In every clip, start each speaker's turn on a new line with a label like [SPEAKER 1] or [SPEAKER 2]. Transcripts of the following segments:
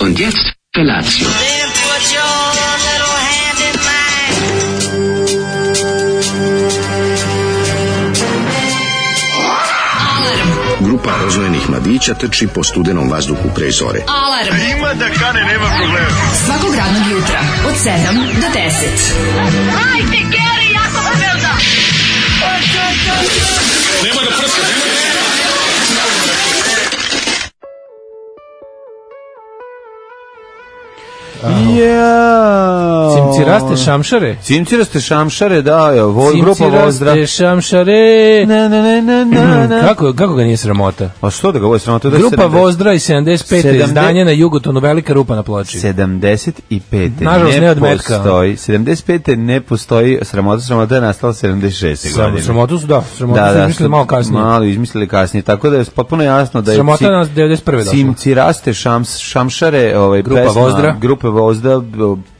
[SPEAKER 1] Und jetzt Felatio.
[SPEAKER 2] Then put your little hand in mine.
[SPEAKER 3] Grupa rozvojenih mladića trči po studenom vazduhu pre zore.
[SPEAKER 4] Alarm. Ima da kane, nema problema. Svakog radnog jutra, od 7 do 10.
[SPEAKER 5] Jao.
[SPEAKER 6] Cimciraste šamšare?
[SPEAKER 5] Cimciraste šamšare, da, jo, vo, grupa Vozdra.
[SPEAKER 6] Cimciraste šamšare. Hmm,
[SPEAKER 5] Ne, ne, ne, ne, ne, ne.
[SPEAKER 6] Kako, kako ga nije sramota?
[SPEAKER 5] A što da ga ovo je sramota? Da je
[SPEAKER 6] Grupa
[SPEAKER 5] 70
[SPEAKER 6] Vozdra i 75.
[SPEAKER 5] Sedamde-
[SPEAKER 6] izdanje na Jugotonu, velika rupa na ploči.
[SPEAKER 5] 75.
[SPEAKER 6] Nažalost, ne od metka.
[SPEAKER 5] postoji. 75. ne postoji. Sramota, sramota je nastala 76.
[SPEAKER 6] Sam,
[SPEAKER 5] godine.
[SPEAKER 6] sramotu su, da, sramotu da, su mislili
[SPEAKER 5] su
[SPEAKER 6] malo kasnije.
[SPEAKER 5] Malo izmislili kasnije, tako da je potpuno jasno da je...
[SPEAKER 6] Sramota
[SPEAKER 5] Cim-
[SPEAKER 6] nas 91. došla.
[SPEAKER 5] Cimciraste šams, šamšare, ovaj,
[SPEAKER 6] Grupa
[SPEAKER 5] pesma
[SPEAKER 6] Vozdra.
[SPEAKER 5] Grupe Vozda b-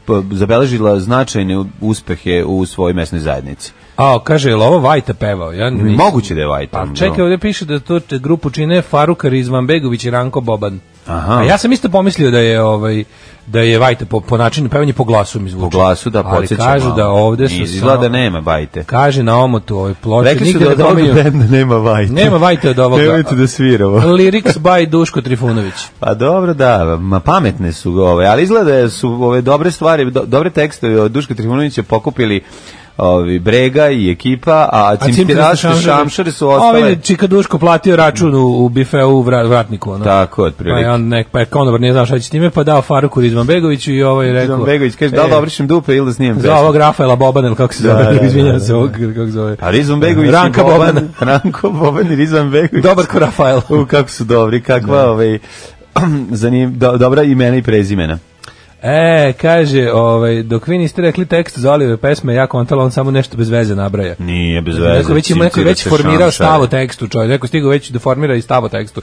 [SPEAKER 5] b- zabeležila značajne u- uspehe u svojoj mesnoj zajednici.
[SPEAKER 6] A, kaže, je li ovo Vajta pevao? Ja nisam-
[SPEAKER 5] Moguće da je Vajta.
[SPEAKER 6] Pa čekaj, ovdje piše da to te grupu čine Faruk Rizmanbegović i Ranko Boban.
[SPEAKER 5] Aha.
[SPEAKER 6] A ja sam isto pomislio da je ovaj da je Vajta po, po načinu pevanja po glasu mi
[SPEAKER 5] po
[SPEAKER 6] zvuči.
[SPEAKER 5] glasu da
[SPEAKER 6] Ali
[SPEAKER 5] podsjeća
[SPEAKER 6] kažu
[SPEAKER 5] malo.
[SPEAKER 6] da ovdje su
[SPEAKER 5] Izgleda
[SPEAKER 6] samo-
[SPEAKER 5] da nema Vajte.
[SPEAKER 6] Kaže na omotu ovoj ploči.
[SPEAKER 5] Rekli su
[SPEAKER 6] nigde
[SPEAKER 5] da od
[SPEAKER 6] ne
[SPEAKER 5] ovog
[SPEAKER 6] pominju-
[SPEAKER 5] benda nema Vajte.
[SPEAKER 6] Nema Vajte od ovoga.
[SPEAKER 5] Nemojte da svira ovo.
[SPEAKER 6] Lyrics by Duško Trifunović.
[SPEAKER 5] Pa dobro, da, ma pametne su ga ove, ali izgleda da su ove dobre stvari, do, dobre tekstove od Duška Trifunovića pokupili ovi Brega i ekipa, a Cimtiraške šamšare su ostale.
[SPEAKER 6] Ovi čika Duško platio račun u, u bifeu u Vra- vratniku. Ono.
[SPEAKER 5] Tako,
[SPEAKER 6] Pa je
[SPEAKER 5] otprilike.
[SPEAKER 6] on nek, pa je konobar nije znao šta će s time, pa dao Faruku Rizmanbegoviću i ovaj je rekao...
[SPEAKER 5] Ivan Begović kaže, da li da obrišem dupe ili da snijem
[SPEAKER 6] E. Za
[SPEAKER 5] pesmu?
[SPEAKER 6] ovog Rafaela Bobana, ili kako se zove,
[SPEAKER 5] da, da,
[SPEAKER 6] izvinjam
[SPEAKER 5] da.
[SPEAKER 6] se, ovog, kako se zove.
[SPEAKER 5] A Rizvan Begović
[SPEAKER 6] Ranka
[SPEAKER 5] i Boban,
[SPEAKER 6] Boban.
[SPEAKER 5] Ranko Boban i Rizvan Begović.
[SPEAKER 6] Dobar ko Rafael.
[SPEAKER 5] U, kako su dobri, kakva, ovaj, zanim, do, dobra imena i prezimena.
[SPEAKER 6] E, kaže, ovaj, dok vi niste rekli tekst za Olive pesme, ja kontala, on samo nešto bez veze nabraja.
[SPEAKER 5] Nije bez veze.
[SPEAKER 6] Neko već, ima, neko je već
[SPEAKER 5] Cimcirate
[SPEAKER 6] formirao
[SPEAKER 5] šamšare.
[SPEAKER 6] stav o tekstu, čovjek. Neko stigao već da formira i stav o tekstu.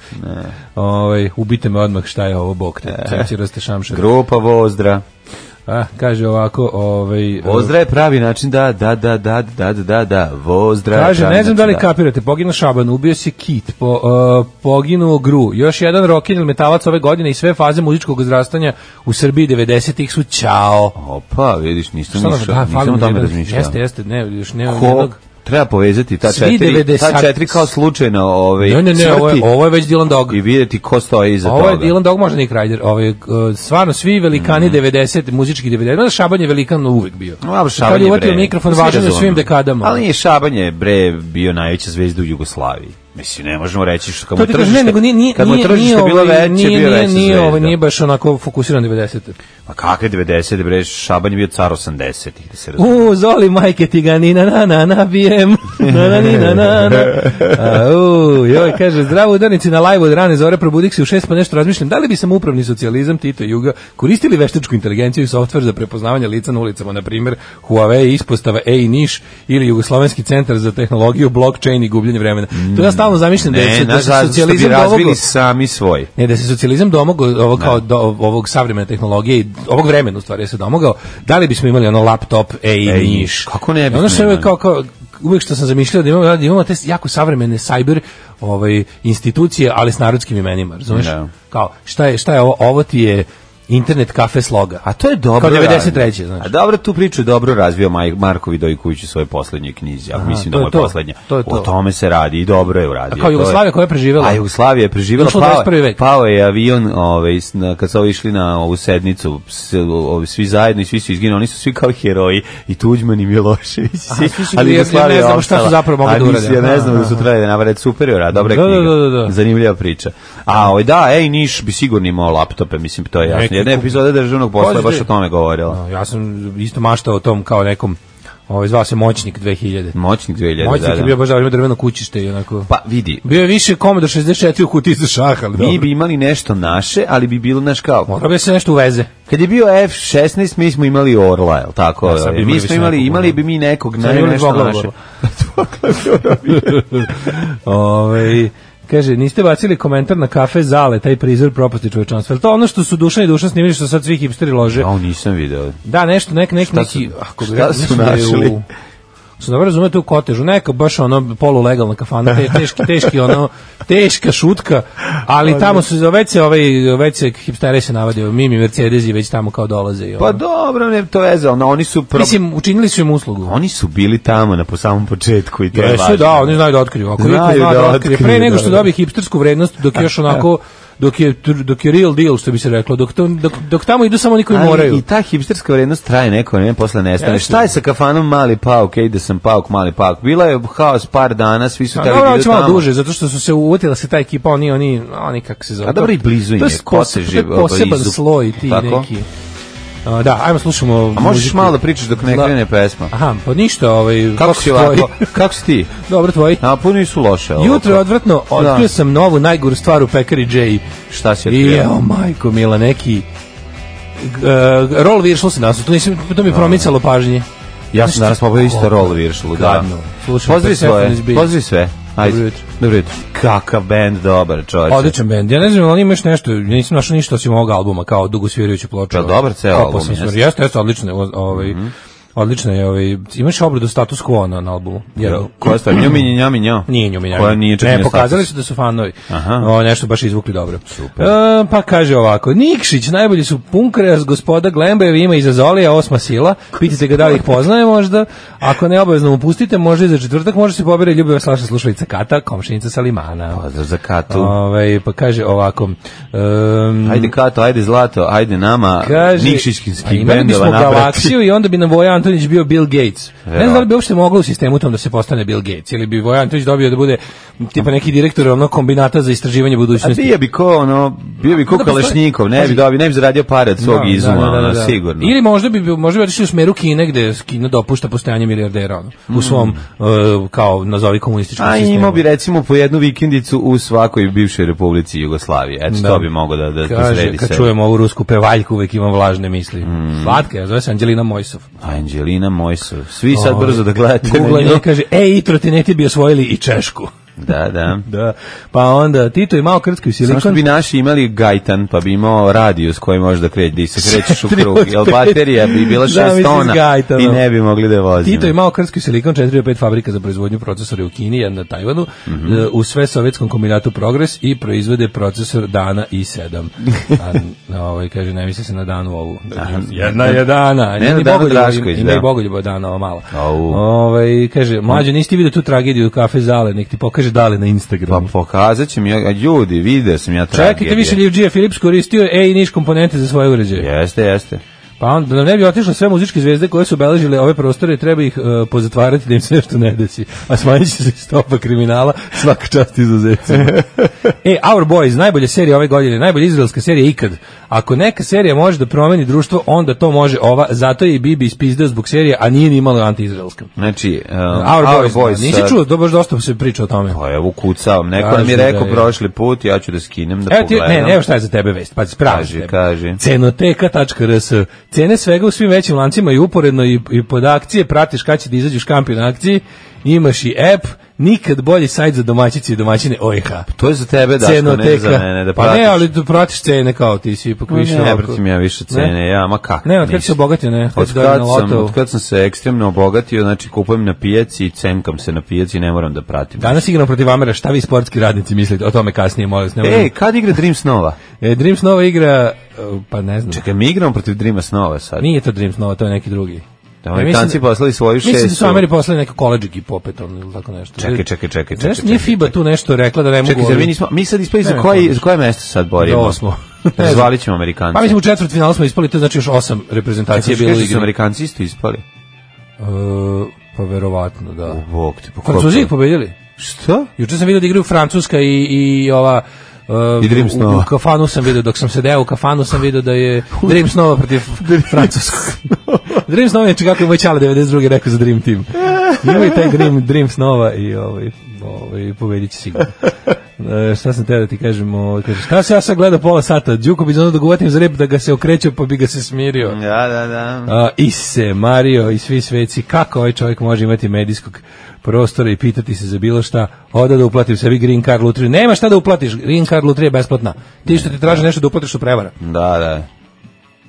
[SPEAKER 6] Ovaj, ubite me odmah šta je ovo, bok te.
[SPEAKER 5] E.
[SPEAKER 6] Cimciraste šamšar.
[SPEAKER 5] Grupa Vozdra.
[SPEAKER 6] A, kaže ovako, ovaj...
[SPEAKER 5] Vozdra je pravi način da, da, da, da, da, da, da, da, Vozdra. je
[SPEAKER 6] Kaže,
[SPEAKER 5] pravi
[SPEAKER 6] ne znam da
[SPEAKER 5] način
[SPEAKER 6] li kapirate, poginuo Šaban, ubio se Kit, po, uh, poginuo Gru, još jedan rokin ili metalac ove godine i sve faze muzičkog zrastanja u Srbiji 90-ih su čao.
[SPEAKER 5] Opa, vidiš, nisam
[SPEAKER 6] Šta nam-
[SPEAKER 5] išao,
[SPEAKER 6] da, fali
[SPEAKER 5] nisam o
[SPEAKER 6] mi
[SPEAKER 5] tome
[SPEAKER 6] jedan.
[SPEAKER 5] razmišljao.
[SPEAKER 6] Jeste, jeste, ne, još ne,
[SPEAKER 5] Ko, treba povezati ta
[SPEAKER 6] Svi
[SPEAKER 5] četiri,
[SPEAKER 6] 90
[SPEAKER 5] ta četiri kao slučajno ove,
[SPEAKER 6] Ne, ne, ne, ovo je,
[SPEAKER 5] smrti
[SPEAKER 6] ovo je već Dylan Dog.
[SPEAKER 5] i vidjeti ko stoji iza
[SPEAKER 6] Pa Ovo je
[SPEAKER 5] toga.
[SPEAKER 6] Dylan Dog, možda Nick Ryder. Ovaj, uh, stvarno, svi velikani 90, muzički 90. Znaš, Šaban je velikan uvek bio.
[SPEAKER 5] Mhm. No, dobro,
[SPEAKER 6] Kad
[SPEAKER 5] Šaban
[SPEAKER 6] je
[SPEAKER 5] je
[SPEAKER 6] uvatio
[SPEAKER 5] bre.
[SPEAKER 6] mikrofon,
[SPEAKER 5] svi
[SPEAKER 6] važan je u
[SPEAKER 5] razumemo.
[SPEAKER 6] svim dekadama.
[SPEAKER 5] Ali nije Šaban je bre bio najveća zvezda u Jugoslaviji. Mislim, ne možemo reći što kad mu
[SPEAKER 6] to ti kažem,
[SPEAKER 5] tržište,
[SPEAKER 6] ne, nego nije, nije,
[SPEAKER 5] kad mu
[SPEAKER 6] nije,
[SPEAKER 5] tržište
[SPEAKER 6] nije,
[SPEAKER 5] bilo
[SPEAKER 6] ovaj,
[SPEAKER 5] veće,
[SPEAKER 6] nije,
[SPEAKER 5] bio je
[SPEAKER 6] nije,
[SPEAKER 5] veća
[SPEAKER 6] nije, ovaj,
[SPEAKER 5] zvezda.
[SPEAKER 6] nije baš onako fokusiran 90.
[SPEAKER 5] Pa kakve 90, bre, Šaban je bio car 80-ih, da se razumije.
[SPEAKER 6] U, zoli majke ti ga ni na na na na bijem. Na na ni na na na. A, u, joj, kaže, zdravo udarnici na live od rane zore, probudik se u šest pa nešto razmišljam. Da li bi sam upravni socijalizam Tito i Juga koristili veštačku inteligenciju i softver za prepoznavanje lica na ulicama, na primjer Huawei ispostava EI Niš ili Jugoslovenski centar za tehnologiju, blockchain i gubljenje vremena. To ja stalno zamišljam da
[SPEAKER 5] Ne,
[SPEAKER 6] se, da
[SPEAKER 5] naš
[SPEAKER 6] se
[SPEAKER 5] razlog E, što bi
[SPEAKER 6] socijalizam
[SPEAKER 5] razbili
[SPEAKER 6] domogao-
[SPEAKER 5] sami svoj.
[SPEAKER 6] ne, da se socijalizam domogao ovo kao do, ovog savremene tehnologije i ovog vremena u stvari da se domogao, da li bismo imali ono laptop, ej,
[SPEAKER 5] Ej,
[SPEAKER 6] niš.
[SPEAKER 5] kako ne bismo
[SPEAKER 6] Ono što je
[SPEAKER 5] imali?
[SPEAKER 6] kao, kao, uvijek što sam zamišljao da imamo, da imamo te jako savremene cyber ovaj, institucije, ali s narodskim imenima, razumeš?
[SPEAKER 5] Da.
[SPEAKER 6] Kao, šta je, šta je ovo? Ovo ti je internet kafe sloga.
[SPEAKER 5] A to je dobro.
[SPEAKER 6] Kao
[SPEAKER 5] radio.
[SPEAKER 6] 93. znaš.
[SPEAKER 5] A dobro tu priču je dobro razvio Maj- Marko Vidojković u svojoj poslednjoj knjizi, a mislim da
[SPEAKER 6] to je
[SPEAKER 5] mu je
[SPEAKER 6] to.
[SPEAKER 5] poslednja.
[SPEAKER 6] To je to.
[SPEAKER 5] O tome se radi i dobro je uradio.
[SPEAKER 6] A
[SPEAKER 5] To
[SPEAKER 6] kao
[SPEAKER 5] je-
[SPEAKER 6] Jugoslavija koja je preživjela.
[SPEAKER 5] A Jugoslavija je preživjela,
[SPEAKER 6] Došla u
[SPEAKER 5] pao,
[SPEAKER 6] 21. vek.
[SPEAKER 5] pao je avion ovaj, s- na- kad su ovi išli na ovu sednicu, s- ovi svi zajedno i svi su izginuli, oni su svi kao heroji i Tuđman i Milošević.
[SPEAKER 6] Aha, svi su
[SPEAKER 5] ali
[SPEAKER 6] bili, ja- ja
[SPEAKER 5] Jugoslavija
[SPEAKER 6] ne
[SPEAKER 5] je
[SPEAKER 6] znam šta su
[SPEAKER 5] opstala.
[SPEAKER 6] zapravo mogli
[SPEAKER 5] A
[SPEAKER 6] da
[SPEAKER 5] mislim,
[SPEAKER 6] urade.
[SPEAKER 5] Ja ne
[SPEAKER 6] Aha,
[SPEAKER 5] znam da su trebali da navrede super, je, a dobra je
[SPEAKER 6] Da, da,
[SPEAKER 5] knjiga.
[SPEAKER 6] da, da, da.
[SPEAKER 5] Zanimljiva priča. A ovaj, da, ej, Niš bi sigurno imao laptope, mislim, to je
[SPEAKER 6] Neki
[SPEAKER 5] jasno. Jedna epizoda državnog posla je
[SPEAKER 6] Pazi
[SPEAKER 5] baš
[SPEAKER 6] ti.
[SPEAKER 5] o tome govorila.
[SPEAKER 6] A, Ja sam isto maštao o tom kao nekom, ovaj, zvao se Moćnik 2000.
[SPEAKER 5] Moćnik 2000,
[SPEAKER 6] Moćnik
[SPEAKER 5] da, da.
[SPEAKER 6] je bio baš da ima drveno kućište i onako...
[SPEAKER 5] Pa vidi,
[SPEAKER 6] Bio je više Commodore 64 u kutiji za šah, ali
[SPEAKER 5] mi
[SPEAKER 6] dobro.
[SPEAKER 5] bi imali nešto naše, ali bi bilo naš kao...
[SPEAKER 6] Morao bi se nešto uveze.
[SPEAKER 5] Kad je bio F-16, mi smo imali Orla, jel tako?
[SPEAKER 6] Da, sad bi imali
[SPEAKER 5] mi smo
[SPEAKER 6] više
[SPEAKER 5] imali,
[SPEAKER 6] nekog,
[SPEAKER 5] imali
[SPEAKER 6] ono.
[SPEAKER 5] bi mi nekog,
[SPEAKER 6] Sad bi
[SPEAKER 5] ne,
[SPEAKER 6] imali
[SPEAKER 5] nešto
[SPEAKER 6] dvoglavog
[SPEAKER 5] naše.
[SPEAKER 6] Orla. Ove, Ovaj, kaže, niste bacili komentar na kafe zale, taj prizor propasti čovečanstva. Je li to ono što su Dušan i Dušan snimili što sad svi hipsteri lože?
[SPEAKER 5] A, on nisam video.
[SPEAKER 6] Da, nešto, nek, nek,
[SPEAKER 5] Šta su-
[SPEAKER 6] neki... ako bi
[SPEAKER 5] šta
[SPEAKER 6] rekao,
[SPEAKER 5] su
[SPEAKER 6] mislim da je u-
[SPEAKER 5] našli?
[SPEAKER 6] su dobro razume tu kotežu, neka baš ono polulegalna kafana, te, teški, teški ono, teška šutka,
[SPEAKER 5] Pa
[SPEAKER 6] ali tamo su već se ovaj, već se hipstere se navadio, Mimi Mercedesi već tamo kao dolaze. I ono.
[SPEAKER 5] Pa dobro, ne to veze, ono, oni su pro...
[SPEAKER 6] Mislim, učinili su im uslugu.
[SPEAKER 5] oni su bili tamo na po samom početku i to je važno.
[SPEAKER 6] Jesu, da, oni znaju da otkriju. Ako
[SPEAKER 5] Znaju
[SPEAKER 6] znaju zna
[SPEAKER 5] da
[SPEAKER 6] da, otkrije,
[SPEAKER 5] otkriju,
[SPEAKER 6] pre nego što
[SPEAKER 5] da, da.
[SPEAKER 6] dobije hipstersku vrednost, dok je još onako dok je tr- dok je real deal što bi se reklo dok to, dok, dok tamo idu samo oni koji
[SPEAKER 5] Ali
[SPEAKER 6] moraju
[SPEAKER 5] I ta hipsterska vrednost traje neko vreme, posle nestane.
[SPEAKER 6] Jeste.
[SPEAKER 5] Šta je sa kafanom Mali Pauk, ej da sam Pauk, Mali Pauk? Bila je haos par dana, svi su
[SPEAKER 6] A
[SPEAKER 5] teli
[SPEAKER 6] dobro,
[SPEAKER 5] bili
[SPEAKER 6] hoće malo
[SPEAKER 5] tamo.
[SPEAKER 6] duže, zato što su se uvotila se ta ekipa, oni, oni, oni kako se zove.
[SPEAKER 5] A dobro, i blizu im
[SPEAKER 6] To
[SPEAKER 5] je,
[SPEAKER 6] pos-
[SPEAKER 5] poteže,
[SPEAKER 6] to je poseban
[SPEAKER 5] blizu.
[SPEAKER 6] sloj ti
[SPEAKER 5] Tako?
[SPEAKER 6] neki. A, da, ajmo slušamo
[SPEAKER 5] A možeš
[SPEAKER 6] muziku.
[SPEAKER 5] malo da pričaš dok ne
[SPEAKER 6] Da.
[SPEAKER 5] krene pesma.
[SPEAKER 6] Aha, pa ništa, ovaj...
[SPEAKER 5] Kako si
[SPEAKER 6] tvoji?
[SPEAKER 5] ovako? Kako si ti?
[SPEAKER 6] Dobro, tvoji.
[SPEAKER 5] A puno su loše. ovako.
[SPEAKER 6] Jutro je odvratno,
[SPEAKER 5] Da.
[SPEAKER 6] otkrio sam novu najgoru stvar u pekari Jay.
[SPEAKER 5] Šta si
[SPEAKER 6] I
[SPEAKER 5] otkrio?
[SPEAKER 6] evo, majko mila, neki... Uh, roll viršlo se nas, to, nisam, to mi je promicalo pažnje.
[SPEAKER 5] Ja sam danas popio isto
[SPEAKER 6] Kako?
[SPEAKER 5] rol viršlu, da.
[SPEAKER 6] Gadno. Slušam
[SPEAKER 5] Pozdrav svoje,
[SPEAKER 6] Persepolis Beat.
[SPEAKER 5] pozdrav sve. Ajde.
[SPEAKER 6] Dobro jutro.
[SPEAKER 5] Dobro jutro. Kakav band, dobar čovječe.
[SPEAKER 6] Odličan bend. Ja ne znam, ali ima još nešto, ja nisam našao ništa osim ovog albuma kao dugo svirajuću ploču.
[SPEAKER 5] Jel Pa dobar ceo
[SPEAKER 6] Kao
[SPEAKER 5] album,
[SPEAKER 6] poslednji
[SPEAKER 5] jeste? Mhm.
[SPEAKER 6] smrt. Jeste, jeste, odlično je. o- Ovaj, Odlično je, ovaj, imaš obradu status quo na, na albumu. Jednu.
[SPEAKER 5] Jel, Koja stvar? Njomi, njomi, njomi.
[SPEAKER 6] Nije njuminjak.
[SPEAKER 5] Koja nije čak
[SPEAKER 6] Ne,
[SPEAKER 5] ni
[SPEAKER 6] pokazali
[SPEAKER 5] status.
[SPEAKER 6] su da su fanovi.
[SPEAKER 5] Aha.
[SPEAKER 6] O, nešto baš izvukli dobro.
[SPEAKER 5] Super.
[SPEAKER 6] E, pa kaže ovako, Nikšić, najbolji su punkras, gospoda Glembajevi ima iza Zolija, osma sila, pitajte ga da li ih poznaje možda, ako ne obavezno mu pustite, može i za četvrtak, može se pobere ljubiva slaša slušalica Kata, komšinica sa limana.
[SPEAKER 5] Pozdrav Pa, za Katu.
[SPEAKER 6] Ovaj pa kaže ovako. Um,
[SPEAKER 5] Ajde Kato, ajde Zlato, ajde nama
[SPEAKER 6] kaže, a
[SPEAKER 5] Nikšićkinskih
[SPEAKER 6] imali bismo
[SPEAKER 5] bendova napraviti.
[SPEAKER 6] galaksiju i onda bi nam Voja Antonić bio Bill Gates. Ne znam da li bi uopšte moglo u sistemu tom da se postane Bill Gates ili bi Voja Antonić dobio da bude tipa neki direktor ono kombinata za istraživanje
[SPEAKER 5] A
[SPEAKER 6] budućnosti.
[SPEAKER 5] bio bi ko, ono, bio bi ko
[SPEAKER 6] Da, da,
[SPEAKER 5] Kalašnikov, ne bi dobio, ne bi zaradio pare od svog
[SPEAKER 6] Da,
[SPEAKER 5] izuma,
[SPEAKER 6] da, da, da,
[SPEAKER 5] ono,
[SPEAKER 6] da.
[SPEAKER 5] sigurno.
[SPEAKER 6] Ili možda bi možda bi otišli u smeru Kine gde Kina dopušta postojanje milijardera ono, u svom e, kao nazovi komunističkom
[SPEAKER 5] Mm. A
[SPEAKER 6] sistemu.
[SPEAKER 5] imao bi recimo po jednu vikendicu u svakoj bivšoj republici Jugoslavije. Eto,
[SPEAKER 6] Da.
[SPEAKER 5] to bi mogo da, da, da
[SPEAKER 6] Kaže,
[SPEAKER 5] sredi Mm.
[SPEAKER 6] kad
[SPEAKER 5] se.
[SPEAKER 6] čujem ovu rusku pevaljku, uvek imam vlažne misli. Slatka je, zove se Anđelina Mojsov.
[SPEAKER 5] Anđelina Mojsov. Svi sad brzo da gledate na
[SPEAKER 6] Google
[SPEAKER 5] nju.
[SPEAKER 6] i kaže, e, i trotineti bi osvojili i Češku.
[SPEAKER 5] Da, da.
[SPEAKER 6] Da. Pa onda, Tito i malo krckaju
[SPEAKER 5] Samo što
[SPEAKER 6] silikon.
[SPEAKER 5] bi naši imali gajtan, pa bi imao radio s kojim možeš da krećeš, da se krećeš u krug. Jel
[SPEAKER 6] 3 od
[SPEAKER 5] baterija bi bila
[SPEAKER 6] pet.
[SPEAKER 5] 6
[SPEAKER 6] Zamisli s
[SPEAKER 5] tona i
[SPEAKER 6] gajtanom.
[SPEAKER 5] ne bi mogli da je vozimo.
[SPEAKER 6] Tito i malo krckaju silikon, 4 do 5 fabrika za proizvodnju procesora u Kini, jedna na Tajvanu,
[SPEAKER 5] Mhm.
[SPEAKER 6] e, u sve sovjetskom kombinatu Progres i proizvode procesor Dana i 7. A, na ovaj, kaže, ne misli se na danu ovu. Jedna je Dana.
[SPEAKER 5] Ne, na Danu Drašković,
[SPEAKER 6] Ima i
[SPEAKER 5] da.
[SPEAKER 6] Bogoljuba Dana, ova mala.
[SPEAKER 5] Au. Mm.
[SPEAKER 6] Ovaj, kaže, mlađe, nisi ti vidio tu tragediju u kafe Zale, nek ti pokaže Dale na
[SPEAKER 5] Pa
[SPEAKER 6] Instagramu.
[SPEAKER 5] pokazat ću mi, ja, ljudi, video sam ja tragedije.
[SPEAKER 6] Čekajte više, Livđija Philips koristio E i niš komponente za svoje uređaje.
[SPEAKER 5] Jeste, jeste.
[SPEAKER 6] Pa onda, da nam ne bi otišle sve muzičke zvezde koje su obeležile ove prostore, treba ih e, pozatvarati da im se nešto ne desi. A smanjit će se stopa kriminala, svaka čast izuzetcima. e, Our Boys, najbolja serija ove godine, najbolja izraelska serija ikad. Ako neka serija može da promeni društvo, onda to može ova, zato je i Bibi ispizdeo zbog serije, a nije ni imala antiizraelska.
[SPEAKER 5] Znači, uh,
[SPEAKER 6] Our, Boys,
[SPEAKER 5] Boys,
[SPEAKER 6] da. nisi
[SPEAKER 5] uh,
[SPEAKER 6] čuo, do- baš dosta se priča o tome.
[SPEAKER 5] Pa evo kucao, neko
[SPEAKER 6] Kažu
[SPEAKER 5] nam je
[SPEAKER 6] da
[SPEAKER 5] rekao
[SPEAKER 6] je.
[SPEAKER 5] prošli put, ja ću da skinem da
[SPEAKER 6] Evo ti,
[SPEAKER 5] pogledam.
[SPEAKER 6] ne, ne, evo šta je za tebe vest, pazi, pravi
[SPEAKER 5] Kaži,
[SPEAKER 6] za tebe.
[SPEAKER 5] kaži.
[SPEAKER 6] Cenoteka.rs Cene svega u svim većim lancima i uporedno i, i pod akcije, pratiš kad će da izađu škampi na akciji, imaš i app, nikad bolji sajt za domaćice i domaćine OIH.
[SPEAKER 5] To je za tebe, da, ne za
[SPEAKER 6] Cenoteka.
[SPEAKER 5] mene, da
[SPEAKER 6] pa ne,
[SPEAKER 5] pratiš.
[SPEAKER 6] ali tu pratiš cene kao ti si ipak više.
[SPEAKER 5] ne
[SPEAKER 6] ovako.
[SPEAKER 5] pratim ja više cene,
[SPEAKER 6] Ne?
[SPEAKER 5] ja, ma kako
[SPEAKER 6] Ne, od kad
[SPEAKER 5] nisi?
[SPEAKER 6] si se obogatio, ne? Kad
[SPEAKER 5] Od
[SPEAKER 6] si dobio
[SPEAKER 5] kad,
[SPEAKER 6] na
[SPEAKER 5] sam,
[SPEAKER 6] lotovu.
[SPEAKER 5] od kad sam se ekstremno obogatio, znači kupujem na pijaci i cenkam se na pijaci i ne moram da pratim.
[SPEAKER 6] Danas igram protiv Amera, šta vi sportski radnici mislite? O tome kasnije, molim vas. ne
[SPEAKER 5] Ej,
[SPEAKER 6] moram-
[SPEAKER 5] E, kad igra Dream Snova?
[SPEAKER 6] E, Dreams Nova igra, e, pa ne znam.
[SPEAKER 5] Čekaj, mi igramo protiv Dreama Snova sad.
[SPEAKER 6] Nije to Dreams Nova, to je neki drugi.
[SPEAKER 5] Da,
[SPEAKER 6] Ja
[SPEAKER 5] Amerikanci
[SPEAKER 6] mislim-
[SPEAKER 5] poslali svoju šestu.
[SPEAKER 6] Mislim da su Ameri poslali neko koleđ ekipu opet on ili tako nešto.
[SPEAKER 5] Čekaj, čekaj, čekaj, čekaj,
[SPEAKER 6] Znaš,
[SPEAKER 5] čekaj,
[SPEAKER 6] nije FIBA tu nešto rekla da ne mogu...
[SPEAKER 5] Čekaj, zar
[SPEAKER 6] ovi-
[SPEAKER 5] mi nismo, mi sad ispali za
[SPEAKER 6] Ne,
[SPEAKER 5] koje,
[SPEAKER 6] ne.
[SPEAKER 5] za koje mesto sad borimo?
[SPEAKER 6] Za osmo. Ne znam.
[SPEAKER 5] Zvalit ćemo Amerikanci.
[SPEAKER 6] Pa mislim u četvrt finalu smo ispali, to znači još osam reprezentacija
[SPEAKER 5] Čekaj,
[SPEAKER 6] je bilo u
[SPEAKER 5] kažeš da su
[SPEAKER 6] igri.
[SPEAKER 5] Amerikanci isto ispali.
[SPEAKER 6] E, pa verovatno, da.
[SPEAKER 5] Bog ti, pa ko-
[SPEAKER 6] Francuzi ih pobedili.
[SPEAKER 5] Što?
[SPEAKER 6] Juče sam vidio da igraju Francuska i, i ova... e,
[SPEAKER 5] I Dream
[SPEAKER 6] u-
[SPEAKER 5] Snova.
[SPEAKER 6] U kafanu sam vidio, dok sam se deo u kafanu sam vidio da je Dream Snova protiv Francuskog. Dream Snova je čekako je moj čale 92. rekao za Dream Team. Ima i taj Dream, Dream Snova i ovaj, ovaj, pobedit će sigurno. E, šta sam teo da ti kažem, ovaj, kaže, šta se ja sad gleda pola sata, Đuko bi za ono dogovatim za rep da ga se okreću pa bi ga se smirio.
[SPEAKER 5] Da, da, da.
[SPEAKER 6] A, Ise, Mario i svi sveci, kako ovaj čovjek može imati medijskog prostora i pitati se za bilo šta, oda da uplatim sebi Green Card Lutriju. Nema šta da uplatiš, Green Card Lutrija je besplatna. Ti što ti traže nešto da uplatiš su prevara.
[SPEAKER 5] Da, da.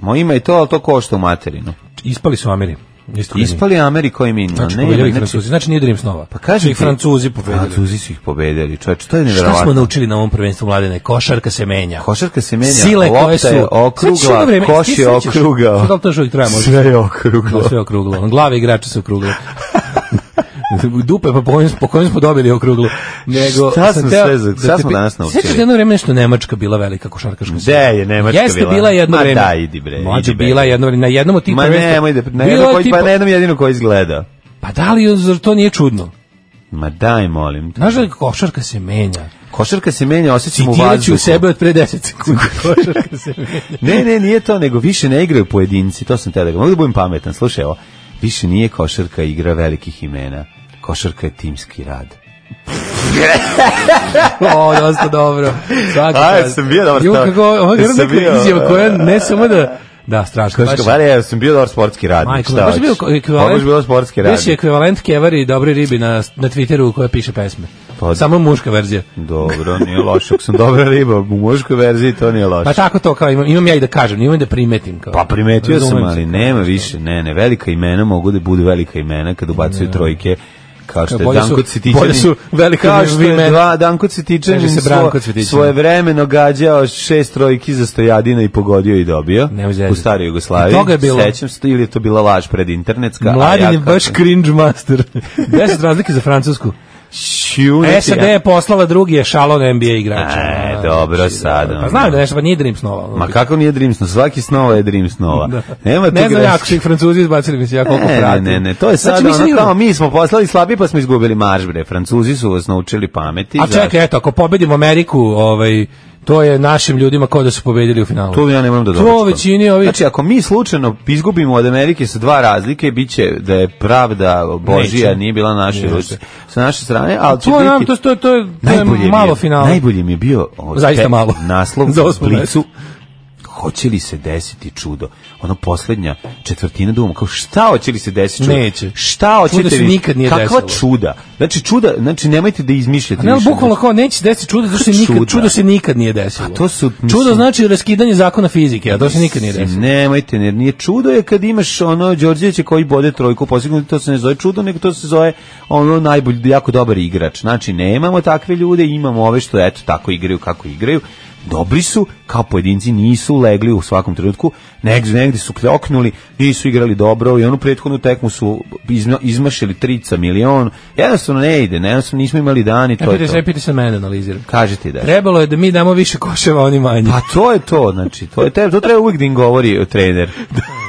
[SPEAKER 5] Mo ima i to, ali to košta u materinu.
[SPEAKER 6] Ispali su Ameri. Isto kao i mi.
[SPEAKER 5] Ispali Ameriko i Minna.
[SPEAKER 6] Znači,
[SPEAKER 5] Ne,
[SPEAKER 6] pobedili ih
[SPEAKER 5] znači,
[SPEAKER 6] Francuzi. Znači, nije Dream snova.
[SPEAKER 5] Pa kažem
[SPEAKER 6] Su ih
[SPEAKER 5] ti, Pa,
[SPEAKER 6] Francuzi pobedili.
[SPEAKER 5] Francuzi su ih pobedili, čovječe, to je
[SPEAKER 6] Šta smo
[SPEAKER 5] nevjerovatno.
[SPEAKER 6] naučili na ovom prvenstvu mladene? Košarka se menja.
[SPEAKER 5] Košarka se menja,
[SPEAKER 6] Sile
[SPEAKER 5] lopta
[SPEAKER 6] koje su...
[SPEAKER 5] je okrugla,
[SPEAKER 6] Znači, ono vreme-
[SPEAKER 5] koš
[SPEAKER 6] ti
[SPEAKER 5] je
[SPEAKER 6] sećaš-
[SPEAKER 5] okrugao.
[SPEAKER 6] Sad, ali to još uvijek traje, možda.
[SPEAKER 5] Sve je okruglo.
[SPEAKER 6] No, sve je okruglo. Ono, Glave igrača se okruglo. dupe pa po kojem, po kojem smo dobili okruglo. Nego,
[SPEAKER 5] Šta
[SPEAKER 6] sam
[SPEAKER 5] smo
[SPEAKER 6] teo
[SPEAKER 5] sve za-
[SPEAKER 6] da
[SPEAKER 5] šta
[SPEAKER 6] te
[SPEAKER 5] smo
[SPEAKER 6] pi-
[SPEAKER 5] danas naučili?
[SPEAKER 6] Sećaš da jedno vreme nešto Nemačka bila velika košarkaška
[SPEAKER 5] Gde je Nemačka
[SPEAKER 6] Jeste
[SPEAKER 5] bila?
[SPEAKER 6] bila jedno
[SPEAKER 5] Ma
[SPEAKER 6] vreme.
[SPEAKER 5] daj, idi bre,
[SPEAKER 6] Mlađe,
[SPEAKER 5] idi bre.
[SPEAKER 6] bila je jedno vreme. Na jednom od tih
[SPEAKER 5] Ma
[SPEAKER 6] prvenstva-
[SPEAKER 5] nemoj da, na
[SPEAKER 6] Bila
[SPEAKER 5] jednom
[SPEAKER 6] je
[SPEAKER 5] koji,
[SPEAKER 6] tipa-
[SPEAKER 5] pa na jednom jedinu koji izgleda.
[SPEAKER 6] Pa da li, zar to nije čudno?
[SPEAKER 5] Ma daj, molim. te.
[SPEAKER 6] Znaš da košarka se menja?
[SPEAKER 5] Košarka se menja, osjećam u
[SPEAKER 6] Citirat ću
[SPEAKER 5] vazduhu.
[SPEAKER 6] sebe od pre 10 sekundi. košarka se menja.
[SPEAKER 5] Ne, ne, nije to, nego više ne igraju pojedinci, to sam te da ga, mogu da budem pametan, slušaj ovo, više nije košarka igra velikih imena, košarka je timski rad.
[SPEAKER 6] O, dosta dobro. Svaka
[SPEAKER 5] A,
[SPEAKER 6] čast.
[SPEAKER 5] sam bio dobar
[SPEAKER 6] Ju,
[SPEAKER 5] stavak.
[SPEAKER 6] kako, ovo je
[SPEAKER 5] Jesam
[SPEAKER 6] neka
[SPEAKER 5] bio,
[SPEAKER 6] izjava koja
[SPEAKER 5] e,
[SPEAKER 6] ne samo da... Da, strašno. Znači,
[SPEAKER 5] Košarka,
[SPEAKER 6] baš-
[SPEAKER 5] bar ja sam bio dobar sportski radnik,
[SPEAKER 6] Majko,
[SPEAKER 5] šta
[SPEAKER 6] baš je
[SPEAKER 5] hoćeš?
[SPEAKER 6] bio ekvivalent.
[SPEAKER 5] Baš bio sportski radnik.
[SPEAKER 6] Baš je ekvivalent Kevari i Dobre ribi na, na Twitteru koja piše pesme.
[SPEAKER 5] Pa-
[SPEAKER 6] Samo muška verzija.
[SPEAKER 5] Dobro, nije loše, ako sam dobra riba, u muškoj verziji to nije loše.
[SPEAKER 6] Pa tako to kao imam, imam ja i da kažem, imam i da primetim kao.
[SPEAKER 5] Pa primetio sam,
[SPEAKER 6] Razumem se,
[SPEAKER 5] ali
[SPEAKER 6] kao.
[SPEAKER 5] nema više, ne, ne, velika imena mogu da budu velika imena kad ubacuju trojke, kao što je
[SPEAKER 6] Bolje su-
[SPEAKER 5] Danko Cvetićanin.
[SPEAKER 6] bolje su velika
[SPEAKER 5] kao što je
[SPEAKER 6] imena.
[SPEAKER 5] dva, Danko Cvetićanin
[SPEAKER 6] Kaže se Branko Cvetićanin.
[SPEAKER 5] svoje vremeno gađao šest trojki za stojadina i pogodio i dobio
[SPEAKER 6] Nema veze.
[SPEAKER 5] u staroj Jugoslaviji.
[SPEAKER 6] I toga je bilo.
[SPEAKER 5] Sećam se, ili je to bila laž predinternetska. a
[SPEAKER 6] Mladin
[SPEAKER 5] ja
[SPEAKER 6] je
[SPEAKER 5] kako-
[SPEAKER 6] baš cringe master. 10 razlike za Francusku.
[SPEAKER 5] Ću, neće
[SPEAKER 6] E, SAD
[SPEAKER 5] ja-
[SPEAKER 6] je poslala drugi ešalon NBA igrača.
[SPEAKER 5] E,
[SPEAKER 6] A,
[SPEAKER 5] dobro
[SPEAKER 6] znači,
[SPEAKER 5] sad,
[SPEAKER 6] da, Pa
[SPEAKER 5] ono.
[SPEAKER 6] znam da nešto, pa nije Dream snova.
[SPEAKER 5] Ma kako nije Dream Snow? Svaki snova je Dream Snova. Nema tu
[SPEAKER 6] ne znam ja,
[SPEAKER 5] greške.
[SPEAKER 6] ako su ih Francuzi izbacili, mislim, ja koliko
[SPEAKER 5] Ne,
[SPEAKER 6] pratim.
[SPEAKER 5] ne, ne, to je sad
[SPEAKER 6] Znači,
[SPEAKER 5] ono
[SPEAKER 6] mislim,
[SPEAKER 5] kao mi smo poslali slabi pa smo izgubili marš bre. Francuzi su vas naučili pameti.
[SPEAKER 6] A
[SPEAKER 5] zašto?
[SPEAKER 6] čekaj, eto, ako pobedimo Ameriku, ovaj, to je našim ljudima kao da su pobedili u finalu.
[SPEAKER 5] To ja ne moram da
[SPEAKER 6] To
[SPEAKER 5] doručkam.
[SPEAKER 6] većini ovih-
[SPEAKER 5] Znači, ako mi slučajno izgubimo od Amerike sa dva razlike, bit će da je pravda Božija
[SPEAKER 6] Neće.
[SPEAKER 5] nije bila naše
[SPEAKER 6] Jeste.
[SPEAKER 5] sa naše strane, ali će
[SPEAKER 6] To Pa je, nam-
[SPEAKER 5] biti...
[SPEAKER 6] to, to, to je, to je
[SPEAKER 5] Najbolje mi je-
[SPEAKER 6] malo finala.
[SPEAKER 5] Najbolje mi je bio o,
[SPEAKER 6] Zaista
[SPEAKER 5] te-
[SPEAKER 6] malo.
[SPEAKER 5] naslov
[SPEAKER 6] Za
[SPEAKER 5] u
[SPEAKER 6] osmo
[SPEAKER 5] blicu. Hoće li se desiti čudo? Ono poslednja četvrtina duma, kao šta hoće li se desiti čudo?
[SPEAKER 6] Neće.
[SPEAKER 5] Šta hoćete
[SPEAKER 6] Čudo se
[SPEAKER 5] vi?
[SPEAKER 6] nikad nije
[SPEAKER 5] Kakva
[SPEAKER 6] desilo.
[SPEAKER 5] čuda? Znači čuda, znači nemojte da izmišljate.
[SPEAKER 6] A ne, ali
[SPEAKER 5] više.
[SPEAKER 6] bukvalno kao neće se desiti čudo, zato što se nikad,
[SPEAKER 5] Čuda.
[SPEAKER 6] čudo se nikad nije desilo.
[SPEAKER 5] Pa to su-
[SPEAKER 6] čudo
[SPEAKER 5] mislim-
[SPEAKER 6] znači raskidanje zakona fizike, a to se nikad nije
[SPEAKER 5] Mislim,
[SPEAKER 6] desilo.
[SPEAKER 5] Nemojte, jer nije čudo je kad imaš ono Đorđevića koji bode trojku, posebno to se ne zove čudo, nego to se zove ono najbolji, jako dobar igrač. Znači, nemamo takve ljude, imamo ove što eto tako igraju kako igraju. Dobri su, kao pojedinci nisu legli u svakom trenutku, negde, negde su kljoknuli, nisu igrali dobro i onu prethodnu tekmu su izma- izmašili trica milion. Jednostavno ne ide, ne, jednostavno nismo imali dan i
[SPEAKER 6] Ne
[SPEAKER 5] to je
[SPEAKER 6] piti
[SPEAKER 5] to.
[SPEAKER 6] E, pa se, piti se mene analiziram.
[SPEAKER 5] Kažete da je.
[SPEAKER 6] Trebalo je da mi damo više koševa, oni manje.
[SPEAKER 5] Pa to je to, znači, to je te, to treba uvijek da im govori trener.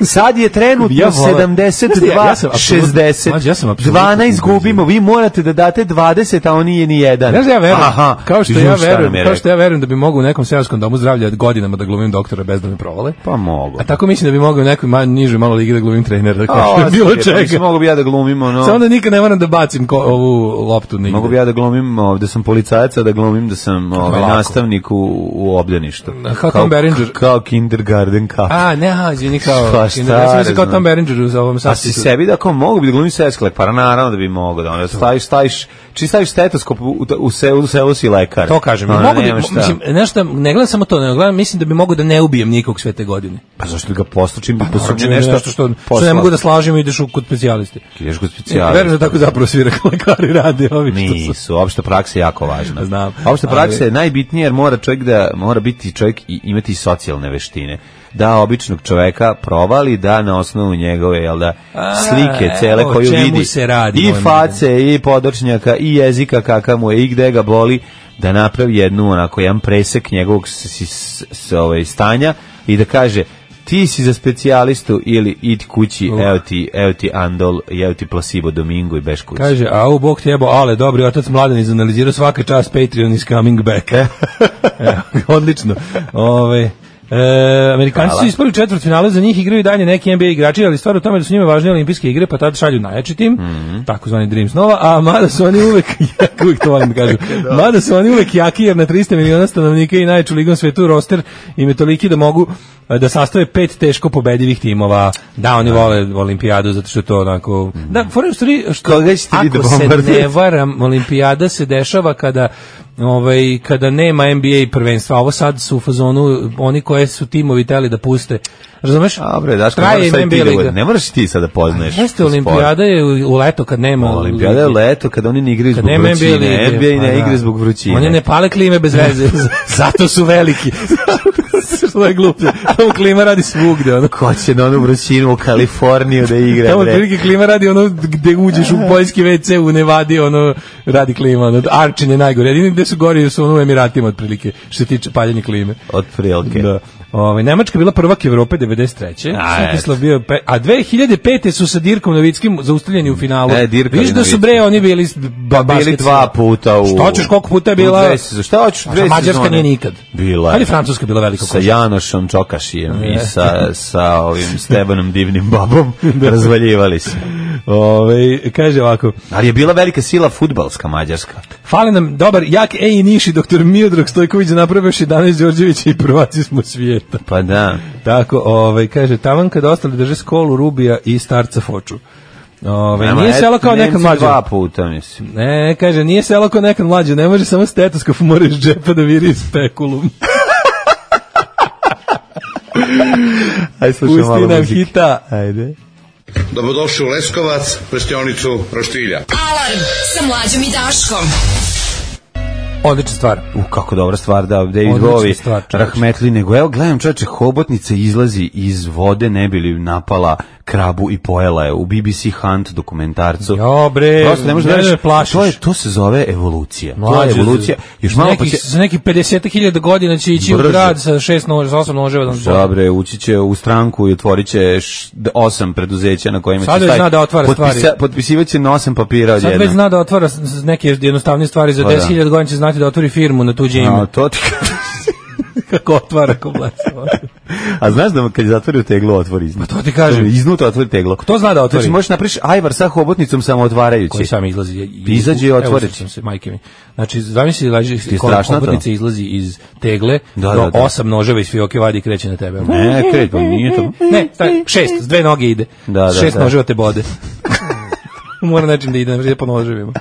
[SPEAKER 5] Sad je trenutno
[SPEAKER 6] Ja volim-
[SPEAKER 5] 72,
[SPEAKER 6] Ja- ja sam apsolutno-
[SPEAKER 5] 60,
[SPEAKER 6] Mlađe, ja sam apsolutno
[SPEAKER 5] 12
[SPEAKER 6] konfuzan.
[SPEAKER 5] gubimo, vi morate da date 20, a on nije ni jedan.
[SPEAKER 6] Znaš da ja verujem,
[SPEAKER 5] Aha,
[SPEAKER 6] kao što
[SPEAKER 5] vidim
[SPEAKER 6] ja
[SPEAKER 5] šta nam je
[SPEAKER 6] verujem, kao
[SPEAKER 5] rekao.
[SPEAKER 6] što ja verujem da bi mogao u nekom seoskom domu zdravlja godinama da glumim doktora bez da me provale.
[SPEAKER 5] Pa mogu.
[SPEAKER 6] A tako mislim da bi mogao u nekoj manj, nižoj malo ligi da glumim trenera, kao što je bilo čega.
[SPEAKER 5] Mogu bi ja da glumim,
[SPEAKER 6] Samo
[SPEAKER 5] ono...
[SPEAKER 6] da nikad ne moram da bacim ko, ovu loptu nigde.
[SPEAKER 5] Mogu bi ja da glumim, o, da sam policajac, a da glumim da sam ovaj,
[SPEAKER 6] lako.
[SPEAKER 5] nastavnik u, u obdaništu.
[SPEAKER 6] Kao Tom Berenger.
[SPEAKER 5] Kao kindergarten cup.
[SPEAKER 6] A, ne, a, izvini, kao...
[SPEAKER 5] Pa
[SPEAKER 6] Pa
[SPEAKER 5] šta
[SPEAKER 6] ja sam mislio kao
[SPEAKER 5] znam.
[SPEAKER 6] Tom Berenger u ovom
[SPEAKER 5] A si
[SPEAKER 6] sastitu.
[SPEAKER 5] sebi da kao mogu bi da glumim sesklek, pa naravno da bi mogu da onda staviš, staviš, či staviš stetoskop u, u, u, se, u selu si lekar.
[SPEAKER 6] To kažem.
[SPEAKER 5] Ono,
[SPEAKER 6] mogu bi,
[SPEAKER 5] nema šta.
[SPEAKER 6] mislim, nešto, ne gledam samo to, ne gledam, mislim da bi mogao da ne ubijem nikog sve te godine.
[SPEAKER 5] pa zašto bi ga postučim, bi
[SPEAKER 6] Naravno,
[SPEAKER 5] posuđen
[SPEAKER 6] ili
[SPEAKER 5] nešto,
[SPEAKER 6] nešto što, što ne
[SPEAKER 5] poslao.
[SPEAKER 6] mogu da slažem i ideš u kod specijaliste.
[SPEAKER 5] Ideš kod specijalista.
[SPEAKER 6] Verujem da tako zapravo svi rekao lekari rade ovi što su.
[SPEAKER 5] Nisu, opšta praksa je jako važna.
[SPEAKER 6] Znam.
[SPEAKER 5] Opšta
[SPEAKER 6] Ali-
[SPEAKER 5] praksa je najbitnija jer mora čovjek da mora biti čovjek i imati i socijalne veštine. Da običnog čovjeka provali da na osnovu njegove jel da
[SPEAKER 6] A,
[SPEAKER 5] slike cele
[SPEAKER 6] o
[SPEAKER 5] koju
[SPEAKER 6] čemu
[SPEAKER 5] vidi
[SPEAKER 6] se radi,
[SPEAKER 5] i
[SPEAKER 6] molim
[SPEAKER 5] face i podočnjaka i jezika kakav mu je i gde ga boli da napravi jednu onako jedan presek njegovog s, s, s, s, ovaj, stanja i da kaže ti si za specijalistu ili idi kući, evo ti, evo ti Andol, evo ti Placebo Domingo i beš kući.
[SPEAKER 6] Kaže, a u bok ti jebo, ale, dobri otac mladen izanalizirao svaka čast, Patreon is coming back. Evo, Odlično. Ove, E, Amerikanci su ispali u četvrt finale, za njih igraju i dalje neki NBA igrači, ali stvar u tome je da su njima važne olimpijske igre, pa tad šalju najjači tim, takozvani Dream Snova, a mada su oni uvek, jako uvek to volim da kažem, mada su oni uvek jaki, jer na 300 miliona stanovnika i najjaču ligom svetu roster im je toliki da mogu e, da sastave pet teško pobedivih timova, da Mhm. oni vole olimpijadu, zato što je to onako... Da, for što
[SPEAKER 5] Koga ćete vi da
[SPEAKER 6] ako se ne
[SPEAKER 5] bombardujete?
[SPEAKER 6] varam, olimpijada se dešava kada ovaj, kada nema NBA prvenstva, a ovo sad su u fazonu oni koje su timovi teli da puste. Razumeš?
[SPEAKER 5] A bre, Daško,
[SPEAKER 6] Traje
[SPEAKER 5] moraš sad i
[SPEAKER 6] im
[SPEAKER 5] ti
[SPEAKER 6] NBA
[SPEAKER 5] da
[SPEAKER 6] liga.
[SPEAKER 5] vodi- ne moraš i ti sad da poznaješ.
[SPEAKER 6] Jeste
[SPEAKER 5] sport.
[SPEAKER 6] olimpijada je u u leto kad nema
[SPEAKER 5] Olimpijada je leto kada oni ne igraju
[SPEAKER 6] Kad
[SPEAKER 5] zbog
[SPEAKER 6] nema NBA
[SPEAKER 5] vrućine.
[SPEAKER 6] lige.
[SPEAKER 5] NBA
[SPEAKER 6] pa
[SPEAKER 5] ne
[SPEAKER 6] da.
[SPEAKER 5] igra zbog vrućine.
[SPEAKER 6] Oni ne pale klime bez veze. Zato su veliki. Što je glupo. Tamo klima radi svugde. Ono.
[SPEAKER 5] Ko će na onu vrućinu u Kaliforniju da igra,
[SPEAKER 6] Tamo
[SPEAKER 5] bre?
[SPEAKER 6] otprilike klima radi ono gde uđeš u poljski WC u Nevadi, ono radi klima. Ono, Arčin je najgore. Jedini gde su gori su ono u Emiratima otprilike što se tiče paljenja klime.
[SPEAKER 5] Otprilike.
[SPEAKER 6] Da. Ove, Nemačka je bila prvak Evrope 93.
[SPEAKER 5] A,
[SPEAKER 6] Svetislav bio pe, a 2005. su sa Dirkom Novickim zaustavljeni u finalu.
[SPEAKER 5] E, Dirka
[SPEAKER 6] Viš da su
[SPEAKER 5] Novickij.
[SPEAKER 6] bre oni bili ba,
[SPEAKER 5] Bili dva puta u...
[SPEAKER 6] Šta hoćeš, koliko puta je bila?
[SPEAKER 5] U dve sezone. Šta hoćeš,
[SPEAKER 6] A
[SPEAKER 5] dve
[SPEAKER 6] Mađarska
[SPEAKER 5] sezone?
[SPEAKER 6] nije nikad.
[SPEAKER 5] Bila je.
[SPEAKER 6] Ali Francuska E. je bila velika
[SPEAKER 5] sa
[SPEAKER 6] košarka.
[SPEAKER 5] Janošom Čokašijem i sa, sa ovim Stebanom divnim babom razvaljivali se.
[SPEAKER 6] Ove, Ovaj, kaže ovako,
[SPEAKER 5] Ali je bila velika sila futbalska Mađarska.
[SPEAKER 6] fali nam dobar jak E i Niši, doktor Miodrag Stojković da napravi još 11 Đorđevića i prvaci smo svijeta.
[SPEAKER 5] Pa da.
[SPEAKER 6] Tako, ovaj, kaže, taman kad ostali drže skolu Rubija i starca Foču. Ove,
[SPEAKER 5] Nema,
[SPEAKER 6] Pa nije
[SPEAKER 5] eto,
[SPEAKER 6] selo kao nekad
[SPEAKER 5] Nemci
[SPEAKER 6] mlađe.
[SPEAKER 5] Dva puta, mislim.
[SPEAKER 6] Ne, kaže, nije selo kao nekad mlađe, ne može samo stetoskop, mora iz džepa da viri spekulum.
[SPEAKER 5] Aj,
[SPEAKER 6] Pusti nam hita.
[SPEAKER 5] Ajde.
[SPEAKER 7] Dobrodošli u Leskovac, prštionicu Roštilja.
[SPEAKER 4] Alarm sa mlađom i Daškom.
[SPEAKER 6] Odlična stvar.
[SPEAKER 5] U, kako dobra stvar, da, David
[SPEAKER 6] Odlična
[SPEAKER 5] Bowie,
[SPEAKER 6] stvar, čoveče.
[SPEAKER 5] Rahmetli, nego evo, gledam čoveče, hobotnica izlazi iz vode, ne bi li napala krabu i pojela je u BBC Hunt dokumentarcu.
[SPEAKER 6] Jo, bre,
[SPEAKER 5] Prosto ne možeš da
[SPEAKER 6] ne, ne,
[SPEAKER 5] veruješ,
[SPEAKER 6] plašiš.
[SPEAKER 5] To, je, to se zove evolucija. to je
[SPEAKER 6] Mlađe,
[SPEAKER 5] evolucija. Još malo pa
[SPEAKER 6] neki,
[SPEAKER 5] će...
[SPEAKER 6] Za neki 50.000 godina će ići
[SPEAKER 5] Brže.
[SPEAKER 6] u grad sa 6 nož, sa 8 noževa. Da nam
[SPEAKER 5] Da, bre, ući će u stranku i otvorit će š- d- osam preduzeća na kojima će
[SPEAKER 6] Sad već zna da otvara stvari.
[SPEAKER 5] Potpisivat će na osam papira
[SPEAKER 6] Sad
[SPEAKER 5] odjednom.
[SPEAKER 6] već zna da otvara s- s- neke jednostavne stvari za
[SPEAKER 5] Pa da.
[SPEAKER 6] 10.000 godina će znati da otvori firmu na tuđe
[SPEAKER 5] A,
[SPEAKER 6] ime.
[SPEAKER 5] to ti kažem.
[SPEAKER 6] Kako otvara komplet.
[SPEAKER 5] A znaš da kad zatvori teglo, otvori iznutra.
[SPEAKER 6] Pa to ti kažem.
[SPEAKER 5] Iznutra otvori teglo.
[SPEAKER 6] To zna da otvori.
[SPEAKER 5] Znači, možeš napriš ajvar sa hobotnicom samo otvarajući.
[SPEAKER 6] koji sam izlazi. i-
[SPEAKER 5] Izađe i
[SPEAKER 6] Evo,
[SPEAKER 5] otvori.
[SPEAKER 6] sjećam se, majke mi. Znači, zamisli, laži,
[SPEAKER 5] je
[SPEAKER 6] kola
[SPEAKER 5] strašno to?
[SPEAKER 6] hobotnica izlazi iz tegle,
[SPEAKER 5] Da,
[SPEAKER 6] no,
[SPEAKER 5] da, da.
[SPEAKER 6] osam noževa iz fioke vadi i kreće na tebe.
[SPEAKER 5] Ne, kret, pa nije to.
[SPEAKER 6] Ne, taj, šest, s dve noge ide.
[SPEAKER 5] Da, da,
[SPEAKER 6] šest
[SPEAKER 5] da.
[SPEAKER 6] noževa te bode. Mora nečim da ide, ne vrije po noževima.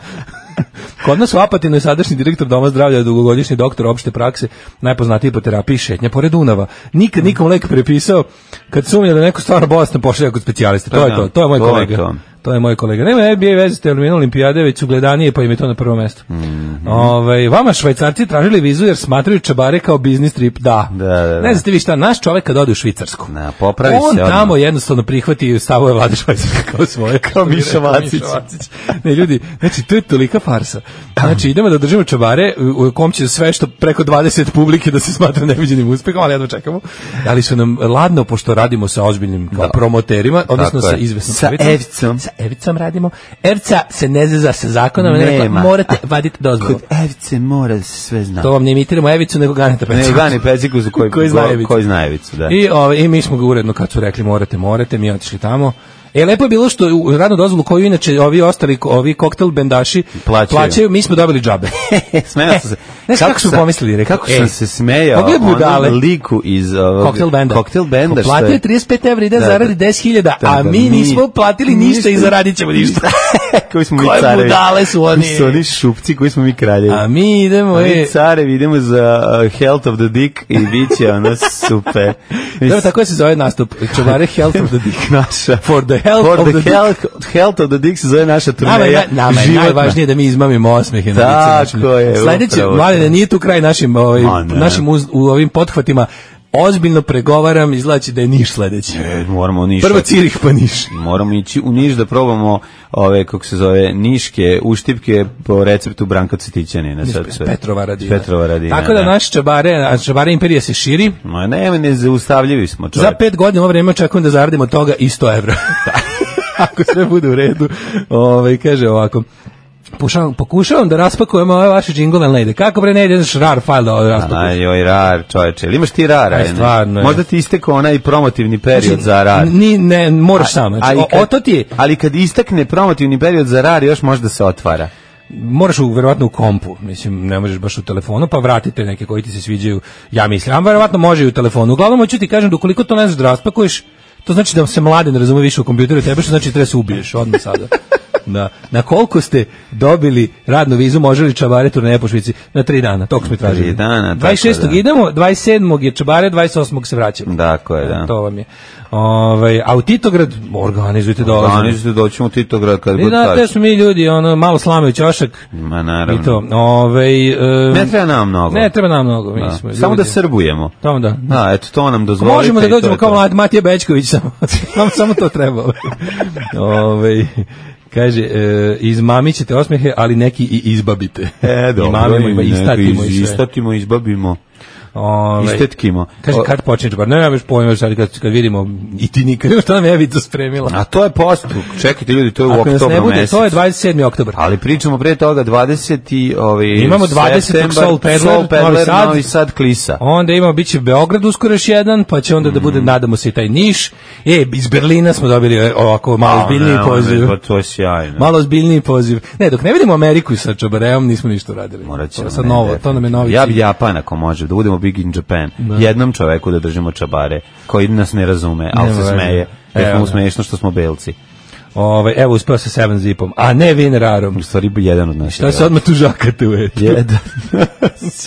[SPEAKER 6] Kod nas u Apatinu je sadašnji direktor doma zdravlja, dugogodišnji doktor opšte prakse, najpoznatiji po terapiji šetnja pored Dunava. Nikad nikom lek prepisao kad sumnja da neko stvarno bolestan pošalje kod specijaliste. To
[SPEAKER 5] Pa
[SPEAKER 6] je
[SPEAKER 5] da,
[SPEAKER 6] to, to je moj
[SPEAKER 5] to je
[SPEAKER 6] kolega.
[SPEAKER 5] to.
[SPEAKER 6] To je moj kolega. Nema NBA veze s terminom olimpijade, već su gledanije, pa im je to na prvo mesto.
[SPEAKER 5] Mhm.
[SPEAKER 6] Ovaj, vama švajcarci tražili vizu jer smatraju čabare kao biznis trip. Da.
[SPEAKER 5] Da, da, da.
[SPEAKER 6] Ne znate vi šta, naš čovek kad ode u Švicarsku.
[SPEAKER 5] Na, popravi
[SPEAKER 6] on
[SPEAKER 5] se odmah.
[SPEAKER 6] tamo jednostavno prihvati stavove vlade Švajcarske kao svoje. Kao
[SPEAKER 5] Miša Vacić.
[SPEAKER 6] Ne, ljudi, znači, to je tolika farsa. Znači, idemo da držimo čabare u u kom će sve što preko 20 publike da se smatra neviđenim uspehom, ali jedno čekamo. Ali su nam ladno, pošto radimo sa ozbiljnim kao promoterima, odnosno
[SPEAKER 5] Tako
[SPEAKER 6] sa
[SPEAKER 5] je.
[SPEAKER 6] izvesnom
[SPEAKER 5] Sa
[SPEAKER 6] krivicom.
[SPEAKER 5] Evicom.
[SPEAKER 6] Sa Evicom radimo. Evica se ne zeza sa zakonom, nego
[SPEAKER 5] Nema.
[SPEAKER 6] morate vaditi dozvolu.
[SPEAKER 5] Kod Evice mora se sve znati.
[SPEAKER 6] To vam ne imitiramo Evicu, nego ganete
[SPEAKER 5] Ne,
[SPEAKER 6] peciku.
[SPEAKER 5] Gani Peciku za koji,
[SPEAKER 6] Koji zna Evicu.
[SPEAKER 5] Koji zna Evicu, da.
[SPEAKER 6] I, ovaj, I mi smo ga uredno kad su rekli morate, morate, mi otišli tamo. E, lepo je bilo što u radnu dozvolu koju inače ovi ostali, ovi koktel bendaši
[SPEAKER 5] Plaćaju.
[SPEAKER 6] mi smo dobili džabe.
[SPEAKER 5] smejao sam se.
[SPEAKER 6] Znaš kako su
[SPEAKER 5] sam-
[SPEAKER 6] pomislili, rekao,
[SPEAKER 5] Kako
[SPEAKER 6] ej,
[SPEAKER 5] sam se smejao
[SPEAKER 6] pogledaj budale.
[SPEAKER 5] onom liku iz... ovog-
[SPEAKER 6] koktel benda.
[SPEAKER 5] Koktel benda, što je-
[SPEAKER 6] Platio je 35 evra i da,
[SPEAKER 5] Da, da.
[SPEAKER 6] zaradi 10.000,
[SPEAKER 5] Da,
[SPEAKER 6] a
[SPEAKER 5] da,
[SPEAKER 6] mi
[SPEAKER 5] mi-
[SPEAKER 6] nismo platili ništa i zaradit ćemo ništa.
[SPEAKER 5] koji smo mi
[SPEAKER 6] Koje
[SPEAKER 5] carevi.
[SPEAKER 6] budale su
[SPEAKER 5] Koji
[SPEAKER 6] oni?
[SPEAKER 5] su oni šupci, koji smo mi kraljevi.
[SPEAKER 6] A mi idemo,
[SPEAKER 5] Mi
[SPEAKER 6] e,
[SPEAKER 5] carevi idemo za uh, Health of the Dick i bit će ono super.
[SPEAKER 6] Dobro, tako se zove nastup. Čuvare Health of the Dick.
[SPEAKER 5] Naša.
[SPEAKER 6] For the health
[SPEAKER 5] For
[SPEAKER 6] of
[SPEAKER 5] the
[SPEAKER 6] the
[SPEAKER 5] health, health of the Dick se zove naša
[SPEAKER 6] Nama je,
[SPEAKER 5] turneja.
[SPEAKER 6] naj- nama je
[SPEAKER 5] životna.
[SPEAKER 6] najvažnije da mi izmamimo osmehe na licu našim.
[SPEAKER 5] Tako je,
[SPEAKER 6] Sledeće,
[SPEAKER 5] upravo
[SPEAKER 6] mladine,
[SPEAKER 5] to.
[SPEAKER 6] nije tu kraj našim, ovaj,
[SPEAKER 5] Ma ne.
[SPEAKER 6] našim uz, u ovim pothvatima. Ozbiljno pregovaram, izlači da je Niš sledeći.
[SPEAKER 5] E, moramo niš.
[SPEAKER 6] Prvo Cirih pa Niš.
[SPEAKER 5] Moramo ići u Niš da probamo ove, kako se zove, niške, uštipke po receptu Branka Cetićanina. Sad sve.
[SPEAKER 6] Petrova radina.
[SPEAKER 5] Petrova radina.
[SPEAKER 6] Tako da
[SPEAKER 5] da.
[SPEAKER 6] naš čabare, a čabare imperija se širi.
[SPEAKER 5] Ma ne, ne, zaustavljivi smo čovjek.
[SPEAKER 6] Za pet godina ovo vreme očekujem da zaradimo od toga i 100 evra. Ako sve bude u redu. Ove, kaže ovako, Pušavam, pokušavam da raspakujem ove vaše džingove, ali ne ide. Kako bre ne ide, znaš, rar file da raspakujem.
[SPEAKER 5] Aj, Pa joj, rar, čoveče. Ili imaš ti rara?
[SPEAKER 6] Aj,
[SPEAKER 5] je, ne?
[SPEAKER 6] E, stvarno je. Znači,
[SPEAKER 5] Možda ti isteko onaj promotivni period za rar.
[SPEAKER 6] Ni, ne, moraš sam. Znači,
[SPEAKER 5] i
[SPEAKER 6] o-
[SPEAKER 5] kad-
[SPEAKER 6] oto ti je,
[SPEAKER 5] Ali kad istekne promotivni period za rar, još možda se otvara.
[SPEAKER 6] moraš u, verovatno u kompu, mislim, ne možeš baš u telefonu, pa vratite neke koji ti se sviđaju, ja mislim, a verovatno može i u telefonu. Uglavnom, hoću ti kažem, dokoliko to ne znaš da raspakuješ, to znači da se mladen razume više u kompjuteru od tebe, što znači da treba se ubiješ odmah sada. Da. Na koliko ste dobili radnu vizu, može li čabare turneje po Švici? Na tri dana, toliko smo i tražili.
[SPEAKER 5] Tri dana, tako
[SPEAKER 6] 26.
[SPEAKER 5] da.
[SPEAKER 6] idemo, 27. je čabare, 28. se vraćamo.
[SPEAKER 5] Dakle, da.
[SPEAKER 6] To vam je. Ovaj, a u Titograd organizujte
[SPEAKER 5] Pa
[SPEAKER 6] dolazak.
[SPEAKER 5] Organizujte doćemo u Titograd kad
[SPEAKER 6] Vi
[SPEAKER 5] god
[SPEAKER 6] znate da
[SPEAKER 5] kažete.
[SPEAKER 6] smo mi ljudi, ono, malo slame u ćošak.
[SPEAKER 5] Ma naravno.
[SPEAKER 6] I to. Ovaj, em,
[SPEAKER 5] Ne treba nam mnogo.
[SPEAKER 6] Ne treba nam mnogo, mi
[SPEAKER 5] Da.
[SPEAKER 6] smo
[SPEAKER 5] Samo da
[SPEAKER 6] ljudi.
[SPEAKER 5] srbujemo.
[SPEAKER 6] Tamo da.
[SPEAKER 5] Da, eto to nam dozvolite.
[SPEAKER 6] Možemo da
[SPEAKER 5] i to
[SPEAKER 6] dođemo
[SPEAKER 5] je
[SPEAKER 6] kao
[SPEAKER 5] to.
[SPEAKER 6] mlad Matija Bećković samo. Nam samo to treba. Ovaj kaže e, izmamićete osmehe, ali neki i izbabite.
[SPEAKER 5] E, dobro.
[SPEAKER 6] Imamimo,
[SPEAKER 5] i
[SPEAKER 6] istatimo
[SPEAKER 5] neko iz-
[SPEAKER 6] i sve.
[SPEAKER 5] Istatimo, izbabimo,
[SPEAKER 6] Ovaj,
[SPEAKER 5] istetkimo.
[SPEAKER 6] Kaže,
[SPEAKER 5] O,
[SPEAKER 6] kad počinje čabar? Ne, ja već pojma sad kad, kad vidimo i ti nikad. Šta nam je Evica spremila?
[SPEAKER 5] A to je postup. Čekajte ljudi, to je u
[SPEAKER 6] Ako nas ne
[SPEAKER 5] oktobru
[SPEAKER 6] bude, to je
[SPEAKER 5] mesecu.
[SPEAKER 6] 27. oktobar.
[SPEAKER 5] Ali pričamo pre toga 20. i, ovaj
[SPEAKER 6] Imamo 20.
[SPEAKER 5] septembar,
[SPEAKER 6] Soul Peddler,
[SPEAKER 5] Soul
[SPEAKER 6] Novi Sad.
[SPEAKER 5] Novi Sad Klisa.
[SPEAKER 6] Pa Onda imamo, bit će Beograd uskoro još jedan, pa će onda da
[SPEAKER 5] Mm.
[SPEAKER 6] bude, nadamo se, i taj Niš. E, iz Berlina smo dobili e, ovako malo ozbiljniji
[SPEAKER 5] ne,
[SPEAKER 6] poziv.
[SPEAKER 5] ne, Pa to je sjajno.
[SPEAKER 6] Malo ozbiljniji poziv. Ne, dok ne vidimo Ameriku sa Čabarejom, nismo ništa radili.
[SPEAKER 5] Morat ćemo,
[SPEAKER 6] to je sad
[SPEAKER 5] ne,
[SPEAKER 6] novo, to
[SPEAKER 5] definitivno.
[SPEAKER 6] nam je novi
[SPEAKER 5] Ja bi
[SPEAKER 6] cilj.
[SPEAKER 5] Japan ako može, da budemo big in Japan. Jednom čoveku da držimo čabare, koji nas ne razume, ali
[SPEAKER 6] Nema
[SPEAKER 5] se
[SPEAKER 6] veze.
[SPEAKER 5] smeje. Jer
[SPEAKER 6] Evo
[SPEAKER 5] smo mu
[SPEAKER 6] ga.
[SPEAKER 5] smešno što smo belci.
[SPEAKER 6] Ovaj, evo, uspeo sa Seven Zipom, a ne Vinerarom.
[SPEAKER 5] U stvari jedan od nas. je
[SPEAKER 6] Šta se
[SPEAKER 5] belac.
[SPEAKER 6] odmah tužakate u etu?
[SPEAKER 5] Jedan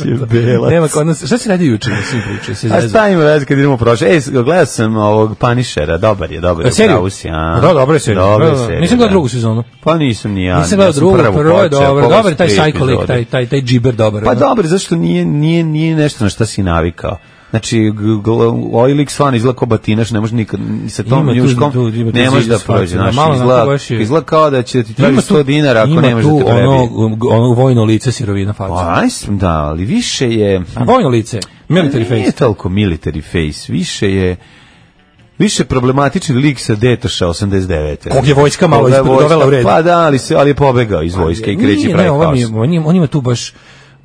[SPEAKER 5] je belac.
[SPEAKER 6] e. Nema kod nas. Šta si radio juče? Mislim, pričao, si
[SPEAKER 5] A
[SPEAKER 6] zezao.
[SPEAKER 5] šta ima veze kad idemo prošle? Ej, gledao sam ovog Panišera, dobar je, dobar je.
[SPEAKER 6] E, seriju?
[SPEAKER 5] u pravu si, a.
[SPEAKER 6] Da, dobra je serija.
[SPEAKER 5] Dobra je
[SPEAKER 6] Da, da, da.
[SPEAKER 5] serija,
[SPEAKER 6] Nisam gledao
[SPEAKER 5] da.
[SPEAKER 6] drugu sezonu.
[SPEAKER 5] Pa nisam ni ja.
[SPEAKER 6] Nisam gledao
[SPEAKER 5] ja sam
[SPEAKER 6] drugo,
[SPEAKER 5] prvu
[SPEAKER 6] prvo je
[SPEAKER 5] počeo,
[SPEAKER 6] dobro.
[SPEAKER 5] pogledao
[SPEAKER 6] Dobar je taj
[SPEAKER 5] sam tri
[SPEAKER 6] psycho lik,
[SPEAKER 5] epizode.
[SPEAKER 6] taj, taj, taj džiber dobar.
[SPEAKER 5] Pa
[SPEAKER 6] ono.
[SPEAKER 5] dobro, zašto nije, nije, nije nešto na šta si navikao? Znači, g- gl- ovaj lik stvarno izgleda kao batinaš, ne može nikad, ni sa tom
[SPEAKER 6] Ima tu-
[SPEAKER 5] njuškom,
[SPEAKER 6] tu- ima tu
[SPEAKER 5] ne može
[SPEAKER 6] zida
[SPEAKER 5] da prođe.
[SPEAKER 6] svačega,
[SPEAKER 5] Znači,
[SPEAKER 6] malo onako
[SPEAKER 5] izgleda,
[SPEAKER 6] baš je-
[SPEAKER 5] izgleda kao da će ti traži
[SPEAKER 6] Ima tu-
[SPEAKER 5] 100 dinara ako
[SPEAKER 6] ima
[SPEAKER 5] ne može da
[SPEAKER 6] tu
[SPEAKER 5] te prebije.
[SPEAKER 6] ono, ono vojno lice sirovina faca.
[SPEAKER 5] Pa, ajsem, da, ali više je...
[SPEAKER 6] A vojno lice, military
[SPEAKER 5] Nije
[SPEAKER 6] face.
[SPEAKER 5] toliko military face, više je više problematični lik sa Detoša 89.
[SPEAKER 6] Kog je vojska malo
[SPEAKER 5] Koga je
[SPEAKER 6] ispred-
[SPEAKER 5] vojska-
[SPEAKER 6] dovela u red.
[SPEAKER 5] Pa da, ali, se, ali je pobegao iz vojske i kreće
[SPEAKER 6] Nije,
[SPEAKER 5] pravi
[SPEAKER 6] ne, ovo mi je-
[SPEAKER 5] haos.
[SPEAKER 6] on, ima, on ima tu baš,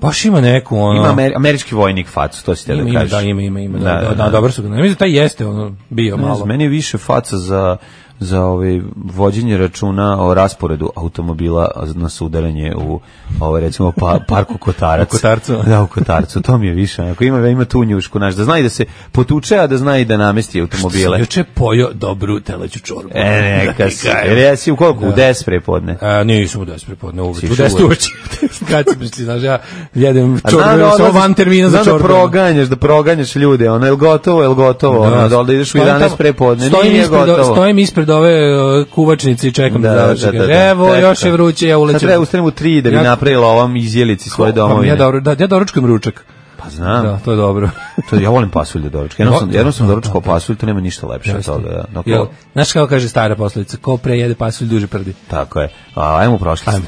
[SPEAKER 6] baš ima neku ono...
[SPEAKER 5] Ima ameri- američki vojnik facu, to ste
[SPEAKER 6] ima,
[SPEAKER 5] da
[SPEAKER 6] ima,
[SPEAKER 5] kažeš.
[SPEAKER 6] da, ima, ima, ima, da, da, da, dobro su ga. Mislim, da taj jeste ono, bio
[SPEAKER 5] Ne
[SPEAKER 6] malo.
[SPEAKER 5] znam, meni je više faca za za ovaj vođenje računa o rasporedu automobila na sudaranje u ovaj recimo pa, parku Kotarac.
[SPEAKER 6] U Kotarcu?
[SPEAKER 5] Da, u Kotarcu. To mi je više. Ako ima ima tu njušku, znaš, da zna i da se potuče, a da zna i da namesti automobile.
[SPEAKER 6] Juče pojo dobru teleću čorbu.
[SPEAKER 5] E, neka si. Jer ja si u koliko? U 10 prepodne.
[SPEAKER 6] A, nisam u 10 prepodne uveč. U
[SPEAKER 5] Siš
[SPEAKER 6] 10
[SPEAKER 5] uveč.
[SPEAKER 6] uveč. Kad si prišli, znaš, ja jedem
[SPEAKER 5] A
[SPEAKER 6] čorbe, ja sam
[SPEAKER 5] odlaziš-
[SPEAKER 6] van termina za
[SPEAKER 5] znam da
[SPEAKER 6] čorbe.
[SPEAKER 5] proganjaš, da proganjaš ljude, ono, je gotovo, je gotovo, ono, da li ideš u
[SPEAKER 6] Stojim tamo-
[SPEAKER 5] 11 prepodne,
[SPEAKER 6] stojim
[SPEAKER 5] nije
[SPEAKER 6] ispred,
[SPEAKER 5] gotovo.
[SPEAKER 6] Stojim ispred ove uh, kuvačnice i čekam da, da, završi. Kaže, Evo,
[SPEAKER 5] Čekaj.
[SPEAKER 6] još je vruće, ja ulećem.
[SPEAKER 5] Sad treba ustanem u 3 da bi
[SPEAKER 6] Ja-
[SPEAKER 5] napravila ovom izjelici svoje domovine.
[SPEAKER 6] Ja, dobro, da, ja doručkujem ručak.
[SPEAKER 5] Pa znam.
[SPEAKER 6] Da, to je dobro.
[SPEAKER 5] To, ja volim pasulj da doručka. Jednom
[SPEAKER 6] No,
[SPEAKER 5] sam, jednom sam
[SPEAKER 6] da,
[SPEAKER 5] doručkao
[SPEAKER 6] da, da.
[SPEAKER 5] pasulj, to nema ništa lepše od toga. Da. Dok,
[SPEAKER 6] Jel, znaš kako kaže stara poslovica, ko pre jede pasulj duže prdi.
[SPEAKER 5] Tako je. A, ajmo u prošlost.
[SPEAKER 6] Ajmo.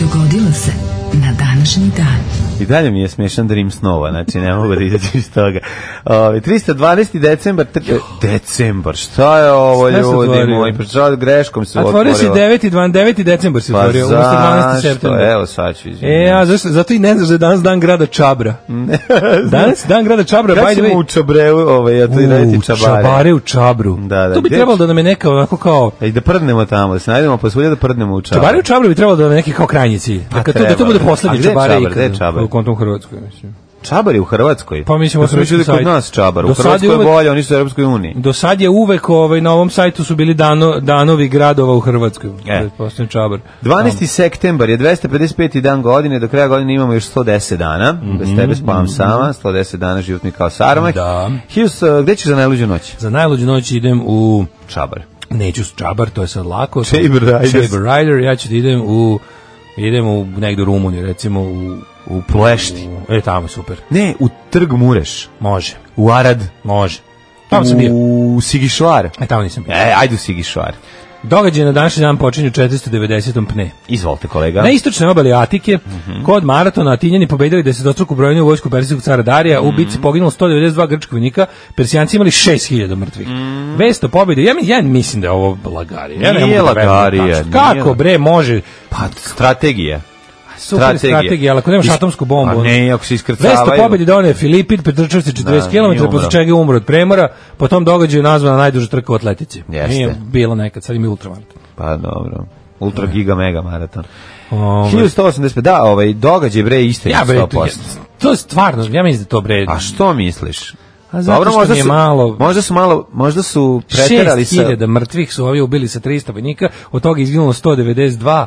[SPEAKER 4] Dogodilo se na današnji dan.
[SPEAKER 5] I dalje mi je smješan Dream Snova, znači ne mogu da izađem iz toga. Ove, 312. decembar, tr... decembar, šta je ovo
[SPEAKER 6] Sve se
[SPEAKER 5] ljudi
[SPEAKER 6] otvorio.
[SPEAKER 5] moji, pa šta greškom se
[SPEAKER 6] Otvorio si
[SPEAKER 5] otvorilo.
[SPEAKER 6] 9. i 12, 9. decembar si
[SPEAKER 5] pa
[SPEAKER 6] otvorio, umesto 12.
[SPEAKER 5] zašto,
[SPEAKER 6] septembra.
[SPEAKER 5] evo sad ću izviniti.
[SPEAKER 6] E, a zašto, zato i ne znaš da je danas dan grada Čabra. danas je dan grada Čabra, by
[SPEAKER 5] Kada
[SPEAKER 6] the
[SPEAKER 5] ćemo u
[SPEAKER 6] way.
[SPEAKER 5] Čabreu, ovaj, ja to i raditi čabare.
[SPEAKER 6] čabare u Čabru.
[SPEAKER 5] Da, da,
[SPEAKER 6] to bi
[SPEAKER 5] gde
[SPEAKER 6] trebalo
[SPEAKER 5] ću-
[SPEAKER 6] da nam je neka onako kao...
[SPEAKER 5] Ej, Pa da prdnemo tamo, da se najdemo posulje da prdnemo u Čabar.
[SPEAKER 6] Čabare u Čabru bi trebalo da nam je neki kao krajnji cilj.
[SPEAKER 5] Pa
[SPEAKER 6] Da, kad to, da to
[SPEAKER 5] trebalo.
[SPEAKER 6] bude
[SPEAKER 5] A
[SPEAKER 6] poslednji
[SPEAKER 5] gde je
[SPEAKER 6] Čabare
[SPEAKER 5] Čabar, gde je Čabar?
[SPEAKER 6] U kontom Hrvatskoj, mislim.
[SPEAKER 5] Čabar je u Hrvatskoj.
[SPEAKER 6] Pa mislim,
[SPEAKER 5] da
[SPEAKER 6] u
[SPEAKER 5] su već ljudi
[SPEAKER 6] Hrvatskoj
[SPEAKER 5] kod
[SPEAKER 6] sajt.
[SPEAKER 5] nas Čabar. U
[SPEAKER 6] Do sad je
[SPEAKER 5] Hrvatskoj je
[SPEAKER 6] uvek-
[SPEAKER 5] bolje, oni su u Europskoj uniji.
[SPEAKER 6] Do sad je uvek ovaj, na ovom sajtu su bili dano, danovi gradova u Hrvatskoj.
[SPEAKER 5] E.
[SPEAKER 6] E. Poslednji Čabar.
[SPEAKER 5] 12. septembar je 255. dan godine, do kraja godine imamo još 110 dana,
[SPEAKER 6] Mhm.
[SPEAKER 5] bez tebe spavam sama, 110 dana životni kao sarmak.
[SPEAKER 6] Da.
[SPEAKER 5] Hius, a, gde ćeš za najluđu noć?
[SPEAKER 6] Za najluđu noć idem u...
[SPEAKER 5] Čabar.
[SPEAKER 6] Neću s Čabar, to je sad lako.
[SPEAKER 5] Saber Riders.
[SPEAKER 6] Saber Rider, ja ću da idem u... Idem u negde u Rumuniju, recimo u...
[SPEAKER 5] U Plešti.
[SPEAKER 6] E, tamo je super.
[SPEAKER 5] Ne, u Trg Mureš.
[SPEAKER 6] Može,
[SPEAKER 5] U Arad.
[SPEAKER 6] može. Tamo sam bio.
[SPEAKER 5] U Sigišvar.
[SPEAKER 6] E, tamo nisam bio.
[SPEAKER 5] E, ajde u Sigišvar.
[SPEAKER 6] Događaj na današnji dan počinju u 490. pne.
[SPEAKER 5] Izvolite, kolega.
[SPEAKER 6] Na istočnoj obali Atike,
[SPEAKER 5] Mhm.
[SPEAKER 6] kod Maratona, Atinjani pobedili desetostruku brojnju vojsku Persijskog cara Darija,
[SPEAKER 5] Mhm.
[SPEAKER 6] u bitci poginulo 192 grčkog vojnika, Persijanci imali 6000 mrtvih. Vest o pobedi, ja, mi- ja mislim da je ovo lagarija. Ja ne
[SPEAKER 5] Mhm. Nije
[SPEAKER 6] mogu da verujem
[SPEAKER 5] lagarija,
[SPEAKER 6] tačno.
[SPEAKER 5] nije
[SPEAKER 6] Kako
[SPEAKER 5] lagarija.
[SPEAKER 6] bre, može?
[SPEAKER 5] Pa, strategija.
[SPEAKER 6] Super strategija, strategija ali ako nemaš
[SPEAKER 5] Is-
[SPEAKER 6] atomsku bombu...
[SPEAKER 5] Pa
[SPEAKER 6] ono-
[SPEAKER 5] ne, ako se
[SPEAKER 6] Vest
[SPEAKER 5] iskrcavaju.
[SPEAKER 6] o pobedi donio je Filipin, pretrčao se 40
[SPEAKER 5] Da, nije
[SPEAKER 6] km,
[SPEAKER 5] umro.
[SPEAKER 6] posle čega je umro od premora, po tom događaju je nazvana najduža trka u atletici.
[SPEAKER 5] Jeste.
[SPEAKER 6] Nije bilo nekad, sad ima ultramaraton.
[SPEAKER 5] Pa dobro. Ultra giga mega maraton.
[SPEAKER 6] Ovaj,
[SPEAKER 5] 1185, da, ovaj, događaj bre isto je
[SPEAKER 6] Ja bre,
[SPEAKER 5] 100%.
[SPEAKER 6] to je stvarno, ja mislim da to bre.
[SPEAKER 5] A što misliš?
[SPEAKER 6] A Pa zato što mi je
[SPEAKER 5] su,
[SPEAKER 6] malo-
[SPEAKER 5] možda su malo, možda su preterali sa...
[SPEAKER 6] 6000 mrtvih su ovi ubili sa 300 vojnika, od toga je izginulo 192.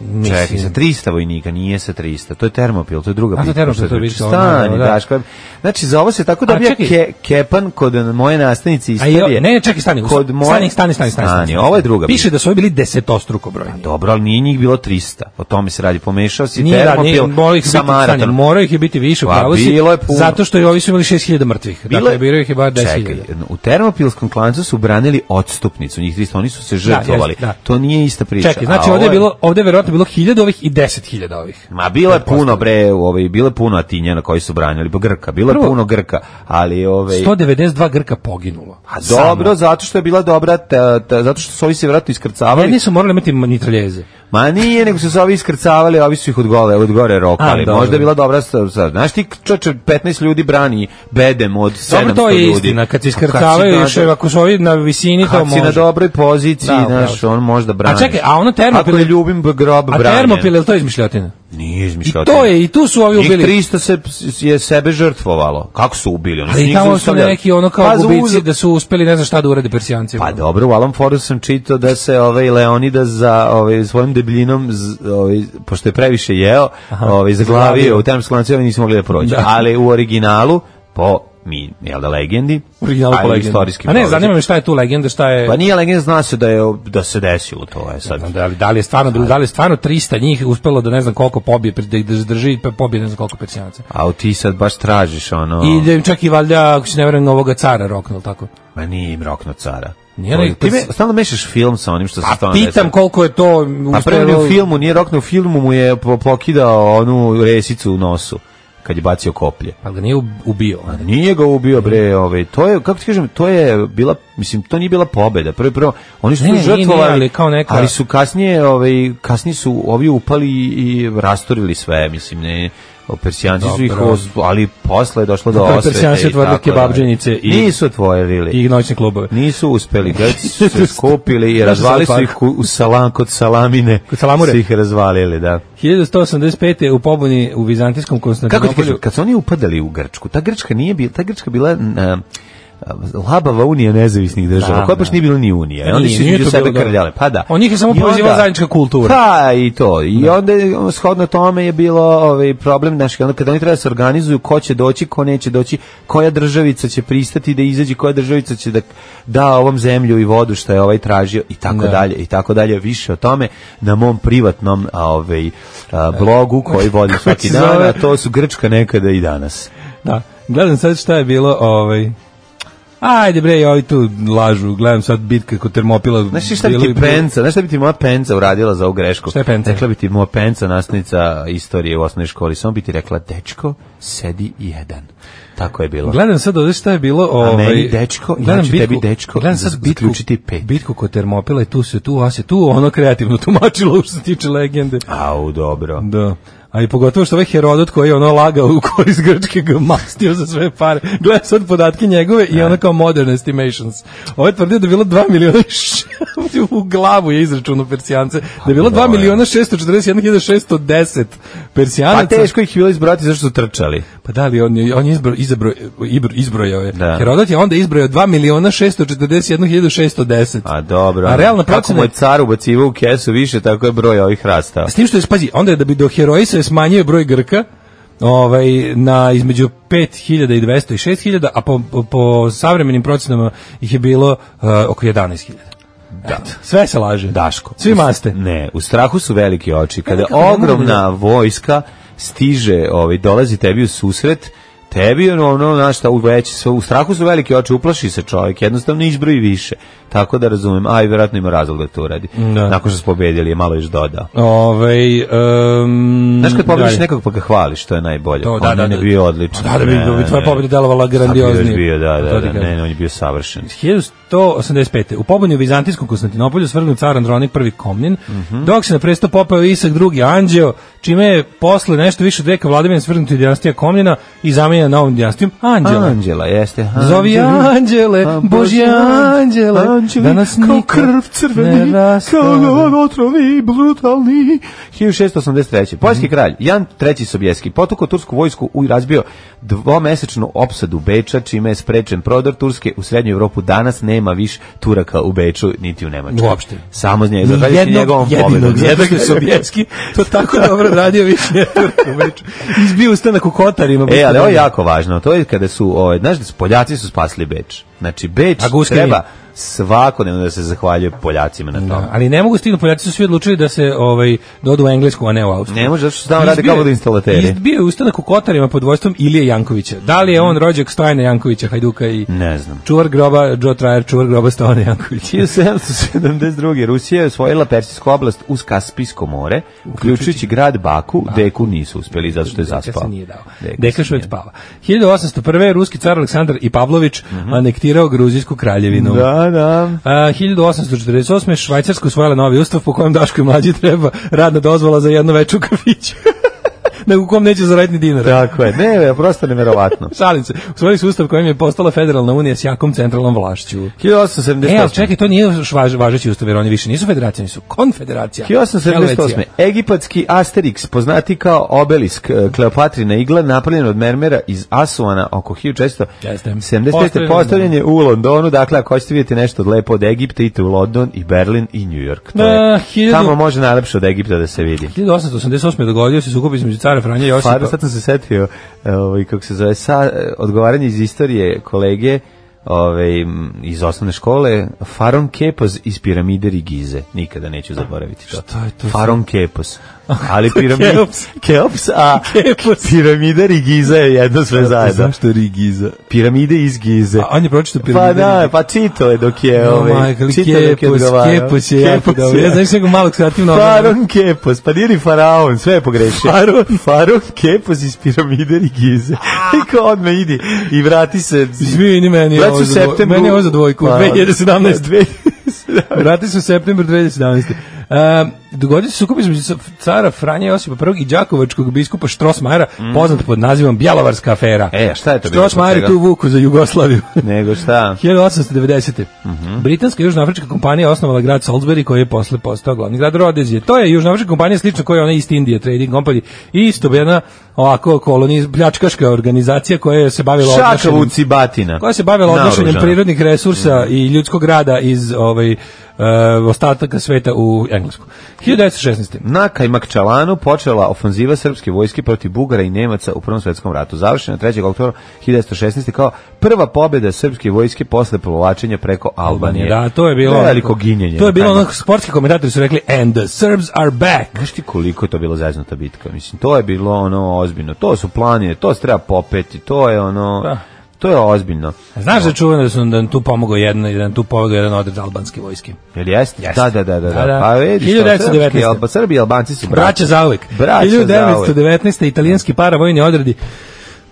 [SPEAKER 6] Mislim,
[SPEAKER 5] Čekaj, sa 300 vojnika, nije sa 300. To je termopil, to je druga
[SPEAKER 6] A, to je
[SPEAKER 5] priča.
[SPEAKER 6] termopil,
[SPEAKER 5] Šta
[SPEAKER 6] to je
[SPEAKER 5] priča?
[SPEAKER 6] više ono,
[SPEAKER 5] Stani,
[SPEAKER 6] da, da.
[SPEAKER 5] Daško. Znači, za ovo se tako
[SPEAKER 6] A,
[SPEAKER 5] dobija
[SPEAKER 6] čekaj.
[SPEAKER 5] ke, kepan kod moje nastavnice
[SPEAKER 6] A je,
[SPEAKER 5] istorije.
[SPEAKER 6] ne, ne, čekaj, stani,
[SPEAKER 5] Kod moje-
[SPEAKER 6] stani, stani, stani, stani,
[SPEAKER 5] Stani, ovo je druga
[SPEAKER 6] Piše da su ovi bili desetostruko brojni.
[SPEAKER 5] Dobro, ali nije njih bilo 300. O tome se radi. Pomešao si
[SPEAKER 6] Nije, da, nije,
[SPEAKER 5] termopil
[SPEAKER 6] morao ih,
[SPEAKER 5] sa
[SPEAKER 6] biti, stani,
[SPEAKER 5] maratonom.
[SPEAKER 6] morao ih je biti više,
[SPEAKER 5] Pa,
[SPEAKER 6] pravo si,
[SPEAKER 5] bilo je puno.
[SPEAKER 6] zato što i ovi su imali 6000 mrtvih.
[SPEAKER 5] Bilo
[SPEAKER 6] dakle,
[SPEAKER 5] je-
[SPEAKER 6] bilo ih je bar
[SPEAKER 5] Čekaj,
[SPEAKER 6] 10.000.
[SPEAKER 5] u termopilskom klancu su branili odstupnicu, njih 300, oni su se žrtvovali.
[SPEAKER 6] da.
[SPEAKER 5] To nije ista priča.
[SPEAKER 6] Čekaj,
[SPEAKER 5] A
[SPEAKER 6] znači
[SPEAKER 5] ovo
[SPEAKER 6] ovdje je bilo, ovdje je verovatno bilo 1000 ovih i 10.000 ovih.
[SPEAKER 5] Ma bilo je puno bre, ovaj bilo je puno Atinjana koji su branili, pa Grka, bilo je
[SPEAKER 6] Prvo-
[SPEAKER 5] puno Grka, ali ovaj
[SPEAKER 6] 192 Grka poginulo.
[SPEAKER 5] A dobro, zato što je bila dobra, ta, ta- zato što su ovi se vratno iskrcavali.
[SPEAKER 6] Jedni su morali imati nitraljeze.
[SPEAKER 5] Ma nije, nego su se ovi iskrcavali, a ovi su ih od, gole, od gore rokali.
[SPEAKER 6] A, dobro.
[SPEAKER 5] Možda je bila dobra stvar. stvar. Znaš ti, čoče, 15 ljudi brani bedem od 700 ljudi. Pa
[SPEAKER 6] Dobro, to je istina, kad se
[SPEAKER 5] Kad si
[SPEAKER 6] iskrcavaju
[SPEAKER 5] na-
[SPEAKER 6] još, ako su ovi na visini, to
[SPEAKER 5] Kad si na
[SPEAKER 6] može.
[SPEAKER 5] dobroj poziciji,
[SPEAKER 6] Da,
[SPEAKER 5] znaš,
[SPEAKER 6] bravo.
[SPEAKER 5] on možda brani.
[SPEAKER 6] A čekaj, a ono Termopil-
[SPEAKER 5] Ako je ljubim b- grob
[SPEAKER 6] A
[SPEAKER 5] branjen.
[SPEAKER 6] termopil, je li to izmišljotina?
[SPEAKER 5] Nije
[SPEAKER 6] I
[SPEAKER 5] izmišljao.
[SPEAKER 6] to je, i tu su ovi
[SPEAKER 5] Njih
[SPEAKER 6] ubili.
[SPEAKER 5] 300 se je sebe žrtvovalo. Kako su ubili? Oni
[SPEAKER 6] Ali
[SPEAKER 5] njih
[SPEAKER 6] tamo su
[SPEAKER 5] zaustavljali.
[SPEAKER 6] neki ono kao
[SPEAKER 5] Pa, za
[SPEAKER 6] gubici
[SPEAKER 5] uzor-
[SPEAKER 6] da su uspeli ne znam šta da urade Persijancima.
[SPEAKER 5] Pa dobro, u Alan Fordu sam čitao da se ovaj Leonida za ovaj svojim debljinom z- ovaj pošto je previše jeo, ovaj zaglavio u termskom lancu, ovaj nisu mogli da prođu.
[SPEAKER 6] Da.
[SPEAKER 5] Ali u originalu po mi, jel da legendi?
[SPEAKER 6] Originalu
[SPEAKER 5] a
[SPEAKER 6] po
[SPEAKER 5] i
[SPEAKER 6] legendi.
[SPEAKER 5] istorijski
[SPEAKER 6] A ne,
[SPEAKER 5] povratak.
[SPEAKER 6] zanima me šta je tu legenda, šta je...
[SPEAKER 5] Pa nije legenda, zna se da je da se desilo to je sad.
[SPEAKER 6] Pa, Da li, da li je stvarno bilo, da li je stvarno 300 njih uspelo da ne znam koliko pobije, da ih drži, pa pobije ne znam koliko persijanaca.
[SPEAKER 5] A ti sad baš tražiš ono.
[SPEAKER 6] I da im čak i valjda, ako se ne verujem, ovoga cara roknul, tako?
[SPEAKER 5] Ma nije im rokno cara.
[SPEAKER 6] Nije, ali-
[SPEAKER 5] ti me, stalno mešaš film sa onim što se
[SPEAKER 6] A
[SPEAKER 5] stvarno desilo.
[SPEAKER 6] pitam koliko je to
[SPEAKER 5] Pa prvi
[SPEAKER 6] uspelo-
[SPEAKER 5] u filmu, nije rokno u filmu, mu je po- pokidao onu resicu u nosu kad je bacio koplje.
[SPEAKER 6] Pa ga nije ub- ubio.
[SPEAKER 5] A Nije ga ubio bre, ovaj. To je kako ti kažem, to je bila, mislim, to nije bila pobeda. Prvo prvo oni su
[SPEAKER 6] Ne,
[SPEAKER 5] tu
[SPEAKER 6] nije,
[SPEAKER 5] žrtvovali,
[SPEAKER 6] nije, ali kao neka-
[SPEAKER 5] ali su kasnije, ovaj, kasnije su ovi upali i rastorili sve, mislim, ne. o, Persijanci su ih,
[SPEAKER 6] Dobro.
[SPEAKER 5] oz- ali posle je došlo do
[SPEAKER 6] Dakle,
[SPEAKER 5] osvete.
[SPEAKER 6] Persijanci
[SPEAKER 5] i
[SPEAKER 6] otvorili
[SPEAKER 5] tako dalje.
[SPEAKER 6] kebabdženice i-
[SPEAKER 5] Nisu otvorili.
[SPEAKER 6] I noćne klubove.
[SPEAKER 5] Nisu uspeli, Grci su se skupili i razvali su ih u, u salam, kod salamine.
[SPEAKER 6] Kod salamure.
[SPEAKER 5] Su ih razvalili, da.
[SPEAKER 6] 1185. u pobuni u Vizantijskom
[SPEAKER 5] Kako ti
[SPEAKER 6] Konstantinopolju.
[SPEAKER 5] kažem, kad su oni upadali u Grčku, ta Grčka nije bila, ta Grčka bila e, labava unija nezavisnih država,
[SPEAKER 6] Da,
[SPEAKER 5] koja baš
[SPEAKER 6] da.
[SPEAKER 5] nije bila ni unija. i Onda
[SPEAKER 6] Nije,
[SPEAKER 5] su
[SPEAKER 6] nije
[SPEAKER 5] između
[SPEAKER 6] to
[SPEAKER 5] sebe
[SPEAKER 6] bilo, da.
[SPEAKER 5] krljale. Pa da.
[SPEAKER 6] Od njih je samo
[SPEAKER 5] I onda-
[SPEAKER 6] povezivala zajednička kultura.
[SPEAKER 5] Pa i to. I onda je, ono, shodno tome je bilo ovaj problem naš onda kada oni treba da se organizuju ko će doći, ko neće doći, koja državica će pristati da izađe, koja državica će da da ovom zemlju i vodu što je ovaj tražio i tako
[SPEAKER 6] Da.
[SPEAKER 5] dalje i tako dalje. Više o tome na mom privatnom a, ovaj a, blogu koji vodim svaki
[SPEAKER 6] E, se
[SPEAKER 5] dan,
[SPEAKER 6] zove?
[SPEAKER 5] a to su Grčka nekada i danas.
[SPEAKER 6] Da, gledam sad šta je bilo, ovaj... Ajde bre, i ovi tu lažu, gledam sad bitka kod Termopila.
[SPEAKER 5] Znaš ti šta bi
[SPEAKER 6] Bili-
[SPEAKER 5] ti penca, znaš šta bi ti moja penca uradila za ovu grešku?
[SPEAKER 6] Šta je penca?
[SPEAKER 5] Rekla bi ti moja penca, nastavnica istorije u osnovnoj školi, samo bi ti rekla, dečko, sedi jedan. Tako je bilo.
[SPEAKER 6] Gledam sad ovde šta je bilo, ovaj.
[SPEAKER 5] Pa. meni dečko, ja ću tebi dečko
[SPEAKER 6] Gledam sad bitku,
[SPEAKER 5] zaključiti pet.
[SPEAKER 6] bitku kod Termopila i tu se tu, a se tu ono kreativno tumačilo što se tiče legende.
[SPEAKER 5] Au, dobro. Pa
[SPEAKER 6] Da. A i pogotovo što ovaj Herodot koji je ono lagao u korist Grčke ga mastio za sve pare. Gledam sad podatke njegove i ono kao modern estimations. Ovo je tvrdio da je bilo 2 miliona i š- u glavu je izračuno persijance. Da je bilo 2
[SPEAKER 5] dobro.
[SPEAKER 6] miliona 641 hiljada 610
[SPEAKER 5] Pa
[SPEAKER 6] persijanaca.
[SPEAKER 5] teško ih je bilo izbrati zašto su trčali.
[SPEAKER 6] Pa da li on je on je izbro, izbro, izbro, izbrojao je.
[SPEAKER 5] Da.
[SPEAKER 6] Herodot je onda izbrojao 2 miliona 641 hiljada 610.
[SPEAKER 5] A Pa dobro.
[SPEAKER 6] A realna
[SPEAKER 5] Kako mu
[SPEAKER 6] procena
[SPEAKER 5] je
[SPEAKER 6] je
[SPEAKER 5] car ubacivao u kesu više, tako je broj ovih rastao.
[SPEAKER 6] S tim što je, pazi, onda je da bi do heroji se smanjio broj Grka, ovaj, na između 5200 i 6000, a po, po, po savremenim procenama ih je bilo uh, oko 11000. Da. sve se laže.
[SPEAKER 5] Daško.
[SPEAKER 6] Svi maste.
[SPEAKER 5] Ne, u strahu su velike oči. Kada
[SPEAKER 6] kako ne mogu
[SPEAKER 5] ogromna vojska stiže, ovaj, dolazi tebi u susret, tebi ono, ono znaš šta, u, već, sve- u strahu su velike oči, uplaši se čovjek, jednostavno izbroji više. Tako da razumem, a i vjerojatno ima razlog da to radi.
[SPEAKER 6] Da.
[SPEAKER 5] Nakon što su pobedili, je malo još dodao.
[SPEAKER 6] Ovaj um,
[SPEAKER 5] Znaš kad pobediš
[SPEAKER 6] dalje.
[SPEAKER 5] nekog pa ga hvališ, to je najbolje. Pa
[SPEAKER 6] To,
[SPEAKER 5] on
[SPEAKER 6] da, da,
[SPEAKER 5] je
[SPEAKER 6] da. Pa
[SPEAKER 5] bio odličan.
[SPEAKER 6] Da, da bi-
[SPEAKER 5] Ne,
[SPEAKER 6] da bi
[SPEAKER 5] ne,
[SPEAKER 6] tvoja
[SPEAKER 5] ne.
[SPEAKER 6] pobeda delovala
[SPEAKER 5] Sad bi još
[SPEAKER 6] grandioznije. Pa
[SPEAKER 5] bio, da,
[SPEAKER 6] To
[SPEAKER 5] da,
[SPEAKER 6] ti
[SPEAKER 5] da,
[SPEAKER 6] kažem.
[SPEAKER 5] ne, ne, on je bio savršen.
[SPEAKER 6] 1185. U pobunju u Vizantijskom Konstantinopolju svrgnut car Andronik I Komnin,
[SPEAKER 5] Mhm.
[SPEAKER 6] dok se na presto popao Isak II Anđeo, čime je posle nešto više od veka vladavine svrgnuta i dinastija Komnina i zamenjena na novom dinastijom Anđela.
[SPEAKER 5] Anđela, jeste. Pa,
[SPEAKER 6] Zovi anđele, Božje anđele,
[SPEAKER 5] anđeli,
[SPEAKER 6] da nas
[SPEAKER 5] kao
[SPEAKER 6] nikad
[SPEAKER 5] krv crveni,
[SPEAKER 6] ne rastave.
[SPEAKER 5] kao otrovi, brutalni. 1683. Poljski kralj Jan III. Sobjeski potukao tursku vojsku u i razbio dvomesečnu opsadu Beča, čime je sprečen prodor Turske u srednju Evropu. Danas nema više Turaka u Beču, niti u Nemačkoj.
[SPEAKER 6] Uopšte.
[SPEAKER 5] Samo njega,
[SPEAKER 6] Ni
[SPEAKER 5] zahvaljujući njegovom
[SPEAKER 6] jednog,
[SPEAKER 5] pobedom.
[SPEAKER 6] jedinog, zato što je Sobjeski to tako dobro radio više je Turk u meču. Izbio ustanak u Kotarima.
[SPEAKER 5] E, ali ovo je jako važno. To je kada su, ovaj, znaš da su Poljaci su spasili Beč. Znači, Beč
[SPEAKER 6] A Guske
[SPEAKER 5] treba svakodnevno da se zahvaljuje Poljacima na tome.
[SPEAKER 6] Da, ali ne mogu stignu, Poljaci su svi odlučili da se ovaj, dodu u Englesku, a ne u Austriju.
[SPEAKER 5] Ne može, zato što su tamo rade
[SPEAKER 6] Izbio je-
[SPEAKER 5] kao vodoinstalateri.
[SPEAKER 6] Izbio je ustanak u Kotarima pod vojstvom Ilije Jankovića. Da li je on rođak Stojana Jankovića, Hajduka i...
[SPEAKER 5] Ne znam.
[SPEAKER 6] Čuvar groba, Joe Trajer, čuvar groba Stojana Jankovića.
[SPEAKER 5] 1772. Rusija je osvojila Persijsku oblast uz Kaspijsko more, uključujući grad Baku, deku nisu uspeli zato što je
[SPEAKER 6] Deka
[SPEAKER 5] zaspao.
[SPEAKER 6] se nije dao.
[SPEAKER 5] Deka
[SPEAKER 6] Deka
[SPEAKER 5] se
[SPEAKER 6] još uvek
[SPEAKER 5] nije.
[SPEAKER 6] spava. 1801. ruski car Aleksandar i Pavlović anektirao Gruzijsku kraljevinu.
[SPEAKER 5] Mhm. Da, da.
[SPEAKER 6] A, 1848. Švajcarska usvojila novi ustav po kojem Daško i mlađi treba radna dozvola za jedno veče u kafiću. na u kom neće zaraditi ni dinara.
[SPEAKER 5] Tako je. Ne, ne, prosto neverovatno.
[SPEAKER 6] Šalim se. Usvojili su ustav kojim je postala federalna unija s jakom centralnom vlašću.
[SPEAKER 5] 1878.
[SPEAKER 6] E, ali čekaj, to nije još važ, važeći ustav, jer oni više nisu federacija, oni su konfederacija.
[SPEAKER 5] 1878.
[SPEAKER 6] Helvecija.
[SPEAKER 5] Egipatski Asterix, poznati kao obelisk e, Kleopatrina igla, napravljen od mermera iz Asuana oko 1475.
[SPEAKER 6] Postavljen-
[SPEAKER 5] Postavljen je u Londonu, dakle ako hoćete vidjeti nešto od lepo od Egipta, idite u London i Berlin i New York. To je,
[SPEAKER 6] Da, hiljadu-
[SPEAKER 5] Tamo može najlepše od Egipta da se vidi.
[SPEAKER 6] 1888. dogodio se sukob između cara Franja Josipa.
[SPEAKER 5] Stvarno, sad sam se setio, e, ovaj, kako se zove, sa, e, odgovaranje iz istorije kolege ovaj, m, iz osnovne škole, Faron Kepos iz piramide Rigize. Nikada neću zaboraviti to.
[SPEAKER 6] Šta je to?
[SPEAKER 5] Faron Kepos. Ali piramide...
[SPEAKER 6] Keops.
[SPEAKER 5] Keops, a
[SPEAKER 6] Kepos.
[SPEAKER 5] piramida Rigiza je jedno sve zajedno.
[SPEAKER 6] Zašto Rigiza?
[SPEAKER 5] Piramide iz Gize.
[SPEAKER 6] A on je pročito
[SPEAKER 5] Pa
[SPEAKER 6] piramide.
[SPEAKER 5] da, pa čito je dok je...
[SPEAKER 6] Ovaj,
[SPEAKER 5] Ovaj,
[SPEAKER 6] majka, ali
[SPEAKER 5] čitao dok je
[SPEAKER 6] Kepos,
[SPEAKER 5] odgovarao.
[SPEAKER 6] Kepos je jako
[SPEAKER 5] Kepos
[SPEAKER 6] dobro. Ja znaš nekog malog ono, kreativno.
[SPEAKER 5] Faron Kepos, pa nije ni faraon, sve je pogrešio. Faron, Faron Kepos iz piramide i gize. I kao odme idi i vrati se.
[SPEAKER 6] Izvini, meni je
[SPEAKER 5] Vrati se
[SPEAKER 6] ovo
[SPEAKER 5] u
[SPEAKER 6] za dvojku.
[SPEAKER 5] septembru.
[SPEAKER 6] Meni je ovo za dvojku.
[SPEAKER 5] Pa,
[SPEAKER 6] 2017.
[SPEAKER 5] 2017.
[SPEAKER 6] Vrati se u septembru 2017. Um, dogodio se sukob između sa- cara Franja Josipa I i đakovačkog biskupa Štrosmajera, poznat pod nazivom Bjelovarska afera.
[SPEAKER 5] Mhm. E, a šta je to bilo?
[SPEAKER 6] Štrosmajer je
[SPEAKER 5] Zbog
[SPEAKER 6] tu
[SPEAKER 5] čega?
[SPEAKER 6] vuku za Jugoslaviju.
[SPEAKER 5] Nego šta?
[SPEAKER 6] 1890.
[SPEAKER 5] Mhm.
[SPEAKER 6] Britanska i južnoafrička kompanija osnovala grad Salisbury koji je posle postao glavni grad Rodezije. To je južnoafrička kompanija slično koja je ona East India Trading Company. Isto jedna ovako koloniz, pljačkaška organizacija koja se bavila
[SPEAKER 5] Šaka
[SPEAKER 6] odnošenjem-
[SPEAKER 5] vuci batina.
[SPEAKER 6] koja se bavila odnošenjem
[SPEAKER 5] Naoružana. Mhm.
[SPEAKER 6] prirodnih resursa i ljudskog rada iz ovaj e, ostataka sveta u Englesku. 1916.
[SPEAKER 5] Na Kajmakčalanu počela ofanziva srpske vojske protiv Bugara i Nemaca u Prvom svetskom ratu, završena 3. oktobra 1916. kao prva pobjeda srpske vojske posle polovačenja preko Albanije.
[SPEAKER 6] Da, to je bilo
[SPEAKER 5] veliko ginjenje.
[SPEAKER 6] To je
[SPEAKER 5] na
[SPEAKER 6] bilo ono
[SPEAKER 5] Kajmak-
[SPEAKER 6] sportski komentatori su rekli and the Serbs are back.
[SPEAKER 5] Znaš ti koliko je to bilo zeznuta bitka? Mislim, to je bilo ono ozbiljno. To su planine, to se treba popeti, to je ono...
[SPEAKER 6] Da.
[SPEAKER 5] To je ozbiljno.
[SPEAKER 6] Pa Znaš da je čuveno da su nam- da nam tu pomogao jedan, jedan tu pomogao jedan odred albanske vojske.
[SPEAKER 5] Jel jeste?
[SPEAKER 6] Jeste.
[SPEAKER 5] Da, da, da, da.
[SPEAKER 6] Da, da.
[SPEAKER 5] da. Pa vidiš,
[SPEAKER 6] 1919.
[SPEAKER 5] Srpski, Alba, Srbi i Albanci su
[SPEAKER 6] Braća zauvek.
[SPEAKER 5] Braća zauvek.
[SPEAKER 6] 1919. italijanski paravojni odredi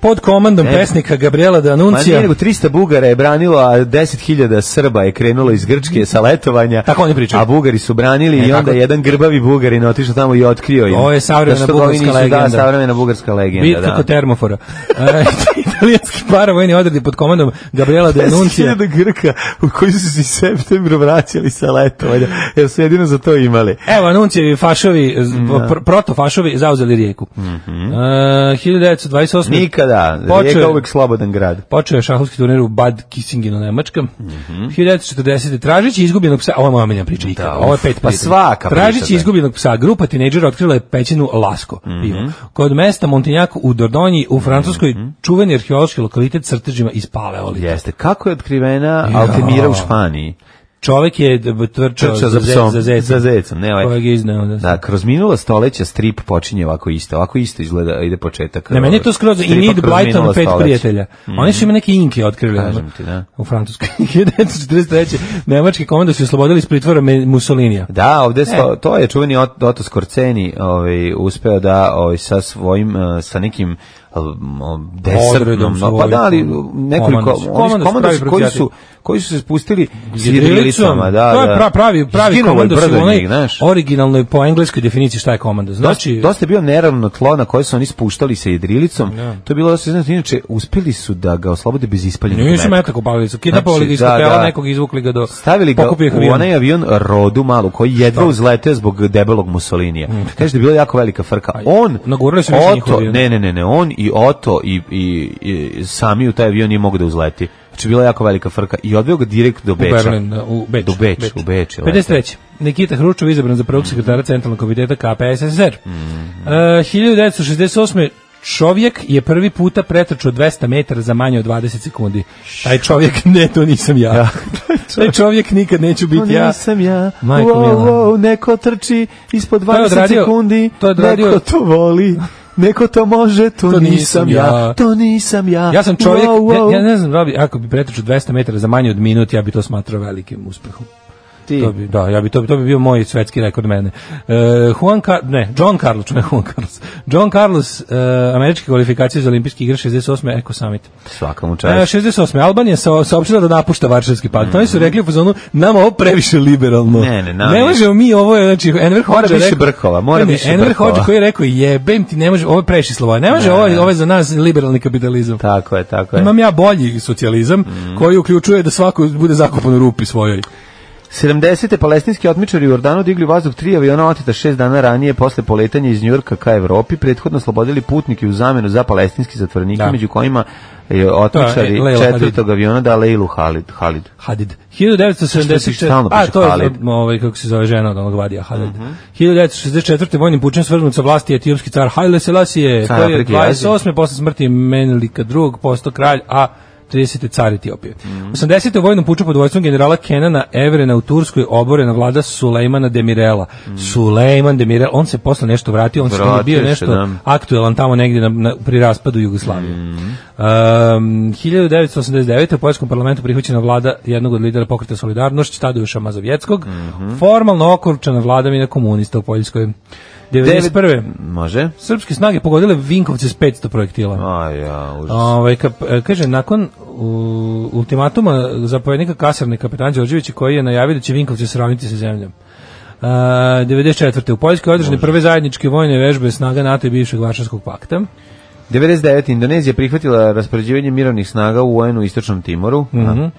[SPEAKER 6] pod komandom
[SPEAKER 5] Ne.
[SPEAKER 6] pesnika Gabriela
[SPEAKER 5] Ma E, pa nije,
[SPEAKER 6] D'Annunzija.
[SPEAKER 5] nego 300 Bugara je branilo, a 10.000 Srba je krenulo iz Grčke sa letovanja.
[SPEAKER 6] Tako oni pričaju.
[SPEAKER 5] A Bugari su branili i
[SPEAKER 6] E,
[SPEAKER 5] onda
[SPEAKER 6] tako.
[SPEAKER 5] jedan grbavi Bugarin otišao tamo i otkrio im.
[SPEAKER 6] Ovo je savremena
[SPEAKER 5] Da što ga ovi
[SPEAKER 6] bugarska
[SPEAKER 5] nisu-
[SPEAKER 6] legenda.
[SPEAKER 5] Da, savremena bugarska legenda,
[SPEAKER 6] Bitka
[SPEAKER 5] da.
[SPEAKER 6] kod termofora. E, italijanski paravojni odredi pod komandom Gabriela D'Annunzija.
[SPEAKER 5] 10.000 Grka u koji su se iz septembra vraćali sa letovanja, jer su jedino za to imali.
[SPEAKER 6] Evo, Anuncijevi fašovi, z- pr- protofašovi, zauzeli rijeku. E, 1928.
[SPEAKER 5] Mhm. Nikada, Rijeka je uvek slobodan grad.
[SPEAKER 6] Počeo je šahovski turnir u Bad Kissingenu, Nemačka. 1940. Tražeći izgubljenog psa, ovo je moja omiljena priča ikada,
[SPEAKER 5] Da,
[SPEAKER 6] ovo je
[SPEAKER 5] uf,
[SPEAKER 6] pet
[SPEAKER 5] pa
[SPEAKER 6] prijatelja.
[SPEAKER 5] svaka priča,
[SPEAKER 6] Tražeći
[SPEAKER 5] da. Mhm.
[SPEAKER 6] izgubljenog psa, grupa tinejdžera otkrila je pećinu Lasko, pivo. Kod mesta Montignac u Dordogne u Francuskoj čuveni arheološki lokalitet s crtežima iz Paleolita.
[SPEAKER 5] Jeste. Kako Mhm. je otkrivena Altemira u Španiji?
[SPEAKER 6] Čovek je d- trčao
[SPEAKER 5] Trčao
[SPEAKER 6] za,
[SPEAKER 5] za psom,
[SPEAKER 6] zec- za, zecom,
[SPEAKER 5] za zecom, ne, ovaj-
[SPEAKER 6] kojeg je izneo, da.
[SPEAKER 5] Da, kroz minula stoleća strip počinje ovako isto. Ovako isto izgleda, ide početak.
[SPEAKER 6] Na meni je to skroz i
[SPEAKER 5] stripa
[SPEAKER 6] Need
[SPEAKER 5] kroz
[SPEAKER 6] Blyton
[SPEAKER 5] minula
[SPEAKER 6] pet
[SPEAKER 5] stoleća.
[SPEAKER 6] prijatelja. Oni su im neke inke otkrili
[SPEAKER 5] Kažem
[SPEAKER 6] ono,
[SPEAKER 5] ti, da.
[SPEAKER 6] u Francuskoj. 1943. Nemački komando su oslobodili iz pritvora Me- Mussolinija.
[SPEAKER 5] Da,
[SPEAKER 6] E.
[SPEAKER 5] ovde sto, to je čuveni Ot- Otto Skorceni ovaj, uspeo da ovaj, sa svojim, eh, sa nekim um, desertnom,
[SPEAKER 6] Odredom su
[SPEAKER 5] no, pa da, ali
[SPEAKER 6] ovaj,
[SPEAKER 5] nekoliko,
[SPEAKER 6] komandosi.
[SPEAKER 5] oni
[SPEAKER 6] Komandosi
[SPEAKER 5] komandosi koji
[SPEAKER 6] pravi protivječni.
[SPEAKER 5] su, koji su se spustili s
[SPEAKER 6] Jedrilicom,
[SPEAKER 5] jedrilicama, da,
[SPEAKER 6] to
[SPEAKER 5] da.
[SPEAKER 6] je pra, pravi, pravi
[SPEAKER 5] Skinulo je
[SPEAKER 6] komandos
[SPEAKER 5] brdo
[SPEAKER 6] u onoj
[SPEAKER 5] njih, znaš.
[SPEAKER 6] originalnoj po engleskoj definiciji šta je komandos.
[SPEAKER 5] Znači,
[SPEAKER 6] Znači,
[SPEAKER 5] dosta je bio neravno tlo na koje su oni spuštali sa jedrilicom. To je bilo dosta, znači, inače, uspeli su da ga oslobode bez ispaljenog
[SPEAKER 6] nisu
[SPEAKER 5] metka.
[SPEAKER 6] metak upalili su, kidnapovali
[SPEAKER 5] Znači,
[SPEAKER 6] ga iz
[SPEAKER 5] da,
[SPEAKER 6] hotela,
[SPEAKER 5] da.
[SPEAKER 6] nekog izvukli ga do...
[SPEAKER 5] Stavili ga
[SPEAKER 6] pokupio ih avion.
[SPEAKER 5] u onaj avion rodu malu, koji jedva uzleteo zbog debelog Mussolinija. Kaže da je bila jako velika frka. On,
[SPEAKER 6] Mm. nagurali su više njihov
[SPEAKER 5] Oto,
[SPEAKER 6] avion.
[SPEAKER 5] ne, ne, ne, ne, on i Oto i, i, i sami u taj avion nije mogu da uzleti. Znači, bila je jako velika frka. I odveo ga direkt do
[SPEAKER 6] U
[SPEAKER 5] Beča.
[SPEAKER 6] Berlin, da, u Beč.
[SPEAKER 5] Do Beč, u Beč, je
[SPEAKER 6] 53. Nikita Hručov izabran za prvog sekretara Centralnog komiteta KPSSR. Mm.
[SPEAKER 5] Mhm.
[SPEAKER 6] Uh, 1968. Čovjek je prvi puta pretrčao 200 metara za manje od 20 sekundi. Taj čovjek, ne, to nisam ja. Taj čovjek nikad neću
[SPEAKER 5] To
[SPEAKER 6] biti ja.
[SPEAKER 5] nisam ja,
[SPEAKER 6] Majko
[SPEAKER 5] wow,
[SPEAKER 6] mila.
[SPEAKER 5] wow, neko trči ispod
[SPEAKER 6] je
[SPEAKER 5] 20
[SPEAKER 6] odradio-
[SPEAKER 5] sekundi,
[SPEAKER 6] to je odradio-
[SPEAKER 5] neko to voli, neko to može, to,
[SPEAKER 6] To
[SPEAKER 5] nisam
[SPEAKER 6] nisam
[SPEAKER 5] ja.
[SPEAKER 6] ja.
[SPEAKER 5] to nisam ja.
[SPEAKER 6] Ja sam čovjek,
[SPEAKER 5] Wow, wow.
[SPEAKER 6] ja, ja ne znam, Robi, ako bi pretrčao 200 metara za manje od minut, ja bi to smatrao velikim uspehom.
[SPEAKER 5] Ti.
[SPEAKER 6] To bi, da, ja bi to, bi- to bi bio moj svetski rekord mene. Uh, Juan Car ne, John Carlos, ne Juan Carlos. John Carlos, uh, američke kvalifikacije za olimpijski igre 68. Eko Summit.
[SPEAKER 5] Svaka mu
[SPEAKER 6] E, 68. Albanija sa, saopštila da napušta Varšavski pakt. Oni su rekli u fazonu, nama ovo previše liberalno.
[SPEAKER 5] Mm. Ne, ne, nama
[SPEAKER 6] Ne
[SPEAKER 5] je-
[SPEAKER 6] možemo mi ovo, je, znači, Enver Hoxha
[SPEAKER 5] više
[SPEAKER 6] rekao-
[SPEAKER 5] brkova, mora
[SPEAKER 6] Ne, ne,
[SPEAKER 5] više
[SPEAKER 6] Enver
[SPEAKER 5] brkova.
[SPEAKER 6] Hoxha koji je rekao, jebem ti, ne može, ovo je previše slova. Ne može, ovo, je- ovo je za nas liberalni kapitalizam.
[SPEAKER 5] Tako je, tako je.
[SPEAKER 6] Imam ja bolji socijalizam koji uključuje da svako bude zakupan u rupi svojoj.
[SPEAKER 5] 70. palestinski otmičari u Jordanu digli u vazduh tri aviona oteta šest dana ranije posle poletanja iz Njurka ka Evropi, prethodno slobodili putnike u zamenu za palestinski zatvornike,
[SPEAKER 6] Da.
[SPEAKER 5] među kojima je
[SPEAKER 6] To
[SPEAKER 5] otmičari
[SPEAKER 6] je Leila Halid.
[SPEAKER 5] četvrtog aviona da Leilu Halid. Halid.
[SPEAKER 6] Hadid.
[SPEAKER 5] Stalno
[SPEAKER 6] 1976.
[SPEAKER 5] piše
[SPEAKER 6] A, to je
[SPEAKER 5] Halid.
[SPEAKER 6] m, ovaj, kako se zove žena od onog vadija Hadid. 1964. vojnim pučem svrgnut sa vlasti etiopski car Haile Selassie,
[SPEAKER 5] Car
[SPEAKER 6] koji je
[SPEAKER 5] Afrike i Azije.
[SPEAKER 6] 28. posle smrti Menelika II. postao kralj, a 30. car Etiopije. 80. u vojnom puču pod vojstvom generala Kenana Evrena u Turskoj oborena vlada Sulejmana Demirela. Sulejman Demirel, on se posle nešto Mhm. vratio, on se
[SPEAKER 5] Vratio
[SPEAKER 6] bio
[SPEAKER 5] se,
[SPEAKER 6] nešto
[SPEAKER 5] da.
[SPEAKER 6] aktuelan tamo negdje na, na, pri raspadu Jugoslavije. Um, 1989. u Poljskom parlamentu prihvaćena vlada jednog od lidera pokreta Solidarnošć, Tadeusza Mazovjeckog, formalno okorčana vladavina komunista u Poljskoj. 91.
[SPEAKER 5] Može?
[SPEAKER 6] Srpske snage pogodile Vinkovce s 500 projektila.
[SPEAKER 5] A ja, užas.
[SPEAKER 6] Ovaj kap- e, kaže, nakon u, ultimatuma zapovjednika kasarne kapetan Đorđevića koji je najavio da će Vinkovce sravniti sa zemljom. Uh, 94. U Poljskoj održane prve zajedničke vojne vežbe snaga NATO i bivšeg Varšavskog pakta.
[SPEAKER 5] 99. Indonezija prihvatila raspoređivanje mirovnih snaga u UN u Istočnom Timoru. Da.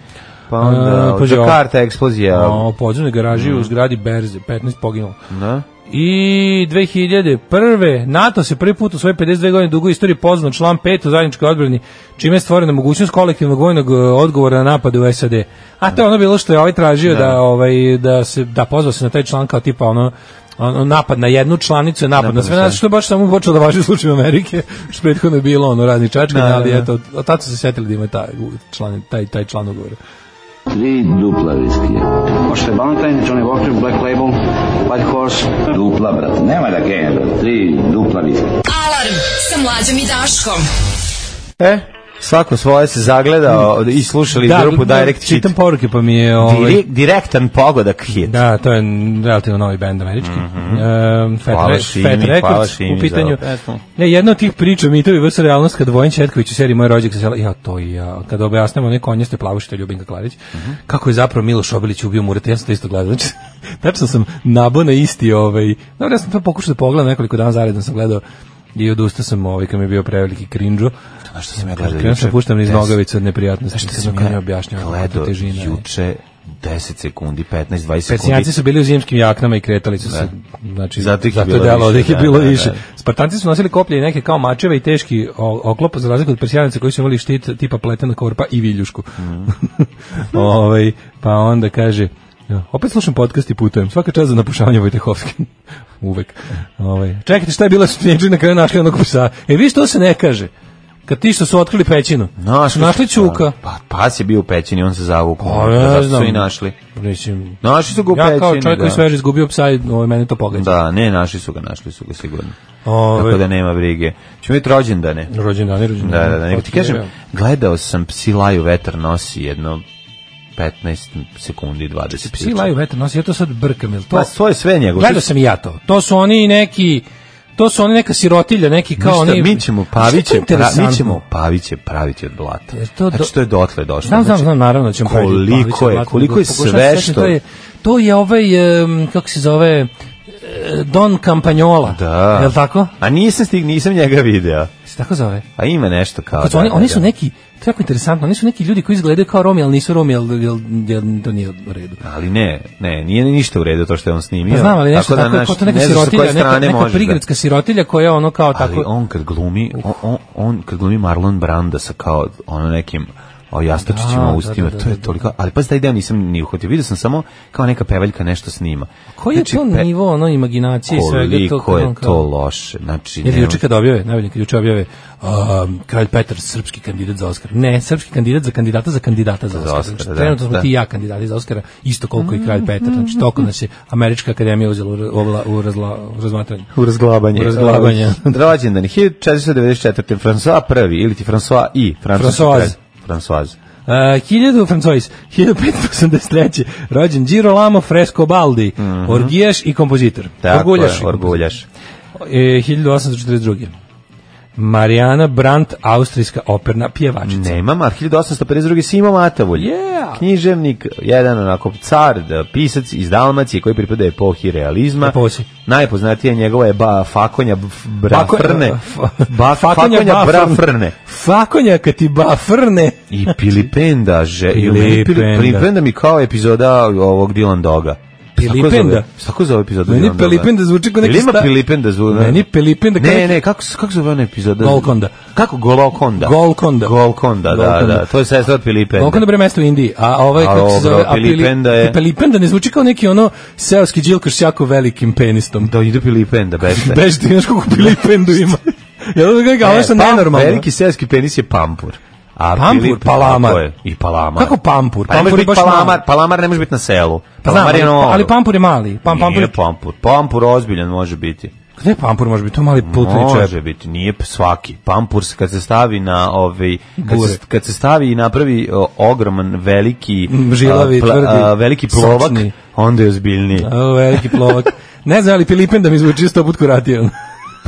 [SPEAKER 5] Pa onda,
[SPEAKER 6] Mhm. E, pazi ovo.
[SPEAKER 5] Jakarta eksplozija.
[SPEAKER 6] O, podzemne garaži u zgradi Berze, 15 poginulo.
[SPEAKER 5] Da.
[SPEAKER 6] I 2001. NATO se prvi put u svoje 52 godine dugo istoriji pozvao na član 5 u zajedničkoj odbrani, čime je stvorena mogućnost kolektivnog vojnog e, odgovora na napade u SAD. A to je ono bilo što je ovaj tražio da, ovaj, da se da pozvao se na taj član kao tipa ono ono, napad na jednu članicu, je napad,
[SPEAKER 5] Napad
[SPEAKER 6] na
[SPEAKER 5] na
[SPEAKER 6] sve,
[SPEAKER 5] sve.
[SPEAKER 6] znači što je baš samo počelo da važi u slučaju Amerike, što prethodno je bilo ono razni čačkanje,
[SPEAKER 5] Da, da,
[SPEAKER 6] ali
[SPEAKER 5] da.
[SPEAKER 6] eto, od tad su se sjetili da ima taj, član, taj, taj član ugovora.
[SPEAKER 1] Tri dupla viskija. Možete Valentine, Johnny Walker, Black Label, White Horse. Dupla, brate. Nema da genja, brate. Tri dupla viskija.
[SPEAKER 4] Alarm sa mlađom i Daškom.
[SPEAKER 5] E, svako svoje se zagleda o, i slušali grupu Direct Hit.
[SPEAKER 6] čitam poruke pa mi je... Ovaj,
[SPEAKER 5] Direk- direktan pogodak hit.
[SPEAKER 6] Da, to je relativno novi bend američki. Mm Fat,
[SPEAKER 5] Mhm. Hvala
[SPEAKER 6] Re-
[SPEAKER 5] Šimi,
[SPEAKER 6] Fat
[SPEAKER 5] hvala
[SPEAKER 6] Records
[SPEAKER 5] Šimi
[SPEAKER 6] u
[SPEAKER 5] za
[SPEAKER 6] pitanju.
[SPEAKER 5] ovo pesmu.
[SPEAKER 6] Ne, jedna od tih priča, mitovi vs. realnost, kad Vojen Četković u seriji Moj rođak se sela, ja to i ja, kad objasnimo one konjeste plavušite Ljubinka Klarić,
[SPEAKER 5] Mhm.
[SPEAKER 6] kako je zapravo Miloš Obilić ubio Murata, ja sam to isto gledao. Znači, tačno sam nabo na isti ovaj, dobro, ja sam to pokušao da pogledam nekoliko dana zaredno sam gledao i odustao sam ovaj kad mi je bio preveliki krinđo. A što sam ja
[SPEAKER 5] gledao
[SPEAKER 6] Pa Krenuo sam
[SPEAKER 5] juče?
[SPEAKER 6] puštam iz
[SPEAKER 5] Des-
[SPEAKER 6] nogavica od neprijatnosti.
[SPEAKER 5] Znaš šta
[SPEAKER 6] Što sam
[SPEAKER 5] ja
[SPEAKER 6] ja objašnjavao? kako
[SPEAKER 5] gledao
[SPEAKER 6] težina je.
[SPEAKER 5] juče 10 sekundi, 15, 20 sekundi.
[SPEAKER 6] Persijanci su bili u zimskim jaknama i kretali su se. Znači,
[SPEAKER 5] Zato
[SPEAKER 6] zato,
[SPEAKER 5] ih je bilo
[SPEAKER 6] delo
[SPEAKER 5] više,
[SPEAKER 6] da ih je
[SPEAKER 5] da,
[SPEAKER 6] bilo
[SPEAKER 5] da, da.
[SPEAKER 6] više. Spartanci su nosili koplje i neke kao mačeve i teški o- oklop, za razliku od persijanaca koji su imali štit tipa pletena korpa i viljušku.
[SPEAKER 5] Mhm.
[SPEAKER 6] ovaj, pa onda kaže, opet slušam podcast i putujem. Svaka čast za napušavanje Vojtehovske. Uvek. Ovaj, čekajte, šta je bila spinjeđa na kraju našli onog psa? E, vi što se ne kaže? Kad ti što su otkrili pećinu? Su našli čuka.
[SPEAKER 5] Pa, pas je bio u pećini, on se
[SPEAKER 6] Pa,
[SPEAKER 5] zavukao.
[SPEAKER 6] ne
[SPEAKER 5] Zato su
[SPEAKER 6] znam.
[SPEAKER 5] i našli.
[SPEAKER 6] Mislim,
[SPEAKER 5] Našli su ga u
[SPEAKER 6] ja kao
[SPEAKER 5] pećini,
[SPEAKER 6] čovjek koji
[SPEAKER 5] da.
[SPEAKER 6] sveže izgubio psa, i, ovaj, mene to pogađa. Ovaj,
[SPEAKER 5] Da, ne, našli su ga, našli su ga sigurno.
[SPEAKER 6] Ove,
[SPEAKER 5] Tako da nema brige. Ćemo imati rođendane.
[SPEAKER 6] Rođendani, rođendani.
[SPEAKER 5] Da, da, da. Nego ti
[SPEAKER 6] Hoću
[SPEAKER 5] kažem,
[SPEAKER 6] ja.
[SPEAKER 5] gledao sam Psi laju vetar nosi jedno 15 sekundi, 20
[SPEAKER 6] Psi laju vetar nosi, ja to sad brkam, jel to?
[SPEAKER 5] Pa to je sve njegovo.
[SPEAKER 6] Gledao sam i ja to. To su oni neki To su oni neka sirotilja, neki kao
[SPEAKER 5] Ništa,
[SPEAKER 6] oni... Pa
[SPEAKER 5] mi ćemo
[SPEAKER 6] Šta je to
[SPEAKER 5] paviće, pra,
[SPEAKER 6] interesantno?
[SPEAKER 5] mi ćemo paviće praviti od blata.
[SPEAKER 6] Jer to do-
[SPEAKER 5] Znači, to je dotle došlo.
[SPEAKER 6] Znam, znam,
[SPEAKER 5] Znači,
[SPEAKER 6] znam, naravno da ćemo praviti
[SPEAKER 5] koliko
[SPEAKER 6] Pavića
[SPEAKER 5] je,
[SPEAKER 6] Blatnog,
[SPEAKER 5] koliko je
[SPEAKER 6] pokušavam
[SPEAKER 5] sve
[SPEAKER 6] se setim,
[SPEAKER 5] što-
[SPEAKER 6] To je, to je ovaj, em, kako se zove, e, Don Campagnola.
[SPEAKER 5] Da.
[SPEAKER 6] Je li tako?
[SPEAKER 5] A nisam stig, nisam njega video.
[SPEAKER 6] Se tako zove?
[SPEAKER 5] A ima nešto kao...
[SPEAKER 6] Kad su
[SPEAKER 5] da, Pa
[SPEAKER 6] oni,
[SPEAKER 5] da,
[SPEAKER 6] oni
[SPEAKER 5] da.
[SPEAKER 6] su neki, to je jako interesantno, oni su neki ljudi koji izgledaju kao Romi, ali nisu Romi, ali, ali, ali to nije u redu.
[SPEAKER 5] Ali ne, ne, nije ništa u redu to što je on snimio.
[SPEAKER 6] Pa znam, ali nešto tako,
[SPEAKER 5] znaš,
[SPEAKER 6] je kao to neka
[SPEAKER 5] ne znaš sa koje
[SPEAKER 6] sirotilja, neka,
[SPEAKER 5] strane
[SPEAKER 6] neka
[SPEAKER 5] možeš da-
[SPEAKER 6] prigradska sirotilja koja je ono kao
[SPEAKER 5] Ali
[SPEAKER 6] tako...
[SPEAKER 5] on kad glumi, on, on, on kad glumi Marlon Branda sa kao ono nekim o
[SPEAKER 6] Da,
[SPEAKER 5] jastočićima
[SPEAKER 6] da,
[SPEAKER 5] u ustima,
[SPEAKER 6] da, da,
[SPEAKER 5] to je
[SPEAKER 6] da.
[SPEAKER 5] toliko, ali pa taj deo nisam ni uhvatio, vidio sam samo kao neka pevaljka nešto snima. Znači,
[SPEAKER 6] Koji je to
[SPEAKER 5] pe-
[SPEAKER 6] nivo ono imaginacije i svega to?
[SPEAKER 5] Koliko
[SPEAKER 6] kad on
[SPEAKER 5] je
[SPEAKER 6] kao-
[SPEAKER 5] to loše, znači...
[SPEAKER 6] Jer
[SPEAKER 5] ne
[SPEAKER 6] juče kad objave, najbolje kad juče objave um, Kralj Petar, srpski kandidat za Oskar. Ne, srpski kandidat za kandidata za kandidata za Oskar.
[SPEAKER 5] Oskara,
[SPEAKER 6] Znači,
[SPEAKER 5] da,
[SPEAKER 6] trenutno smo
[SPEAKER 5] da.
[SPEAKER 6] ti i ja kandidati za Oskara, isto koliko i Kralj Petar. Znači, toliko nas je Američka akademija uzela u, ra- ovla- u, razla, u razmatranje.
[SPEAKER 5] U razglabanje.
[SPEAKER 6] U razglabanje.
[SPEAKER 5] Rođendan, 1494. François prvi, ili ti François I. francuski
[SPEAKER 6] Françoise.
[SPEAKER 5] kralj. Françoise.
[SPEAKER 6] Uh, 1000 Francois, 1583. Rođen Girolamo Frescobaldi, orgijaš i kompozitor.
[SPEAKER 5] Mhm. Tako
[SPEAKER 6] orguljaš.
[SPEAKER 5] je, orguljaš.
[SPEAKER 6] E, 1842. Marijana Brandt, austrijska operna pjevačica.
[SPEAKER 5] Nemam, a 1852. Simo Matavulj.
[SPEAKER 6] Yeah.
[SPEAKER 5] Književnik, jedan onako car, da, pisac iz Dalmacije koji pripada epohi realizma.
[SPEAKER 6] Epohi.
[SPEAKER 5] Najpoznatija njegova je ba, Fakonja Bf-
[SPEAKER 6] Fako-
[SPEAKER 5] Brafrne.
[SPEAKER 6] fa-
[SPEAKER 5] Ba, fakonja Brafrne.
[SPEAKER 6] Fakonja kad ti bafrne.
[SPEAKER 5] I Pilipenda, že, i meni
[SPEAKER 6] Pilipenda.
[SPEAKER 5] Pilipenda. Pilipenda mi kao epizoda ovog Dylan Doga.
[SPEAKER 6] Pilipenda?
[SPEAKER 5] Sako zove epizoda Dylan
[SPEAKER 6] Meni
[SPEAKER 5] Doga?
[SPEAKER 6] Pilipenda zvuči kao neki
[SPEAKER 5] Ili ima
[SPEAKER 6] sta-
[SPEAKER 5] Pilipenda zvuči?
[SPEAKER 6] Meni Pilipenda kao
[SPEAKER 5] Ne,
[SPEAKER 6] neki-
[SPEAKER 5] ne, kako, se- kako zove ona epizoda?
[SPEAKER 6] Golconda.
[SPEAKER 5] Kako Golokonda?
[SPEAKER 6] Golconda.
[SPEAKER 5] Golconda, da,
[SPEAKER 6] Golconda.
[SPEAKER 5] da. To je sestra od Pilipenda.
[SPEAKER 6] Koliko dobro mesto u Indiji, a ovaj
[SPEAKER 5] A
[SPEAKER 6] kako se
[SPEAKER 5] ovo,
[SPEAKER 6] zove, a
[SPEAKER 5] Pilipenda
[SPEAKER 6] Pili-
[SPEAKER 5] je-
[SPEAKER 6] Pilipenda ne zvuči kao neki ono seoski džilkoš s jako velikim penistom.
[SPEAKER 5] Da idu Pilipenda, beste.
[SPEAKER 6] Bež ti znaš koliko Pilipendu ima. Ja da ga
[SPEAKER 5] E,
[SPEAKER 6] ovo ono što
[SPEAKER 5] pam-
[SPEAKER 6] nenormalno.
[SPEAKER 5] Veliki seoski penis je pampur. A
[SPEAKER 6] Pampur, Pa
[SPEAKER 5] Pilip-
[SPEAKER 6] palamar.
[SPEAKER 5] Tako je, I palamar.
[SPEAKER 6] Kako pampur?
[SPEAKER 5] Pa ne može
[SPEAKER 6] Pampur je
[SPEAKER 5] biti
[SPEAKER 6] baš mali.
[SPEAKER 5] palamar, palamar ne može biti na selu.
[SPEAKER 6] Pa znam,
[SPEAKER 5] Palamar
[SPEAKER 6] ali,
[SPEAKER 5] je ono- na
[SPEAKER 6] ali
[SPEAKER 5] obalu.
[SPEAKER 6] pampur je mali. Pam, pampur,
[SPEAKER 5] Nije
[SPEAKER 6] je-
[SPEAKER 5] pampur. Pampur ozbiljan može biti.
[SPEAKER 6] Gde je pampur može biti? To je mali plutni čep.
[SPEAKER 5] Može biti, nije p- svaki. Pampur se kad se stavi na ovaj kad
[SPEAKER 6] Bure.
[SPEAKER 5] se, kad se stavi i napravi o, ogroman veliki
[SPEAKER 6] Mm, žilavi,
[SPEAKER 5] a, pla-
[SPEAKER 6] tvrdi,
[SPEAKER 5] a, veliki plovak,
[SPEAKER 6] sočni.
[SPEAKER 5] onda je ozbiljniji.
[SPEAKER 6] O, veliki plovak. ne znam, ali Pilipenda mi zvuči sto put kuratio.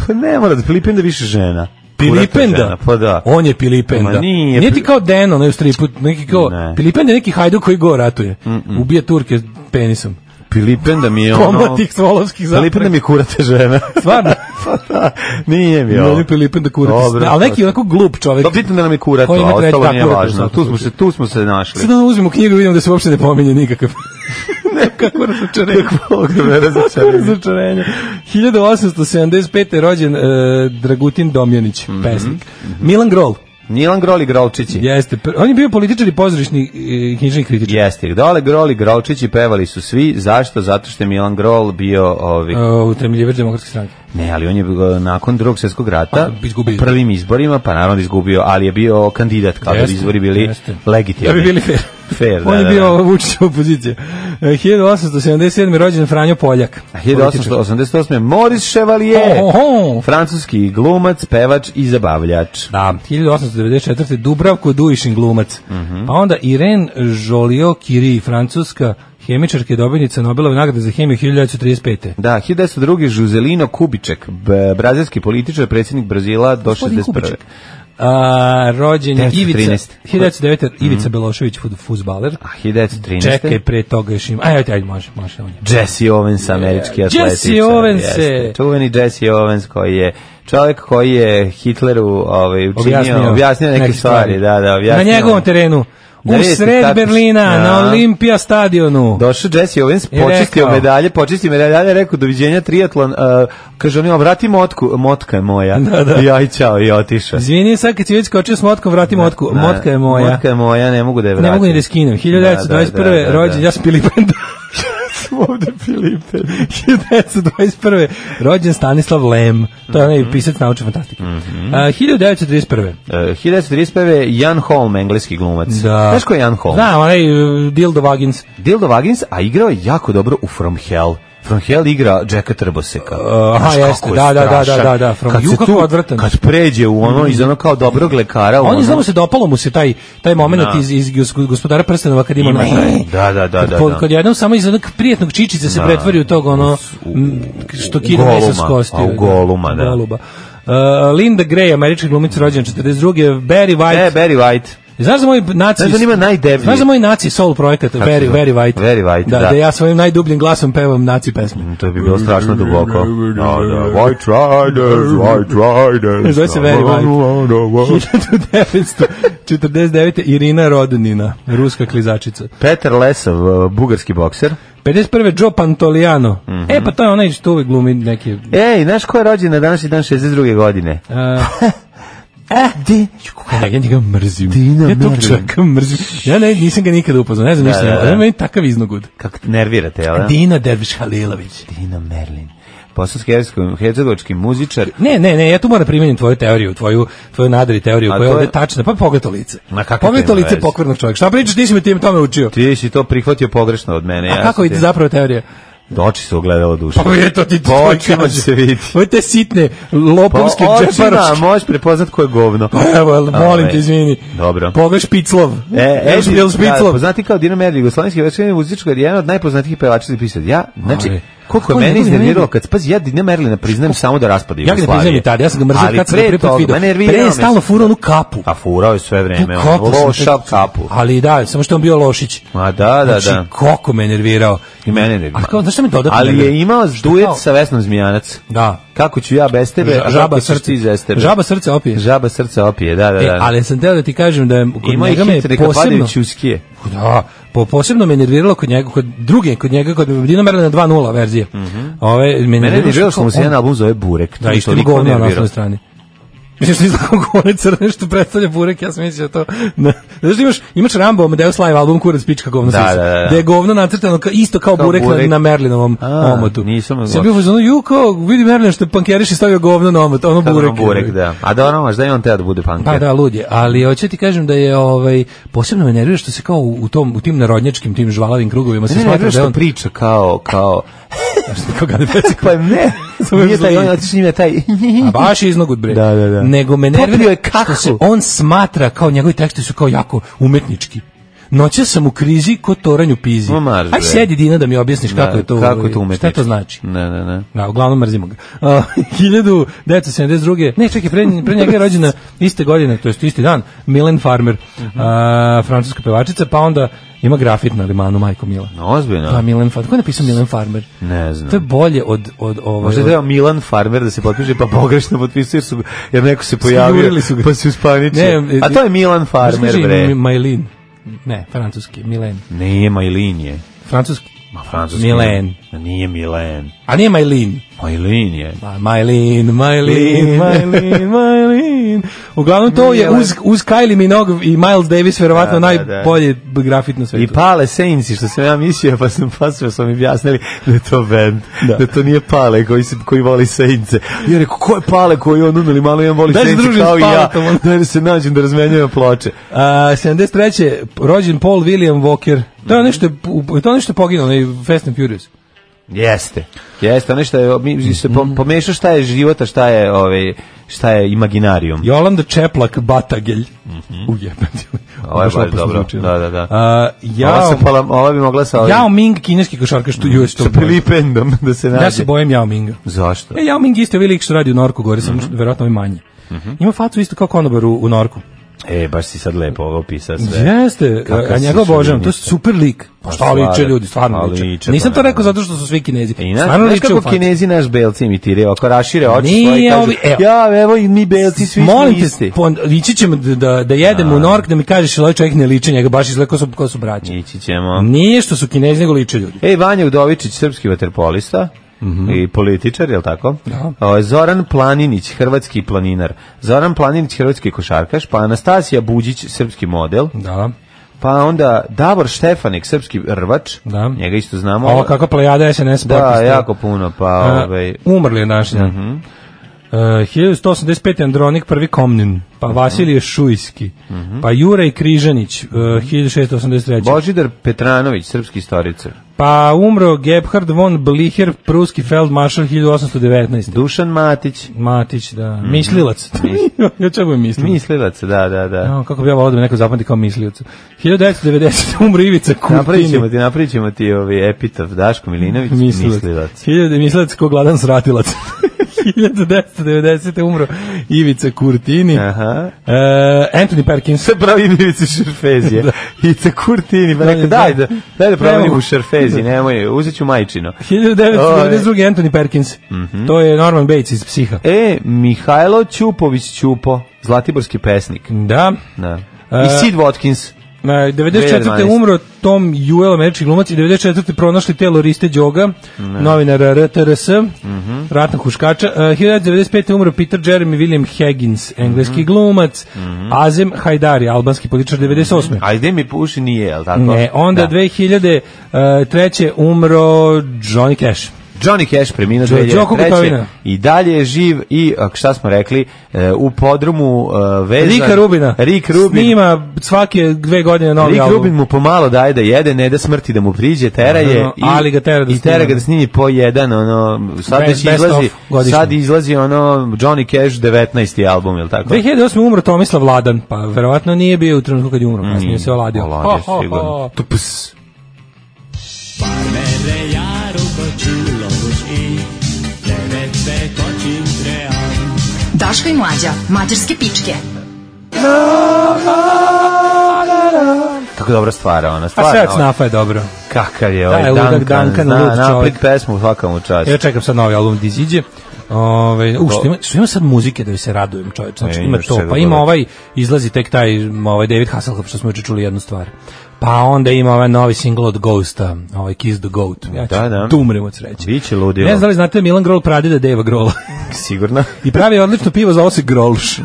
[SPEAKER 5] Pa ne mora da Filipenda više žena. Kurata
[SPEAKER 6] Pilipenda?
[SPEAKER 5] žena, Pa da.
[SPEAKER 6] On je Pilipenda.
[SPEAKER 5] Ma nije.
[SPEAKER 6] ti kao ono Den, onaj u stripu, neki kao...
[SPEAKER 5] Ne.
[SPEAKER 6] Pilipenda je neki hajduk koji go ratuje. Ubije Turke penisom.
[SPEAKER 5] Pilipenda mi je
[SPEAKER 6] Pomba
[SPEAKER 5] ono...
[SPEAKER 6] tih svolovskih zapreka.
[SPEAKER 5] Pilipenda mi je kurate žena.
[SPEAKER 6] Stvarno?
[SPEAKER 5] pa da, nije mi ovo.
[SPEAKER 6] Meni Pilipenda kurati.
[SPEAKER 5] Dobro,
[SPEAKER 6] ali neki
[SPEAKER 5] to- Pa
[SPEAKER 6] onako glup čovek.
[SPEAKER 5] To bitno da nam je kurata,
[SPEAKER 6] Koji ima
[SPEAKER 5] a
[SPEAKER 6] treći-
[SPEAKER 5] ostalo
[SPEAKER 6] da,
[SPEAKER 5] nije
[SPEAKER 6] kurata u
[SPEAKER 5] važno.
[SPEAKER 6] svakom
[SPEAKER 5] Tu smo se, tu smo se našli.
[SPEAKER 6] Sad ono uzmemo knjigu i vidimo da se uopšte ne pominje nikakav. Nekako razočarenje.
[SPEAKER 5] ogromno razočarenje.
[SPEAKER 6] razočarenje. 1875. je rođen e, Dragutin Domjanić,
[SPEAKER 5] Mhm,
[SPEAKER 6] pesnik. Milan Grol.
[SPEAKER 5] Nilan Groli Grolčići.
[SPEAKER 6] Jeste, pr- on je bio političar i pozorišni e, knjižni kritičar.
[SPEAKER 5] Jeste, dole Groli Grolčići pevali su svi. Zašto? Zato što je Milan Grol bio ovi...
[SPEAKER 6] Yeah. Utemljivač Uh, demokratske stranke.
[SPEAKER 5] Ne, ali on je e, nakon drugog svjetskog rata
[SPEAKER 6] A, Pa, izgubio.
[SPEAKER 5] u prvim izborima, pa naravno da izgubio, ali je bio kandidat kada bi
[SPEAKER 6] Jeste,
[SPEAKER 5] izbori bili
[SPEAKER 6] jeste.
[SPEAKER 5] legitimni.
[SPEAKER 6] Da bi bili fair.
[SPEAKER 5] Fair, E, da,
[SPEAKER 6] On je
[SPEAKER 5] da,
[SPEAKER 6] bio ovaj
[SPEAKER 5] da.
[SPEAKER 6] Vučićeva opozicija. E, 1877. je rođen Franjo Poljak.
[SPEAKER 5] A E! 1888. Moris Chevalier,
[SPEAKER 6] Oho!
[SPEAKER 5] francuski glumac, pevač i zabavljač.
[SPEAKER 6] Da, 1894. Dubravko Duišin glumac.
[SPEAKER 5] Mhm.
[SPEAKER 6] Pa onda Irene Joliot Curie, francuska hemičarka i dobitnica Nobelove nagrade za hemiju 1935.
[SPEAKER 5] Da, 1902. Žuzelino Kubiček, b- brazilski političar, predsjednik Brazila do
[SPEAKER 6] Gospodin
[SPEAKER 5] 61.
[SPEAKER 6] Kubiček. A, rođen je Ivica,
[SPEAKER 5] 1913.
[SPEAKER 6] 1909. Ivica Belošević, fut- fudbaler.
[SPEAKER 5] A 1913.
[SPEAKER 6] Čekaj, pre toga još ima. Ajde, ajde, ajde, može, može. On je.
[SPEAKER 5] Jesse Owens, američki
[SPEAKER 6] Jesse
[SPEAKER 5] atletičar.
[SPEAKER 6] Owens
[SPEAKER 5] jeste.
[SPEAKER 6] je-
[SPEAKER 5] Čuveni Jesse Owens koji je čovjek koji je Hitleru ovaj, učinio, objasnio, neke, stvari. Da, da, objasnio.
[SPEAKER 6] Na njegovom terenu.
[SPEAKER 5] Da
[SPEAKER 6] u
[SPEAKER 5] vidite
[SPEAKER 6] sred
[SPEAKER 5] kako-
[SPEAKER 6] Berlina, na
[SPEAKER 5] Da.
[SPEAKER 6] Olimpija stadionu.
[SPEAKER 5] Došao Jesse Owens,
[SPEAKER 6] I
[SPEAKER 5] počistio
[SPEAKER 6] rekao.
[SPEAKER 5] medalje, počistio medalje, rekao doviđenja triatlon, uh, kaže on, vrati motku, motka je moja.
[SPEAKER 6] Da, da.
[SPEAKER 5] I aj, čao, i otišao.
[SPEAKER 6] Izvini, sad kad si već skočio s motkom, vrati motku.
[SPEAKER 5] Ne,
[SPEAKER 6] Motka je moja.
[SPEAKER 5] Motka je moja, ne mogu da je vratim.
[SPEAKER 6] Ne mogu ni da je skinem. 1921.
[SPEAKER 5] Da, da, da, da.
[SPEAKER 6] rođen, ja sam Pilipenda.
[SPEAKER 5] Ovde Filipe.
[SPEAKER 6] 1921. rođen Stanislav Lem. To je
[SPEAKER 5] Mhm.
[SPEAKER 6] onaj pisac naučne fantastike. A, 1931.
[SPEAKER 5] Uh, 1935. Jan Holm, engleski glumac.
[SPEAKER 6] Da.
[SPEAKER 5] Znaš ko je Jan Holm?
[SPEAKER 6] Znam, onaj uh, Dildo Vagins.
[SPEAKER 5] Dildo Vagins, a igrao je jako dobro u From Hell. From Hell igra Jacka Trboseka.
[SPEAKER 6] Uh, aha,
[SPEAKER 5] Znaš kako
[SPEAKER 6] jeste,
[SPEAKER 5] je
[SPEAKER 6] da, da, da,
[SPEAKER 5] strašan.
[SPEAKER 6] da, da, From
[SPEAKER 5] Kad se
[SPEAKER 6] Hugh
[SPEAKER 5] tu-
[SPEAKER 6] kako je odvratan.
[SPEAKER 5] Kad pređe u ono, iz ono kao dobrog lekara, u
[SPEAKER 6] On
[SPEAKER 5] ono,
[SPEAKER 6] je znamo se dopalo mu se taj taj momenat
[SPEAKER 5] Da.
[SPEAKER 6] iz iz Gos- gospodara prstenova kad ima,
[SPEAKER 5] Ima
[SPEAKER 6] ono-
[SPEAKER 5] taj, da, da, da,
[SPEAKER 6] Kad
[SPEAKER 5] da,
[SPEAKER 6] po-
[SPEAKER 5] da.
[SPEAKER 6] Kad jednom samo iz onog prijetnog čičice se pretvori u tog ono m, što
[SPEAKER 5] u
[SPEAKER 6] kida mesa s
[SPEAKER 5] goluma,
[SPEAKER 6] kostiju.
[SPEAKER 5] a u
[SPEAKER 6] da.
[SPEAKER 5] goluma, da.
[SPEAKER 6] Goluba. Uh, Linda Gray, američka glumica rođena 42. Barry White.
[SPEAKER 5] E, Barry White.
[SPEAKER 6] Znaš za moj naci...
[SPEAKER 5] Znaš da on ima najdeblji-
[SPEAKER 6] Znaš za moj naci soul projekat, Very,
[SPEAKER 5] zove?
[SPEAKER 6] very white.
[SPEAKER 5] Very White,
[SPEAKER 6] da.
[SPEAKER 5] da. Mhm.
[SPEAKER 6] Da ja svojim najdubljim glasom pevam naci pesme.
[SPEAKER 5] To bi bilo strašno duboko. Da, da. White Riders, White Riders.
[SPEAKER 6] Zove se Very White. 1949. Irina Rodnina, ruska klizačica.
[SPEAKER 5] Peter Lesov, uh, bugarski bokser.
[SPEAKER 6] 51. Joe Pantoliano.
[SPEAKER 5] Mhm.
[SPEAKER 6] E, pa to je onaj što uvek glumi neke...
[SPEAKER 5] Ej, znaš ko je rođen na današnji dan 62. godine?
[SPEAKER 6] Uh,
[SPEAKER 5] E, di?
[SPEAKER 6] Ja, ja njega mrzim.
[SPEAKER 5] Dina,
[SPEAKER 6] ja tog
[SPEAKER 5] mrzim.
[SPEAKER 6] čovjeka mrzim. Ja ne, nisam ga nikada upoznao, ne znam ništa.
[SPEAKER 5] da,
[SPEAKER 6] Da,
[SPEAKER 5] da.
[SPEAKER 6] Meni je takav iznogud.
[SPEAKER 5] Kako te nervirate, jel? da?
[SPEAKER 6] Dina Derviš Halilović.
[SPEAKER 5] Dina Merlin. Bosanski-hercegovački muzičar.
[SPEAKER 6] Ne, ne, ne, ja tu moram primenim tvoju teoriju, tvoju, tvoju nadri teoriju
[SPEAKER 5] A
[SPEAKER 6] koja je
[SPEAKER 5] to je-
[SPEAKER 6] ovde tačna. Pa pogled to lice.
[SPEAKER 5] Ma kakve to
[SPEAKER 6] Pogled to
[SPEAKER 5] ima
[SPEAKER 6] lice
[SPEAKER 5] veze?
[SPEAKER 6] pokvarnog čovjeka. Šta pričaš, ti si me tim tome učio.
[SPEAKER 5] Ti si to prihvatio pogrešno od mene.
[SPEAKER 6] A
[SPEAKER 5] ja
[SPEAKER 6] kako
[SPEAKER 5] sam
[SPEAKER 6] ide
[SPEAKER 5] ti-
[SPEAKER 6] zapravo teorija?
[SPEAKER 5] Oči su ogledalo duše.
[SPEAKER 6] Pa je to ti
[SPEAKER 5] Po očima će se vidjeti.
[SPEAKER 6] Ovo te sitne
[SPEAKER 5] Po
[SPEAKER 6] lopovske
[SPEAKER 5] očima
[SPEAKER 6] džeparoške.
[SPEAKER 5] možeš prepoznat ko je govno.
[SPEAKER 6] Pa Evo, ali molim
[SPEAKER 5] Ove,
[SPEAKER 6] te, izvini.
[SPEAKER 5] Dobro.
[SPEAKER 6] Pogledaš Špiclov.
[SPEAKER 5] E,
[SPEAKER 6] Jel
[SPEAKER 5] Edi,
[SPEAKER 6] Jel
[SPEAKER 5] da,
[SPEAKER 6] Špiclov?
[SPEAKER 5] poznati kao Dino Merlin, jugoslovenski večernji muzičar, jedan od najpoznatijih pevača i pisatelja. Ja, znači,
[SPEAKER 6] Oj.
[SPEAKER 5] koliko je
[SPEAKER 6] Kako je
[SPEAKER 5] mene
[SPEAKER 6] njegov
[SPEAKER 5] iznervirao
[SPEAKER 6] njegov-
[SPEAKER 5] kad pazi ja Dino Merlina priznajem samo da raspada
[SPEAKER 6] Ja ga
[SPEAKER 5] Jugoslavije.
[SPEAKER 6] ne priznam i tad, ja sam ga mrzio
[SPEAKER 5] Ali
[SPEAKER 6] kad sam ga
[SPEAKER 5] pre
[SPEAKER 6] prvi put
[SPEAKER 5] toga,
[SPEAKER 6] vidio.
[SPEAKER 5] ma nervirao
[SPEAKER 6] Pre je
[SPEAKER 5] me se.
[SPEAKER 6] stalno furao onu kapu.
[SPEAKER 5] A furao je sve
[SPEAKER 6] Tu
[SPEAKER 5] vreme, ono,
[SPEAKER 6] kapu
[SPEAKER 5] on
[SPEAKER 6] sam
[SPEAKER 5] lošav
[SPEAKER 6] tek-
[SPEAKER 5] kapu.
[SPEAKER 6] Ali da, samo što je on bio Lošić.
[SPEAKER 5] Ma da, da, da.
[SPEAKER 6] Znači, koliko me nervirao.
[SPEAKER 5] I mene nervirao.
[SPEAKER 6] A kao, znaš šta me dodatno
[SPEAKER 5] Ali
[SPEAKER 6] nervirao?
[SPEAKER 5] je imao
[SPEAKER 6] Što
[SPEAKER 5] duet
[SPEAKER 6] kao-
[SPEAKER 5] sa Vesnom Zmijanac.
[SPEAKER 6] Da.
[SPEAKER 5] Kako ću ja bez tebe, a
[SPEAKER 6] Ža- žaba
[SPEAKER 5] kako ćeš
[SPEAKER 6] srce.
[SPEAKER 5] ti bez tebe.
[SPEAKER 6] Žaba srce opije.
[SPEAKER 5] Žaba srca opije, da, da, da.
[SPEAKER 6] E, ali sam teo da ti kažem da je kod
[SPEAKER 5] Imao je
[SPEAKER 6] njega me
[SPEAKER 5] hit, neka
[SPEAKER 6] posebno...
[SPEAKER 5] padaju Ćuskije.
[SPEAKER 6] Da, po, posebno me nerviralo kod njega, kod druge, kod njega, kod Dino Merlina 2.0 verzije. Ove, me
[SPEAKER 5] Mhm. Mene je
[SPEAKER 6] nerviralo
[SPEAKER 5] nervirao
[SPEAKER 6] što
[SPEAKER 5] što mu se
[SPEAKER 6] on-
[SPEAKER 5] jedan album zove Burek.
[SPEAKER 6] Da, isto je
[SPEAKER 5] toliko
[SPEAKER 6] govno na
[SPEAKER 5] nervirao.
[SPEAKER 6] naslovnoj strani. Mislim što izgleda kao govne crne što predstavlja burek, ja sam mislio to. Na, znaš da imaš, imaš Rambo Amadeus Live album Kurac pička govno
[SPEAKER 5] Da,
[SPEAKER 6] sisa,
[SPEAKER 5] da, da.
[SPEAKER 6] gde je govno nacrtano ka, isto kao,
[SPEAKER 5] Kao
[SPEAKER 6] burek, na-
[SPEAKER 5] burek.
[SPEAKER 6] na Merlinovom
[SPEAKER 5] A,
[SPEAKER 6] omotu.
[SPEAKER 5] nisam
[SPEAKER 6] Sam bio u fazonu, ju kao, vidi Merlin što pankeriš i stavio govno na omot, ono
[SPEAKER 5] Kad
[SPEAKER 6] burek.
[SPEAKER 5] ono burek, da. A da ono, možda je on teo da bude punker.
[SPEAKER 6] Pa da, lud je, ali hoću ti kažem da je ovaj posebno me nervira što se kao u u tom u tim narodnjačkim tim žvalavim krugovima se
[SPEAKER 5] Ne, ne,
[SPEAKER 6] smatra
[SPEAKER 5] ne,
[SPEAKER 6] da je
[SPEAKER 5] što
[SPEAKER 6] on
[SPEAKER 5] priča kao, kao,
[SPEAKER 6] koga ne pecik.
[SPEAKER 5] pa ne,
[SPEAKER 6] Samo je
[SPEAKER 5] nije taj,
[SPEAKER 6] zlo-
[SPEAKER 5] on otiš njime taj,
[SPEAKER 6] A baš je iznogut bre.
[SPEAKER 5] Da, da, da.
[SPEAKER 6] Nego me
[SPEAKER 5] Popio
[SPEAKER 6] nervira
[SPEAKER 5] je kahu.
[SPEAKER 6] što se on smatra kao njegovi teksti su kao jako umetnički. Noća sam u krizi ko toranj u pizi.
[SPEAKER 5] Ma, marš,
[SPEAKER 6] Aj
[SPEAKER 5] bre.
[SPEAKER 6] sjedi Dina da mi objasniš kako je to.
[SPEAKER 5] kako je to umetnički.
[SPEAKER 6] Šta to znači?
[SPEAKER 5] Ne, ne, ne.
[SPEAKER 6] Da, uglavnom mrzimo ga. Uh, 1972. Ne, čekaj, pre, pre njega je rođena iste godine, to jest isti dan, Milen Farmer,
[SPEAKER 5] Mhm.
[SPEAKER 6] uh, francuska pevačica, pa onda ima grafit na limanu, majko Mila.
[SPEAKER 5] No, ozbiljno.
[SPEAKER 6] Da, Milen Farmer. Ko je napisao Milen Farmer?
[SPEAKER 5] Ne znam.
[SPEAKER 6] To je bolje od, od, ovaj,
[SPEAKER 5] Možda je
[SPEAKER 6] od-
[SPEAKER 5] trebao Milan Farmer da se potpiše, pa pogrešno potpisuje, jer, su, jer neko se pojavio,
[SPEAKER 6] Snurili su ga.
[SPEAKER 5] pa se uspaniče.
[SPEAKER 6] Ne, e,
[SPEAKER 5] A to je Milan Farmer, bre.
[SPEAKER 6] Majlin. Ne, francuski, Milen.
[SPEAKER 5] Nije Majlin je.
[SPEAKER 6] Francuski.
[SPEAKER 5] Ma, francuski.
[SPEAKER 6] Milen.
[SPEAKER 5] Nije Milen.
[SPEAKER 6] A nije Pa, Majlin.
[SPEAKER 5] Majlin je.
[SPEAKER 6] Ma- Majlin, Majlin, Majlin, Majlin. Uglavnom to je uz, uz Kylie Minogue i Miles Davis verovatno
[SPEAKER 5] Da, da, da.
[SPEAKER 6] najbolje grafit na svetu.
[SPEAKER 5] I pa- Pale Sejnci, što sam ja mislio, pa sam pasio, sam mi objasnili da je to band, da, to nije Pale koji, se, koji voli Sejnce. I ja rekao, ko je Pale koji on unali malo, jedan voli
[SPEAKER 6] Daj se
[SPEAKER 5] Sejnce
[SPEAKER 6] družim
[SPEAKER 5] kao
[SPEAKER 6] s
[SPEAKER 5] i ja,
[SPEAKER 6] Paletom, ono.
[SPEAKER 5] da se nađem da razmenjujemo ploče.
[SPEAKER 6] A, 73. rođen Paul William Walker. To je nešto,
[SPEAKER 5] Mhm.
[SPEAKER 6] to je nešto poginuo, onaj Fast and Furious.
[SPEAKER 5] Jeste. Jeste, ono što je, mi se
[SPEAKER 6] Mhm.
[SPEAKER 5] po- pomešao šta je života, šta je, ovaj, šta je imaginarium.
[SPEAKER 6] Jolanda Čeplak Batagelj. Ujebem ti.
[SPEAKER 5] Mhm. Ovo je
[SPEAKER 6] Baš
[SPEAKER 5] baš
[SPEAKER 6] opasno
[SPEAKER 5] dobro.
[SPEAKER 6] zvuči, ono.
[SPEAKER 5] Da, da, da.
[SPEAKER 6] A,
[SPEAKER 5] Ova,
[SPEAKER 6] jao,
[SPEAKER 5] se pala, ova bi mogla sa, ovim,
[SPEAKER 6] Yao Ming, kineski košarkaš, tu joj,
[SPEAKER 5] sa Filipendom da se nađe.
[SPEAKER 6] Ja se bojim Yao Minga.
[SPEAKER 5] Zašto?
[SPEAKER 6] E, Yao Ming isto je velik što radi u Norku, gore sam verovatno i manje. Ima facu isto kao konobar u, u Norku.
[SPEAKER 5] E, baš si sad lepo ovo opisao sve.
[SPEAKER 6] Jeste,
[SPEAKER 5] Kakav
[SPEAKER 6] a
[SPEAKER 5] si
[SPEAKER 6] njega obožavam, to je
[SPEAKER 5] šovinista.
[SPEAKER 6] super lik. Pa šta
[SPEAKER 5] stvarno.
[SPEAKER 6] liče ljudi,
[SPEAKER 5] Pa
[SPEAKER 6] stvarno
[SPEAKER 5] liče,
[SPEAKER 6] liče.
[SPEAKER 5] pa
[SPEAKER 6] Nisam to
[SPEAKER 5] naravno.
[SPEAKER 6] rekao zato što su svi kinezi.
[SPEAKER 5] I naš,
[SPEAKER 6] Stvarno
[SPEAKER 5] znaš
[SPEAKER 6] liče u
[SPEAKER 5] kako
[SPEAKER 6] facu.
[SPEAKER 5] kinezi naš belci imitiraju, ako rašire oči svoje i
[SPEAKER 6] Nije
[SPEAKER 5] kažu,
[SPEAKER 6] ovi- evo.
[SPEAKER 5] ja, evo i mi belci svi
[SPEAKER 6] Molim
[SPEAKER 5] smo
[SPEAKER 6] te,
[SPEAKER 5] isti.
[SPEAKER 6] pon, ići ćemo da- da, da jedem u Nork, da mi kažeš, ovaj čovjek ne liče njega, baš izgleda ko su, ko su braća.
[SPEAKER 5] Ići ćemo.
[SPEAKER 6] Nije što su kinezi, nego liče ljudi.
[SPEAKER 5] Ej, Vanja Udovičić, srpski vaterpolista i političar, je li tako?
[SPEAKER 6] Mhm. Da.
[SPEAKER 5] O, Zoran Planinić, hrvatski planinar. Zoran Planinić, hrvatski košarkaš. Pa Anastasija Buđić, srpski model.
[SPEAKER 6] Da.
[SPEAKER 5] Pa onda Davor Štefanik, srpski rvač.
[SPEAKER 6] Da.
[SPEAKER 5] Njega isto znamo.
[SPEAKER 6] Ovo kakva plejada SNS
[SPEAKER 5] Da,
[SPEAKER 6] sportista.
[SPEAKER 5] jako puno. Pa,
[SPEAKER 6] A,
[SPEAKER 5] ovaj, Mhm.
[SPEAKER 6] Umrli je naš E, dan. 1185. Andronik prvi Komnin, pa
[SPEAKER 5] Mhm.
[SPEAKER 6] Vasilije Šujski,
[SPEAKER 5] Mhm.
[SPEAKER 6] pa Juraj Križanić, uh, 1683.
[SPEAKER 5] Božidar Petranović, srpski istoricer.
[SPEAKER 6] Pa umro Gebhard von Blicher, pruski feldmaršal 1819.
[SPEAKER 5] Dušan Matić.
[SPEAKER 6] Matić, da.
[SPEAKER 5] Mhm.
[SPEAKER 6] Mislilac. ja čemu je mislilac?
[SPEAKER 5] Mislilac, da, da, da.
[SPEAKER 6] No, kako bi ja volao da me neko zapamti kao mislioca. 1990. umro Ivica
[SPEAKER 5] Napravit ćemo
[SPEAKER 6] Kurtini.
[SPEAKER 5] ti, napravit ćemo ti ovi epitaf Daško Milinović,
[SPEAKER 6] Mislilac.
[SPEAKER 5] mislilac.
[SPEAKER 6] 1000 mislilac ko gladan sratilac. 1990. umro Ivica Kurtini.
[SPEAKER 5] Aha.
[SPEAKER 6] E, Anthony Perkins.
[SPEAKER 5] Sve pravi Ivica Šerfezija. I te kurtini, pa rekao, daj da, daj da
[SPEAKER 6] Ne
[SPEAKER 5] promenim
[SPEAKER 6] mogu.
[SPEAKER 5] u Šerfezi, nemoj, uzet ću majčino.
[SPEAKER 6] 1992. Anthony Perkins. To je Norman Bates iz Psiha.
[SPEAKER 5] Mhm. E, Mihajlo Ćupović Ćupo, zlatiborski pesnik.
[SPEAKER 6] Da.
[SPEAKER 5] Da.
[SPEAKER 6] E,
[SPEAKER 5] I Sid Watkins.
[SPEAKER 6] Na 94.
[SPEAKER 5] 2012.
[SPEAKER 6] umro Tom Juel, američki glumac, i 94. pronašli telo Riste Đoga, novinara RTRS,
[SPEAKER 5] Mhm.
[SPEAKER 6] ratnog huškača. E, 1995. umro Peter Jeremy William Higgins,
[SPEAKER 5] Mhm.
[SPEAKER 6] engleski glumac, Azem Hajdari, albanski političar, 98.
[SPEAKER 5] Ajde mi puši nije, jel tako?
[SPEAKER 6] Ne, onda
[SPEAKER 5] Mhm. Da.
[SPEAKER 6] 2003. umro Johnny Cash.
[SPEAKER 5] Johnny Cash preminuo
[SPEAKER 6] Đo- Đoko
[SPEAKER 5] 2003.
[SPEAKER 6] Gotovina.
[SPEAKER 5] I dalje je živ i, a, šta smo rekli, e, u podrumu e, vezan...
[SPEAKER 6] Rika Rubina.
[SPEAKER 5] Rik Rubin.
[SPEAKER 6] Snima svake dve godine novi
[SPEAKER 5] Rick
[SPEAKER 6] album.
[SPEAKER 5] Rubin mu pomalo daje da jede, ne da smrti da mu priđe, tera je
[SPEAKER 6] Naravno, ali ga tera da
[SPEAKER 5] i tera
[SPEAKER 6] snima.
[SPEAKER 5] ga da snimi po jedan, ono, sad
[SPEAKER 6] Best-
[SPEAKER 5] već
[SPEAKER 6] best
[SPEAKER 5] izlazi,
[SPEAKER 6] of godišnje.
[SPEAKER 5] sad izlazi ono Johnny Cash 19. album, jel tako?
[SPEAKER 6] 2008. umro Tomislav Vladan, pa verovatno nije bio u trenutku kad je umro,
[SPEAKER 5] Mm,
[SPEAKER 6] kasnije se oladio.
[SPEAKER 5] Oladio,
[SPEAKER 6] Ho, ho, ho.
[SPEAKER 5] pa sigurno. Tups.
[SPEAKER 4] Daško i mlađa, mađarske pičke.
[SPEAKER 5] Kako dobra stvar, ona
[SPEAKER 6] A
[SPEAKER 5] stvar.
[SPEAKER 6] sve od snafa je dobro.
[SPEAKER 5] Kakav je
[SPEAKER 6] Da,
[SPEAKER 5] ovaj
[SPEAKER 6] je ludak
[SPEAKER 5] Duncan,
[SPEAKER 6] Duncan,
[SPEAKER 5] zna,
[SPEAKER 6] lud
[SPEAKER 5] napred
[SPEAKER 6] čovjek.
[SPEAKER 5] pesmu svaka mu čast.
[SPEAKER 6] Ja čekam sad novi album Diz iđe. Ove, u, što ima, što ima sad muzike da joj se radujem čovječ, znači
[SPEAKER 5] E,
[SPEAKER 6] ima
[SPEAKER 5] imaš
[SPEAKER 6] to,
[SPEAKER 5] čega
[SPEAKER 6] pa ima
[SPEAKER 5] gledati.
[SPEAKER 6] ovaj, izlazi tek taj m, ovaj David Hasselhoff što smo juče čuli jednu stvar. Pa onda ima ovaj novi single od Ghosta, ovaj Kiss the Goat. Ja ću
[SPEAKER 5] Da, da.
[SPEAKER 6] da umrem od sreće.
[SPEAKER 5] Biće ludilo.
[SPEAKER 6] Ne znam da li znate Milan Grol pradeda Deva Grola.
[SPEAKER 5] sigurno.
[SPEAKER 6] I pravi odlično pivo za se Grolš.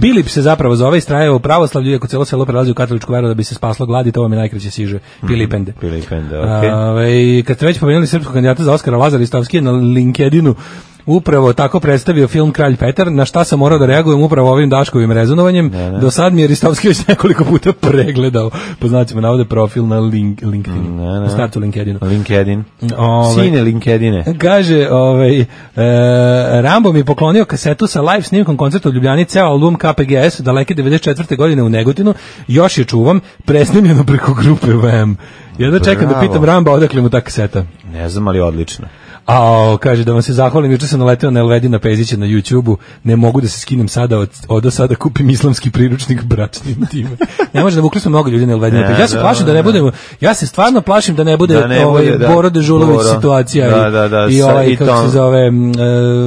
[SPEAKER 6] Pilip se zapravo zove i strajeva u pravoslavlju, iako celo selo prelazi u katoličku veru da bi se spaslo gladi, to vam je najkraće siže. Pilipende.
[SPEAKER 5] Pilipende, okej.
[SPEAKER 6] Ove, kad ste već pomenuli srpskog kandidata za Oskara Lazar Istovski je na LinkedInu upravo tako predstavio film Kralj Petar, na šta sam morao da reagujem upravo ovim Daškovim rezonovanjem. Do sad mi je Ristovski već nekoliko puta pregledao, po znacima navode profil na link, LinkedInu.
[SPEAKER 5] ne.
[SPEAKER 6] Na startu LinkedInu.
[SPEAKER 5] LinkedIn.
[SPEAKER 6] Ovaj-
[SPEAKER 5] Sine Linkedine.
[SPEAKER 6] Kaže, ovaj, e, Rambo mi je poklonio kasetu sa live snimkom koncerta u Ljubljani, ceo album KPGS, daleke 94. godine u Negotinu, još je čuvam, presnimljeno preko grupe VM. Jedno čekam da
[SPEAKER 5] Bravo.
[SPEAKER 6] pitam Ramba odakle mu ta kaseta.
[SPEAKER 5] Ne znam, ali odlično.
[SPEAKER 6] A, kaže, da vam se zahvalim, juče sam naleteo na Elvedina Pezića na YouTube-u, ne mogu da se skinem sada, od, odo sada kupim islamski priručnik bračnim time. ne može, navukli smo mnogo ljudi na Elvedina
[SPEAKER 5] Ne,
[SPEAKER 6] Pezića. Ja se
[SPEAKER 5] da,
[SPEAKER 6] plašim da ne
[SPEAKER 5] da.
[SPEAKER 6] budemo, ja se stvarno plašim da ne bude,
[SPEAKER 5] Da ne
[SPEAKER 6] ovaj,
[SPEAKER 5] bude, da.
[SPEAKER 6] Boro Dežulović
[SPEAKER 5] Boro.
[SPEAKER 6] situacija
[SPEAKER 5] Da,
[SPEAKER 6] i,
[SPEAKER 5] da, da,
[SPEAKER 6] i
[SPEAKER 5] sa-
[SPEAKER 6] ovaj,
[SPEAKER 5] i
[SPEAKER 6] kako
[SPEAKER 5] Tom-
[SPEAKER 6] se zove,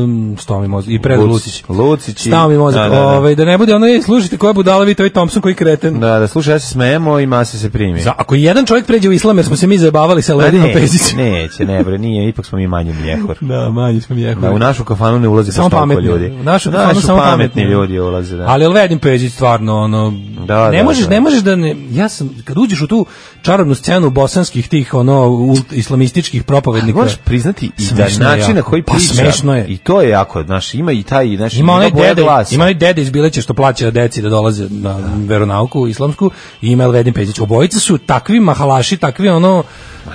[SPEAKER 6] um, Stomi Mozak, i Predrag Lucić.
[SPEAKER 5] Lucić. Lucić i-
[SPEAKER 6] Stao mi mozak.
[SPEAKER 5] Da, da, da.
[SPEAKER 6] Ovaj, da ne bude ono, je, slušajte koja budala vi, to je Thompson koji kreten.
[SPEAKER 5] Da, da, slušaj, ja se smejemo i mase se primi.
[SPEAKER 6] Za- Ako jedan čovjek pređe u islam, jer smo se mi zajebavali sa
[SPEAKER 5] Pa
[SPEAKER 6] Elvedina
[SPEAKER 5] ne,
[SPEAKER 6] Pezićem.
[SPEAKER 5] neće, ne bre, nije, ipak smo mi manji mljehor.
[SPEAKER 6] Da, manji smo mjehuri.
[SPEAKER 5] Da, u našu kafanu ne ulazi
[SPEAKER 6] Samo
[SPEAKER 5] baš toliko
[SPEAKER 6] pametni.
[SPEAKER 5] ljudi.
[SPEAKER 6] U našu kafanu samo pametni.
[SPEAKER 5] pametni ljudi ulaze, da.
[SPEAKER 6] Ali Elvedin Peđić stvarno ono
[SPEAKER 5] Da,
[SPEAKER 6] ne
[SPEAKER 5] da,
[SPEAKER 6] možeš
[SPEAKER 5] da.
[SPEAKER 6] ne možeš da ne ja sam kad uđeš u tu čarobnu scenu bosanskih tih ono ult- islamističkih propovednika
[SPEAKER 5] Moraš priznati i da
[SPEAKER 6] Smešno je
[SPEAKER 5] način na
[SPEAKER 6] jako.
[SPEAKER 5] koji
[SPEAKER 6] Pa,
[SPEAKER 5] priča.
[SPEAKER 6] smešno je.
[SPEAKER 5] I to je jako, znaš, ima i taj, znaš,
[SPEAKER 6] ima onaj
[SPEAKER 5] boja
[SPEAKER 6] dede
[SPEAKER 5] glasa.
[SPEAKER 6] ima onaj dede iz Bileće što plaća deci da dolaze na veronauku islamsku i ima Elvedin Peđić obojica su takvi mahalaši takvi ono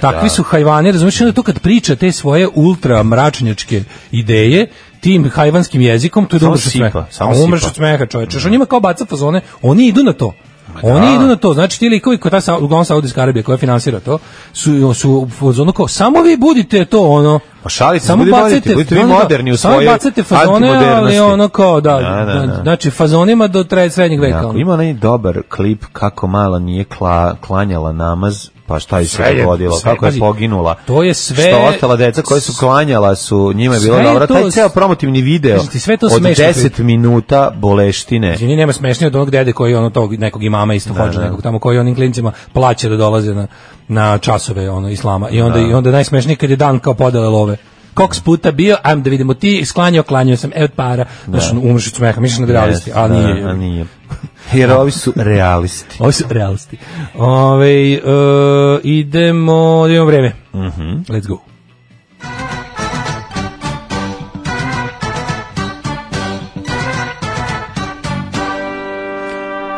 [SPEAKER 6] takvi su hajvani razumiješ onda to kad priča te svoje ultra mračnjačke ideje tim hajvanskim jezikom to je da
[SPEAKER 5] Samo
[SPEAKER 6] umreš od
[SPEAKER 5] sipa,
[SPEAKER 6] smeha.
[SPEAKER 5] samo
[SPEAKER 6] A umreš
[SPEAKER 5] sipa.
[SPEAKER 6] od smeha, čoveče. Što njima kao baca fazone, oni idu na to. Oni idu na to, znači ti likovi koja ta Sa- uglavnom Saudijska Arabija koja finansira to, su, su u fazonu kao, samo vi budite to ono,
[SPEAKER 5] Pa šalite se,
[SPEAKER 6] samo
[SPEAKER 5] budite
[SPEAKER 6] bacajte,
[SPEAKER 5] moderni, budite vi
[SPEAKER 6] ono da,
[SPEAKER 5] moderni u
[SPEAKER 6] samo
[SPEAKER 5] svojoj
[SPEAKER 6] bacajte fazone, ali
[SPEAKER 5] antimodernosti.
[SPEAKER 6] ono kao, da,
[SPEAKER 5] Da, da,
[SPEAKER 6] da,
[SPEAKER 5] da.
[SPEAKER 6] znači fazonima do tre, srednjeg veka.
[SPEAKER 5] Jako,
[SPEAKER 6] ono.
[SPEAKER 5] ima onaj dobar klip kako mala nije kla, klanjala namaz, pa šta je se
[SPEAKER 6] Sve je-
[SPEAKER 5] dogodilo,
[SPEAKER 6] sve,
[SPEAKER 5] kako
[SPEAKER 6] pazi,
[SPEAKER 5] je poginula.
[SPEAKER 6] to je sve-
[SPEAKER 5] Što ostala deca koja su klanjala su, njima je bilo
[SPEAKER 6] Sve je
[SPEAKER 5] dobro.
[SPEAKER 6] to-
[SPEAKER 5] Taj ceo promotivni video
[SPEAKER 6] Kažem ti, sve to
[SPEAKER 5] od
[SPEAKER 6] smešno
[SPEAKER 5] 10 minuta boleštine.
[SPEAKER 6] Izvini, nema smešnije od onog dede koji ono tog nekog imama isto hođe nekog tamo koji onim klincima plaća da dolaze na, na časove ono islama. I onda i onda je najsmešnije kad je dan kao podele love. Koliko si puta bio, ajmo da vidimo ti, sklanjao, klanjao sam, evo para. Znaš, ono, umreš od smeha, misliš na realisti, a
[SPEAKER 5] Jeste,
[SPEAKER 6] nije.
[SPEAKER 5] da, a nije. Jer ovi su realisti.
[SPEAKER 6] Ovi su realisti. Ove, e, idemo, da imamo vreme.
[SPEAKER 5] Mhm.
[SPEAKER 6] Let's go.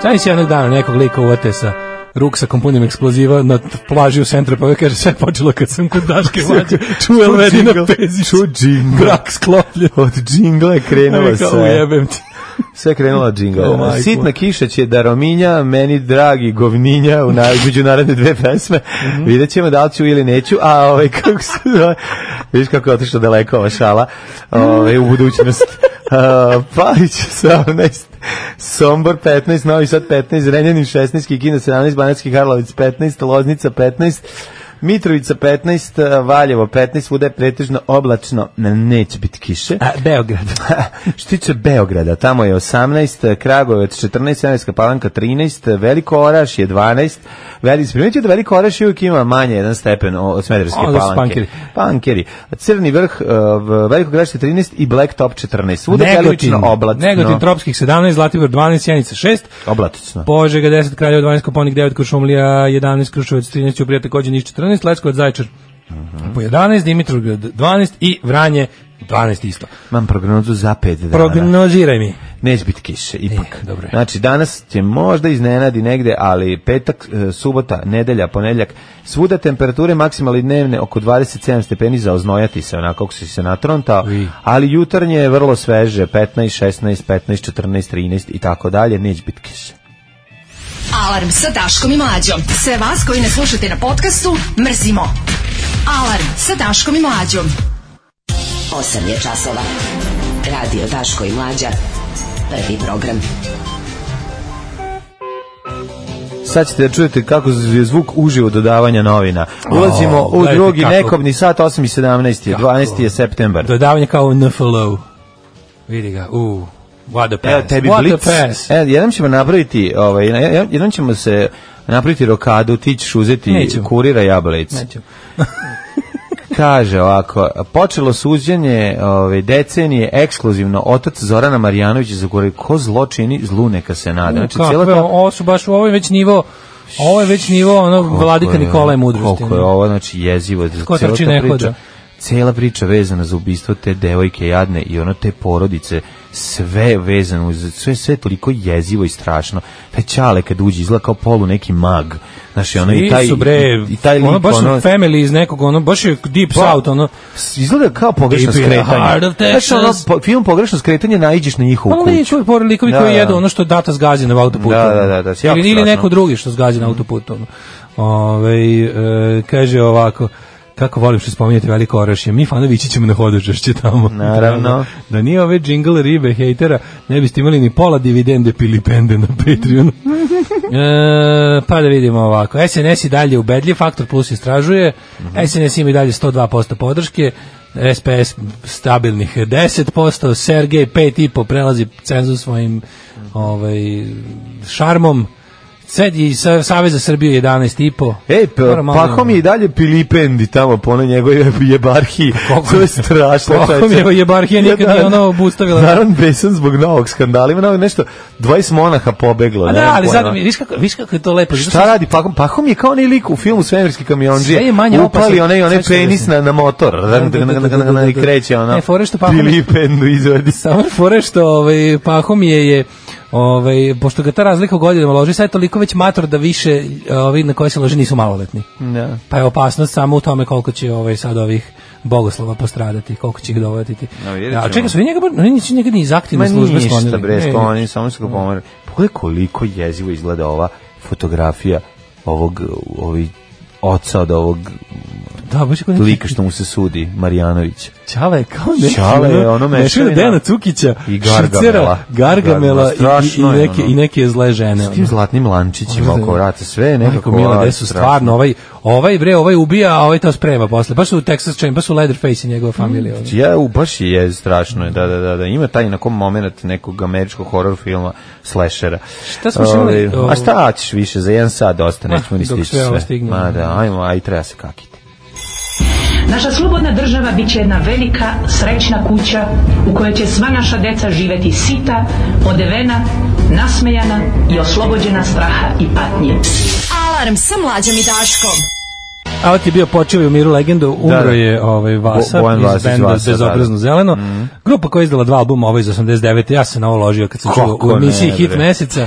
[SPEAKER 6] Sada si jednog dana nekog lika uvate sa ruksak punjem eksploziva na t- plaži u centru, pa kaže, sve je počelo kad sam kod Daške mlađe, čuo Elvedina
[SPEAKER 5] džingl,
[SPEAKER 6] Pezić,
[SPEAKER 5] čuo džingl.
[SPEAKER 6] brak sklopljen.
[SPEAKER 5] Od džingla je krenula
[SPEAKER 6] Rekao,
[SPEAKER 5] sve.
[SPEAKER 6] ujebem ti.
[SPEAKER 5] Sve je krenula
[SPEAKER 6] O,
[SPEAKER 5] džingla.
[SPEAKER 6] majko.
[SPEAKER 5] Sitna kiša će da rominja, meni dragi govninja, u najmeđu naredne dve pesme. Vidjet ćemo da li ću ili neću, a ovaj, kako se zove, vidiš kako je otišla daleko ova šala ovaj, u budućnost. Uh, Palić 18, Sombor 15, Novi Sad 15, Renjanin 16, Kikina 17, Banacki Karlovic 15, Loznica 15, Mitrovica 15, Valjevo 15, svuda je pretežno oblačno, neće biti kiše.
[SPEAKER 6] A, Beograd.
[SPEAKER 5] Što se tiče Beograda, tamo je 18, Kragujevac 14, Semenska palanka 13, Veliko Oraš je 12, Veliko, primetio da Veliko Oraš uvijek ima manje jedan stepen o- od Smederevske
[SPEAKER 6] Onda su
[SPEAKER 5] palanke.
[SPEAKER 6] pankeri.
[SPEAKER 5] Pankeri. Crni vrh, uh, v- Veliko Grašte 13 i Black Top 14. Svuda je
[SPEAKER 6] Negotin,
[SPEAKER 5] delično oblačno.
[SPEAKER 6] Negotin tropskih 17, Zlatibor 12, Sjenica 6,
[SPEAKER 5] Oblačno.
[SPEAKER 6] Požega 10, Kraljevo 12, Koponik 9, Krušumlija 11, Kruševac 13, Uprija takođe Niš 14, Leskovac Zajčar
[SPEAKER 5] Mhm.
[SPEAKER 6] po 11, Dimitrovgrad 12 i Vranje 12 isto.
[SPEAKER 5] Imam prognozu za 5 dana.
[SPEAKER 6] Prognoziraj mi.
[SPEAKER 5] Neće biti kiše, ipak.
[SPEAKER 6] E, dobro je.
[SPEAKER 5] Znači, danas će možda iznenadi negde, ali petak, e, subota, nedelja, ponedeljak, svuda temperature maksimalne dnevne oko 27 stepeni za oznojati se, onako kako si se natrontao,
[SPEAKER 6] Ui.
[SPEAKER 5] ali jutarnje je vrlo sveže, 15, 16, 15, 14, 13 i tako dalje, neće biti kiše.
[SPEAKER 4] Alarm sa Daškom i Mlađom. Sve vas koji ne slušate na podcastu, mrzimo. Alarm sa Daškom i Mlađom.
[SPEAKER 8] 8 je časova. Radio Daško i Mlađa. Prvi program.
[SPEAKER 5] Sad ćete da čujete kako je zvuk uživo dodavanja novina. Ulazimo
[SPEAKER 6] O,
[SPEAKER 5] u
[SPEAKER 6] gledajte
[SPEAKER 5] drugi
[SPEAKER 6] kako-
[SPEAKER 5] nekobni sat, 8 i 17, je,
[SPEAKER 6] Kako?
[SPEAKER 5] 12 je septembar.
[SPEAKER 6] Dodavanje kao u NFLO. Vidi ga, u What a pass.
[SPEAKER 5] Evo tebi
[SPEAKER 6] What
[SPEAKER 5] blic.
[SPEAKER 6] a pass.
[SPEAKER 5] E, jednom ćemo napraviti, ovaj, jed- jednom ćemo se napraviti rokadu, ti ćeš uzeti
[SPEAKER 6] Nećemo.
[SPEAKER 5] kurira jablec.
[SPEAKER 6] Neću.
[SPEAKER 5] Kaže ovako, počelo suđenje ove, decenije ekskluzivno, otac Zorana Marjanović za kurira, ko zločini, zlu neka se nada. Znači,
[SPEAKER 6] Kako
[SPEAKER 5] cijela
[SPEAKER 6] je,
[SPEAKER 5] ta...
[SPEAKER 6] ovo su baš, ovo je već nivo, ovo je već nivo onog
[SPEAKER 5] Koliko
[SPEAKER 6] vladika
[SPEAKER 5] je-
[SPEAKER 6] Nikolaja Mudrosti. ono.
[SPEAKER 5] Koliko je ovo, znači, jezivo.
[SPEAKER 6] Ko
[SPEAKER 5] cijela
[SPEAKER 6] trči,
[SPEAKER 5] ta
[SPEAKER 6] ne
[SPEAKER 5] priča-
[SPEAKER 6] hoda.
[SPEAKER 5] Cijela priča vezana za ubistvo te devojke jadne i ono te porodice, sve vezano, uz- sve, sve je toliko jezivo i strašno. Taj čale kad uđe izgleda kao polu neki mag. Znači, ono, i
[SPEAKER 6] I
[SPEAKER 5] taj,
[SPEAKER 6] su bre,
[SPEAKER 5] i, i taj
[SPEAKER 6] ono
[SPEAKER 5] lik,
[SPEAKER 6] baš
[SPEAKER 5] ono,
[SPEAKER 6] family iz nekog, ono, baš je deep
[SPEAKER 5] Pa,
[SPEAKER 6] south, ono,
[SPEAKER 5] izgleda kao pogrešno
[SPEAKER 6] Deep in the heart
[SPEAKER 5] skretanje.
[SPEAKER 6] of
[SPEAKER 5] Znači, ono,
[SPEAKER 6] Texas.
[SPEAKER 5] po- film pogrešno skretanje naiđeš na njihovu
[SPEAKER 6] Pa
[SPEAKER 5] kuću.
[SPEAKER 6] likovi, pored likovi
[SPEAKER 5] Da,
[SPEAKER 6] koji
[SPEAKER 5] da.
[SPEAKER 6] jedu ono što data zgazi na autoputu. ono.
[SPEAKER 5] Da, da, da, Mhm. da, jako
[SPEAKER 6] ili, ili
[SPEAKER 5] strašno.
[SPEAKER 6] neko drugi što zgazi na autoputu. Ono. Ove, e, kaže ovako, kako volim što spominjate veliko orašje, mi fanovići ćemo na hodožašće tamo.
[SPEAKER 5] Naravno.
[SPEAKER 6] Da nije ove jingle ribe hejtera, ne biste imali ni pola dividende pilipende na Patreonu. E, pa da vidimo ovako. SNS i dalje ubedljiv, Faktor Plus istražuje. SNS ima i dalje 102% podrške. SPS stabilnih 10%, Sergej 5,5 prelazi cenzus svojim ovaj, šarmom. Sad i Sa- Savez za Srbiju 11,5.
[SPEAKER 5] Ej, pa,
[SPEAKER 6] Moram malo-
[SPEAKER 5] pahom je i dalje Pilipendi tamo po onoj njegove jebarhiji.
[SPEAKER 6] koliko-
[SPEAKER 5] to je strašno.
[SPEAKER 6] Pahom
[SPEAKER 5] čoveče.
[SPEAKER 6] je jebarhija nikad
[SPEAKER 5] Ja, da,
[SPEAKER 6] nije ono obustavila.
[SPEAKER 5] Naravno, besan zbog novog skandala. Ima novog nešto, 20 monaha pobeglo.
[SPEAKER 6] A
[SPEAKER 5] ne
[SPEAKER 6] da,
[SPEAKER 5] znam
[SPEAKER 6] ali
[SPEAKER 5] pojma.
[SPEAKER 6] sad, mi- viš kako, viš kako je to lepo. zato što-
[SPEAKER 5] Šta radi Pahom? Pahom je kao onaj lik u filmu Svemirski kamionđije.
[SPEAKER 6] Sve je manje
[SPEAKER 5] Upali
[SPEAKER 6] opasan.
[SPEAKER 5] onaj, onaj
[SPEAKER 6] Sad ću ti
[SPEAKER 5] penis na, na motor.
[SPEAKER 6] da, da, da, da, da.
[SPEAKER 5] I kreće ono.
[SPEAKER 6] E, fore što Pahom je-
[SPEAKER 5] Pilipendu izvodi.
[SPEAKER 6] Samo je fora što ovaj, Pahom je, je ovaj, pošto ga ta razlika u godinama loži, sad je toliko već mator da više ovi na koje se loži nisu maloletni.
[SPEAKER 5] Da.
[SPEAKER 6] Pa je opasnost samo u tome koliko će ovaj, sad ovih bogoslova postradati, koliko će ih dovoditi.
[SPEAKER 5] No, vidjet
[SPEAKER 6] Da,
[SPEAKER 5] ćemo.
[SPEAKER 6] čekaj, su oni njega, bar- oni nisu njega ni iz
[SPEAKER 5] Ma
[SPEAKER 6] aktivne službe
[SPEAKER 5] ništa
[SPEAKER 6] sklonili. E,
[SPEAKER 5] bre,
[SPEAKER 6] Ne,
[SPEAKER 5] skloni, samo su ga pomeri. Pogledaj koliko jezivo izgleda ova fotografija ovog, ovi oca od ovog
[SPEAKER 6] Da, baš je kao neki-
[SPEAKER 5] lika što mu se sudi, Marijanović.
[SPEAKER 6] Čala je kao neki,
[SPEAKER 5] Čala je
[SPEAKER 6] ono,
[SPEAKER 5] ono
[SPEAKER 6] nešto je
[SPEAKER 5] mešavina.
[SPEAKER 6] Dejana Cukića,
[SPEAKER 5] I Gargamela.
[SPEAKER 6] Šrcera, Gargamela, i, i,
[SPEAKER 5] Strašno je
[SPEAKER 6] neke,
[SPEAKER 5] ono.
[SPEAKER 6] i neke zle žene.
[SPEAKER 5] S tim
[SPEAKER 6] ono.
[SPEAKER 5] zlatnim lančićima oko vrata, sve je nekako...
[SPEAKER 6] Majko Mila,
[SPEAKER 5] a,
[SPEAKER 6] gde su
[SPEAKER 5] strašno.
[SPEAKER 6] stvarno ovaj, ovaj bre, ovaj ubija, a ovaj to sprema posle. Baš su u Texas Chain, baš su Leatherface i njegova familija. ono.
[SPEAKER 5] Ja, u, baš je strašno, je, da, da, da, da. Ima taj na kom moment nekog američkog horror filma, slashera.
[SPEAKER 6] Šta smo još imali?
[SPEAKER 5] Ovaj, A šta ćeš više, za jedan sat dosta, nećemo ni
[SPEAKER 6] dok
[SPEAKER 5] stići
[SPEAKER 6] sve ovo
[SPEAKER 5] sve.
[SPEAKER 6] stigne.
[SPEAKER 5] Ma da, ajmo, aj treba se kakiti.
[SPEAKER 9] Naša slobodna država bit će jedna velika, srećna kuća u kojoj će sva naša deca živeti sita, odevena, nasmejana i oslobođena straha i patnje.
[SPEAKER 4] Alarm sa Mlađom i Daškom.
[SPEAKER 6] A ovo ti je bio počeo u miru legendu, umro
[SPEAKER 5] da.
[SPEAKER 6] je ovaj Vasa
[SPEAKER 5] Bo- Bojan
[SPEAKER 6] iz
[SPEAKER 5] Vasić
[SPEAKER 6] benda
[SPEAKER 5] Vasa,
[SPEAKER 6] Bezobrazno
[SPEAKER 5] da, Mm. da.
[SPEAKER 6] zeleno. Grupa koja je izdala dva albuma, ovaj iz 89. Ja sam na ovo ložio kad sam čuo
[SPEAKER 5] Kako
[SPEAKER 6] u emisiji
[SPEAKER 5] ne,
[SPEAKER 6] Hit
[SPEAKER 5] bre.
[SPEAKER 6] meseca.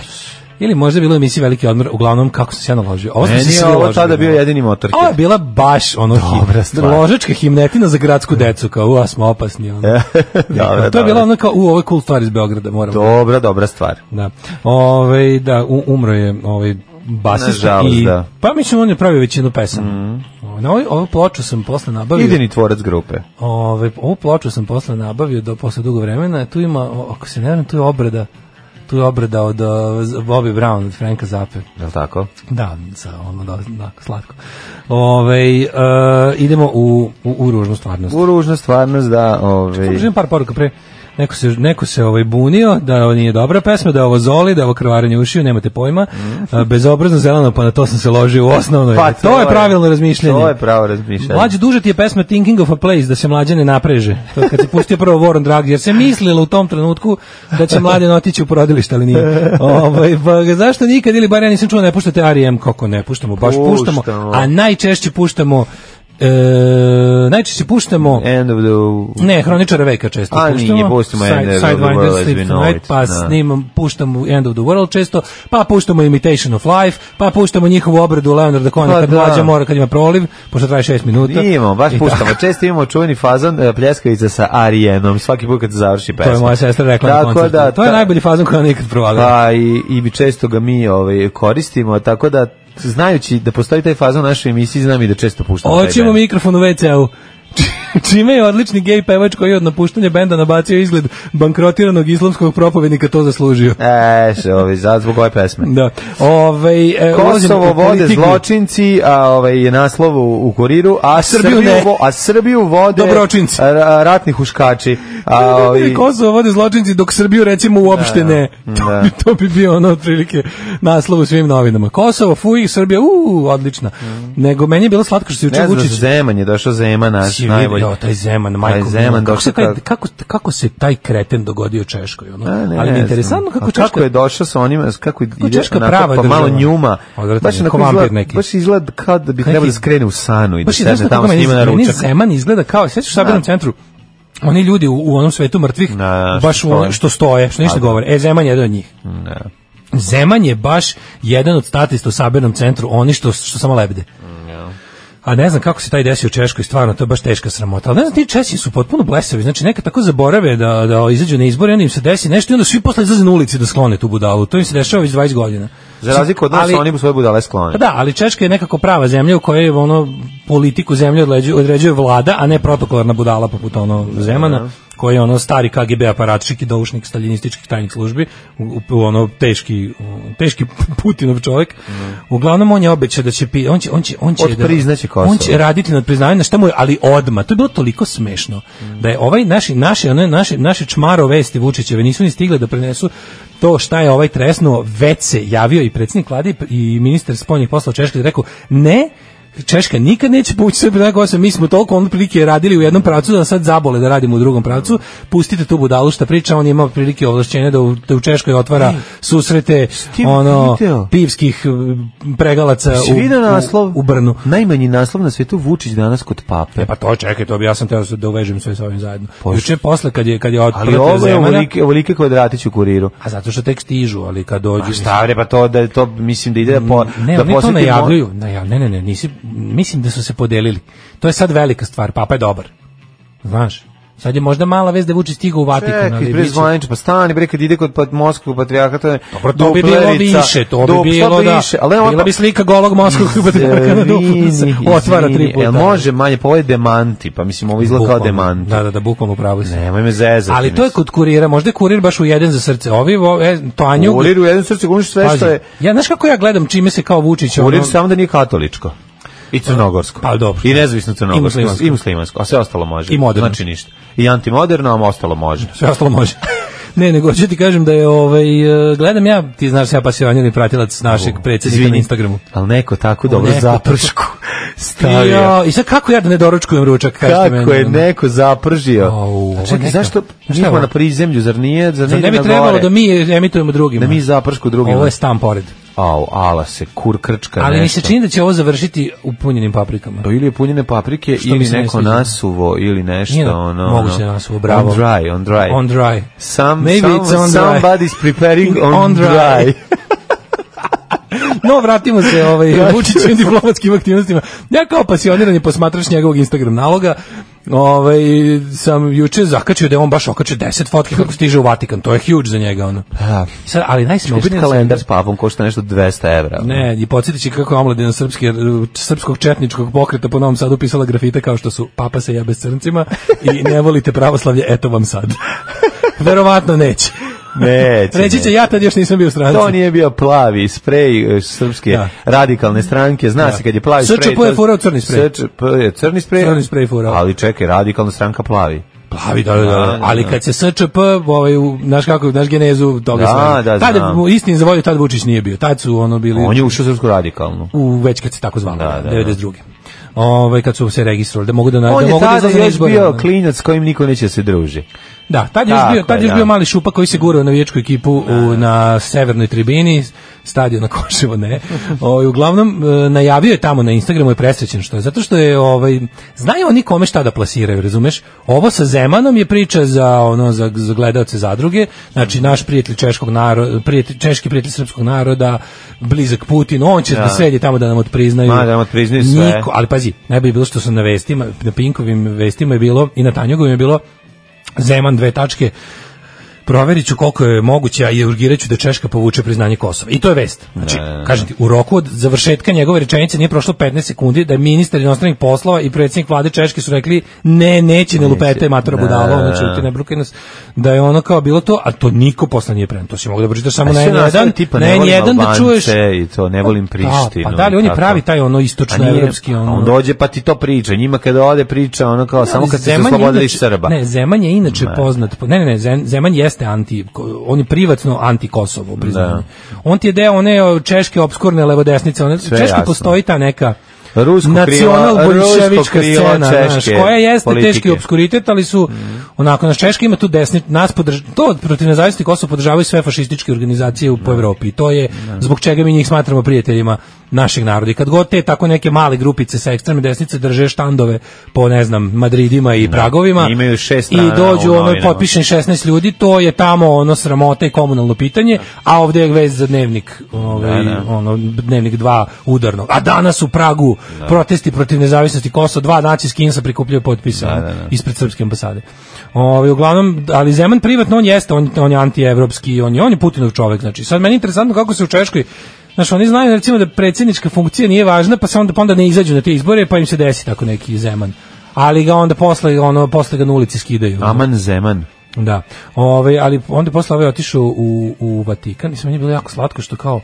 [SPEAKER 6] Ili možda je bilo u emisiji Veliki odmor, uglavnom kako sam se ja naložio. Ovo sam se
[SPEAKER 5] Meni je
[SPEAKER 6] svi
[SPEAKER 5] ovo
[SPEAKER 6] ložili,
[SPEAKER 5] tada bio
[SPEAKER 6] ono.
[SPEAKER 5] jedini motorket.
[SPEAKER 6] Ovo je bila baš ono
[SPEAKER 5] Dobra
[SPEAKER 6] hi,
[SPEAKER 5] stvar.
[SPEAKER 6] ložačka himnetina za gradsku decu, kao u, a smo opasni. Ono.
[SPEAKER 5] E, Dobro,
[SPEAKER 6] to je
[SPEAKER 5] dobro.
[SPEAKER 6] bila ono kao, u, ovo je cool stvar iz Beograda, moramo.
[SPEAKER 5] Dobra, dobra stvar.
[SPEAKER 6] Da. Ovaj da u- umro je ovaj basista
[SPEAKER 5] Nažalost,
[SPEAKER 6] i
[SPEAKER 5] da. Mhm.
[SPEAKER 6] pa mislim on je pravio većinu pesama. Mm. Na ovu, ovu ploču sam posle nabavio.
[SPEAKER 5] Ideni tvorac grupe.
[SPEAKER 6] Ovaj ovu ploču sam posle nabavio do posle dugo vremena. Tu ima o- ako se ne varam, tu je obrada tu je obrada od uh, Bobby Brown od Franka Zappe.
[SPEAKER 5] Je li tako?
[SPEAKER 6] Da, sa ono da, da slatko. Ovaj uh, idemo u, u, u ružnu stvarnost. ovaj.
[SPEAKER 5] U ružna stvarnost da...
[SPEAKER 6] Samo
[SPEAKER 5] Ove,
[SPEAKER 6] želim par poruka pre. Neko se, neko se ovaj bunio da ovo nije dobra pesma, da je ovo zoli, da je ovo krvaranje ušiju, nemate pojma. A, bezobrazno zeleno, pa na to sam se ložio u osnovnoj.
[SPEAKER 5] Mhm. Pa,
[SPEAKER 6] to, je pravilno razmišljanje.
[SPEAKER 5] To je pravo razmišljanje.
[SPEAKER 6] Mlađe duže ti je pesma Thinking of a Place, da se mlađe ne napreže. To je kad se pustio prvo Warren Drag, jer se mislilo u tom trenutku da će mladen otići u porodilište, ali nije. Ovaj, pa, ga zašto nikad ili bar ja nisam čuo ne puštate R.E.M. kako ne puštamo, baš puštamo,
[SPEAKER 5] Puštamo.
[SPEAKER 6] a najčešće puštamo e, najčešće puštamo
[SPEAKER 5] End of the...
[SPEAKER 6] ne, Hroničara veka često
[SPEAKER 5] A,
[SPEAKER 6] puštamo.
[SPEAKER 5] nije, pustimo End of the
[SPEAKER 6] Sidewinder,
[SPEAKER 5] World has
[SPEAKER 6] Sleep
[SPEAKER 5] been
[SPEAKER 6] Tonight,
[SPEAKER 5] Night,
[SPEAKER 6] pa
[SPEAKER 5] da.
[SPEAKER 6] snimam, puštamo End of the World često, pa puštamo Imitation of Life, pa puštamo njihovu obradu Leonarda Cohena
[SPEAKER 5] Pa
[SPEAKER 6] kad
[SPEAKER 5] da.
[SPEAKER 6] mlađa mora kad ima proliv, pošto traje 6 minuta.
[SPEAKER 5] Imamo, baš
[SPEAKER 6] I
[SPEAKER 5] puštamo.
[SPEAKER 6] tako.
[SPEAKER 5] Često imamo čuveni fazon e, pljeskavica sa Arijenom, svaki put kad se završi pesma.
[SPEAKER 6] To je moja sestra rekla na
[SPEAKER 5] Tako
[SPEAKER 6] koncertu.
[SPEAKER 5] da,
[SPEAKER 6] to je
[SPEAKER 5] ta-
[SPEAKER 6] najbolji fazon koji ona nikad provalila.
[SPEAKER 5] Pa i, i mi često ga mi ovaj, koristimo, tako da znajući da postoji taj fazon u našoj emisiji, znam i da često puštamo taj
[SPEAKER 6] Oćemo
[SPEAKER 5] band.
[SPEAKER 6] mikrofon u WC-u. Čime je odlični gej pevač koji je od napuštanja benda nabacio izgled bankrotiranog islamskog propovednika to zaslužio.
[SPEAKER 5] E, še, ovaj, za, zbog ove pesme.
[SPEAKER 6] Da. Ovaj e, ulazimo
[SPEAKER 5] Kosovo
[SPEAKER 6] u
[SPEAKER 5] vode
[SPEAKER 6] politiku.
[SPEAKER 5] zločinci, a ovaj je naslov u, u kuriru, a
[SPEAKER 6] Srbiju
[SPEAKER 5] Srbiju,
[SPEAKER 6] ne.
[SPEAKER 5] vo- a Srbiju vode
[SPEAKER 6] Dobročinci.
[SPEAKER 5] ra- ratni huškači. A
[SPEAKER 6] Ovaj
[SPEAKER 5] ovaj
[SPEAKER 6] Kosovo vode zločinci dok Srbiju recimo uopšte ne. To
[SPEAKER 5] Da.
[SPEAKER 6] bi, to bi bio ono otprilike naslov u svim novinama. Kosovo, fuj, Srbija, u, odlična. Nego meni je bilo slatko što se juče
[SPEAKER 5] Mm. ne znam,
[SPEAKER 6] Vučić
[SPEAKER 5] Zeman je došao Zeman naš
[SPEAKER 6] Si
[SPEAKER 5] najbolji.
[SPEAKER 6] vidio, jo, taj Zeman,
[SPEAKER 5] Taj
[SPEAKER 6] majko,
[SPEAKER 5] Zeman
[SPEAKER 6] Zeman kako,
[SPEAKER 5] došao
[SPEAKER 6] se taj,
[SPEAKER 5] kako-
[SPEAKER 6] kako, kako se taj kreten dogodio Češkoj? Ono?
[SPEAKER 5] A, ne,
[SPEAKER 6] Ali mi
[SPEAKER 5] ne
[SPEAKER 6] je interesantno
[SPEAKER 5] znam.
[SPEAKER 6] kako
[SPEAKER 5] A
[SPEAKER 6] Češka...
[SPEAKER 5] kako je došao sa onima, s- kako,
[SPEAKER 6] Kako
[SPEAKER 5] ide
[SPEAKER 6] Češka
[SPEAKER 5] onako,
[SPEAKER 6] prava
[SPEAKER 5] pa malo
[SPEAKER 6] država.
[SPEAKER 5] njuma.
[SPEAKER 6] Odvratan
[SPEAKER 5] Baš
[SPEAKER 6] je,
[SPEAKER 5] onako
[SPEAKER 6] ko vampir
[SPEAKER 5] izgleda,
[SPEAKER 6] neki.
[SPEAKER 5] baš izgleda kao da bi
[SPEAKER 6] Neki-
[SPEAKER 5] trebao da skrene u sanu i da
[SPEAKER 6] Baš je
[SPEAKER 5] sedne
[SPEAKER 6] znaš kako
[SPEAKER 5] tamo s
[SPEAKER 6] meni,
[SPEAKER 5] njima na
[SPEAKER 6] meni
[SPEAKER 5] ručak.
[SPEAKER 6] Zeman izgleda kao, sećaš sabirnom centru, oni ljudi u, u onom svetu mrtvih,
[SPEAKER 5] Da, da, što
[SPEAKER 6] baš u ono,
[SPEAKER 5] stoje.
[SPEAKER 6] što stoje, što ništa
[SPEAKER 5] Pa da.
[SPEAKER 6] govore. E, Zeman je jedan od njih. Zeman je baš jedan od statista u sabirnom centru, oni što, što samo lebde. A ne znam kako se taj desio u Češkoj, stvarno, to je baš teška sramota. Ali ne znam, ti Česi su potpuno blesavi, znači neka tako zaborave da, da izađu na izbore, onda im se desi nešto i onda svi posle izlaze na ulici da sklone tu budalu. To im se dešava već 20 godina.
[SPEAKER 5] Za razliku od nas,
[SPEAKER 6] Ali-
[SPEAKER 5] oni bu svoje budale sklone.
[SPEAKER 6] pa da, ali Češka je nekako prava zemlja u kojoj je ono politiku zemlje određuje, određuje vlada, a ne protokolarna budala poput ono Zemana, koji je ono stari KGB aparatčik i doušnik staljinističkih tajnih službi, u, u- u ono teški, u- teški Putinov čovjek. Uglavnom on je obećao da će pi- on će on će on će da-
[SPEAKER 5] Otpriznaće Kosovo.
[SPEAKER 6] On će Znači, raditi nad priznavanjem na šta mu je, ali odma. To je bilo toliko smešno da je ovaj naši naši one naše naše čmaro vesti Vučićeve nisu ni stigle da prenesu to šta je ovaj tresnuo, već se javio i predsjednik vlade i- i ministar spoljnih poslova Češke i rekao ne Češka nikad neće povući Srbiju na Kosovo, mi smo toliko on prilike radili u jednom pravcu da sad zabole da radimo u drugom pravcu, pustite tu budalu šta priča, on ima prilike ovlašćenja da u, da u Češkoj otvara susrete
[SPEAKER 5] tim
[SPEAKER 6] ono,
[SPEAKER 5] video?
[SPEAKER 6] pivskih eh, pregalaca
[SPEAKER 5] Jesi
[SPEAKER 6] u,
[SPEAKER 5] vidio
[SPEAKER 6] u-
[SPEAKER 5] naslov?
[SPEAKER 6] u Brnu.
[SPEAKER 5] Najmanji naslov na svetu Vučić danas kod pape.
[SPEAKER 6] E pa to čekaj, to bi ja sam teo da uvežem sve sa ovim zajedno.
[SPEAKER 5] Pošto-
[SPEAKER 6] Juče posle kad je kad je
[SPEAKER 5] Ali
[SPEAKER 6] otpratio
[SPEAKER 5] ovo je
[SPEAKER 6] Zemana,
[SPEAKER 5] ovolike, ovolike kvadratić u kuriru.
[SPEAKER 6] a zato što tek stižu, ali kad dođu
[SPEAKER 5] Stavre, pa to, da, to mislim da ide da, po,
[SPEAKER 6] Mm, ne,
[SPEAKER 5] da
[SPEAKER 6] oni to
[SPEAKER 5] posjeti mo- E,
[SPEAKER 6] najavljuju. Najav, ne, ne, ne, nisi, mislim da su se podelili. To je sad velika stvar, papa je dobar. Znaš, sad je možda mala vez da Vučić stigao u Vatikan, ali
[SPEAKER 5] Čekaj,
[SPEAKER 6] bit
[SPEAKER 5] pre
[SPEAKER 6] će-
[SPEAKER 5] zvanič, pa stani, bre, kad ide kod pa, Moskvu patrijarha, to je...
[SPEAKER 6] Dobro, to bi bilo
[SPEAKER 5] duplerica,
[SPEAKER 6] više, to
[SPEAKER 5] dupla
[SPEAKER 6] bi bilo da,
[SPEAKER 5] više, ali pa- on
[SPEAKER 6] bila bi slika golog moskovskog patrijarha na duplu,
[SPEAKER 5] Izvini,
[SPEAKER 6] otvara tri
[SPEAKER 5] izvini,
[SPEAKER 6] puta.
[SPEAKER 5] jel može manje, pa ovo je demanti, pa mislim, ovo izgleda kao
[SPEAKER 6] Bukvalno.
[SPEAKER 5] demanti.
[SPEAKER 6] Da, da, da, bukvalno upravo si.
[SPEAKER 5] Nemoj me zezati.
[SPEAKER 6] Ali to je kod kurira, možda je kurir baš u jedan za srce. Ovi, vo- e, to Anju,
[SPEAKER 5] Kurir u jednom srcu gumiš sve što
[SPEAKER 6] Pazi,
[SPEAKER 5] je...
[SPEAKER 6] ja znaš kako ja gledam čime se kao Vučić
[SPEAKER 5] Kurir
[SPEAKER 6] ono-
[SPEAKER 5] samo da nije katoličko. I crnogorsko.
[SPEAKER 6] Pa, dobro.
[SPEAKER 5] I nezavisno
[SPEAKER 6] I
[SPEAKER 5] crnogorsko.
[SPEAKER 6] muslimansko.
[SPEAKER 5] I muslimansko. A sve ostalo može.
[SPEAKER 6] I moderno.
[SPEAKER 5] Znači ništa. I antimoderno, a ostalo može.
[SPEAKER 6] sve ostalo može. ne, nego ću ti kažem da je ovaj e, gledam ja, ti znaš ja pasivanjeni pratilac našeg predsjednika na
[SPEAKER 5] Izvini,
[SPEAKER 6] Instagramu.
[SPEAKER 5] Ali neko tako dobro
[SPEAKER 6] neko
[SPEAKER 5] zapršku stavio.
[SPEAKER 6] Ja, I sad kako ja da ne doručkujem ručak? kažete
[SPEAKER 5] Kako
[SPEAKER 6] meni,
[SPEAKER 5] je
[SPEAKER 6] ono?
[SPEAKER 5] neko zapržio.
[SPEAKER 6] Au, ovo
[SPEAKER 5] A
[SPEAKER 6] je
[SPEAKER 5] Čekaj,
[SPEAKER 6] neka-
[SPEAKER 5] zašto
[SPEAKER 6] Znaš šta je
[SPEAKER 5] nismo
[SPEAKER 6] ovo?
[SPEAKER 5] na prizemlju, zar nije? Zar
[SPEAKER 6] Zar
[SPEAKER 5] nije
[SPEAKER 6] ne bi
[SPEAKER 5] na
[SPEAKER 6] trebalo
[SPEAKER 5] gore?
[SPEAKER 6] da mi emitujemo drugima?
[SPEAKER 5] da mi zapršku drugima?
[SPEAKER 6] Ovo je stan pored.
[SPEAKER 5] Au, ala se, kur krčka
[SPEAKER 6] Ali mi
[SPEAKER 5] nešto.
[SPEAKER 6] se čini da će ovo završiti u punjenim paprikama.
[SPEAKER 5] Pa Ili je punjene paprike,
[SPEAKER 6] Što mi
[SPEAKER 5] ili
[SPEAKER 6] se ne
[SPEAKER 5] neko
[SPEAKER 6] sviđa.
[SPEAKER 5] nasuvo, ili nešto,
[SPEAKER 6] Nije
[SPEAKER 5] ono...
[SPEAKER 6] moguće
[SPEAKER 5] ono.
[SPEAKER 6] da nasuvo, bravo.
[SPEAKER 5] On dry, on dry.
[SPEAKER 6] On dry.
[SPEAKER 5] Some,
[SPEAKER 6] Maybe
[SPEAKER 5] some,
[SPEAKER 6] it's on dry.
[SPEAKER 5] somebody's preparing on,
[SPEAKER 6] On dry.
[SPEAKER 5] dry.
[SPEAKER 6] No, vratimo se ovaj, Vučićevim diplomatskim aktivnostima. Ja kao pasionirani posmatrač njegovog Instagram naloga, ovaj, sam juče zakačio da je on baš okačio 10 fotki kako stiže u Vatikan. To je huge za njega. Ono.
[SPEAKER 5] Da.
[SPEAKER 6] Sad, ali
[SPEAKER 5] Kupiti
[SPEAKER 6] najsmešnije...
[SPEAKER 5] kalendar s papom košta nešto 200 evra.
[SPEAKER 6] Ne, i podsjetit će kako je omladina srpske, srpskog četničkog pokreta po Novom Sadu pisala grafite kao što su papa se jebe s crncima i ne volite pravoslavlje, eto vam sad. Verovatno neće.
[SPEAKER 5] Neće,
[SPEAKER 6] Reći će, ja tad još nisam bio u stranci.
[SPEAKER 5] To nije bio plavi sprej e, srpske
[SPEAKER 6] Da.
[SPEAKER 5] radikalne stranke, zna
[SPEAKER 6] Da.
[SPEAKER 5] se kad je plavi
[SPEAKER 6] SČP
[SPEAKER 5] sprej.
[SPEAKER 6] je furao crni sprej.
[SPEAKER 5] SČP je crni sprej.
[SPEAKER 6] Crni sprej furao.
[SPEAKER 5] Ali čekaj, radikalna stranka plavi.
[SPEAKER 6] Plavi, da, da,
[SPEAKER 5] Da,
[SPEAKER 6] da.
[SPEAKER 5] da,
[SPEAKER 6] Ali
[SPEAKER 5] da.
[SPEAKER 6] kad se SČP, ovaj, u- znaš kako, znaš genezu toga
[SPEAKER 5] Da,
[SPEAKER 6] svega.
[SPEAKER 5] da,
[SPEAKER 6] Tad,
[SPEAKER 5] znam.
[SPEAKER 6] istin za volju, tad Vučić nije bio. Tad su ono bili...
[SPEAKER 5] On je ušao u srpsku radikalnu.
[SPEAKER 6] u već kad se tako zvalo,
[SPEAKER 5] Da,
[SPEAKER 6] da,
[SPEAKER 5] da, da.
[SPEAKER 6] 92. Ovaj kad su se registrovali da mogu da na-
[SPEAKER 5] On
[SPEAKER 6] da
[SPEAKER 5] je
[SPEAKER 6] mogu da
[SPEAKER 5] tada
[SPEAKER 6] izlaze na
[SPEAKER 5] još
[SPEAKER 6] izbore,
[SPEAKER 5] bio
[SPEAKER 6] ono.
[SPEAKER 5] klinac s kojim niko neće da se druži.
[SPEAKER 6] Da, tad je još
[SPEAKER 5] Tako
[SPEAKER 6] bio, tad
[SPEAKER 5] je,
[SPEAKER 6] je još
[SPEAKER 5] da.
[SPEAKER 6] bio mali šupak koji se gurao na vijećku ekipu u, na severnoj tribini, stadion na Koševo, ne. Ovaj uglavnom e, najavio je tamo na Instagramu je presrećen što je zato što je ovaj znaju oni kome šta da plasiraju, razumeš? Ovo sa Zemanom je priča za ono za, za gledaoce zadruge, znači naš prijatelj češkog naroda, prijatelj, češki prijatelj srpskog naroda, blizak Putin, on će da, sedi tamo da nam otpriznaju.
[SPEAKER 5] Ma, da nam otpriznaju sve.
[SPEAKER 6] Niko- ali pazi, najbolje je bilo što su na vestima, na Pinkovim vestima je bilo i na Tanjugovim je bilo Zeman dve tačke proverit ću koliko je moguće, a i urgirat ću da Češka povuče priznanje Kosova. I to je vest. Znači, kažem ti, u roku od završetka njegove rečenice nije prošlo 15 sekundi da je ministar inostranih poslova i predsjednik vlade Češke su rekli ne, neće, ne lupete, matora
[SPEAKER 5] Da,
[SPEAKER 6] budalo,
[SPEAKER 5] da, da.
[SPEAKER 6] znači, ti ne brukaj nas, da je ono kao bilo to, a to niko posle nije prema. To si mogu da pročitaš samo
[SPEAKER 5] A
[SPEAKER 6] Pa na
[SPEAKER 5] sve
[SPEAKER 6] N1,
[SPEAKER 5] nastavi tipa,
[SPEAKER 6] na
[SPEAKER 5] ne volim
[SPEAKER 6] N1 da
[SPEAKER 5] Albance
[SPEAKER 6] čuješ.
[SPEAKER 5] I to, ne volim Prištinu.
[SPEAKER 6] Pa, pa da li on
[SPEAKER 5] i
[SPEAKER 6] je
[SPEAKER 5] tako.
[SPEAKER 6] pravi taj ono
[SPEAKER 5] A nije,
[SPEAKER 6] istočnoevropski
[SPEAKER 5] a
[SPEAKER 6] ono.
[SPEAKER 5] On dođe pa ti to priča. Njima kada ode priča, ono kao samo
[SPEAKER 6] Ali
[SPEAKER 5] kad ste se
[SPEAKER 6] Zeman je
[SPEAKER 5] oslobodili
[SPEAKER 6] inače-
[SPEAKER 5] Srba.
[SPEAKER 6] Ne, Zeman je inače poznat. po- Ne, ne, ne, Zem- Zeman jeste anti, ko- on je privatno anti Kosovo priznanje. On ti je deo one o, češke obskurne levodesnice, one
[SPEAKER 5] Sve
[SPEAKER 6] češki
[SPEAKER 5] jasno.
[SPEAKER 6] postoji ta neka
[SPEAKER 5] Rusko
[SPEAKER 6] nacional
[SPEAKER 5] krilo- rusko
[SPEAKER 6] bolševička
[SPEAKER 5] krilo
[SPEAKER 6] scena, znaš,
[SPEAKER 5] češke
[SPEAKER 6] koja jeste
[SPEAKER 5] politike.
[SPEAKER 6] teški obskuritet, ali su onako naš Češka ima tu desni nas podrž, to protiv nezavisnih Kosova podržavaju sve fašističke organizacije u, po Evropi. I To je zbog čega mi njih smatramo prijateljima našeg naroda. I kad god te tako neke male grupice sa ekstremne desnice drže štandove po ne znam Madridima i Pragovima
[SPEAKER 5] I imaju šest
[SPEAKER 6] i
[SPEAKER 5] dana
[SPEAKER 6] dođu
[SPEAKER 5] u
[SPEAKER 6] ono
[SPEAKER 5] novinama.
[SPEAKER 6] potpišen 16 ljudi, to je tamo ono sramota i komunalno pitanje, a ovdje je vez za dnevnik, ovaj, ono dnevnik 2 udarno. A danas u Pragu protesti protiv nezavisnosti Kosova, dva naci iz Kinsa prikupljaju potpise ono, ispred srpske ambasade. Ovaj uglavnom, ali Zeman privatno on jeste, on, on je antievropski, on je on je Putinov čovjek, znači. Sad meni je interesantno kako se u Češkoj Znaš, oni znaju recimo da predsjednička funkcija nije važna, pa se onda, pa onda ne izađu na te izbore, pa im se desi tako neki zeman. Ali ga onda posle, ono, posle ga na ulici skidaju.
[SPEAKER 5] Aman Zeman.
[SPEAKER 6] Da. Ove, ali onda posle ove otišao u, u Vatikan i sve meni je bilo jako slatko što kao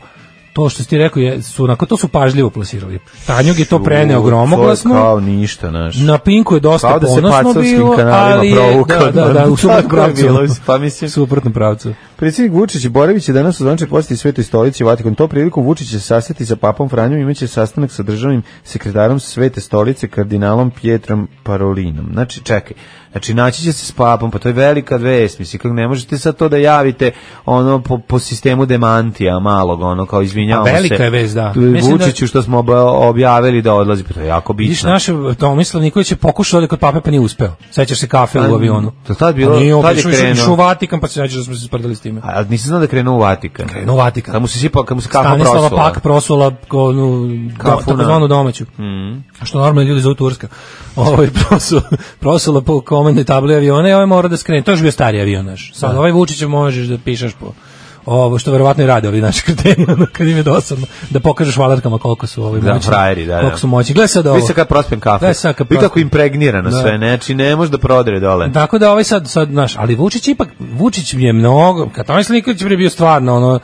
[SPEAKER 6] to što si ti rekao je, su, onako, to su pažljivo plasirali. Tanjug je to preneo
[SPEAKER 5] U, to je
[SPEAKER 6] gromoglasno.
[SPEAKER 5] Kao ništa, znaš.
[SPEAKER 6] Na Pinku je dosta
[SPEAKER 5] Kao da se
[SPEAKER 6] ponosno
[SPEAKER 5] pacovskim
[SPEAKER 6] bilo,
[SPEAKER 5] kanalima
[SPEAKER 6] ali je, da,
[SPEAKER 5] provukao.
[SPEAKER 6] da, da, u suprotnom
[SPEAKER 5] Tako je
[SPEAKER 6] pravcu.
[SPEAKER 5] bilo, pa mislim-
[SPEAKER 6] U suprotnom pravcu.
[SPEAKER 5] Predsjednik Vučić i Borević je danas u zvaničnoj posjeti Svetoj stolici i Vatikan. To priliku Vučić će sastati sa papom Franjom i imaće sastanak sa državnim sekretarom Svete stolice kardinalom Pietrom Parolinom. Znači, čekaj. Znači, naći će se s papom, pa to je velika vest, mislim, kako ne možete sad to da javite ono po, po sistemu demantija malog, ono kao izvinjavamo
[SPEAKER 6] A
[SPEAKER 5] se.
[SPEAKER 6] velika je vest, da.
[SPEAKER 5] Tu-
[SPEAKER 6] Mislim da-
[SPEAKER 5] Vučiću što smo obja- objavili da odlazi, pa to je jako bitno.
[SPEAKER 6] Vidiš, naš Tomislav Nikolić je pokušao da kod pape pa nije uspeo. Sećaš se kafe
[SPEAKER 5] A,
[SPEAKER 6] u avionu.
[SPEAKER 5] to tad bilo-
[SPEAKER 6] A nije,
[SPEAKER 5] tad je
[SPEAKER 6] otišao- išao-
[SPEAKER 5] krenuo.
[SPEAKER 6] išao u Vatikan pa se sećaš da smo se sprdali s time.
[SPEAKER 5] Pa, Ali nisam znao da krenuo u Vatikan.
[SPEAKER 6] Krenuo u Vatikan.
[SPEAKER 5] Da mu se sipao, kad mu se kafa
[SPEAKER 6] Stanislava
[SPEAKER 5] prosula.
[SPEAKER 6] Pak prosula onu
[SPEAKER 5] Kafu na-
[SPEAKER 6] takozvanu domaću.
[SPEAKER 5] Mm.
[SPEAKER 6] Što normalno ljudi zovu Turska. Ovo je prosula, prosula po komandnoj tabli aviona i ovaj mora da skrene. To je još bio stari avion naš. Sad ovaj Vučić možeš da pišeš po ovo što verovatno i rade ovi naši kreteni ono, kad im je dosadno da pokažeš valarkama koliko su ovi
[SPEAKER 5] Da,
[SPEAKER 6] moćni,
[SPEAKER 5] frajeri, da, da.
[SPEAKER 6] koliko su moćni gledaj sad ovo
[SPEAKER 5] Vidi se kad prospem kafe.
[SPEAKER 6] Gledaj sad kad
[SPEAKER 5] Vidi kako
[SPEAKER 6] prospem.
[SPEAKER 5] impregnirano
[SPEAKER 6] Da.
[SPEAKER 5] sve, znači ne može da prodre dole.
[SPEAKER 6] Tako da ovaj sad sad naš, ali Vučić ipak Vučić je mnogo, kad Tomislav Nikolić je bio stvarno ono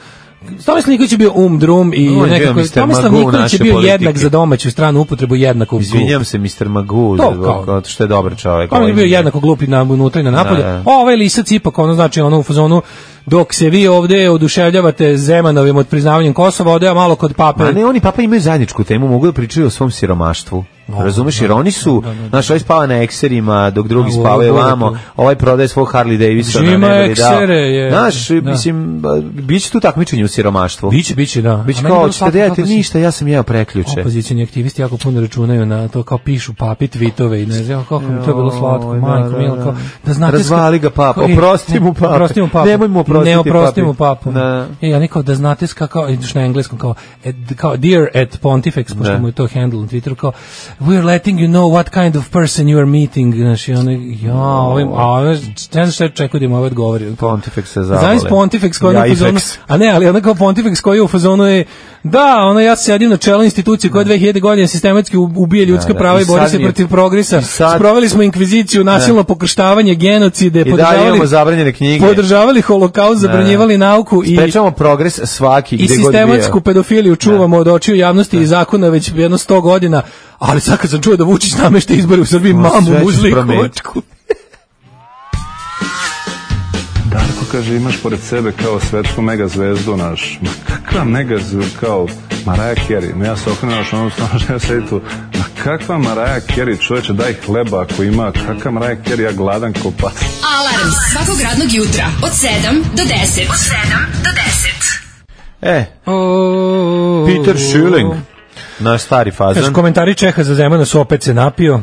[SPEAKER 6] Tomislav Nikolić je bio um drum i
[SPEAKER 5] On je bio
[SPEAKER 6] nekako
[SPEAKER 5] Mr.
[SPEAKER 6] Tomislav
[SPEAKER 5] Magoo
[SPEAKER 6] Nikolić je
[SPEAKER 5] naše
[SPEAKER 6] bio
[SPEAKER 5] politike.
[SPEAKER 6] jednak za domaću stranu upotrebu jednako u
[SPEAKER 5] Izvinjam se Mr. Magoo,
[SPEAKER 6] To
[SPEAKER 5] zbog-
[SPEAKER 6] kao-
[SPEAKER 5] zato što je dobar čovjek.
[SPEAKER 6] On
[SPEAKER 5] ovaj
[SPEAKER 6] je bio
[SPEAKER 5] nije.
[SPEAKER 6] jednako glup i na unutra i na napolje.
[SPEAKER 5] Da, da.
[SPEAKER 6] Ovaj lisac ipak ono znači ono u fazonu dok se vi ovdje oduševljavate Zemanovim od priznavanjem Kosova, ode ja malo kod pape.
[SPEAKER 5] Ma ne, oni papa imaju zajedničku temu, mogu da pričaju o svom siromaštvu. Razumeš, jer oni su,
[SPEAKER 6] Da, da, da.
[SPEAKER 5] znaš, ovaj spava na ekserima, dok drugi
[SPEAKER 6] A,
[SPEAKER 5] spavaju
[SPEAKER 6] ovo je
[SPEAKER 5] vamo,
[SPEAKER 6] to.
[SPEAKER 5] ovaj prodaje svog Harley Davidsona.
[SPEAKER 6] Žima
[SPEAKER 5] ne bi li dao.
[SPEAKER 6] eksere, je.
[SPEAKER 5] Znaš,
[SPEAKER 6] Da.
[SPEAKER 5] mislim, ba, bit će tu takmičenje u siromaštvu.
[SPEAKER 6] Biće, biće, da.
[SPEAKER 5] Biće
[SPEAKER 6] A meni je
[SPEAKER 5] kao,
[SPEAKER 6] bilo
[SPEAKER 5] ćete
[SPEAKER 6] slatko
[SPEAKER 5] da jedete
[SPEAKER 6] kako si-
[SPEAKER 5] ništa, ja sam jeo preključe.
[SPEAKER 6] Opozicioni aktivisti jako puno računaju na to, kao pišu papi tvitove i ne znam kako mi to je bilo slatko,
[SPEAKER 5] Joj, da,
[SPEAKER 6] majko,
[SPEAKER 5] da,
[SPEAKER 6] da, mila, kao, da znate...
[SPEAKER 5] Razvali
[SPEAKER 6] sk-
[SPEAKER 5] ga papa,
[SPEAKER 6] kao, i-
[SPEAKER 5] oprosti mu pape.
[SPEAKER 6] Oprosti mu pape.
[SPEAKER 5] Nemoj mu oprostiti
[SPEAKER 6] Ne oprosti
[SPEAKER 5] papi.
[SPEAKER 6] mu papu.
[SPEAKER 5] Da.
[SPEAKER 6] I ja nikao da znate s kako, ideš na engleskom, kao, at, kao dear at pontifex, pošto
[SPEAKER 5] Da.
[SPEAKER 6] mu je to handle na Twitteru, kao, we're letting you know what kind of person you are meeting, znaš, i ono, ja, ovim, a ono, ne znam šta čekao da im ovaj odgovori.
[SPEAKER 5] Pontifex se zavale.
[SPEAKER 6] Zavis Pontifex koji je
[SPEAKER 5] Ja
[SPEAKER 6] u fazonu,
[SPEAKER 5] ifex.
[SPEAKER 6] a ne, ali ona kao Pontifex koji je u fazonu je, da, ono ja sedim na čelu institucije koja 2000 godina sistematski u- ubije ljudska
[SPEAKER 5] da.
[SPEAKER 6] prava
[SPEAKER 5] I
[SPEAKER 6] i bori
[SPEAKER 5] sad
[SPEAKER 6] se
[SPEAKER 5] mi je-
[SPEAKER 6] protiv progresa.
[SPEAKER 5] i sad-
[SPEAKER 6] Sproveli smo inkviziciju, nasilno pokrštavanje, genocide,
[SPEAKER 5] I dalje imamo
[SPEAKER 6] podržavali,
[SPEAKER 5] zabranjene knjige.
[SPEAKER 6] podržavali holokaust, zabranjivali nauku i
[SPEAKER 5] Sprečavamo progres svaki,
[SPEAKER 6] i
[SPEAKER 5] gde god bio.
[SPEAKER 6] sistematsku pedofiliju čuvamo od očiju javnosti i zakona već jedno 100 godina, ali sad kad sam čuo da Vučić namešta izbore u Srbiji, mamu
[SPEAKER 5] sve će
[SPEAKER 6] muzli i
[SPEAKER 5] promeniti.
[SPEAKER 6] kočku.
[SPEAKER 10] Darko kaže imaš pored sebe kao svetsku mega zvezdu naš. Ma kakva mega zv- kao Maraja Carey. Ma ja se okrenuo naš ono stvarno što ja sedi tu. Ma kakva Maraja Carey čoveče daj hleba ako ima. Kakva Maraja Carey ja gladan ko pas.
[SPEAKER 4] Alarm svakog radnog jutra od 7 do 10. Od 7 do 10.
[SPEAKER 5] E, Peter Schilling, naš stari
[SPEAKER 6] Kaže,
[SPEAKER 5] fazan.
[SPEAKER 6] komentari Čeha za Zemana su opet se napio.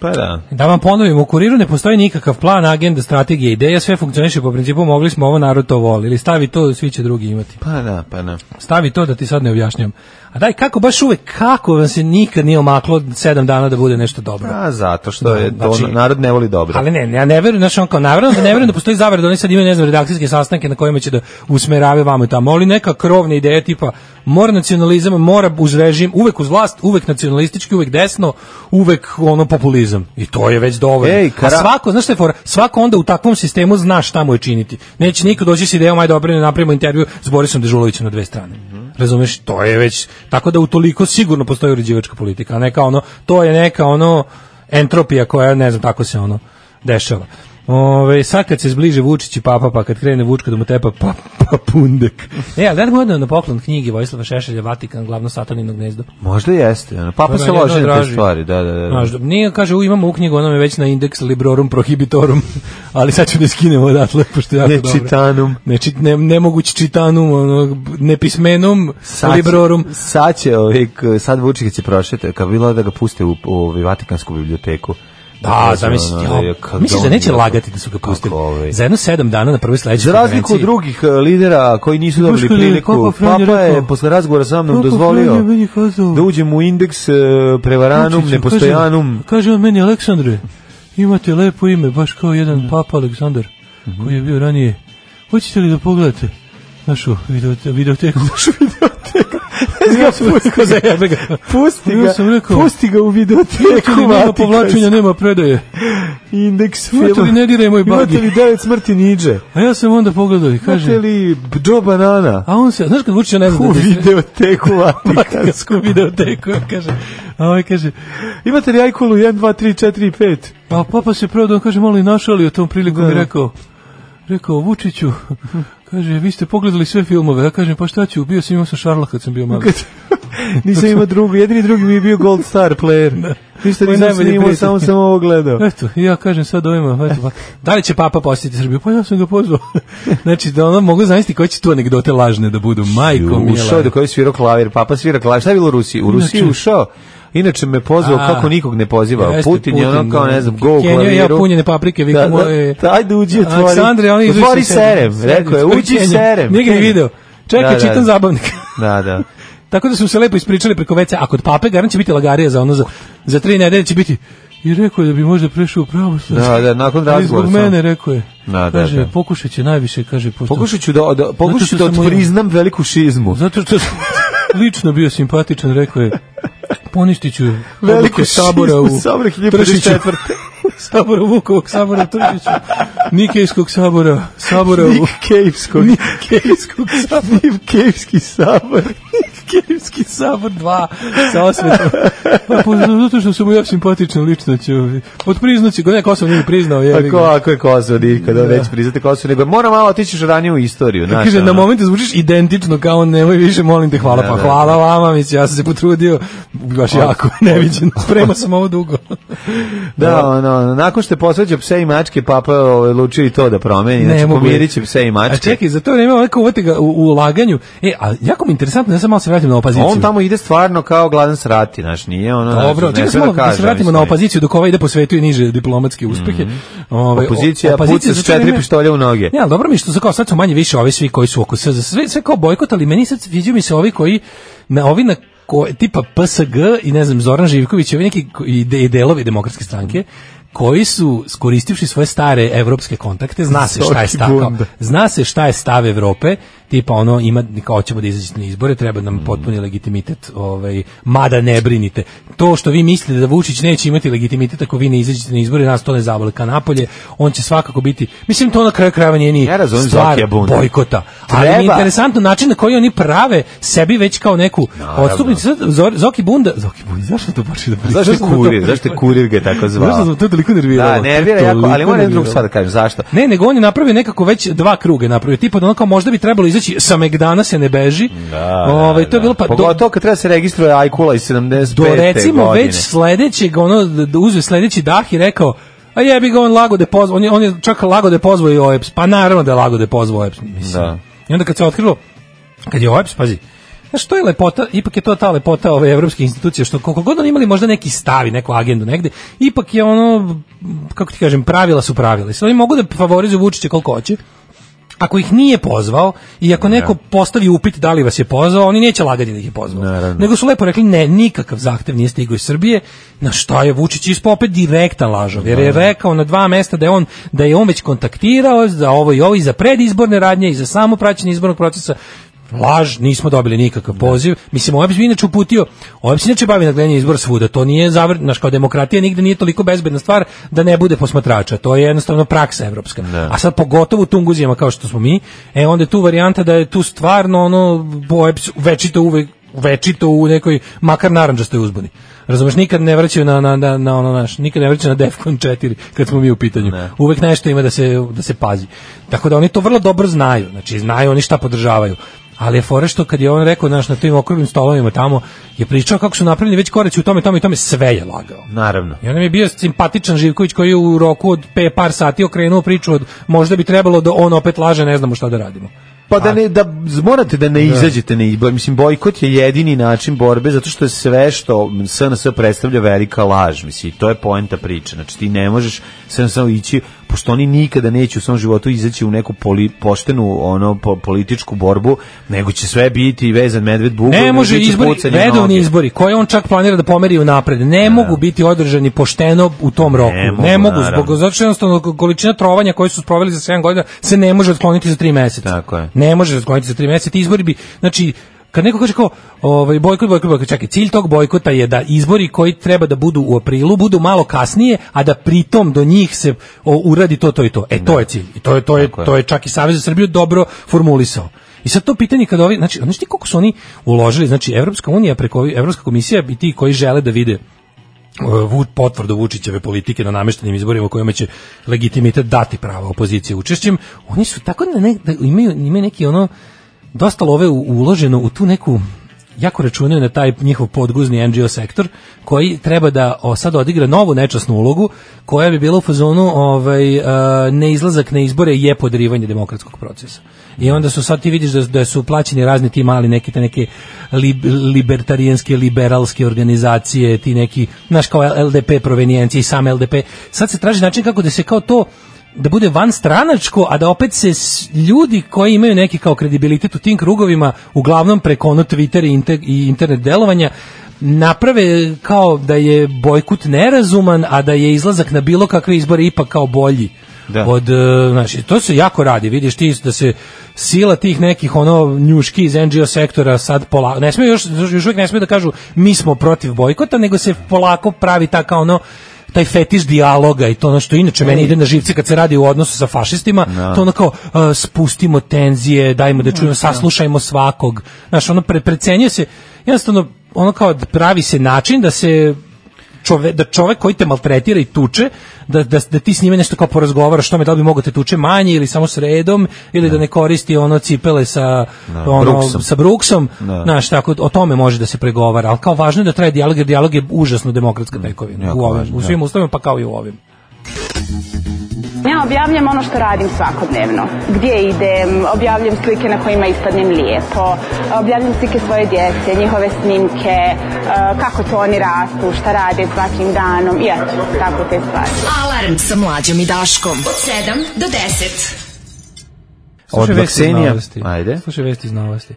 [SPEAKER 5] Pa da.
[SPEAKER 6] Da vam ponovim, u kuriru ne postoji nikakav plan, agenda, strategija, ideja, sve funkcioniše po principu mogli smo ovo narod to voli, ili stavi to, svi će drugi imati.
[SPEAKER 5] Pa da, pa da.
[SPEAKER 6] Stavi to da ti sad ne objašnjam. A daj, kako baš uvek, kako vam se nikad nije omaklo sedam dana da bude nešto dobro?
[SPEAKER 5] A Pa zato što je to
[SPEAKER 6] znači-
[SPEAKER 5] narod ne voli dobro.
[SPEAKER 6] Ali ne, ja ne verujem, znači on kao naravno da ne verujem da postoji zavera da oni sad imaju ne znam redakcijske sastanke na kojima će da usmeravaju vamo i tamo, ali neka krovna ideja tipa mora nacionalizam, mora uz režim, uvek uz vlast, uvek nacionalistički, uvek desno, uvek ono populizam. I to je već dovoljno.
[SPEAKER 5] Ej, kara-
[SPEAKER 6] A svako, znaš šta je fora? Svako onda u takvom sistemu zna šta mu je činiti. Neće niko doći s idejom, ajde dobro, ne napravimo intervju s Borisom Dežulovićem na dve strane. Razumeš, to je već, tako da utoliko sigurno postoji uređivačka politika, a neka ono, to je neka ono, entropija koja, ne znam, tako se ono dešava. Ove, sad kad se zbliže Vučić i papa, pa kad krene Vučko da mu tepa pa, pa pundek. E, ali da mu odneo na poklon knjige Vojislava Šešelja, Vatikan, glavno satanino gnezdo.
[SPEAKER 5] Možda jeste. Ono. Papa
[SPEAKER 6] To
[SPEAKER 5] se
[SPEAKER 6] meni je
[SPEAKER 5] loži
[SPEAKER 6] ono
[SPEAKER 5] na te
[SPEAKER 6] draži.
[SPEAKER 5] stvari. Da, da, da.
[SPEAKER 6] Znaš, da- nije, kaže, u, imamo u knjigu, ona me već na indeks Librorum Prohibitorum, ali sad ću da je skinemo odatle, pošto je jako dobro.
[SPEAKER 5] Nečitanum.
[SPEAKER 6] Ne, čit, ne, nemoguć čitanum, ono, b- nepismenum,
[SPEAKER 5] Sad će-
[SPEAKER 6] Librorum.
[SPEAKER 5] Sad će, ovaj, k- sad Vučić kad se prošete, kad bilo da ga puste u, u ovaj, Vatikansku biblioteku.
[SPEAKER 6] Da,
[SPEAKER 5] Ono,
[SPEAKER 6] zamisli,
[SPEAKER 5] ono,
[SPEAKER 6] ja,
[SPEAKER 5] je- kako
[SPEAKER 6] misliš da
[SPEAKER 5] on
[SPEAKER 6] neće
[SPEAKER 5] je-
[SPEAKER 6] lagati da su ga pustili.
[SPEAKER 5] Kako, ovaj.
[SPEAKER 6] Za jedno sedam dana na prvoj
[SPEAKER 5] Za
[SPEAKER 6] sledećoj
[SPEAKER 5] razliku od
[SPEAKER 6] konferenciji-
[SPEAKER 5] drugih e, lidera koji nisu dobili
[SPEAKER 6] Boško je- kako
[SPEAKER 5] priliku,
[SPEAKER 6] je Franjo
[SPEAKER 5] Papa je
[SPEAKER 6] rekao?
[SPEAKER 5] posle razgovora sa mnom
[SPEAKER 6] Kako
[SPEAKER 5] dozvolio
[SPEAKER 6] Franjo meni kazao?
[SPEAKER 5] da uđem u indeks e, prevaranum,
[SPEAKER 6] Vučiću,
[SPEAKER 5] nepostojanum.
[SPEAKER 6] Kaže, kaže on meni, Aleksandre, imate lepo ime, baš kao
[SPEAKER 5] Mhm.
[SPEAKER 6] jedan papa Aleksandar, koji je bio ranije. Hoćete li da pogledate našu videote- videoteku? Našu videoteku. Za jebe ga.
[SPEAKER 5] Pusti
[SPEAKER 6] Ja
[SPEAKER 5] ga,
[SPEAKER 6] sam rekao,
[SPEAKER 5] pusti ga u
[SPEAKER 6] Imate
[SPEAKER 5] videoteku
[SPEAKER 6] li nema
[SPEAKER 5] Vatikanske.
[SPEAKER 6] povlačenja, nema predaje.
[SPEAKER 5] Indeks
[SPEAKER 6] Imate li ne diraj moj
[SPEAKER 5] Imate
[SPEAKER 6] bagi?
[SPEAKER 5] li devet smrti niđe?
[SPEAKER 6] A ja sam onda pogledao i
[SPEAKER 5] Imate
[SPEAKER 6] kaže,
[SPEAKER 5] li Joe Banana?
[SPEAKER 6] a on se, znaš kad Vučić ne zna
[SPEAKER 5] U
[SPEAKER 6] da je
[SPEAKER 5] videoteku Vatikansku.
[SPEAKER 6] Vatikansku videoteku, kaže, a ovaj kaže,
[SPEAKER 5] Imate li Ajkulu 1, 2, 3, 4 i 5?
[SPEAKER 6] A Pa papa se prvo da on kaže malo i našalio tom prilikom i rekao, rekao Vučiću, kaže, vi ste pogledali sve filmove, ja kažem, pa šta ću, bio sam imao sa Šarla kad sam bio malo.
[SPEAKER 5] Nisam imao drugu, jedini drugi mi je bio Gold Star player. Ništa
[SPEAKER 6] Moj
[SPEAKER 5] nisam
[SPEAKER 6] najbolji
[SPEAKER 5] snimao,
[SPEAKER 6] prijatelj.
[SPEAKER 5] samo sam ovo gledao.
[SPEAKER 6] Eto, i ja kažem sad ovima, eto, pa, da li će papa posjetiti Srbiju? Pa ja sam ga pozvao. znači, da ono mogu zamisliti koje će tu anegdote lažne da budu, majko
[SPEAKER 5] Ušao je
[SPEAKER 6] mila.
[SPEAKER 5] do koji svirao klavir, papa svira klavir. Šta je bilo u Rusiji? U Rusiji je
[SPEAKER 6] Inače-
[SPEAKER 5] ušao. Inače me pozvao
[SPEAKER 6] A,
[SPEAKER 5] kako nikog ne poziva.
[SPEAKER 6] jeste,
[SPEAKER 5] Putin je ono kao, ne znam, go u
[SPEAKER 6] Kenio
[SPEAKER 5] klaviru.
[SPEAKER 6] i ja punjene paprike, vi
[SPEAKER 5] Da,
[SPEAKER 6] da,
[SPEAKER 5] da, da, ajde uđi, otvori.
[SPEAKER 6] Aleksandre, oni izašli
[SPEAKER 5] Otvori
[SPEAKER 6] sa-
[SPEAKER 5] serem.
[SPEAKER 6] sa-
[SPEAKER 5] Rekao je,
[SPEAKER 6] sa-
[SPEAKER 5] uđi serem.
[SPEAKER 6] Nije ga ni video. Čekaj,
[SPEAKER 5] Da, da.
[SPEAKER 6] čitam zabavnik.
[SPEAKER 5] Da, da.
[SPEAKER 6] Tako da su se lepo ispričali preko veca, a kod pape garant će biti lagarija za ono za, za tri nedelje će biti i rekao je da bi možda prešao u pravo
[SPEAKER 5] Da, da, nakon razgovora
[SPEAKER 6] Zbog
[SPEAKER 5] sam.
[SPEAKER 6] mene, rekao je.
[SPEAKER 5] Da, da,
[SPEAKER 6] kaže,
[SPEAKER 5] da.
[SPEAKER 6] pokušat će najviše, kaže, pošto...
[SPEAKER 5] Pokušat ću da, da, pokušat ću
[SPEAKER 6] što
[SPEAKER 5] da
[SPEAKER 6] sam mu-
[SPEAKER 5] priznam veliku šizmu.
[SPEAKER 6] Zato što sam lično bio simpatičan, rekao je, poništit ću odluke sabora u
[SPEAKER 5] Sabora
[SPEAKER 6] Tršiću.
[SPEAKER 5] 1054.
[SPEAKER 6] sabora u Vukovog, sabora u Tršiću, Nikejskog sabora, sabora u...
[SPEAKER 5] Nik Kejvskog.
[SPEAKER 6] Nikejskog sabora.
[SPEAKER 5] Nik Kejvski sabor.
[SPEAKER 6] Kirijski sabor 2 sa osvetom. Pa, po- zato što su mu ja simpatičan lično ću. Odpriznaću, ga ne, Kosovo nije priznao. Je,
[SPEAKER 5] Ako, ako je Kosovo, di, kada već priznate Kosovo, nego mora malo otići još ranije u istoriju. Znaš,
[SPEAKER 6] Kaže, na
[SPEAKER 5] ono.
[SPEAKER 6] momente zvučiš identično kao on, nemoj više, molim te, hvala, pa
[SPEAKER 5] da,
[SPEAKER 6] hvala vama, mislim, ja sam se potrudio, baš jako, neviđen, spremao sam ovo dugo.
[SPEAKER 5] Da, ono, nakon što je posveđao pse i mačke, papa je odlučio i to da promeni.
[SPEAKER 6] Ne
[SPEAKER 5] Znači,
[SPEAKER 6] mogu.
[SPEAKER 5] pomirit će pse i
[SPEAKER 6] A
[SPEAKER 5] mačke.
[SPEAKER 6] čekaj, za to vreme ovako uvati ga u, u ulaganju. E, a jako mi je interesantno, ja sam malo se vratim na opoziciju.
[SPEAKER 5] On tamo ide stvarno kao gladan srati, znaš, nije ono... znaš,
[SPEAKER 6] Dobro,
[SPEAKER 5] ne
[SPEAKER 6] čekaj
[SPEAKER 5] sve
[SPEAKER 6] samo da se
[SPEAKER 5] kažem,
[SPEAKER 6] vratimo
[SPEAKER 5] mislim. Mhm.
[SPEAKER 6] na opoziciju dok ova ide po svetu i niže diplomatske uspehe. Ovaj, o-
[SPEAKER 5] Opozicija puca
[SPEAKER 6] za
[SPEAKER 5] s
[SPEAKER 6] to
[SPEAKER 5] četiri
[SPEAKER 6] vreme-
[SPEAKER 5] pištolja u noge.
[SPEAKER 6] Ne, ali dobro mi je što su kao sad su manje više ovi svi koji su oko sve, sve, sve kao bojkot, ali meni sad viđaju mi se ovi koji na ovi na ko, tipa PSG i ne znam Zoran Živković i ovi neki ko- i, de, i delovi demokratske stranke koji su skoristivši svoje stare evropske kontakte, zna se šta
[SPEAKER 5] Svaki
[SPEAKER 6] je stakao.
[SPEAKER 5] bunda.
[SPEAKER 6] Zna se šta je stav Evrope, tipa ono ima kao hoćemo da izađete na izbore, treba
[SPEAKER 5] Mm.
[SPEAKER 6] nam potpuni legitimitet, ovaj mada ne brinite. To što vi mislite da Vučić neće imati legitimitet ako vi ne izađete na izbore, nas to ne zavoli ka napolje, on će svakako biti. Mislim to na kraju krajeva nije ni
[SPEAKER 5] Ja razumem
[SPEAKER 6] stvar
[SPEAKER 5] Zokija bunda.
[SPEAKER 6] bojkota. Ali mi je
[SPEAKER 5] Treba.
[SPEAKER 6] interesantno način na koji oni prave sebi već kao neku odstupnicu. Sad Zor- Zoki Bunda, Zoki Bunda, zašto to baš da pričam?
[SPEAKER 5] Zašto je
[SPEAKER 6] Zašto sam to-
[SPEAKER 5] kurir? Zašto je kurir ga je tako zvao?
[SPEAKER 6] Zašto sam to toliko nerviralo?
[SPEAKER 5] Da, nervira jako, ali
[SPEAKER 6] Toliko
[SPEAKER 5] moram jednu
[SPEAKER 6] nerviralo.
[SPEAKER 5] drugu stvar da kažem, zašto?
[SPEAKER 6] Ne, nego on je napravio nekako već dva kruga je napravio. Tipa da ono kao možda bi trebalo izaći sa Megdana se ne beži.
[SPEAKER 5] Da,
[SPEAKER 6] Ovaj,
[SPEAKER 5] da,
[SPEAKER 6] to je bilo
[SPEAKER 5] da.
[SPEAKER 6] pa do,
[SPEAKER 5] Pogotovo kad treba se registruje Ajkula iz 75.
[SPEAKER 6] do recimo
[SPEAKER 5] godine.
[SPEAKER 6] već sledećeg ono da da uzme sledeći dah i rekao A jebi ga on lago da je pozvao, on je, on je čak lago da je pozvao i OEPS, pa naravno da je lago da je pozvao OEPS, mislim.
[SPEAKER 5] Da.
[SPEAKER 6] I onda kad se otkrilo, kad je OEPS, pazi, znaš, to je lepota, ipak je to ta lepota ove evropske institucije, što koliko god oni imali možda neki stavi, neku agendu negde, ipak je ono, kako ti kažem, pravila su pravila. I sad oni mogu da favorizuju Vučića koliko hoće, ako ih nije pozvao i ako neko postavi upit da li vas je pozvao, oni neće lagati da ih je pozvao.
[SPEAKER 5] Naravno.
[SPEAKER 6] Nego su lepo rekli ne, nikakav zahtev nije stigao iz Srbije. Na šta je Vučić ispao opet direktan lažov, jer je rekao na dva mesta da je on da je on već kontaktirao za ovo i ovo i za predizborne radnje i za samo praćenje izbornog procesa laž, nismo dobili nikakav poziv. Mislim, OEBS bi inače uputio, OEBS inače bavi nagledanje izbora svuda, to nije zavr, naš kao demokratija nigde nije toliko bezbedna stvar da ne bude posmatrača, to je jednostavno praksa evropska. A sad pogotovo u Tunguzijama kao što smo mi, e, onda je tu varijanta da je tu stvarno ono, OEBS večito uvek večito u nekoj makar narandžastoj uzbuni. Razumeš, nikad ne vraćaju na, na, na, na ono naš, nikad ne vraćaju na Defcon 4 kad smo mi u pitanju. Uvek nešto ima da se, da se pazi. Tako da oni to vrlo dobro znaju, znači znaju oni šta podržavaju. Ali je fora što kad je on rekao, znaš, na tim okruglim stolovima tamo, je pričao kako su napravljeni već koraci u tome, tome i tome, sve je lagao.
[SPEAKER 5] Naravno.
[SPEAKER 6] I onda mi je bio simpatičan Živković koji je u roku od pe par sati okrenuo priču od možda bi trebalo da on opet laže, ne znamo šta da radimo.
[SPEAKER 5] Pa da ne da morate da ne izađete na izbor. Mislim bojkot je jedini način borbe zato što je sve što SNS predstavlja velika laž, mislim i to je poenta priče. Znači ti ne možeš sve samo ići pošto oni nikada neće u svom životu izaći u neku poli, poštenu ono po- političku borbu, nego će sve biti vezan medved bugom.
[SPEAKER 6] Ne
[SPEAKER 5] nego
[SPEAKER 6] može
[SPEAKER 5] biće
[SPEAKER 6] izbori,
[SPEAKER 5] pucanje
[SPEAKER 6] redovni
[SPEAKER 5] noge.
[SPEAKER 6] izbori, koje on čak planira da pomeri u napred, ne mogu biti održani pošteno u tom roku. Ne mogu,
[SPEAKER 5] mogu, naravno.
[SPEAKER 6] zbog, zato što jednostavno količina trovanja koju su sproveli za 7 godina se ne može otkloniti za 3 meseca.
[SPEAKER 5] Tako je.
[SPEAKER 6] Ne može se otkloniti za 3 meseca. Ti izbori bi, znači, kad neko kaže kao ovaj bojkot bojkot bojkot čekaj cilj tog bojkota je da izbori koji treba da budu u aprilu budu malo kasnije a da pritom do njih se o, uradi to to i to e to je cilj i to je to je to je čak i Savez za Srbiju dobro formulisao I sad to pitanje kada ovi, znači, znaš ti koliko su oni uložili, znači, Evropska unija preko ovi- Evropska komisija i ti koji žele da vide Vut potvrdu Vučićeve politike na nameštenim izborima u kojima će legitimitet dati pravo opozicije učešćem, oni su tako na ne, da imaju, imaju neki ono dosta love u- uloženo u tu neku jako računaju na taj njihov podguzni NGO sektor koji treba da o, sad odigra novu nečasnu ulogu koja bi bila u fazonu ovaj, e, neizlazak na izbore je podrivanje demokratskog procesa. I onda su sad ti vidiš da, da su plaćeni razni ti mali neki te neke lib, libertarijanske, liberalske organizacije, ti neki, znaš kao LDP provenijencije i sam LDP. Sad se traži način kako da se kao to da bude van stranačko, a da opet se s- ljudi koji imaju neki kao kredibilitet u tim krugovima, uglavnom preko ono Twitter i, inte- i internet delovanja, naprave kao da je bojkut nerazuman, a da je izlazak na bilo kakve izbore ipak kao bolji.
[SPEAKER 5] Da.
[SPEAKER 6] Od, e, znači, to se jako radi, vidiš ti da se sila tih nekih ono njuški iz NGO sektora sad polako, ne smije još, još uvijek ne smije da kažu mi smo protiv bojkota, nego se polako pravi ta kao ono taj fetiš dijaloga i to ono što inače meni ide na živce kad se radi u odnosu sa fašistima, to ono kao e, spustimo tenzije, dajmo da čujemo, saslušajmo svakog. Znaš, ono pre, precenjuje se, jednostavno, ono kao da pravi se način da se čove, da čovek koji te maltretira i tuče, da, da, da ti s njime nešto kao porazgovaraš, što me da li bi mogo te tuče manje ili samo s redom, ili da ne koristi ono cipele sa, ono,
[SPEAKER 5] Brooksom.
[SPEAKER 6] sa Brooksom, znaš, tako, o tome može da se pregovara, ali kao važno je da traje dijalog, jer dijalog je užasno demokratska tekovina,
[SPEAKER 5] jako
[SPEAKER 6] u, ovim,
[SPEAKER 5] važno,
[SPEAKER 6] u svim ustavima, pa kao i u ovim.
[SPEAKER 11] Ja objavljam ono što radim svakodnevno. Gdje idem, objavljam slike na kojima ispadnem lijepo, objavljam slike svoje djece, njihove snimke, eh, kako to oni rastu, šta rade svakim danom i eto, tako te stvari.
[SPEAKER 4] Alarm sa mlađom i Daškom. Od 7 do 10.
[SPEAKER 5] Od
[SPEAKER 6] Slušaj vesti iz
[SPEAKER 5] Baksenija.
[SPEAKER 6] novosti.
[SPEAKER 5] Ajde.
[SPEAKER 6] Slušaj vesti iz novosti.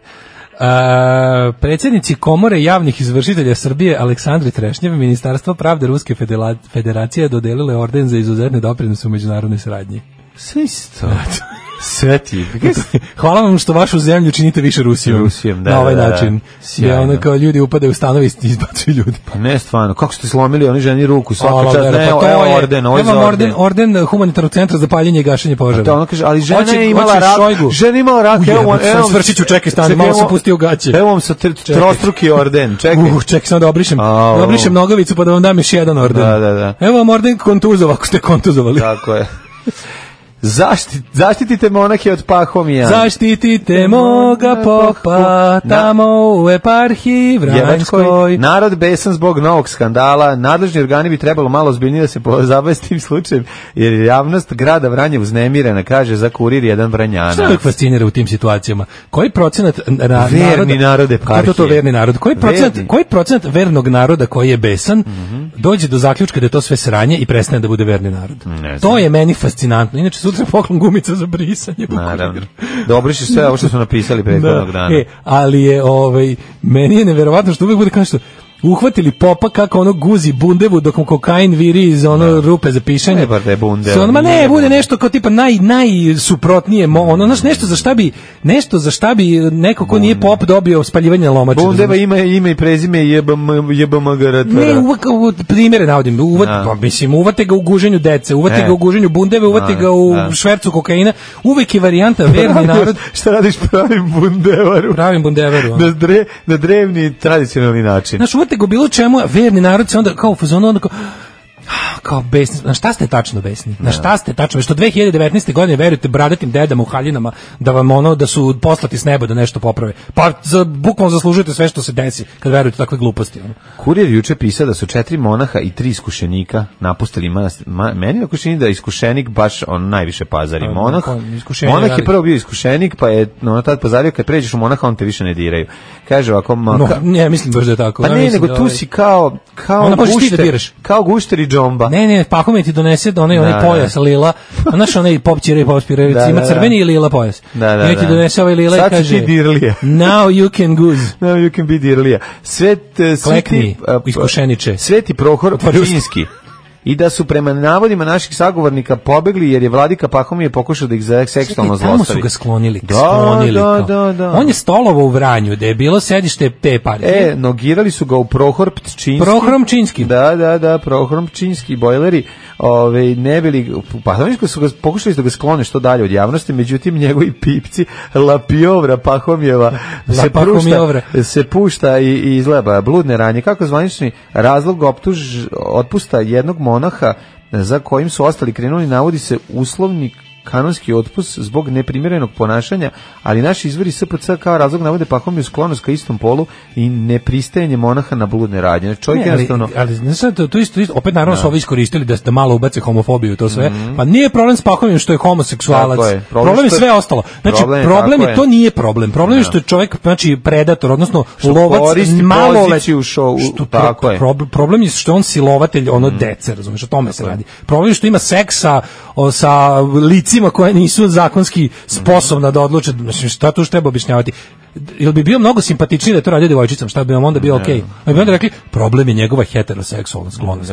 [SPEAKER 6] A, predsjednici Komore javnih izvršitelja Srbije Aleksandri Trešnjev Ministarstvo pravde Ruske fedela- federacije dodelile orden za izuzetne doprinose u međunarodnoj saradnji.
[SPEAKER 5] Sve isto. Sve ti.
[SPEAKER 6] Hvala vam što vašu zemlju činite više Rusijom.
[SPEAKER 5] Rusijom, da,
[SPEAKER 6] Na ovaj
[SPEAKER 5] da, da.
[SPEAKER 6] način.
[SPEAKER 5] Sjajno.
[SPEAKER 6] Ja ono kao ljudi upadaju u stanove i izbacuju ljudi.
[SPEAKER 5] Pa ne, stvarno, kako ste slomili oni ženi ruku, svaka
[SPEAKER 6] Hvala,
[SPEAKER 5] čast,
[SPEAKER 6] Vera,
[SPEAKER 5] ne,
[SPEAKER 6] pa to
[SPEAKER 5] evo
[SPEAKER 6] je-
[SPEAKER 5] orden, ovo je
[SPEAKER 6] evo
[SPEAKER 5] za
[SPEAKER 6] vam
[SPEAKER 5] orden.
[SPEAKER 6] Orden humanitarnog centra za paljenje i gašenje požara.
[SPEAKER 5] Da, ona kaže, ali žena
[SPEAKER 6] Hoće-
[SPEAKER 5] je imala
[SPEAKER 6] hoće
[SPEAKER 5] rak,
[SPEAKER 6] Šojgu.
[SPEAKER 5] žena je imala rak,
[SPEAKER 6] Ujebote,
[SPEAKER 5] evo, vam-
[SPEAKER 6] sad
[SPEAKER 5] evo. vam-
[SPEAKER 6] svršit ću, čekaj, stani,
[SPEAKER 5] Čekaj,
[SPEAKER 6] malo
[SPEAKER 5] evo-
[SPEAKER 6] sam pustio gaće.
[SPEAKER 5] Evo vam sa tr-
[SPEAKER 6] Čekaj.
[SPEAKER 5] trostruki orden, čekaj.
[SPEAKER 6] Uh, ček sam da obrišem,
[SPEAKER 5] Au.
[SPEAKER 6] da obrišem nogavicu pa da vam dam još jedan orden.
[SPEAKER 5] Da, da, da.
[SPEAKER 6] Evo vam orden kontuzov, ako ste kontuzovali.
[SPEAKER 5] Tako je. Zaštit, zaštitite monahe od pahomija.
[SPEAKER 6] Zaštitite moga popa
[SPEAKER 5] Na-
[SPEAKER 6] tamo u eparhiji Vranjskoj.
[SPEAKER 5] Jevačkoj. Narod besan zbog novog skandala. Nadležni organi bi trebalo malo ozbiljnije da se pozabave s tim slučajem, jer je javnost grada Vranja uznemirena, kaže za kurir jedan
[SPEAKER 6] Šta
[SPEAKER 5] Vranjana.
[SPEAKER 6] uvijek fascinira u tim situacijama? Koji procenat na, naroda...
[SPEAKER 5] Verni narod eparhije.
[SPEAKER 6] Kako to verni narod? Koji procenat,
[SPEAKER 5] Verni. Mhm.
[SPEAKER 6] koji procenat vernog naroda koji je besan dođe do zaključka da je to sve sranje i prestane da bude verni narod?
[SPEAKER 5] Ne znam.
[SPEAKER 6] To je meni fascinantno. Inače, sutra je poklon gumica za brisanje.
[SPEAKER 5] Naravno. Dobro si sve ovo što smo napisali prethodnog dana.
[SPEAKER 6] E, ali je, ovaj, meni je neverovatno što uvijek bude kao što uhvatili popa kako ono guzi bundevu dok mu kokain viri iz ono rupe za pišanje.
[SPEAKER 5] Ne, bar da je bundeva,
[SPEAKER 6] Sve ono, ma ne,
[SPEAKER 5] nije
[SPEAKER 6] bude
[SPEAKER 5] bundeva.
[SPEAKER 6] nešto kao tipa naj, najsuprotnije, mo, ono, znaš, nešto za šta bi, nešto za šta bi neko ko nije pop dobio spaljivanje lomača.
[SPEAKER 5] Bundeva ima ime i prezime i jebam, jebam ga
[SPEAKER 6] Ne, uvek u- primere navodim. Uvat,
[SPEAKER 5] Da.
[SPEAKER 6] pa, mislim, uvate ga u guženju dece, uvate
[SPEAKER 5] E.
[SPEAKER 6] ga u guženju bundeve, uvate
[SPEAKER 5] Da,
[SPEAKER 6] ga u
[SPEAKER 5] da.
[SPEAKER 6] švercu kokaina. Uvek je varijanta verni narod
[SPEAKER 5] Šta radiš pravim bundevaru?
[SPEAKER 6] pravim bundeveru. ono.
[SPEAKER 5] Na, dre, na drevni tradicionalni način.
[SPEAKER 6] Znaš, uvete go bilo čemu, a verni narod se onda kao u fazonu, onda kao, "Ah, kao besni, na šta ste tačno besni? Na šta ste tačno? Što 2019. godine verujete bradatim dedama u haljinama da vam ono da su poslati s neba da nešto poprave. Pa za bukvalno zaslužujete sve što se desi kad verujete takve gluposti. Ono.
[SPEAKER 5] Kurir juče pisao da su četiri monaha i tri iskušenika napustili manastir. Ma, meni ako čini da je iskušenik baš on najviše pazari.
[SPEAKER 6] A,
[SPEAKER 5] Monah,
[SPEAKER 6] pa, iskušenje
[SPEAKER 5] monah je
[SPEAKER 6] radi.
[SPEAKER 5] prvo bio iskušenik, pa je no, tad pazario, kad pređeš u monaha, on te više ne diraju. Kaže ovako, ma,
[SPEAKER 6] No,
[SPEAKER 5] Pa ka-
[SPEAKER 6] ne, mislim baš da je tako.
[SPEAKER 5] pa
[SPEAKER 6] Ja
[SPEAKER 5] ne,
[SPEAKER 6] mislim
[SPEAKER 5] nego
[SPEAKER 6] da
[SPEAKER 5] tu
[SPEAKER 6] ovaj-
[SPEAKER 5] si kao, kao
[SPEAKER 6] Onda možeš ti da
[SPEAKER 5] gušter,
[SPEAKER 6] biraš.
[SPEAKER 5] kao gušter i džomba.
[SPEAKER 6] Ne, ne, pahome ti donese onaj,
[SPEAKER 5] Da,
[SPEAKER 6] onaj
[SPEAKER 5] da.
[SPEAKER 6] pojas lila. A Znaš onaj pop ćira i pop ćira,
[SPEAKER 5] Da,
[SPEAKER 6] ima
[SPEAKER 5] da, da.
[SPEAKER 6] crveni i lila pojas.
[SPEAKER 5] Da, da,
[SPEAKER 6] I on ti
[SPEAKER 5] da.
[SPEAKER 6] donese ovaj lila
[SPEAKER 5] Sad
[SPEAKER 6] i
[SPEAKER 5] si
[SPEAKER 6] kaže...
[SPEAKER 5] ti dirlija.
[SPEAKER 6] Now you can goose.
[SPEAKER 5] No, you can be dirlija. Svet, eh, sveti,
[SPEAKER 6] Klekni,
[SPEAKER 5] eh,
[SPEAKER 6] iskušeniče.
[SPEAKER 5] Sveti Prohor Pačinski. I da su prema navodima naših sagovornika pobegli jer je vladika Pahomije pokušao da ih za- seksualno
[SPEAKER 6] Čekaj, tamo
[SPEAKER 5] zlostavi.
[SPEAKER 6] su ga sklonili,
[SPEAKER 5] Da,
[SPEAKER 6] sklonili
[SPEAKER 5] da,
[SPEAKER 6] kao.
[SPEAKER 5] da, da.
[SPEAKER 6] On je stolovo u Vranju, da je bilo sedište te partije.
[SPEAKER 5] E, nogirali su ga u Prohor Pčinski.
[SPEAKER 6] Prohrom Činski.
[SPEAKER 5] Da, da, da, Prohor Pčinski, bojleri. Ove, ne bili, pa Pahomijsko su ga, pokušali su da ga sklone što dalje od javnosti, međutim njegovi pipci Lapiovra Pahomijeva se,
[SPEAKER 6] Pahomijovra.
[SPEAKER 5] pušta, se pušta i, i izleba bludne ranje. Kako zvanični razlog optuž, otpusta jednog monaha za kojim su ostali krenuli, navodi se uslovnik kanonski otpust zbog neprimjerenog ponašanja, ali naši izvori SPC kao razlog navode Pahomiju sklonost ka istom polu i nepristajanje monaha na bludne radnje. Znači, Čovjek
[SPEAKER 6] Ne, ali,
[SPEAKER 5] jednostavno...
[SPEAKER 6] ali znaš sad, to isto, isto, opet naravno su ovi iskoristili da, da malo ubace homofobiju i to sve, pa nije problem s pakovim što je homoseksualac,
[SPEAKER 5] Mhm. Tako je.
[SPEAKER 6] problem,
[SPEAKER 5] Problem
[SPEAKER 6] je
[SPEAKER 5] što je-
[SPEAKER 6] sve ostalo, znači
[SPEAKER 5] problem
[SPEAKER 6] problem,
[SPEAKER 5] je, tako
[SPEAKER 6] je,
[SPEAKER 5] je.
[SPEAKER 6] to nije problem, problem je što je čovjek, znači predator, odnosno lovac,
[SPEAKER 5] koristi
[SPEAKER 6] malo
[SPEAKER 5] poziciju šo- u-
[SPEAKER 6] što,
[SPEAKER 5] tako je. Mm.
[SPEAKER 6] prob- problem je što je on silovatelj, ono dece, razumiješ, o tome se radi, problem je što ima seksa o, sa licima koje nisu zakonski sposobna da odluče, mislim, šta tu još treba objašnjavati, jel bi bio mnogo simpatičniji da je to radio devojčicom, šta bi vam onda bio okej? Ali bi onda rekli, problem je njegova heteroseksualna sklonost.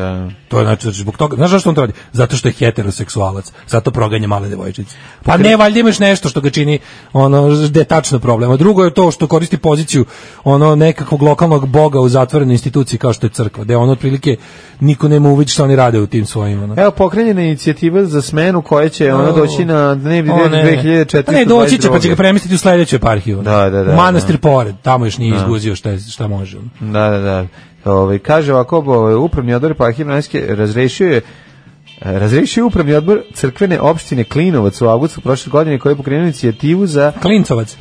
[SPEAKER 6] To je znači zbog toga, znaš zašto on to radi? Zato što je heteroseksualac, zato proganja male devojčice. Pa ne, valjda imaš nešto što ga čini ono da je tačno problem. A drugo je to što koristi poziciju ono nekakvog lokalnog boga u zatvorenoj instituciji kao što je crkva, da ono otprilike niko nema uvid šta oni rade u tim svojim ono.
[SPEAKER 5] Evo pokrenjena je inicijativa za smenu koja će ona doći na dnevni
[SPEAKER 6] O,
[SPEAKER 5] red
[SPEAKER 6] ne.
[SPEAKER 5] 2422.
[SPEAKER 6] Pa Ne, doći će pa će ga premestiti u sledeću eparhiju. ono.
[SPEAKER 5] Da, da, da,
[SPEAKER 6] U Manastir
[SPEAKER 5] da.
[SPEAKER 6] pored, tamo još nije
[SPEAKER 5] Da.
[SPEAKER 6] izguzio šta, je- šta može. ono.
[SPEAKER 5] Da, da, da. Ovaj kaže ovako, ovaj, upravni odbor Parhije Mlanske razrešio je Razrešio je upravni odbor crkvene opštine Klinovac u avgustu prošle godine koji je pokrenuo inicijativu za
[SPEAKER 6] Klincovac.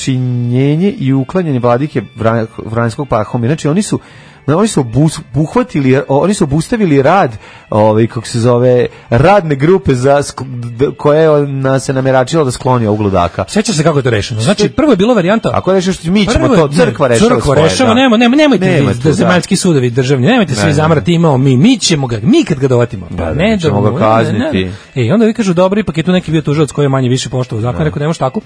[SPEAKER 5] raščinjenje i uklanjanje vladike Vran- Vranjskog pahomira. Znači oni su na- oni su obus- obuhvatili, oni su obustavili rad, ovaj kako se zove, radne grupe za sk- d- koja je na, se nameračila da skloni ovog ludaka.
[SPEAKER 6] Sećaš se kako je to rešeno? Znači, prvo je bila varijanta...
[SPEAKER 5] Ako rešiš što mi ćemo
[SPEAKER 6] Prvo,
[SPEAKER 5] to,
[SPEAKER 6] ne,
[SPEAKER 5] crkva rešava
[SPEAKER 6] Crkva
[SPEAKER 5] svoje,
[SPEAKER 6] rešava,
[SPEAKER 5] da.
[SPEAKER 6] nema, nema, nemojte
[SPEAKER 5] Nema
[SPEAKER 6] vi,
[SPEAKER 5] tu,
[SPEAKER 6] da, zemaljski sudovi državni, nemojte
[SPEAKER 5] Ne,
[SPEAKER 6] svi
[SPEAKER 5] ne.
[SPEAKER 6] zamarati, imao mi, mi ćemo ga, mi kad ga dovatimo.
[SPEAKER 5] Da, da,
[SPEAKER 6] ne,
[SPEAKER 5] mi ćemo
[SPEAKER 6] da,
[SPEAKER 5] ga
[SPEAKER 6] ne, ne, ne.
[SPEAKER 5] kazniti.
[SPEAKER 6] E, i onda vi kažu, dobro, ipak je tu neki bio tužilac koji je manje više poštovao zakon, rekao, nemoš tako.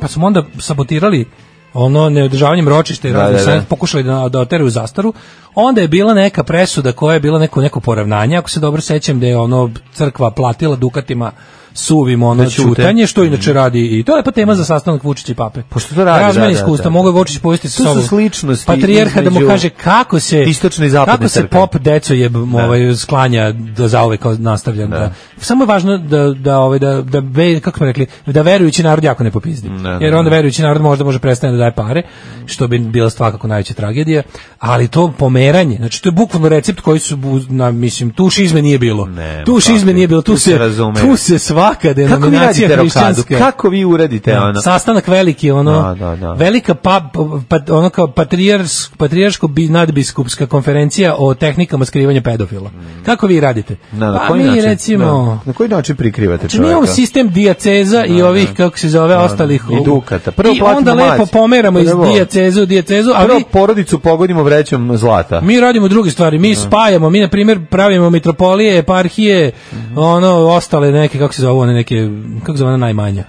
[SPEAKER 6] Pa smo onda sabotirali ono neodržavanjem ročišta i
[SPEAKER 5] Da,
[SPEAKER 6] raznih
[SPEAKER 5] da,
[SPEAKER 6] sednica,
[SPEAKER 5] da.
[SPEAKER 6] pokušali da, da oteraju zastaru. Onda je bila neka presuda koja je bila neko, neko poravnanje, ako se dobro sećam, da je ono crkva platila dukatima suvim ono
[SPEAKER 5] Da ćute. Mhm.
[SPEAKER 6] ćutanje, što inače radi i to je lepa tema za sastanak Vučića i Pape.
[SPEAKER 5] Pošto to radi,
[SPEAKER 6] Razmena
[SPEAKER 5] da, da,
[SPEAKER 6] iskustva,
[SPEAKER 5] da.
[SPEAKER 6] mogu je Vučić povesti sa
[SPEAKER 5] To su
[SPEAKER 6] sobom.
[SPEAKER 5] sličnosti
[SPEAKER 6] Patrijarha da mu
[SPEAKER 5] između
[SPEAKER 6] kaže kako se
[SPEAKER 5] istočne i zapadne
[SPEAKER 6] kako se
[SPEAKER 5] crkve.
[SPEAKER 6] pop deco je ovaj sklanja da zauvek kao nastavlja. Da. Samo je važno da da ovaj da da ve- kako smo rekli, da verujući narod jako ne popizdi.
[SPEAKER 5] da,
[SPEAKER 6] Jer onda verujući narod možda može prestane da daje pare, što bi bila svakako najveća tragedija, ali to pomeranje, znači to je bukvalno recept koji su bu- na mislim tu šizme nije bilo.
[SPEAKER 5] Ne,
[SPEAKER 6] tu šizme
[SPEAKER 5] kakvi.
[SPEAKER 6] nije bilo, tu,
[SPEAKER 5] Tu se
[SPEAKER 6] se
[SPEAKER 5] razume.
[SPEAKER 6] tu se svaka
[SPEAKER 5] Kako vi
[SPEAKER 6] denominacija
[SPEAKER 5] radite rokadu?
[SPEAKER 6] hrišćanska-
[SPEAKER 5] Kako vi uradite
[SPEAKER 6] da,
[SPEAKER 5] ono?
[SPEAKER 6] Sastanak veliki ono.
[SPEAKER 5] Da, da, da.
[SPEAKER 6] Velika pa, pa ono kao patrijarsk patrijarško bi nadbiskupska konferencija o tehnikama skrivanja pedofila. Kako vi radite?
[SPEAKER 5] Na, na
[SPEAKER 6] pa
[SPEAKER 5] koji
[SPEAKER 6] mi
[SPEAKER 5] način?
[SPEAKER 6] recimo
[SPEAKER 5] Da. Na koji način prikrivate
[SPEAKER 6] Znači, mi imamo
[SPEAKER 5] čovjeka?
[SPEAKER 6] sistem dijaceza i ovih, kako se zove, ostalih...
[SPEAKER 5] I dukata. Prvo
[SPEAKER 6] I
[SPEAKER 5] platimo
[SPEAKER 6] onda lepo
[SPEAKER 5] mazi.
[SPEAKER 6] pomeramo iz
[SPEAKER 5] Prvo-
[SPEAKER 6] dijacezu u dijacezu, a
[SPEAKER 5] Prvo
[SPEAKER 6] vi
[SPEAKER 5] porodicu pogodimo vrećom zlata.
[SPEAKER 6] mi radimo druge stvari, mi spajamo, mi na primjer pravimo mitropolije, eparhije,
[SPEAKER 5] Mhm.
[SPEAKER 6] ono ostale neke kako se zove one neke kako se zove ona najmanja.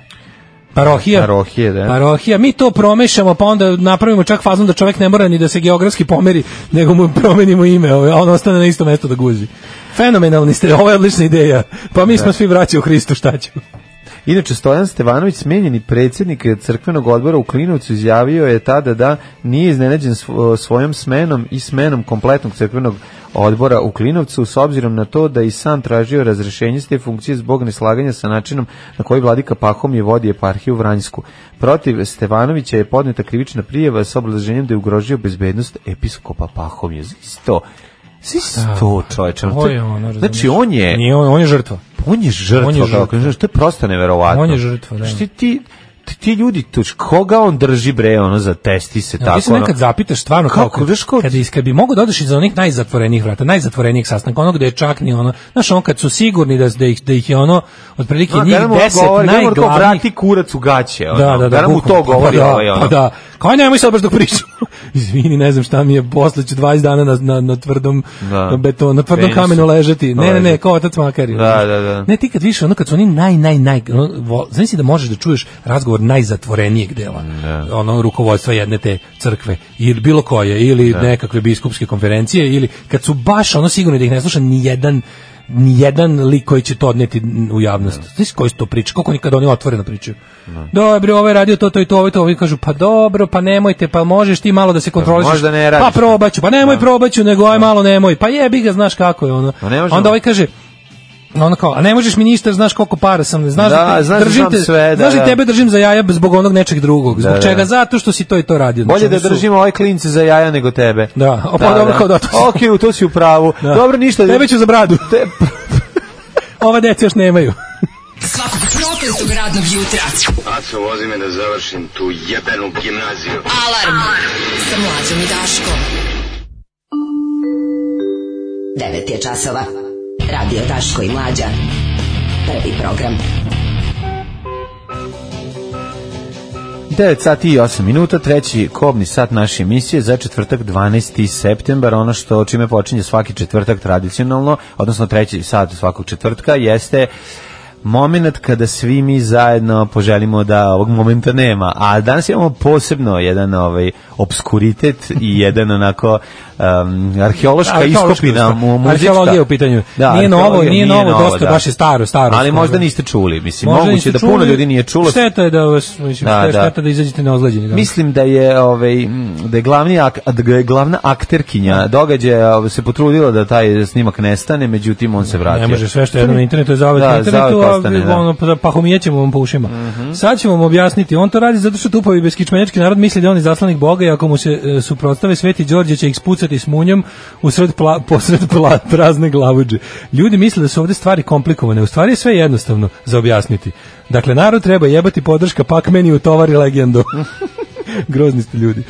[SPEAKER 6] Parohija.
[SPEAKER 5] Parohije, da.
[SPEAKER 6] Parohija, mi to promešamo, pa onda napravimo čak fazom da čovjek ne mora ni da se geografski pomeri, nego mu promenimo ime, ovaj, a on ostane na isto mesto da guzi. Fenomenalni ste, ovo je odlična ideja. Pa mi smo svi vraćali u Hristu, šta ću?
[SPEAKER 5] Inače, Stojan Stevanović, smenjeni predsjednik crkvenog odbora u Klinovcu, izjavio je tada da nije iznenađen svo- svojom smenom i smenom kompletnog crkvenog odbora u Klinovcu, s obzirom na to da je i sam tražio razrešenje s te funkcije zbog neslaganja sa načinom na koji vladika Pahom je vodi eparhiju Vranjsku. Protiv Stevanovića je podneta krivična prijeva s obrazloženjem da je ugrožio bezbednost episkopa Pahom. Je isto... Isto, čoveče.
[SPEAKER 6] Ovo je ono, razumeš.
[SPEAKER 5] Znači, on je...
[SPEAKER 6] Nije on, on je žrtva.
[SPEAKER 5] On je žrtva,
[SPEAKER 6] On
[SPEAKER 5] on
[SPEAKER 6] je
[SPEAKER 5] je
[SPEAKER 6] žrtva.
[SPEAKER 5] to je prosto neverovatno.
[SPEAKER 6] On je žrtva, da.
[SPEAKER 5] Šti ti, ti, ti ljudi, to, koga on drži bre, ono, za testi se
[SPEAKER 6] Ja,
[SPEAKER 5] tako.
[SPEAKER 6] ti se nekad
[SPEAKER 5] ono.
[SPEAKER 6] zapitaš stvarno kako,
[SPEAKER 5] Kako, znaš kako-
[SPEAKER 6] kada iskad bi mogao da odeš iz onih najzatvorenijih vrata, najzatvorenijih sastanka, ono gde je čak ni ono, znaš on kad su sigurni da, da, ih, da ih je ono, otprilike
[SPEAKER 5] Ono,
[SPEAKER 6] njih
[SPEAKER 5] da mu on
[SPEAKER 6] deset
[SPEAKER 5] govori, da mu on kao
[SPEAKER 6] najglavnijih
[SPEAKER 5] vrati kurac u gaće, ono,
[SPEAKER 6] da, da, da,
[SPEAKER 5] mu to
[SPEAKER 6] bukvalno.
[SPEAKER 5] govori,
[SPEAKER 6] pa da,
[SPEAKER 5] ovaj, ono.
[SPEAKER 6] Pa da, kao aj nemoj sad baš dok pričam. Izvini, ne znam šta mi je, posle ću 20 dana na, na, na tvrdom
[SPEAKER 5] Da.
[SPEAKER 6] betonu, na tvrdom
[SPEAKER 5] Pensu.
[SPEAKER 6] kamenu ležati. Ne, ne, ne,
[SPEAKER 5] Ležati.
[SPEAKER 6] kao otac Makarije.
[SPEAKER 5] Da,
[SPEAKER 6] znaš.
[SPEAKER 5] da, da.
[SPEAKER 6] Ne, ti kad više, ono kad su oni naj, naj, naj, ono, vo- znaš si da možeš da čuješ razgovor najzatvorenijeg dela, ono, rukovodstva jedne te crkve, ili bilo koje, ili nekakve biskupske konferencije, ili kad su baš, ono, sigurno da ih ne sluša ni jedan ni jedan lik koji će to odneti u javnost. Znaš koji su to priče, koliko oni kad oni otvoreno pričaju. Dobro, ovaj je radio to, to i to, ovaj to, ovi kažu, pa dobro, pa nemojte, pa možeš ti malo da se kontrolišeš.
[SPEAKER 5] možda ne
[SPEAKER 6] pa
[SPEAKER 5] radiš.
[SPEAKER 6] probaću, pa nemoj probaću, nego aj malo nemoj, pa jebi ga, znaš kako je ono.
[SPEAKER 5] Pa ne možemo.
[SPEAKER 6] Onda ovaj kaže, ono kao, a ne možeš ministar, znaš koliko para sam, znaš
[SPEAKER 5] Da,
[SPEAKER 6] te-
[SPEAKER 5] znaš da
[SPEAKER 6] držim
[SPEAKER 5] znam
[SPEAKER 6] te,
[SPEAKER 5] sve, da,
[SPEAKER 6] znaš
[SPEAKER 5] da.
[SPEAKER 6] tebe držim za jaja zbog onog nečeg drugog, zbog
[SPEAKER 5] da,
[SPEAKER 6] čega,
[SPEAKER 5] da.
[SPEAKER 6] zato što si to i to radio.
[SPEAKER 5] Bolje
[SPEAKER 6] Znači,
[SPEAKER 5] da
[SPEAKER 6] oni su-
[SPEAKER 5] držimo ovaj klince za jaja nego tebe.
[SPEAKER 6] Da, o, pa dobro, kao da, to si-
[SPEAKER 5] Okej, u to si u pravu.
[SPEAKER 6] Da.
[SPEAKER 5] Dobro, ništa.
[SPEAKER 6] Tebe ću za bradu.
[SPEAKER 5] Te-
[SPEAKER 6] Ova deca još nemaju.
[SPEAKER 4] Svakog prokletog radnog jutra.
[SPEAKER 12] Aco, vozi me da završim tu jebenu gimnaziju.
[SPEAKER 4] Alarm sa mlađom i Daškom.
[SPEAKER 8] 9 je časova. Radio Daško i Mlađa. Prvi program.
[SPEAKER 5] 9 sati i 8 minuta, treći kobni sat naše emisije za četvrtak 12. septembar, ono što čime počinje svaki četvrtak tradicionalno, odnosno treći sat svakog četvrtka jeste moment kada svi mi zajedno poželimo da ovog momenta nema. A danas imamo posebno jedan ovaj obskuritet i jedan onako um, arheološka
[SPEAKER 6] Arheološka
[SPEAKER 5] iskopina
[SPEAKER 6] iskop-
[SPEAKER 5] mu- muzička.
[SPEAKER 6] arheologija je u pitanju.
[SPEAKER 5] Da,
[SPEAKER 6] Nije novo,
[SPEAKER 5] arheologija
[SPEAKER 6] nije novo, dosta, baš je staro, staro
[SPEAKER 5] Ali
[SPEAKER 6] skoro.
[SPEAKER 5] možda niste čuli, mislim,
[SPEAKER 6] Možda
[SPEAKER 5] moguće
[SPEAKER 6] niste
[SPEAKER 5] da
[SPEAKER 6] čuli,
[SPEAKER 5] puno ljudi nije čulo.
[SPEAKER 6] Šteta je da vas, mislim,
[SPEAKER 5] Da,
[SPEAKER 6] da,
[SPEAKER 5] da.
[SPEAKER 6] šteta da, izađete na ozleđenje.
[SPEAKER 5] Mislim da je ovaj m, da je glavni ak, da je glavna akterkinja događaja ovaj, se potrudila da taj snimak nestane, međutim on se vratio.
[SPEAKER 6] Ne može sve što je jedno na internetu je zavet
[SPEAKER 5] Da,
[SPEAKER 6] na internetu,
[SPEAKER 5] zauvek
[SPEAKER 6] a
[SPEAKER 5] ostane,
[SPEAKER 6] vi-
[SPEAKER 5] da. Mhm.
[SPEAKER 6] ono, pa, pa humijećemo vam po ušima. Sad ćemo vam objasniti, on to radi zato što tupavi beskičmenjački narod misli da je on izaslanik Boga i ako mu se e, suprotstave Sveti Đorđe će ih spucati s munjom usred pla, posred pla, prazne glavuđe. Ljudi misle da su ovde stvari komplikovane, u stvari je sve jednostavno za objasniti. Dakle, narod treba jebati podrška, pak meni utovari legendu. Grozni ste ljudi.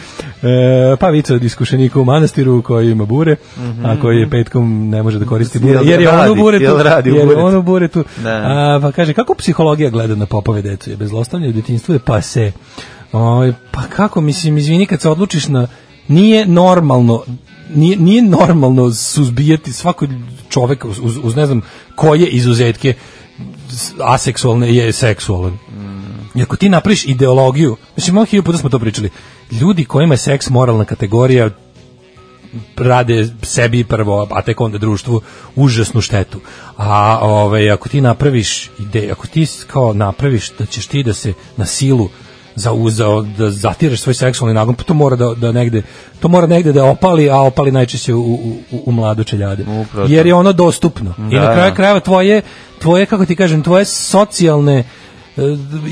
[SPEAKER 6] E, pa vica od iskušenika u manastiru koji ima bure,
[SPEAKER 5] Mhm.
[SPEAKER 6] a koji je petkom ne može da koristi bure,
[SPEAKER 5] Jel
[SPEAKER 6] jer je on
[SPEAKER 5] radi,
[SPEAKER 6] u buretu.
[SPEAKER 5] jel radi u
[SPEAKER 6] jer je
[SPEAKER 5] buretu?
[SPEAKER 6] on u buretu.
[SPEAKER 5] Da.
[SPEAKER 6] A, pa kaže, kako psihologija gleda na popove decu? Je bezlostavlje u detinjstvu je pase. Oj, pa kako, mislim, izvini, kad se odlučiš na... Nije normalno Nije, nije normalno suzbijati svakog čoveka uz, uz, uz ne znam koje izuzetke s- aseksualne je seksualan.
[SPEAKER 5] Mm.
[SPEAKER 6] I ako ti napraviš ideologiju, mislim, malo hiljopu puta smo to pričali, ljudi kojima je seks moralna kategorija rade sebi prvo, a tek onda društvu užasnu štetu. A ovaj, ako ti napraviš ideju, ako ti s- kao napraviš da ćeš ti da se na silu zauzao, da zatireš svoj seksualni nagon, pa to mora da, da negde, to mora negde da opali, a opali najčešće u, u, u- u mladu čeljade.
[SPEAKER 5] Upravo
[SPEAKER 6] Jer je ono dostupno. I
[SPEAKER 5] Da,
[SPEAKER 6] na kraju
[SPEAKER 5] da.
[SPEAKER 6] krajeva tvoje, tvoje, kako ti kažem, tvoje socijalne e,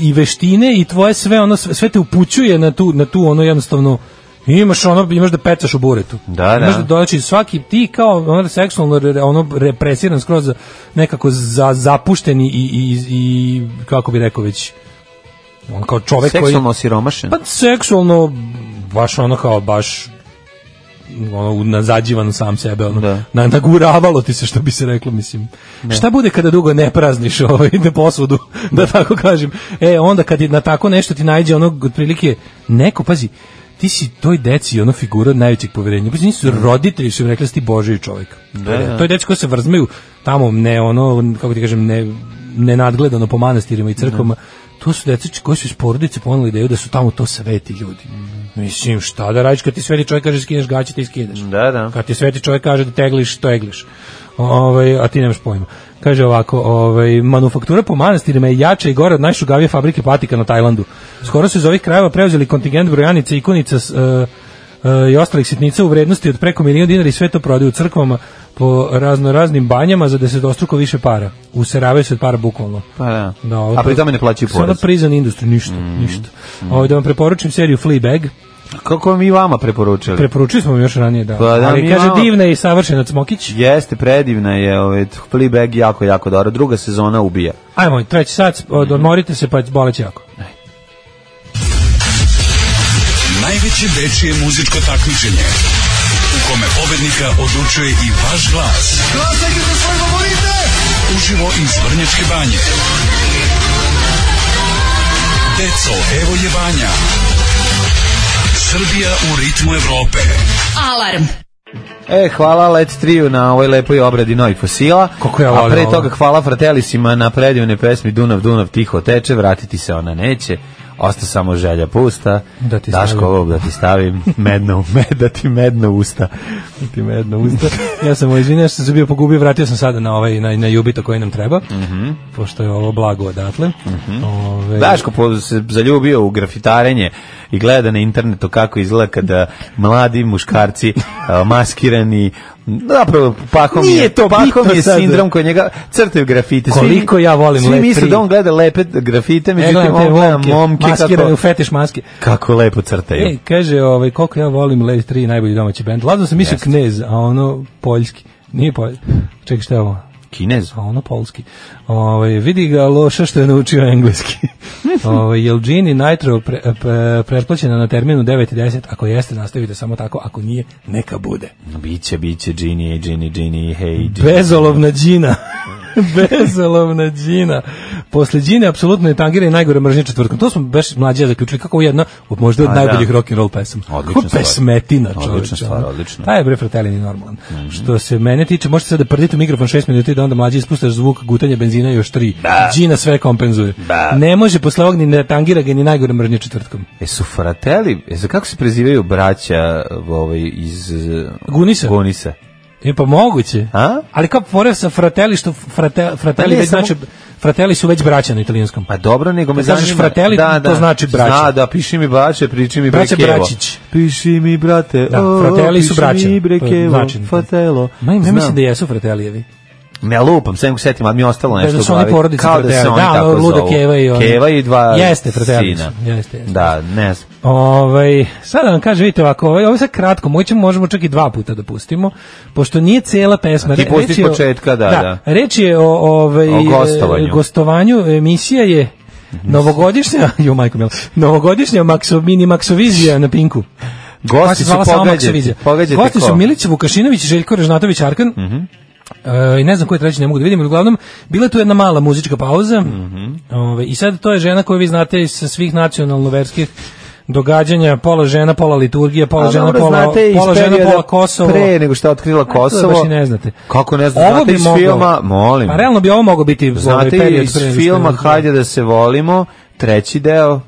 [SPEAKER 6] i veštine i tvoje sve ono sve sve te upućuje na tu na tu ono jednostavno imaš ono imaš da pecaš u buretu
[SPEAKER 5] Da, da.
[SPEAKER 6] Imaš da znači svaki ti kao ono seksualno re- ono represiran skroz za- nekako za, zapušteni i, i, i kako bi rekao već on kao
[SPEAKER 5] ovaj
[SPEAKER 6] čovek koji
[SPEAKER 5] Seksualno siromašen.
[SPEAKER 6] pa seksualno baš ono kao baš ono nazađivan sam sebe ono
[SPEAKER 5] Da.
[SPEAKER 6] na, naguravalo ti se što bi se reklo mislim šta bude kada dugo ne prazniš ovaj na posvudu da tako kažem e onda kad je na tako nešto ti naiđe onog otprilike neko pazi ti si toj deci ono figura od najvećeg poverenja pa nisu roditelji su im rekli da si ti božji čovjek
[SPEAKER 5] Da, da.
[SPEAKER 6] to je deci koji se vrzmaju tamo ne ono kako ti kažem ne nenadgledano po manastirima i crkvama to su deca koji su iz porodice poneli ideju da su tamo to sveti ljudi
[SPEAKER 5] Mhm.
[SPEAKER 6] mislim šta da radiš kad ti sveti čovjek kaže skineš gaće ti skineš
[SPEAKER 5] Da, da.
[SPEAKER 6] kad ti sveti čovjek kaže da tegliš, tegliš. Ovaj, a ti nemaš pojma. Kaže ovako, ovaj, manufaktura po manastirima je jača i gore od najšugavije fabrike patika na Tajlandu. Skoro su iz ovih krajeva preuzeli kontingent brojanica, ikonica s, e, e, i ostalih sitnica u vrednosti od preko milijun dinara i sve to prodaju u crkvama po razno raznim banjama za desetdostruko više para. Useravaju se od para bukvalno.
[SPEAKER 5] Pa da.
[SPEAKER 6] Da, ovo
[SPEAKER 5] A pri
[SPEAKER 6] to-
[SPEAKER 5] tome ne plaćaju
[SPEAKER 6] Sve ono
[SPEAKER 5] porez. Mm.
[SPEAKER 6] prison industry, ništa, ništa. Ovaj, da vam preporučim seriju Fleabag,
[SPEAKER 5] Kako mi vama preporučili?
[SPEAKER 6] preporučili smo vam još ranije, da.
[SPEAKER 5] Pa da, mi
[SPEAKER 6] Ali kaže
[SPEAKER 5] vama-
[SPEAKER 6] divna i savršena Cmokić.
[SPEAKER 5] Jeste, predivna je, ovaj, Fleabag jako, jako dobro. Druga sezona ubija.
[SPEAKER 6] Ajmo, treći sat, od- odmorite se pa boleće jako.
[SPEAKER 13] Najveće dečije muzičko takmičenje u kome pobednika odlučuje i vaš glas. Glasajte za svoje favorite! Uživo iz Vrnjačke banje. Deco, evo je banja. Srbija u ritmu Evrope.
[SPEAKER 4] Alarm.
[SPEAKER 5] E, hvala Let's Triju na ovoj lepoj obradi novih fosila.
[SPEAKER 6] Kako ja
[SPEAKER 5] A
[SPEAKER 6] volim
[SPEAKER 5] pre
[SPEAKER 6] ovo.
[SPEAKER 5] toga hvala Fratelisima na predivne pesmi Dunav, Dunav tiho teče, vratiti se ona neće. Osta samo želja pusta.
[SPEAKER 6] Da ti
[SPEAKER 5] Daško
[SPEAKER 6] stavim.
[SPEAKER 5] ovog da ti stavim medno, u med, da ti medno u usta.
[SPEAKER 6] Ti me jedno usta. ja sam izvinio što sam se bio pogubio, vratio sam sada na ovaj na, na jubito koji nam treba. Pošto je ovo blago odatle. Mhm. Ove, e,
[SPEAKER 5] Daško po- se zaljubio u grafitarenje i gleda na internetu kako izgleda kada mladi muškarci a, maskirani Zapravo, pakom
[SPEAKER 6] Nije
[SPEAKER 5] je,
[SPEAKER 6] to
[SPEAKER 5] pakom
[SPEAKER 6] bitno
[SPEAKER 5] je
[SPEAKER 6] sad.
[SPEAKER 5] sindrom koji njega crtaju grafite. Svi-
[SPEAKER 6] Koliko ja volim
[SPEAKER 5] Svi
[SPEAKER 6] Let
[SPEAKER 5] misle
[SPEAKER 6] Tri.
[SPEAKER 5] da on gleda lepe grafite,
[SPEAKER 6] E,
[SPEAKER 5] međutim
[SPEAKER 6] gledam te
[SPEAKER 5] on gleda
[SPEAKER 6] momke,
[SPEAKER 5] momke
[SPEAKER 6] maskirane
[SPEAKER 5] kako,
[SPEAKER 6] u fetiš maske.
[SPEAKER 5] kako lepo crtaju.
[SPEAKER 6] Ej, kaže, ovaj, koliko ja volim Lady 3, najbolji domaći band. Lazno sam mislio knez, a ono poljski. Nije poljski. Čekaj, šta je ovo?
[SPEAKER 5] Kinez.
[SPEAKER 6] A ono polski. Ovaj vidi ga loša što je naučio engleski. Ovaj jel Gini Nitro pre, pre- pretplaćena na terminu 9 i 10, ako jeste nastavite samo tako, ako nije neka bude.
[SPEAKER 5] Biće, biće, Gini, Gini, Gini, hej, Gini.
[SPEAKER 6] Bezolovna Đina. Bezolovna džina. Posle džine apsolutno je tangira i najgore mržnje četvrtkom. To smo baš mlađe zaključili kako je jedna od možda od
[SPEAKER 5] A,
[SPEAKER 6] najboljih
[SPEAKER 5] da.
[SPEAKER 6] rock and roll pesama.
[SPEAKER 5] Odlična
[SPEAKER 6] Kako
[SPEAKER 5] stvar.
[SPEAKER 6] pesmetina, čoveče.
[SPEAKER 5] Odlična Mhm. stvar,
[SPEAKER 6] ono.
[SPEAKER 5] odlično.
[SPEAKER 6] Taj je bre fratelini normalan. Što se mene tiče, možete sad da prdite u mikrofon 6 minuta i da onda mlađe ispustaš zvuk gutanja benzina i još 3.
[SPEAKER 5] Da.
[SPEAKER 6] Džina sve kompenzuje.
[SPEAKER 5] Da.
[SPEAKER 6] Ne može posle ovog ni ne tangira ga ni najgore mržnje četvrtkom.
[SPEAKER 5] E su fratelli, e za kako se prezivaju braća ovaj, iz... eh,
[SPEAKER 6] Gunisa?
[SPEAKER 5] Gunisa.
[SPEAKER 6] E pa moguće.
[SPEAKER 5] A?
[SPEAKER 6] Ali kao fora sa frateli što frate,
[SPEAKER 5] Pa
[SPEAKER 6] frateli
[SPEAKER 5] nije
[SPEAKER 6] već
[SPEAKER 5] samo-
[SPEAKER 6] znači frateli su već braća na italijanskom.
[SPEAKER 5] Pa dobro, nego me
[SPEAKER 6] Kad kažeš
[SPEAKER 5] zanima...
[SPEAKER 6] fratelli, to znači braća.
[SPEAKER 5] Da, da, piši mi braće, priči mi
[SPEAKER 6] Braće
[SPEAKER 5] brekevo.
[SPEAKER 6] Bračić.
[SPEAKER 5] Piši mi brate,
[SPEAKER 6] Da,
[SPEAKER 5] o,
[SPEAKER 6] frateli su
[SPEAKER 5] piši
[SPEAKER 6] braća.
[SPEAKER 5] mi
[SPEAKER 6] To je
[SPEAKER 5] brekevo,
[SPEAKER 6] značajno.
[SPEAKER 5] fatelo.
[SPEAKER 6] Ma, ja mislim
[SPEAKER 5] Znam.
[SPEAKER 6] da jesu fratelijevi.
[SPEAKER 5] Ne lupam, sve nego setim, ali mi je ostalo
[SPEAKER 6] Da,
[SPEAKER 5] nešto
[SPEAKER 6] da su
[SPEAKER 5] u
[SPEAKER 6] oni
[SPEAKER 5] glavi.
[SPEAKER 6] porodica
[SPEAKER 5] Kao da se
[SPEAKER 6] fratela.
[SPEAKER 5] oni
[SPEAKER 6] Da,
[SPEAKER 5] tako
[SPEAKER 6] ono, Luda
[SPEAKER 5] zovu.
[SPEAKER 6] Keva i oni.
[SPEAKER 5] Keva i dva
[SPEAKER 6] Jeste, frateli su.
[SPEAKER 5] sina.
[SPEAKER 6] Jeste, jeste.
[SPEAKER 5] Da, ne znam.
[SPEAKER 6] Ovaj sad da vam kažem, vidite ovako, ovaj, ovo je sad kratko, moćemo, možemo čak i dva puta da pustimo, pošto nije cela pesma.
[SPEAKER 5] A ti
[SPEAKER 6] Re-
[SPEAKER 5] pusti
[SPEAKER 6] reč
[SPEAKER 5] iz
[SPEAKER 6] je o-
[SPEAKER 5] početka, da, da.
[SPEAKER 6] Reč je o, ovaj,
[SPEAKER 5] O gostovanju.
[SPEAKER 6] e, gostovanju, emisija je Novogodišnja, jo majko mila, novogodišnja Maxo, mini Maxovizija na Pinku. Koja se
[SPEAKER 5] Gosti su
[SPEAKER 6] zvala samo
[SPEAKER 5] pogađati.
[SPEAKER 6] Maxovizija.
[SPEAKER 5] Pogađate
[SPEAKER 6] Gosti
[SPEAKER 5] ko? Mhm.
[SPEAKER 6] su Milica Vukašinović, Željko Režnatović, Arkan, E, i ne znam ko je treći, ne mogu da vidim, ali uglavnom bila je tu jedna mala muzička pauza
[SPEAKER 5] Mhm.
[SPEAKER 6] Ove, i sad to je žena koju vi znate sa svih nacionalno-verskih događanja, pola žena, pola liturgija, pola
[SPEAKER 5] A
[SPEAKER 6] žena,
[SPEAKER 5] dobro,
[SPEAKER 6] pola,
[SPEAKER 5] znate iz
[SPEAKER 6] pola, žena,
[SPEAKER 5] perioda
[SPEAKER 6] pola Kosovo.
[SPEAKER 5] Pre nego što je otkrila
[SPEAKER 6] A, to
[SPEAKER 5] Kosovo.
[SPEAKER 6] baš i ne znate.
[SPEAKER 5] Kako ne znate, znate iz filma, molim.
[SPEAKER 6] Pa realno bi ovo mogao biti ovaj
[SPEAKER 5] Znate
[SPEAKER 6] period
[SPEAKER 5] iz
[SPEAKER 6] pre nego što-
[SPEAKER 5] filma Hajde da se volimo, treći deo.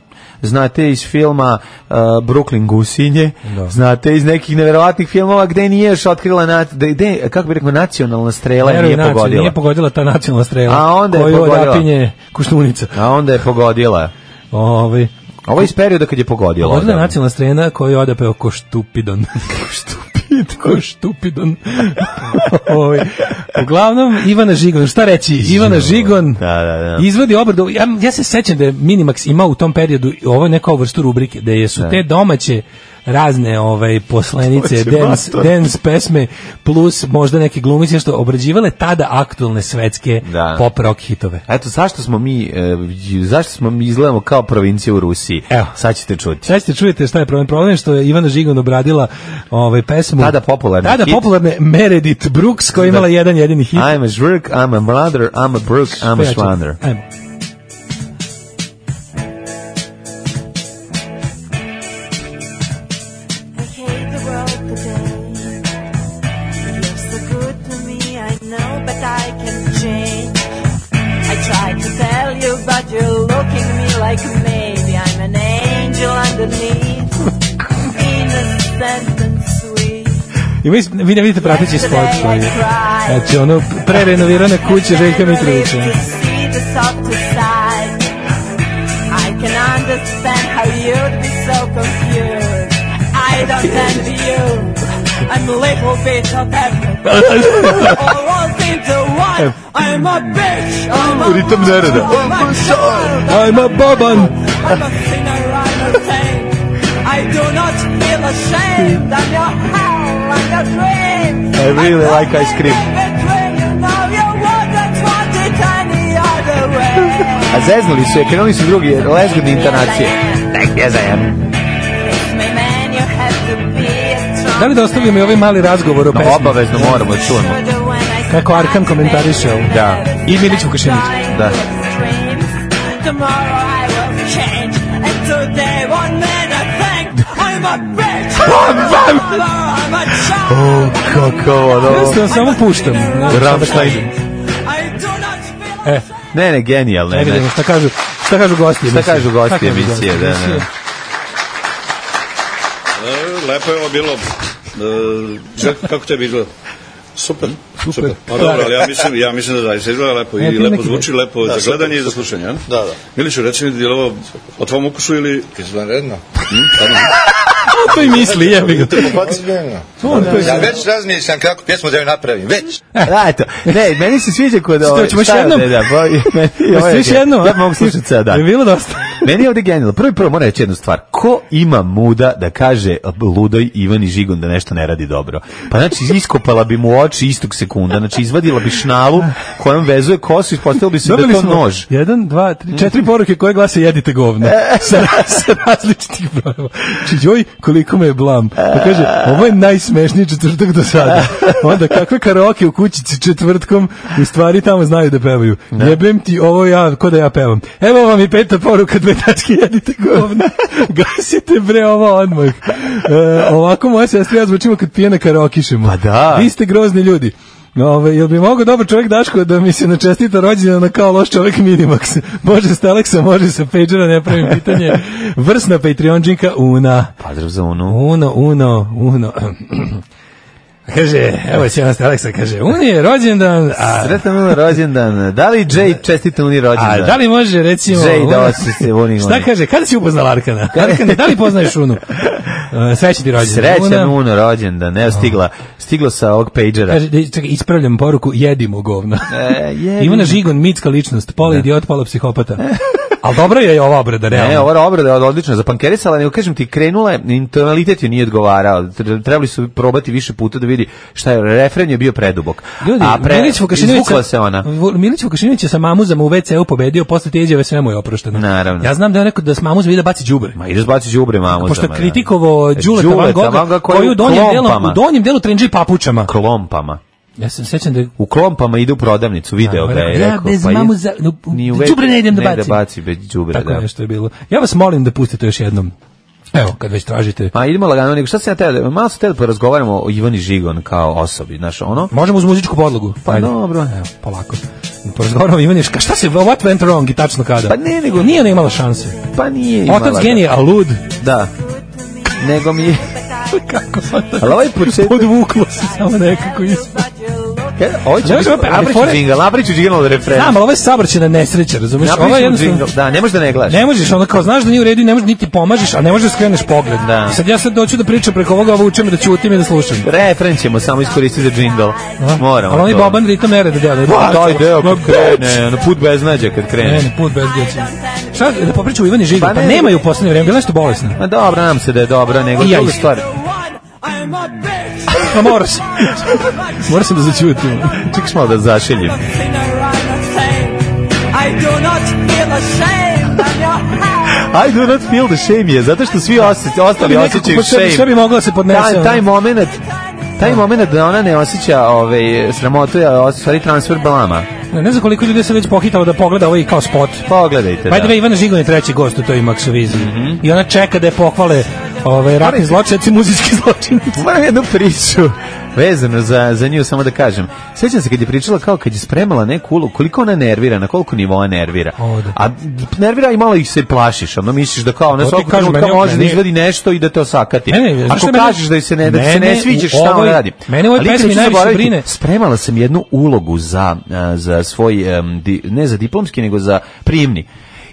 [SPEAKER 5] Znate iz filma uh, Brooklyn Gusinje, znate iz nekih neverovatnih filmova gde nije još otkrila, na, da, gde, kako bi rekao, nacionalna strela je
[SPEAKER 6] Veruj,
[SPEAKER 5] nije
[SPEAKER 6] nacionalno,
[SPEAKER 5] pogodila.
[SPEAKER 6] znači, Nije pogodila ta nacionalna strela.
[SPEAKER 5] A onda je
[SPEAKER 6] koju
[SPEAKER 5] pogodila.
[SPEAKER 6] odapinje Koštunica.
[SPEAKER 5] A onda je pogodila.
[SPEAKER 6] Ovaj,
[SPEAKER 5] Ovo je iz perioda kad je pogodila.
[SPEAKER 6] Pogodila je
[SPEAKER 5] odavno.
[SPEAKER 6] nacionalna strena koju je odapeo Koštupidon. Koštupid, Koštupidon. Ovaj, Uglavnom, Ivana Žigon, šta reći? Ivana Žigon
[SPEAKER 5] Da, da, da.
[SPEAKER 6] izvodi obradu. Ja, ja se sećam da je Minimax imao u tom periodu ovo neko vrstu rubrike, da je su te domaće razne ovaj poslenice dance, dance pesme plus možda neke glumice što obrađivale tada aktualne svetske
[SPEAKER 5] Da.
[SPEAKER 6] pop rock hitove.
[SPEAKER 5] Eto, zašto smo mi, e, zašto smo mi izgledamo kao provincija u Rusiji?
[SPEAKER 6] Evo.
[SPEAKER 5] Sad ćete čuti.
[SPEAKER 6] Sad ćete čujete šta je problem. Problem je što je Ivana Žigon obradila ovaj pesmu.
[SPEAKER 5] Tada popularni
[SPEAKER 6] Tada
[SPEAKER 5] hit.
[SPEAKER 6] popularne Meredith Brooks koja je imala jedan jedini hit.
[SPEAKER 5] I'm a žvrk, I'm a mlader, I'm a bruk, I'm a
[SPEAKER 6] Pojačaj.
[SPEAKER 5] šlander.
[SPEAKER 6] Ajmo.
[SPEAKER 14] I hate the world today. Looks so good to me, I know, but I can change. I tried to tell you, but you're looking at me like maybe I'm an angel underneath. Innocent and sweet.
[SPEAKER 6] I vi, vi ne vidite prateći spot koji je. Znači, ono prerenovirane kuće Željka Mitrovića.
[SPEAKER 14] To see the softer side. I can understand how you'd be so confused. I don't envy you. I'm a little bit of everything. All rolled into one. I'm a bitch. I'm a
[SPEAKER 5] Ritam nereda.
[SPEAKER 14] I'm a child.
[SPEAKER 6] I'm a boban.
[SPEAKER 14] I'm a sinner. I'm a saint. I do not feel ashamed. I'm your hell. I'm your dream.
[SPEAKER 5] I really like ice cream. A zeznuli su je, krenuli su drugi, lezgodne intonacije. Nek je zajem.
[SPEAKER 6] Da li da ostavimo i ovaj mali razgovor o
[SPEAKER 5] No,
[SPEAKER 6] pesmi?
[SPEAKER 5] obavezno moramo da čujemo.
[SPEAKER 6] Kako Arkan komentariše ovo.
[SPEAKER 5] Da.
[SPEAKER 6] I Milić Vukašinić.
[SPEAKER 5] Da.
[SPEAKER 14] Tomorrow I will change, and today one man I think I'm a bitch. I'm a mother, I'm a
[SPEAKER 5] O,
[SPEAKER 14] child.
[SPEAKER 5] kako
[SPEAKER 6] Ja
[SPEAKER 5] ono...
[SPEAKER 6] se vam samo puštam.
[SPEAKER 5] Rammstein.
[SPEAKER 14] I do not
[SPEAKER 6] E,
[SPEAKER 5] Ne, ne, genijalno je.
[SPEAKER 6] ajde vidimo
[SPEAKER 5] Ne.
[SPEAKER 6] šta kažu, šta kažu gosti
[SPEAKER 5] Šta
[SPEAKER 6] emisije.
[SPEAKER 5] kažu gosti
[SPEAKER 6] Šta kažu
[SPEAKER 5] emisije,
[SPEAKER 6] gosti
[SPEAKER 5] da, da.
[SPEAKER 15] E, Lepo je ovo bilo. E, Željko, kako tebi izgleda? Super. Super. Pa dobro, ali ja mislim, ja mislim da zaista izgleda lepo
[SPEAKER 6] E,
[SPEAKER 15] i
[SPEAKER 6] film
[SPEAKER 15] lepo
[SPEAKER 6] neki
[SPEAKER 15] zvuči,
[SPEAKER 6] bio.
[SPEAKER 15] lepo
[SPEAKER 6] Da,
[SPEAKER 15] za
[SPEAKER 6] super,
[SPEAKER 15] gledanje i za slušanje. Da, da. Miliću, reci mi, je li ovo po tvom ukusu ili... Izvanredno.
[SPEAKER 6] To i misli, jebi ga. To on to
[SPEAKER 12] Ja
[SPEAKER 6] je.
[SPEAKER 12] već razmišljam kako pjesmu da ju napravim, već.
[SPEAKER 5] Da, E, eto. Ne, meni se sviđa kod...
[SPEAKER 6] Šta,
[SPEAKER 5] ovaj-
[SPEAKER 6] hoćemo još
[SPEAKER 5] šta,
[SPEAKER 6] jednom?
[SPEAKER 5] ne, Da, bo, meni,
[SPEAKER 6] Jesi
[SPEAKER 5] ovo je-
[SPEAKER 6] još jedno?
[SPEAKER 5] Ja mogu slušati sada.
[SPEAKER 6] Je bilo dosta.
[SPEAKER 5] Meni je ovdje genijalno. Prvi prvo moram reći jednu stvar. Ko ima muda da kaže ludoj Ivan i Žigon da nešto ne radi dobro? Pa znači, iskopala bi mu oči istog sekunda. Znači, izvadila bi šnalu kojom vezuje kosu i postavila bi se da je to nož. E.
[SPEAKER 6] Jedan, dva, tri, četiri poruke koje glase jedite govno. Sa, ra- sa različitih brojeva. Či joj, koliko me je blam. Pa kaže, ovo je najsmešniji četvrtak do sada. Onda kakve karaoke u kućici četvrtkom, u stvari tamo znaju da pevaju. Jebem ti, ovo ja, ko da ja pevam. Evo vam i peta poruka, dve tačke, jedite govna. Gasite bre ovo odmah. E, ovako moja sestra i ja zvučimo kad pijene karaokišemo. Pa
[SPEAKER 5] da.
[SPEAKER 6] Vi ste grozni ljudi. Ove, jel bi mogao dobar čovjek Daško da mi se ne čestita rođendana kao loš čovjek Minimax? Može s Alexa, može sa Pagera, ne pravim pitanje. Vrsna Patreonđinka Una.
[SPEAKER 5] Pozdrav za Unu.
[SPEAKER 6] Uno, uno, uno. Kaže, evo će nas Aleksa, kaže, Uni je rođendan, a,
[SPEAKER 5] Sretan Unu rođendan. Da li Jay čestita Uni
[SPEAKER 6] a
[SPEAKER 5] rođendan?
[SPEAKER 6] da li može, recimo...
[SPEAKER 5] Jay da
[SPEAKER 6] Una-
[SPEAKER 5] vas se volim.
[SPEAKER 6] Šta kaže, kada si upoznala Arkana? Arkane, da li poznaješ Unu? E, Srećan ti rođendan.
[SPEAKER 5] Srećan
[SPEAKER 6] Una.
[SPEAKER 5] Uno rođendan. Evo stigla, stiglo sa ovog pagera.
[SPEAKER 6] Kaže, da- čekaj, ispravljam poruku, jedimo govna.
[SPEAKER 5] E, jedimo.
[SPEAKER 6] Ivana Žigon, mitska ličnost, pola idiot, pola psihopata. Ali dobra je ova obrada, realno.
[SPEAKER 5] Ne, E, ova obrada je odlična zapankerisala, nego kažem ti, krenula je, tonalitet joj nije odgovarao. Tre- Trebali su probati više puta da vidi šta je, refren je bio predubok.
[SPEAKER 6] Ljudi,
[SPEAKER 5] A pre,
[SPEAKER 6] Milić Vukašinović
[SPEAKER 5] izvukla se ona.
[SPEAKER 6] Vu- Milić Vukašinović je sa mamuzama u WC-u pobedio, posle te izjave sve mu je oprošteno.
[SPEAKER 5] Naravno.
[SPEAKER 6] Ja znam da je on rekao da s mamuzama ide da baci đubre.
[SPEAKER 5] Ma ideš baci đubre mamu.
[SPEAKER 6] Pošto je kritikovao Đuleta Van
[SPEAKER 5] E, Đuleta Van
[SPEAKER 6] Goga,
[SPEAKER 5] Gogha
[SPEAKER 6] koji u donjem delu, u donjem delu trenđi papučama.
[SPEAKER 5] klompama.
[SPEAKER 6] Ja se sećam da je
[SPEAKER 5] U klompama ide u prodavnicu, video
[SPEAKER 6] Da,
[SPEAKER 5] ga je
[SPEAKER 6] ja
[SPEAKER 5] rekao.
[SPEAKER 6] bez
[SPEAKER 5] pa ide-
[SPEAKER 6] mamuza- no,
[SPEAKER 5] Ni u
[SPEAKER 6] da đubre ne idem da
[SPEAKER 5] Ne
[SPEAKER 6] bacim.
[SPEAKER 5] da baci bez đubre,
[SPEAKER 6] tako
[SPEAKER 5] da.
[SPEAKER 6] nešto je bilo. Ja vas molim da pustite još jednom. Evo, kad već tražite.
[SPEAKER 5] Ma idemo lagano, nego šta se ja teo, malo se teo porazgovaramo o Ivani Žigon kao osobi, znaš, ono?
[SPEAKER 6] Možemo uz muzičku podlogu.
[SPEAKER 5] Pa
[SPEAKER 6] Ajde.
[SPEAKER 5] dobro.
[SPEAKER 6] Evo, polako. Porazgovaramo Ivani, Žigon. šta se, what went wrong i tačno kada?
[SPEAKER 5] Pa ne, nego-
[SPEAKER 6] Nije ona imala šanse.
[SPEAKER 5] Pa nije imala.
[SPEAKER 6] Otac
[SPEAKER 5] da.
[SPEAKER 6] genije, a lud.
[SPEAKER 5] Da. Nego mi je...
[SPEAKER 6] Kako sad?
[SPEAKER 5] Ali ovaj početak...
[SPEAKER 6] Podvuklo se samo nekako ispod.
[SPEAKER 5] Kada, ovo će
[SPEAKER 6] Znaš,
[SPEAKER 5] biti...
[SPEAKER 6] opet, ali
[SPEAKER 5] Abriću
[SPEAKER 6] fore-
[SPEAKER 5] džingal, Abriću džingal od refrena.
[SPEAKER 6] Znam, ali ovo je sabrćena nesreća, razumiješ? Ovo je
[SPEAKER 5] Napriču
[SPEAKER 6] jednostavno-
[SPEAKER 5] džingal. Da, ne možeš da ne gledaš.
[SPEAKER 6] Ne možeš, ono kao znaš da nije u redu i ne možeš niti pomažeš, a ne možeš da skreneš pogled.
[SPEAKER 5] Da.
[SPEAKER 6] I sad ja sad doću da pričam preko ovoga, a vučem da ćutim i da slušam.
[SPEAKER 5] Refren ćemo samo iskoristiti za džingal. Moramo.
[SPEAKER 6] Ali oni
[SPEAKER 5] to.
[SPEAKER 6] boban ritam ne rade delo.
[SPEAKER 5] Pa, taj deo kad krene, na put beznađa kad
[SPEAKER 6] Ne,
[SPEAKER 5] krene.
[SPEAKER 6] ne, put bez djece. Šta, da popričam o Ivani Žigu?
[SPEAKER 5] Pa
[SPEAKER 6] Pa,
[SPEAKER 5] ne,
[SPEAKER 6] nema je u poslednje vreme, bila je nešto bolesna.
[SPEAKER 5] Ma dobro, nam se da je dobro, nego
[SPEAKER 6] I ja
[SPEAKER 5] druga
[SPEAKER 6] isto.
[SPEAKER 5] stvar.
[SPEAKER 6] Pa mora se. mora se da začutim.
[SPEAKER 5] Čekaš malo da zašeljim.
[SPEAKER 14] I do not feel ashamed. I'm your hand.
[SPEAKER 5] I do not feel the shame je, zato što svi osjeća, ostali osjećaju shame.
[SPEAKER 6] Šta bi mogla da se podnese?
[SPEAKER 5] taj,
[SPEAKER 6] ono?
[SPEAKER 5] taj moment taj moment da ona ne osjeća ovaj, sramotu, a osjeća u stvari transfer blama.
[SPEAKER 6] Ne, ne znam koliko ljudi se već pohitalo da pogleda ovaj kao spot.
[SPEAKER 5] Pogledajte.
[SPEAKER 6] By the
[SPEAKER 5] da.
[SPEAKER 6] way, Ivana Žigon je treći gost u toj Maxoviziji.
[SPEAKER 5] Mhm.
[SPEAKER 6] I ona čeka da je pohvale ovaj, ratni zločinac i muzički zločinac.
[SPEAKER 5] Moram jednu priču vezano za, za nju, samo da kažem. Sjećam se kad je pričala kao kad je spremala neku ulogu, koliko ona nervira, na koliko nivoa nervira.
[SPEAKER 6] O, da.
[SPEAKER 5] A nervira i malo ih se plašiš, ono misliš da kao ona
[SPEAKER 6] To ti
[SPEAKER 5] svakog
[SPEAKER 6] kažem,
[SPEAKER 5] trenutka
[SPEAKER 6] meni-
[SPEAKER 5] može da
[SPEAKER 6] meni-
[SPEAKER 5] izvadi nešto i da te osakati.
[SPEAKER 6] Ne, ne, znaš
[SPEAKER 5] Ako
[SPEAKER 6] šta mene-
[SPEAKER 5] kažeš da joj se ne, da ti se ne
[SPEAKER 6] Mene
[SPEAKER 5] sviđaš,
[SPEAKER 6] u
[SPEAKER 5] šta
[SPEAKER 6] ovoj-
[SPEAKER 5] ona radi?
[SPEAKER 6] mene u ovoj
[SPEAKER 5] Ali nikad
[SPEAKER 6] pesmi
[SPEAKER 5] neću
[SPEAKER 6] najviše
[SPEAKER 5] zaboraviti,
[SPEAKER 6] brine-
[SPEAKER 5] Spremala sam jednu ulogu za, a, za svoj, em, di- ne za diplomski, nego za prijemni.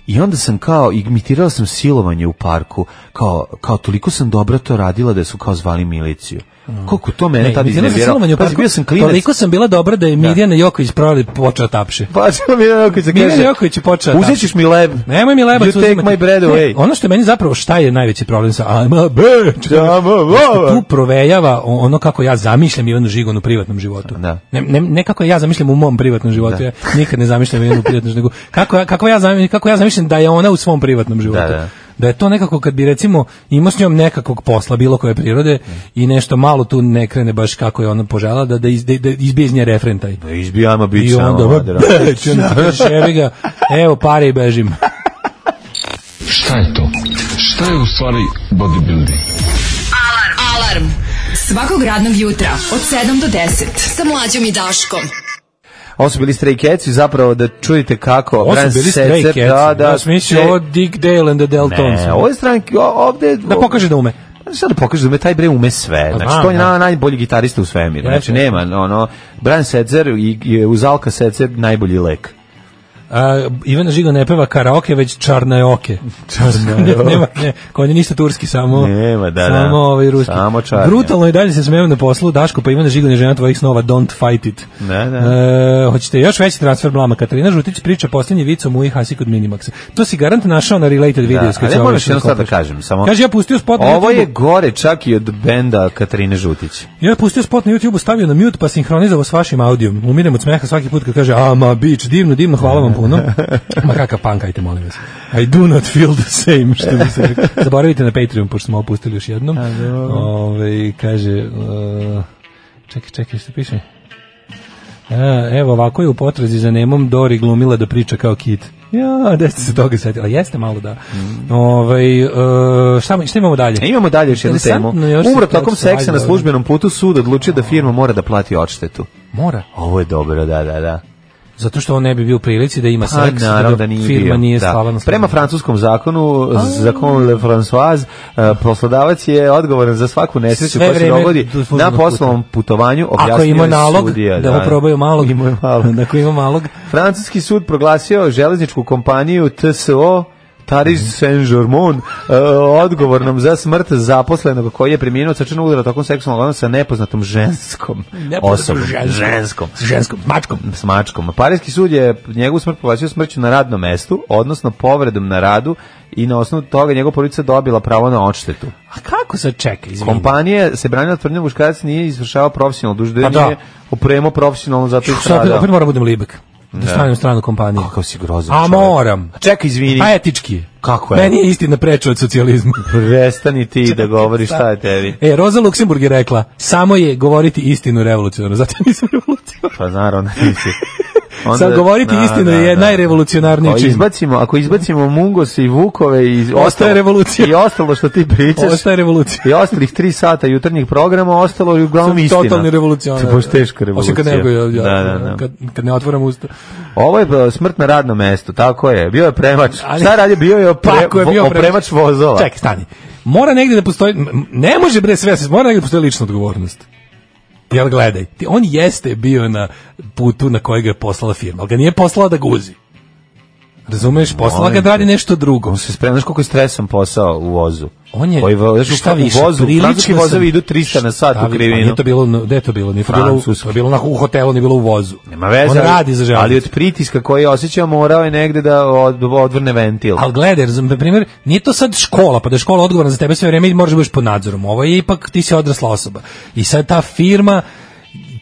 [SPEAKER 5] I onda sam kao, imitirao sam silovanje u parku, kao, kao toliko sam dobro to radila da su kao zvali miliciju.
[SPEAKER 6] Mm.
[SPEAKER 5] Koliko to mene tad
[SPEAKER 6] Mirjana
[SPEAKER 5] iznervirao.
[SPEAKER 6] Salomonju,
[SPEAKER 5] Pazi,
[SPEAKER 6] kako-
[SPEAKER 5] bio sam klinac.
[SPEAKER 6] Toliko sam bila dobra da je Mirjana Joković proli počeo tapše.
[SPEAKER 5] Pa što Mirjana Joković da
[SPEAKER 6] Mirjana
[SPEAKER 5] kaže,
[SPEAKER 6] Joković je počela
[SPEAKER 5] Uzet
[SPEAKER 6] tako.
[SPEAKER 5] ćeš mi leb.
[SPEAKER 6] Nemoj mi lebac
[SPEAKER 5] You take
[SPEAKER 6] uzimati.
[SPEAKER 5] my bread away.
[SPEAKER 6] Ne, ono što je meni zapravo šta je najveći problem sa I'm a bitch. Što pa tu provejava o- ono kako ja zamišljam Ivanu Žigon u privatnom životu.
[SPEAKER 5] Da.
[SPEAKER 6] Ne, ne, ne kako ja zamišljam u mom privatnom životu. Ja nikad ne zamišljam Ivanu u privatnom životu. Kako, ja- kako, ja zamišljam, kako ja zamišljam da je ona u svom privatnom životu.
[SPEAKER 5] da.
[SPEAKER 6] Da je to nekako kad bi recimo imao s njom nekakvog posla bilo koje prirode i nešto malo tu ne krene baš kako je ona požela da, da, iz, da, da izbije iz nje refren taj.
[SPEAKER 5] Da izbijama bić
[SPEAKER 6] I
[SPEAKER 5] samo
[SPEAKER 6] onda,
[SPEAKER 5] madra.
[SPEAKER 6] bitch, onda ti kažeš, jebi ga, evo pare i bežim.
[SPEAKER 13] Šta je to? Šta je u stvari bodybuilding?
[SPEAKER 4] Alarm. Alarm. Svakog radnog jutra od 7 do 10 sa mlađom i Daškom.
[SPEAKER 5] Ovo su bili Stray Cats i zapravo da čujete kako...
[SPEAKER 6] Ovo
[SPEAKER 5] Brian
[SPEAKER 6] su bili
[SPEAKER 5] Setzer,
[SPEAKER 6] Stray Cats.
[SPEAKER 5] Da, da.
[SPEAKER 6] ja sam mislio
[SPEAKER 5] te-
[SPEAKER 6] ovo Dick Dale and the Deltons.
[SPEAKER 5] Ne, ovo je stranki, o- ovde...
[SPEAKER 6] Da pokaže da ume.
[SPEAKER 5] Pa Sad da pokaže da me taj bre ume sve. Znači,
[SPEAKER 6] Pa znam,
[SPEAKER 5] to je na,
[SPEAKER 6] da.
[SPEAKER 5] najbolji gitarista u svemiru. Znači,
[SPEAKER 6] Jeste.
[SPEAKER 5] nema, ono, Brian Setzer i, i uz Alka Setzer najbolji lek.
[SPEAKER 6] A, Ivana Žigo ne peva karaoke, već čarnajoke.
[SPEAKER 5] Čarnajoke.
[SPEAKER 6] nema, ne, kod nje ništa turski, samo,
[SPEAKER 5] Nema, da,
[SPEAKER 6] samo
[SPEAKER 5] da.
[SPEAKER 6] ovaj ruski.
[SPEAKER 5] Samo čarnjak.
[SPEAKER 6] Brutalno i dalje se smijem na poslu, Daško, pa Ivana Žigo je žena tvojih snova, don't fight it.
[SPEAKER 5] Da, da.
[SPEAKER 6] E, hoćete još veći transfer blama. Katarina Žutić priča posljednji vic o Muji Hasi kod Minimaxa. To si garant našao na related video.
[SPEAKER 5] Da, ali moraš jedno sad da kažem. Samo,
[SPEAKER 6] Kaže, ovaj ja pustio spot na
[SPEAKER 5] Ovo je
[SPEAKER 6] YouTubeu.
[SPEAKER 5] gore čak i od benda Katarine Žutić.
[SPEAKER 6] Ja pustio spot na YouTubeu, stavio na mute, pa sinhronizovao s vašim audijom. Umirem od smeha svaki put kad kaže, a ma bić, divno, divno, hvala vam puno. Ma kakav punk, ajte, molim vas. I do not feel the same, što bi se reklo. Zaboravite na Patreon, pošto smo opustili još jednom.
[SPEAKER 5] A, dobro.
[SPEAKER 6] Ove, kaže, uh, čekaj, čekaj, što piše? A, evo, ovako je u potrazi za Nemom Dori glumila da priča kao kit. Ja, da ste se toga setila. Jeste malo da. Ovaj e, šta, šta imamo dalje?
[SPEAKER 5] Mm. E, imamo dalje još jednu temu.
[SPEAKER 6] Interesantno, još se
[SPEAKER 5] Umro
[SPEAKER 6] to-
[SPEAKER 5] tokom seksa
[SPEAKER 6] ajde,
[SPEAKER 5] na
[SPEAKER 6] dobro.
[SPEAKER 5] službenom putu, sud odlučio da firma mora da plati odštetu.
[SPEAKER 6] Mora.
[SPEAKER 5] Ovo je dobro, da, da, da.
[SPEAKER 6] Zato što on ne bi bio u prilici da ima
[SPEAKER 5] Pa,
[SPEAKER 6] seks, da,
[SPEAKER 5] naravno
[SPEAKER 6] ga
[SPEAKER 5] da nije
[SPEAKER 6] firma
[SPEAKER 5] bio.
[SPEAKER 6] nije
[SPEAKER 5] Da.
[SPEAKER 6] slava na slavu.
[SPEAKER 5] Prema francuskom zakonu, zakon Le François, eh, poslodavac je odgovoran za svaku nesreću
[SPEAKER 6] Sve
[SPEAKER 5] koja se
[SPEAKER 6] vreme
[SPEAKER 5] dogodi
[SPEAKER 6] do službenog
[SPEAKER 5] na poslovnom putovanju,
[SPEAKER 6] Ako
[SPEAKER 5] objasnio
[SPEAKER 6] ima
[SPEAKER 5] je
[SPEAKER 6] nalog,
[SPEAKER 5] sudija.
[SPEAKER 6] da, mu probaju malog. Ima malog. Ako ima malog.
[SPEAKER 5] Francuski sud proglasio železničku kompaniju TSO Paris
[SPEAKER 6] Mhm.
[SPEAKER 5] Saint-Germain e, odgovornom za smrt zaposlenog koji je preminuo od srčanog udara tokom seksualnog odnosa sa nepoznatom ženskom
[SPEAKER 6] Nepoznatom
[SPEAKER 5] osobom.
[SPEAKER 6] ženskom.
[SPEAKER 5] Ženskom.
[SPEAKER 6] S ženskom, s mačkom.
[SPEAKER 5] S mačkom. Parijski sud je njegovu smrt proglasio smrću na radnom mestu, odnosno povredom na radu i na osnovu toga njegova porodica dobila pravo na odštetu.
[SPEAKER 6] A kako se čeka, izvini?
[SPEAKER 5] Kompanija se branila tvrdnjom muškarac nije izvršavao profesionalno dužde,
[SPEAKER 6] Pa da.
[SPEAKER 5] nije opremao profesionalno zato i
[SPEAKER 6] Sad opet,
[SPEAKER 5] stradao.
[SPEAKER 6] opet moram budem libek. Da
[SPEAKER 5] Da.
[SPEAKER 6] stanem stranu kompanije.
[SPEAKER 5] Kako si grozan
[SPEAKER 6] A
[SPEAKER 5] čovjek.
[SPEAKER 6] moram.
[SPEAKER 5] Čekaj, izvini.
[SPEAKER 6] Pa etički.
[SPEAKER 5] Kako je?
[SPEAKER 6] Meni je istina preča od socijalizma.
[SPEAKER 5] Prestani ti da govoriš šta je tebi.
[SPEAKER 6] E, Roza Luksemburg je rekla, samo je govoriti istinu revolucionarno, zato ja nisam revolucionarno.
[SPEAKER 5] Pa naravno, nisi.
[SPEAKER 6] Sad govoriti istinu je najrevolucionarniji
[SPEAKER 5] Ako
[SPEAKER 6] čin.
[SPEAKER 5] Pa izbacimo, ako izbacimo Mungos i Vukove i
[SPEAKER 6] Ostaje
[SPEAKER 5] ostalo-
[SPEAKER 6] revolucija.
[SPEAKER 5] I ostalo što ti pričaš.
[SPEAKER 6] Ostaje revolucija.
[SPEAKER 5] I ostalih tri sata jutarnjih programa, ostalo je uglavnom
[SPEAKER 6] Sam
[SPEAKER 5] istina.
[SPEAKER 6] totalni revolucionar.
[SPEAKER 5] Ti baš teška revolucija.
[SPEAKER 6] Osim kad ne, ja, ja,
[SPEAKER 5] da, da, da.
[SPEAKER 6] Kad, kad ne otvoram usta.
[SPEAKER 5] Ovo je e, smrt na radnom mestu, tako je. Bio je premač.
[SPEAKER 6] Ali-
[SPEAKER 5] Šta radi? Bio je, opre,
[SPEAKER 6] Tako je bio
[SPEAKER 5] vo- opremač vozova.
[SPEAKER 6] Čekaj, stani. Mora negdje da postoji, m- m- ne može bre sve, se- mora negdje da postoji lična odgovornost. Jel gledaj, ti- on jeste bio na putu na kojeg je poslala firma, ali ga nije poslala da guzi. Razumeš, poslala
[SPEAKER 5] Molim
[SPEAKER 6] ga da radi
[SPEAKER 5] te.
[SPEAKER 6] nešto drugo.
[SPEAKER 5] On se sprema, znaš koliko je stresan posao u vozu.
[SPEAKER 6] On je,
[SPEAKER 5] Koji vo- znaš,
[SPEAKER 6] šta
[SPEAKER 5] u-
[SPEAKER 6] više,
[SPEAKER 5] u vozu,
[SPEAKER 6] prilično
[SPEAKER 5] francuski vozovi
[SPEAKER 6] sam-
[SPEAKER 5] idu 300 na sat
[SPEAKER 6] Šta
[SPEAKER 5] u
[SPEAKER 6] vi-
[SPEAKER 5] krivinu.
[SPEAKER 6] Pa nije to bilo, na- gde je to bilo? Nije to bilo, u-
[SPEAKER 5] Francusko.
[SPEAKER 6] to je bilo na, u hotelu, nije bilo u vozu.
[SPEAKER 5] Nema veze,
[SPEAKER 6] On
[SPEAKER 5] ali-
[SPEAKER 6] radi za železnicu.
[SPEAKER 5] Ali od pritiska koji je osjećao morao je negde da od, odvrne ventil.
[SPEAKER 6] Ali gledaj, razum, na primjer, nije to sad škola, pa da je škola odgovorna za tebe sve vrijeme i moraš da budeš pod nadzorom. Ovo je ipak, ti si odrasla osoba. I sad ta firma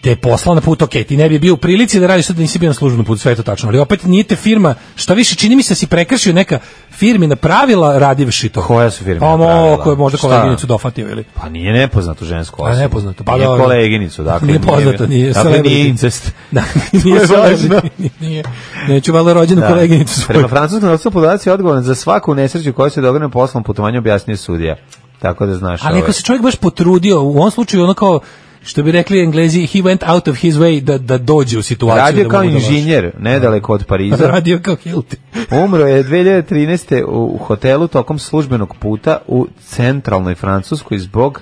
[SPEAKER 6] te je poslala na put, ok, ti ne bi bio u prilici da radiš sad da nisi bio na službenom putu, sve je to tačno, ali opet nije te firma, šta više, čini mi se da si prekršio neka firmina pravila radivši to.
[SPEAKER 5] Koja su firmina
[SPEAKER 6] Pa mo-
[SPEAKER 5] pravila?
[SPEAKER 6] ko je možda
[SPEAKER 5] Šta?
[SPEAKER 6] koleginicu dofatio ili?
[SPEAKER 5] Pa nije nepoznato žensko
[SPEAKER 6] Pa
[SPEAKER 5] osobu.
[SPEAKER 6] nepoznato, pa
[SPEAKER 5] nije
[SPEAKER 6] dobro.
[SPEAKER 5] koleginicu, dakle.
[SPEAKER 6] Nije poznato, nije
[SPEAKER 5] Dakle, nije
[SPEAKER 6] celebrity.
[SPEAKER 5] incest.
[SPEAKER 6] Da, nije,
[SPEAKER 5] je
[SPEAKER 6] celebrity,
[SPEAKER 5] važno.
[SPEAKER 6] nije, nije, neću valjda rođenu koleginicu svoju.
[SPEAKER 5] Prema francuskom odstavu podaci je odgovoran za svaku nesreću koja se događa na poslovnom putovanju, objasnio je sudija. Tako da znaš.
[SPEAKER 6] Ali
[SPEAKER 5] ovaj.
[SPEAKER 6] ako se čovjek baš potrudio, u ovom slučaju ono kao, što bi rekli englezi, he went out of his way da, da dođe u situaciju.
[SPEAKER 5] Radio
[SPEAKER 6] da
[SPEAKER 5] kao
[SPEAKER 6] mu da može.
[SPEAKER 5] inženjer, nedaleko od Pariza.
[SPEAKER 6] Radio kao Hilti.
[SPEAKER 5] Umro je 2013. u hotelu tokom službenog puta u centralnoj Francuskoj zbog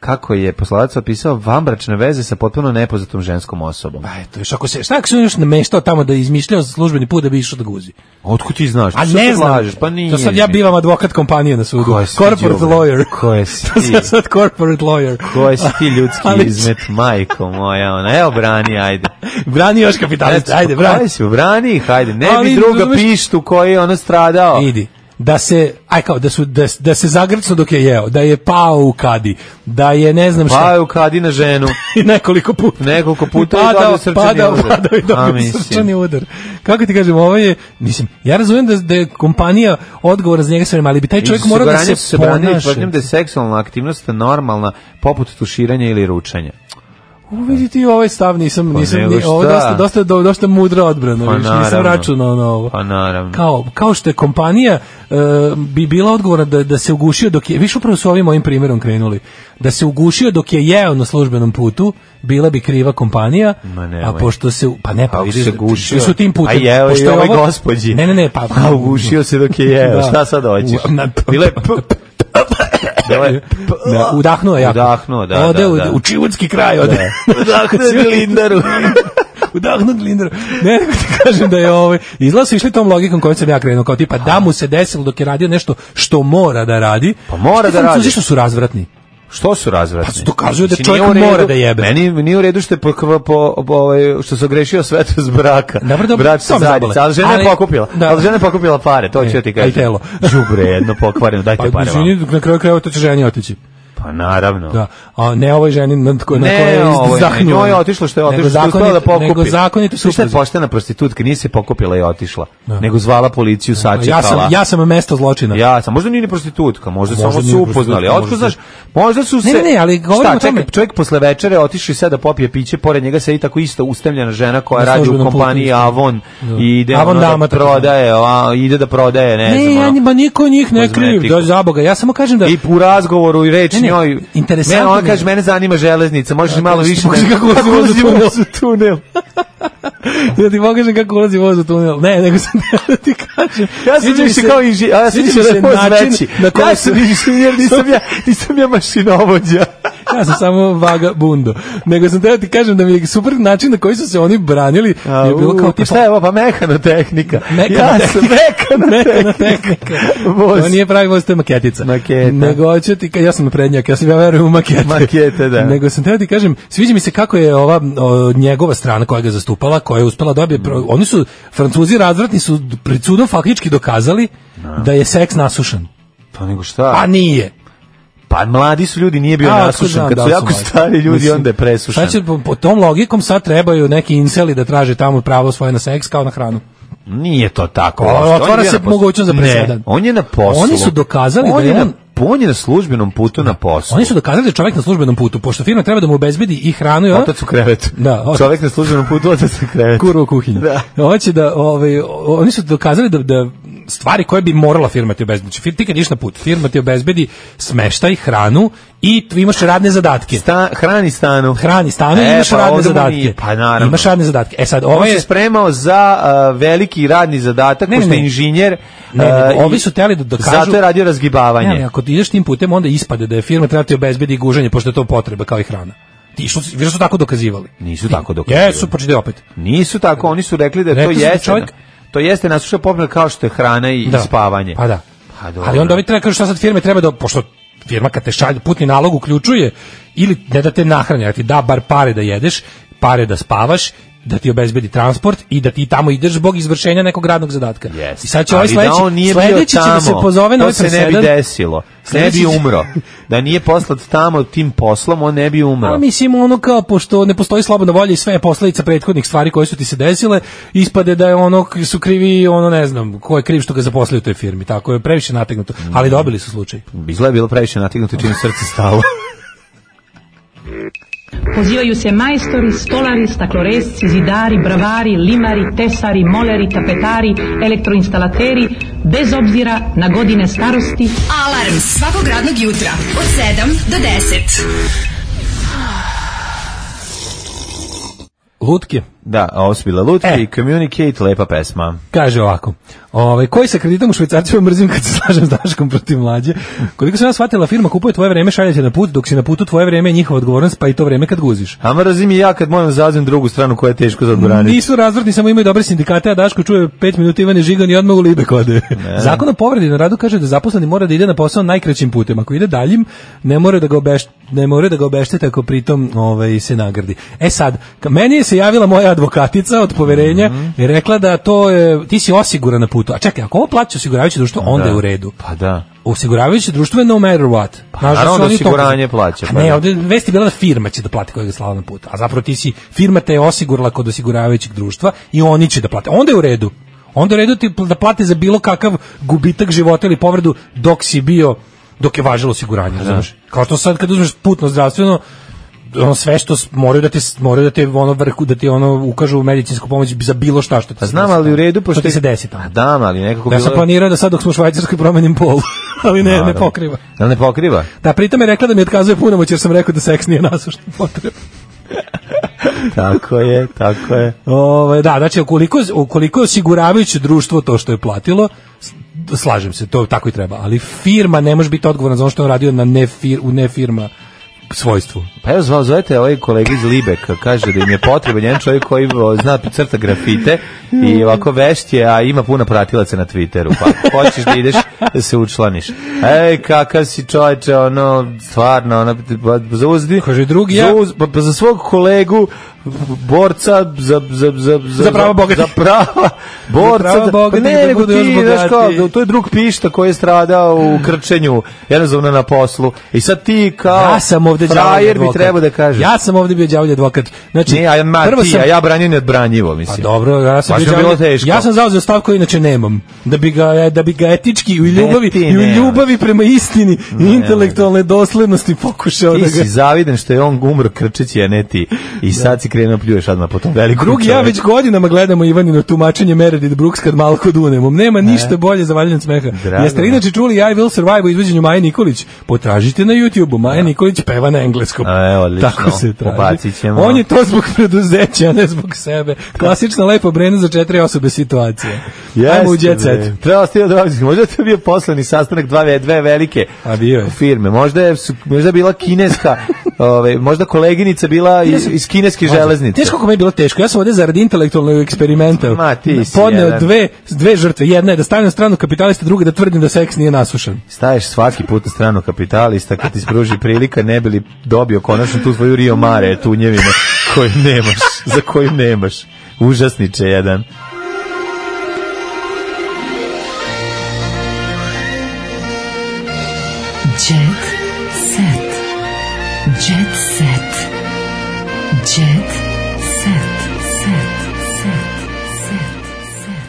[SPEAKER 5] kako je poslodavac opisao vambračne veze sa potpuno nepoznatom ženskom osobom.
[SPEAKER 6] Pa eto, još ako se, šta ako se on još nameštao tamo da je izmišljao službeni put da bi išao da guzi?
[SPEAKER 5] Otkud ti znaš?
[SPEAKER 6] A
[SPEAKER 5] Što
[SPEAKER 6] ne
[SPEAKER 5] se
[SPEAKER 6] znam.
[SPEAKER 5] slažeš? Pa nije.
[SPEAKER 6] To sad ja bivam advokat kompanije na sudu.
[SPEAKER 5] Ko si ti,
[SPEAKER 6] Corporate
[SPEAKER 5] đubre?
[SPEAKER 6] lawyer.
[SPEAKER 5] Ko si
[SPEAKER 6] To sam
[SPEAKER 5] ti?
[SPEAKER 6] ja sad corporate lawyer.
[SPEAKER 5] Ko je si ti ljudski
[SPEAKER 6] Ali-
[SPEAKER 5] izmet, majko moja, ona, evo brani, ajde.
[SPEAKER 6] Brani još kapitalist,
[SPEAKER 5] Eto,
[SPEAKER 6] ajde,
[SPEAKER 5] pa
[SPEAKER 6] brani.
[SPEAKER 5] koji si, brani ih, ajde, ne
[SPEAKER 6] Ali,
[SPEAKER 5] bi druga
[SPEAKER 6] razumeš-
[SPEAKER 5] pištu koji je ono stradao.
[SPEAKER 6] Idi. Da se, aj kao, da, su, da, da se zagrcno dok je jeo, da je pao u kadi, da je ne znam šta.
[SPEAKER 5] Pa je ukadi na ženu.
[SPEAKER 6] i nekoliko puta.
[SPEAKER 5] Nekoliko puta i
[SPEAKER 6] Padao,
[SPEAKER 5] dobio srčani
[SPEAKER 6] padao,
[SPEAKER 5] udar.
[SPEAKER 6] Padao i
[SPEAKER 5] A,
[SPEAKER 6] dobio
[SPEAKER 5] mislim.
[SPEAKER 6] srčani udar. Kako ti kažem, ovo je, mislim, ja razumijem da, da je kompanija odgovorna za njega sve vreme, ali bi taj čovjek morao da
[SPEAKER 5] Osiguranje su
[SPEAKER 6] se
[SPEAKER 5] branili
[SPEAKER 6] ponaša.
[SPEAKER 5] tvrdnjom da je seksualna aktivnost normalna poput tuširanja ili ručanja.
[SPEAKER 6] Uvidi ti ovaj stav, nisam,
[SPEAKER 5] Pa
[SPEAKER 6] nisam,
[SPEAKER 5] nego
[SPEAKER 6] ni- ovo je
[SPEAKER 5] šta?
[SPEAKER 6] dosta, dosta, do- dosta mudra odbrana,
[SPEAKER 5] Pa
[SPEAKER 6] viš, nisam
[SPEAKER 5] naravno.
[SPEAKER 6] računao na ovo.
[SPEAKER 5] Pa naravno.
[SPEAKER 6] Kao, kao što je kompanija e, bi bila odgovorna da, da se ugušio dok je, viš upravo su ovim mojim primjerom krenuli, da se ugušio dok je jeo na službenom putu, bila bi kriva kompanija,
[SPEAKER 5] Ma nemoj.
[SPEAKER 6] a pošto se, pa ne, pa
[SPEAKER 5] Ako
[SPEAKER 6] vidiš,
[SPEAKER 5] se gušio,
[SPEAKER 6] su tim putem,
[SPEAKER 5] a jeo
[SPEAKER 6] pošto
[SPEAKER 5] i
[SPEAKER 6] je
[SPEAKER 5] ovoj
[SPEAKER 6] ovo-
[SPEAKER 5] gospođi.
[SPEAKER 6] Ne, ne, ne, pa...
[SPEAKER 5] A ugušio se dok je jeo,
[SPEAKER 6] Da.
[SPEAKER 5] šta sad hoćeš?
[SPEAKER 6] U- na-
[SPEAKER 5] Bilo je p- Bilo je p-
[SPEAKER 6] Da, udahnuo je jako.
[SPEAKER 5] Udahnuo, da,
[SPEAKER 6] Ode
[SPEAKER 5] da,
[SPEAKER 6] u,
[SPEAKER 5] da.
[SPEAKER 6] u čivudski kraj, ode.
[SPEAKER 5] Udahnuo je Lindaru.
[SPEAKER 6] udahnut Lindaru. Ne, nego ti kažem da je ovaj, izgleda su išli tom logikom kojom sam ja krenuo, kao tipa da mu se desilo dok je radio nešto što mora da radi.
[SPEAKER 5] Pa mora da radi.
[SPEAKER 6] Zašto su razvratni?
[SPEAKER 5] Što su razvratni?
[SPEAKER 6] Pa dokazuju da
[SPEAKER 5] Znači, nije
[SPEAKER 6] čovjek
[SPEAKER 5] u redu-
[SPEAKER 6] mora da jebe.
[SPEAKER 5] Meni nije u redu što je po, po, po- ovaj, što se ogrešio svetost braka.
[SPEAKER 6] Dobro, dobro,
[SPEAKER 5] Brak
[SPEAKER 6] to
[SPEAKER 5] se
[SPEAKER 6] me zabole.
[SPEAKER 5] zajednica, ali žena
[SPEAKER 6] Ali-
[SPEAKER 5] je pokupila.
[SPEAKER 6] da.
[SPEAKER 5] Ali žena je pokupila pare, to
[SPEAKER 6] E,
[SPEAKER 5] ću ja ti
[SPEAKER 6] a i
[SPEAKER 5] kažem.
[SPEAKER 6] telo.
[SPEAKER 5] Žubre jedno pokvareno, dajte
[SPEAKER 6] Pa,
[SPEAKER 5] pare vam.
[SPEAKER 6] izvini, na kraju krajeva to će ženi otići.
[SPEAKER 5] Pa naravno.
[SPEAKER 6] Da. A ne ovoj ženi na ko na
[SPEAKER 5] Ne,
[SPEAKER 6] kojoj je
[SPEAKER 5] ovo je-
[SPEAKER 6] izdahnula.
[SPEAKER 5] njoj je otišlo što je
[SPEAKER 6] Nego
[SPEAKER 5] otišlo, što je uspela
[SPEAKER 6] zakonit-
[SPEAKER 5] da pokupi.
[SPEAKER 6] Nego zakonito
[SPEAKER 5] Znaš šta je
[SPEAKER 6] supruzi.
[SPEAKER 5] poštena prostitutka, nije se pokupila i otišla, nego zvala policiju, sačekala.
[SPEAKER 6] Ja sam, ja sam mesto zločina.
[SPEAKER 5] Ja sam, možda nije ni prostitutka, možda,
[SPEAKER 6] Možda
[SPEAKER 5] samo
[SPEAKER 6] nije
[SPEAKER 5] su
[SPEAKER 6] prostitutka,
[SPEAKER 5] upoznali. a Otko
[SPEAKER 6] možda
[SPEAKER 5] znaš,
[SPEAKER 6] su-
[SPEAKER 5] možda su
[SPEAKER 6] Ne,
[SPEAKER 5] se...
[SPEAKER 6] ne, ne, ali govorim
[SPEAKER 5] Šta,
[SPEAKER 6] o tome.
[SPEAKER 5] čekaj, čovjek posle večere otišao i sada popije piće, pored njega sedi tako isto ustemljena žena koja
[SPEAKER 6] Na
[SPEAKER 5] radi u
[SPEAKER 6] službenom putu
[SPEAKER 5] kompaniji
[SPEAKER 6] isto.
[SPEAKER 5] Avon
[SPEAKER 6] Da.
[SPEAKER 5] i ide
[SPEAKER 6] Avon
[SPEAKER 5] ono da
[SPEAKER 6] dama, tako
[SPEAKER 5] prodaje, a, ide da prodaje, ne, znam.
[SPEAKER 6] Ne, ja
[SPEAKER 5] ono.
[SPEAKER 6] njima niko njih ne
[SPEAKER 5] kozmetiku.
[SPEAKER 6] kriv, da zaboga. Ja samo kažem da
[SPEAKER 5] I u razgovoru i reč
[SPEAKER 6] Ne, ne,
[SPEAKER 5] njoj.
[SPEAKER 6] interesantno
[SPEAKER 5] Mene, ona
[SPEAKER 6] mi je-
[SPEAKER 5] kaže, mene zanima železnica, možeš malo
[SPEAKER 6] Kako-
[SPEAKER 5] više...
[SPEAKER 6] kako ulazimo za tunel.
[SPEAKER 5] za tunel.
[SPEAKER 6] Ja ti pokažem kako ulazi voz u tunel. Ne, nego sam da ti kažem.
[SPEAKER 5] Ja sam
[SPEAKER 6] Sviđa mi
[SPEAKER 5] više kao inži, a ja sam
[SPEAKER 6] sviđa
[SPEAKER 5] više
[SPEAKER 6] mi se
[SPEAKER 5] da je voz
[SPEAKER 6] način
[SPEAKER 5] veći.
[SPEAKER 6] Na koji
[SPEAKER 5] Ja sam inženjer, nisam ja, nisam ja mašinovođa.
[SPEAKER 6] ja sam samo vaga bundo. Nego sam teo ti kažem da mi je super način na koji su se oni branili.
[SPEAKER 5] A,
[SPEAKER 6] je bilo kao
[SPEAKER 5] u,
[SPEAKER 6] tipa,
[SPEAKER 5] Šta je ovo, pa mehanotehnika.
[SPEAKER 6] Mekanotehnika.
[SPEAKER 5] Ja sam mehanotehnika.
[SPEAKER 6] tehnika.
[SPEAKER 5] Voz.
[SPEAKER 6] To nije pravi voz, to je maketica.
[SPEAKER 5] Maketa.
[SPEAKER 6] Nego hoću ti, ka- ja sam prednjak, ja sam ja verujem u makete.
[SPEAKER 5] Makete, da.
[SPEAKER 6] Nego sam teo ti kažem, sviđa mi se kako je ova o, njegova strana koja ga je zastupala, koja je uspela dobije,
[SPEAKER 5] Mm.
[SPEAKER 6] pro- oni su, francuzi razvratni su pred sudom faktički dokazali da je seks nasušan.
[SPEAKER 5] Pa nego šta?
[SPEAKER 6] Pa nije.
[SPEAKER 5] Pa mladi su ljudi, nije bio
[SPEAKER 6] A, otkud
[SPEAKER 5] nasušen.
[SPEAKER 6] znam
[SPEAKER 5] Kad
[SPEAKER 6] da
[SPEAKER 5] su
[SPEAKER 6] li
[SPEAKER 5] jako
[SPEAKER 6] mladi?
[SPEAKER 5] stari ljudi,
[SPEAKER 6] Mislim, znači,
[SPEAKER 5] onda je presušen.
[SPEAKER 6] Šta će, po, po tom logikom sad trebaju neki inseli da traže tamo pravo svoje na seks kao na hranu.
[SPEAKER 5] Nije to tako.
[SPEAKER 6] O,
[SPEAKER 5] uopšte. On je
[SPEAKER 6] otvara
[SPEAKER 5] bio
[SPEAKER 6] se
[SPEAKER 5] na poslu.
[SPEAKER 6] mogućnost za presedan.
[SPEAKER 5] Ne, on je na poslu.
[SPEAKER 6] Oni su dokazali
[SPEAKER 5] on
[SPEAKER 6] da je
[SPEAKER 5] na-
[SPEAKER 6] on-
[SPEAKER 5] On je na službenom putu na poslu.
[SPEAKER 6] Oni su dokazali da je čovjek na službenom putu, pošto firma treba da mu obezbedi i hranu i ono,
[SPEAKER 5] Otac u krevetu.
[SPEAKER 6] Da, otac.
[SPEAKER 5] Čovjek na službenom putu, otac u krevetu.
[SPEAKER 6] kurva u kuhinji. Hoće da, ovaj, o- oni su dokazali da, da stvari koje bi morala firma ti obezbedi. Znači, fir- ti kad iš na put, firma ti obezbedi smeštaj, hranu i tu imaš radne zadatke.
[SPEAKER 5] Sta, hrani stanu.
[SPEAKER 6] Hrani stanu i
[SPEAKER 5] E,
[SPEAKER 6] imaš
[SPEAKER 5] pa
[SPEAKER 6] radne
[SPEAKER 5] ovde mu
[SPEAKER 6] zadatke.
[SPEAKER 5] nije, pa naravno.
[SPEAKER 6] Imaš radne zadatke. E sad, ovo
[SPEAKER 5] Ovo
[SPEAKER 6] je...
[SPEAKER 5] se spremao za uh, veliki radni zadatak,
[SPEAKER 6] Ne, ne,
[SPEAKER 5] pošto je
[SPEAKER 6] ne.
[SPEAKER 5] inženjer.
[SPEAKER 6] Ne, ne,
[SPEAKER 5] uh, i-
[SPEAKER 6] ovi su teli da dokažu...
[SPEAKER 5] Zato je radio razgibavanje.
[SPEAKER 6] Ne, ne, ako ideš tim putem, onda ispade da je firma treba ti obezbedi guženje, pošto je to potreba, kao i hrana. Ti što, vi su tako dokazivali.
[SPEAKER 5] Nisu tako dokazali.
[SPEAKER 6] Jesu, pročitaj opet.
[SPEAKER 5] Nisu tako, oni su rekli da je to
[SPEAKER 6] Rekli su da
[SPEAKER 5] jeste.
[SPEAKER 6] čovjek-
[SPEAKER 5] To jeste nasuša popna kao što je hrana i, i
[SPEAKER 6] Da.
[SPEAKER 5] spavanje.
[SPEAKER 6] Pa da.
[SPEAKER 5] Pa dobro.
[SPEAKER 6] Ali onda ovi treba kažu šta sad firme treba da, pošto firma kad te šalje, putni nalog uključuje, ili ne da te nahranja, da ti da bar pare da jedeš, pare da spavaš, da ti obezbedi transport i da ti tamo ideš zbog izvršenja nekog radnog zadatka.
[SPEAKER 5] Yes.
[SPEAKER 6] I sad će ovaj
[SPEAKER 5] Ali da
[SPEAKER 6] sledeći,
[SPEAKER 5] on nije bio
[SPEAKER 6] sledeći će da se
[SPEAKER 5] tamo,
[SPEAKER 6] pozove
[SPEAKER 5] to
[SPEAKER 6] na ovaj
[SPEAKER 5] se ne bi
[SPEAKER 6] presedan.
[SPEAKER 5] desilo. Ne
[SPEAKER 6] Sledeći
[SPEAKER 5] bi
[SPEAKER 6] će-
[SPEAKER 5] umro. Da nije poslat tamo tim poslom, on ne bi umro.
[SPEAKER 6] A mislim ono kao pošto ne postoji slobodna volja i sve je posledica prethodnih stvari koje su ti se desile, ispade da je ono k- su krivi ono ne znam, ko je kriv što ga zaposlio u toj firmi. Tako je previše nategnuto, ali dobili su slučaj.
[SPEAKER 5] Izgleda je bilo previše natignuto čim je srce stalo.
[SPEAKER 9] Pozivaju se majstori, stolari, stakloresci, zidari, bravari, limari, tesari, moleri, tapetari, elektroinstalateri, bez obzira na godine starosti,
[SPEAKER 4] Alarm svakog radnog jutra od 7 do 10.
[SPEAKER 6] Lutke.
[SPEAKER 5] da, a ovo su bile lutke
[SPEAKER 6] E.
[SPEAKER 5] i Communicate, lepa pesma.
[SPEAKER 6] Kaže ovako, ovaj, koji sa kreditom u Švajcarcima mrzim kad se slažem s Daškom protiv mlađe. Koliko sam ja shvatila, firma kupuje tvoje vreme, šalje te na put, dok si na putu tvoje vreme je njihova odgovornost, pa i to vreme kad guziš.
[SPEAKER 5] A mrzim i ja kad moram zazim drugu stranu koja je teško za odbraniti.
[SPEAKER 6] Nisu razvrtni, samo imaju dobre sindikate, a Daško čuje 5 minuta Ivane Žigan i odmah u Libek ode. Zakon o povredi na radu kaže da zaposleni mora da ide na posao najkraćim putem. Ako ide daljim, ne mora da ga, obeš, ne mora da ga obeštete ako pritom ovaj, se nagradi. E sad, ka- meni je se javila moja advokatica od poverenja i rekla da to je, ti si osiguran na putu. A čekaj, ako ovo plaća osiguravajuće društvo, onda
[SPEAKER 5] Da.
[SPEAKER 6] je u redu.
[SPEAKER 5] Pa da.
[SPEAKER 6] Osiguravajuće društvo je no matter what. Pa,
[SPEAKER 5] naravno da osiguranje plaća, pa
[SPEAKER 6] ne,
[SPEAKER 5] da.
[SPEAKER 6] ovde vest je bila da firma će da plati koja ga je slala na put. A zapravo ti si, firma te je osigurala kod osiguravajućeg društva i oni će da plate. Onda je u redu. Onda je u redu ti pl- da plate za bilo kakav gubitak života ili povredu dok si bio, dok je važilo osiguranje. razumeš? Kao što sad kad uzmeš putno zdravstveno, ono sve što s- moraju da te s- moraju da te ono vrhu da ti ono ukažu u medicinsku pomoć za bilo šta što ti
[SPEAKER 5] Pa
[SPEAKER 6] se
[SPEAKER 5] znam,
[SPEAKER 6] desi
[SPEAKER 5] ali u
[SPEAKER 6] tamo.
[SPEAKER 5] redu, pošto...
[SPEAKER 6] što ti se desi tamo.
[SPEAKER 5] A da, ali nekako
[SPEAKER 6] Ja
[SPEAKER 5] bilo...
[SPEAKER 6] sam planirao da sad dok smo u Švajcarskoj promenim pol, ali ne, ne
[SPEAKER 5] Naravno.
[SPEAKER 6] pokriva.
[SPEAKER 5] Da ne pokriva?
[SPEAKER 6] Da, pritom je rekla da mi otkazuje punomoć jer sam rekao da seks nije nasušna potreba.
[SPEAKER 5] tako je, tako je.
[SPEAKER 6] Ovaj, da, znači, ukoliko, ukoliko je osiguravajuće društvo to što je platilo, s- slažem se, to tako i treba, ali firma ne može biti odgovorna za ono što je on radio na ne fir, u ne firma svojstvu.
[SPEAKER 5] Pa evo zvao, zovete ovaj kolega iz Libeka, kaže da im je potreban jedan čovjek koji o, zna crta grafite i ovako vešt je, a ima puno pratilaca na Twitteru, pa ako hoćeš da ideš da se učlaniš. Ej, kakav si čovječe, ono, stvarno, ono, pa, za uzdi,
[SPEAKER 6] kaže drugi ja,
[SPEAKER 5] za uz- pa, pa za svog kolegu, borca za za za
[SPEAKER 6] Za prava bogati.
[SPEAKER 5] za prava borca
[SPEAKER 6] prava
[SPEAKER 5] da-
[SPEAKER 6] bogati,
[SPEAKER 5] pa ne
[SPEAKER 6] da
[SPEAKER 5] nego
[SPEAKER 6] budu još
[SPEAKER 5] ti znaš kao,
[SPEAKER 6] bogatiji.
[SPEAKER 5] to je drug pišta koji je stradao u
[SPEAKER 6] Hmm.
[SPEAKER 5] krčenju jednostavno na poslu i sad ti kao
[SPEAKER 6] Ja sam ovde đavolji
[SPEAKER 5] frajer bi
[SPEAKER 6] advokat.
[SPEAKER 5] trebao da kaže
[SPEAKER 6] Ja sam ovdje bio đavolji advokat. Znači,
[SPEAKER 5] Ne, a ja, ma,
[SPEAKER 6] prvo
[SPEAKER 5] ti,
[SPEAKER 6] sam-
[SPEAKER 5] a ja branim neodbranjivo, mislim.
[SPEAKER 6] Pa dobro, ja sam
[SPEAKER 5] Baš
[SPEAKER 6] bio
[SPEAKER 5] bi bilo
[SPEAKER 6] đavolji-
[SPEAKER 5] teško.
[SPEAKER 6] Ja sam zauzeo stav koji inače nemam. Da bi ga da bi ga etički i u ljubavi
[SPEAKER 5] ti
[SPEAKER 6] i u
[SPEAKER 5] nemaš.
[SPEAKER 6] ljubavi prema istini i
[SPEAKER 5] Ne,
[SPEAKER 6] intelektualne doslednosti pokušao da
[SPEAKER 5] Ti
[SPEAKER 6] ga
[SPEAKER 5] si zaviden što je on umro krčeći, a ne ti. I sad si krenuo pljuješ odmah po tom velikom
[SPEAKER 6] Drugi ja
[SPEAKER 5] čoveku.
[SPEAKER 6] već godinama gledamo Ivanino tumačenje Meredith Brooks kad malko dunemom. Nema ništa bolje za valjanje od smeha.
[SPEAKER 5] Drago.
[SPEAKER 6] Jeste li inače čuli I Will Survive u izvođenju Maje Nikolić? Potražite na YouTubeu. Maja Nikolić peva na engleskom.
[SPEAKER 5] A, evo, odlično.
[SPEAKER 6] Tako se traži.
[SPEAKER 5] Ubacit ćemo.
[SPEAKER 6] On je to zbog preduzeća, a ne zbog sebe. Klasična lepa brena za četiri osobe situacija.
[SPEAKER 5] Jeste,
[SPEAKER 6] Ajmo u jet
[SPEAKER 5] bre.
[SPEAKER 6] set.
[SPEAKER 5] Trebalo ste da dođete. Možda je to bio poslani sastanak dva ve- dve velike
[SPEAKER 6] A bio je.
[SPEAKER 5] firme. Možda je su- možda je bila kineska, ovaj možda koleginica bila iz, iz kineske železnice.
[SPEAKER 6] Teško kako mi je bilo teško. Ja sam ovdje zaradi intelektualnog eksperimenta
[SPEAKER 5] Ma, ti si
[SPEAKER 6] podneo
[SPEAKER 5] jedan.
[SPEAKER 6] dve, dve žrtve. Jedna je da stavim na stranu kapitalista, druga da tvrdim da seks nije nasušan.
[SPEAKER 5] Staješ svaki put na stranu kapitalista kad ti spruži prilika ne bi li dobio konačno tu svoju Rio Mare tunjevinu koju nemaš, za koju nemaš. Užasniče jedan.
[SPEAKER 4] Jet set. Jet set. Jet set. Set. Set.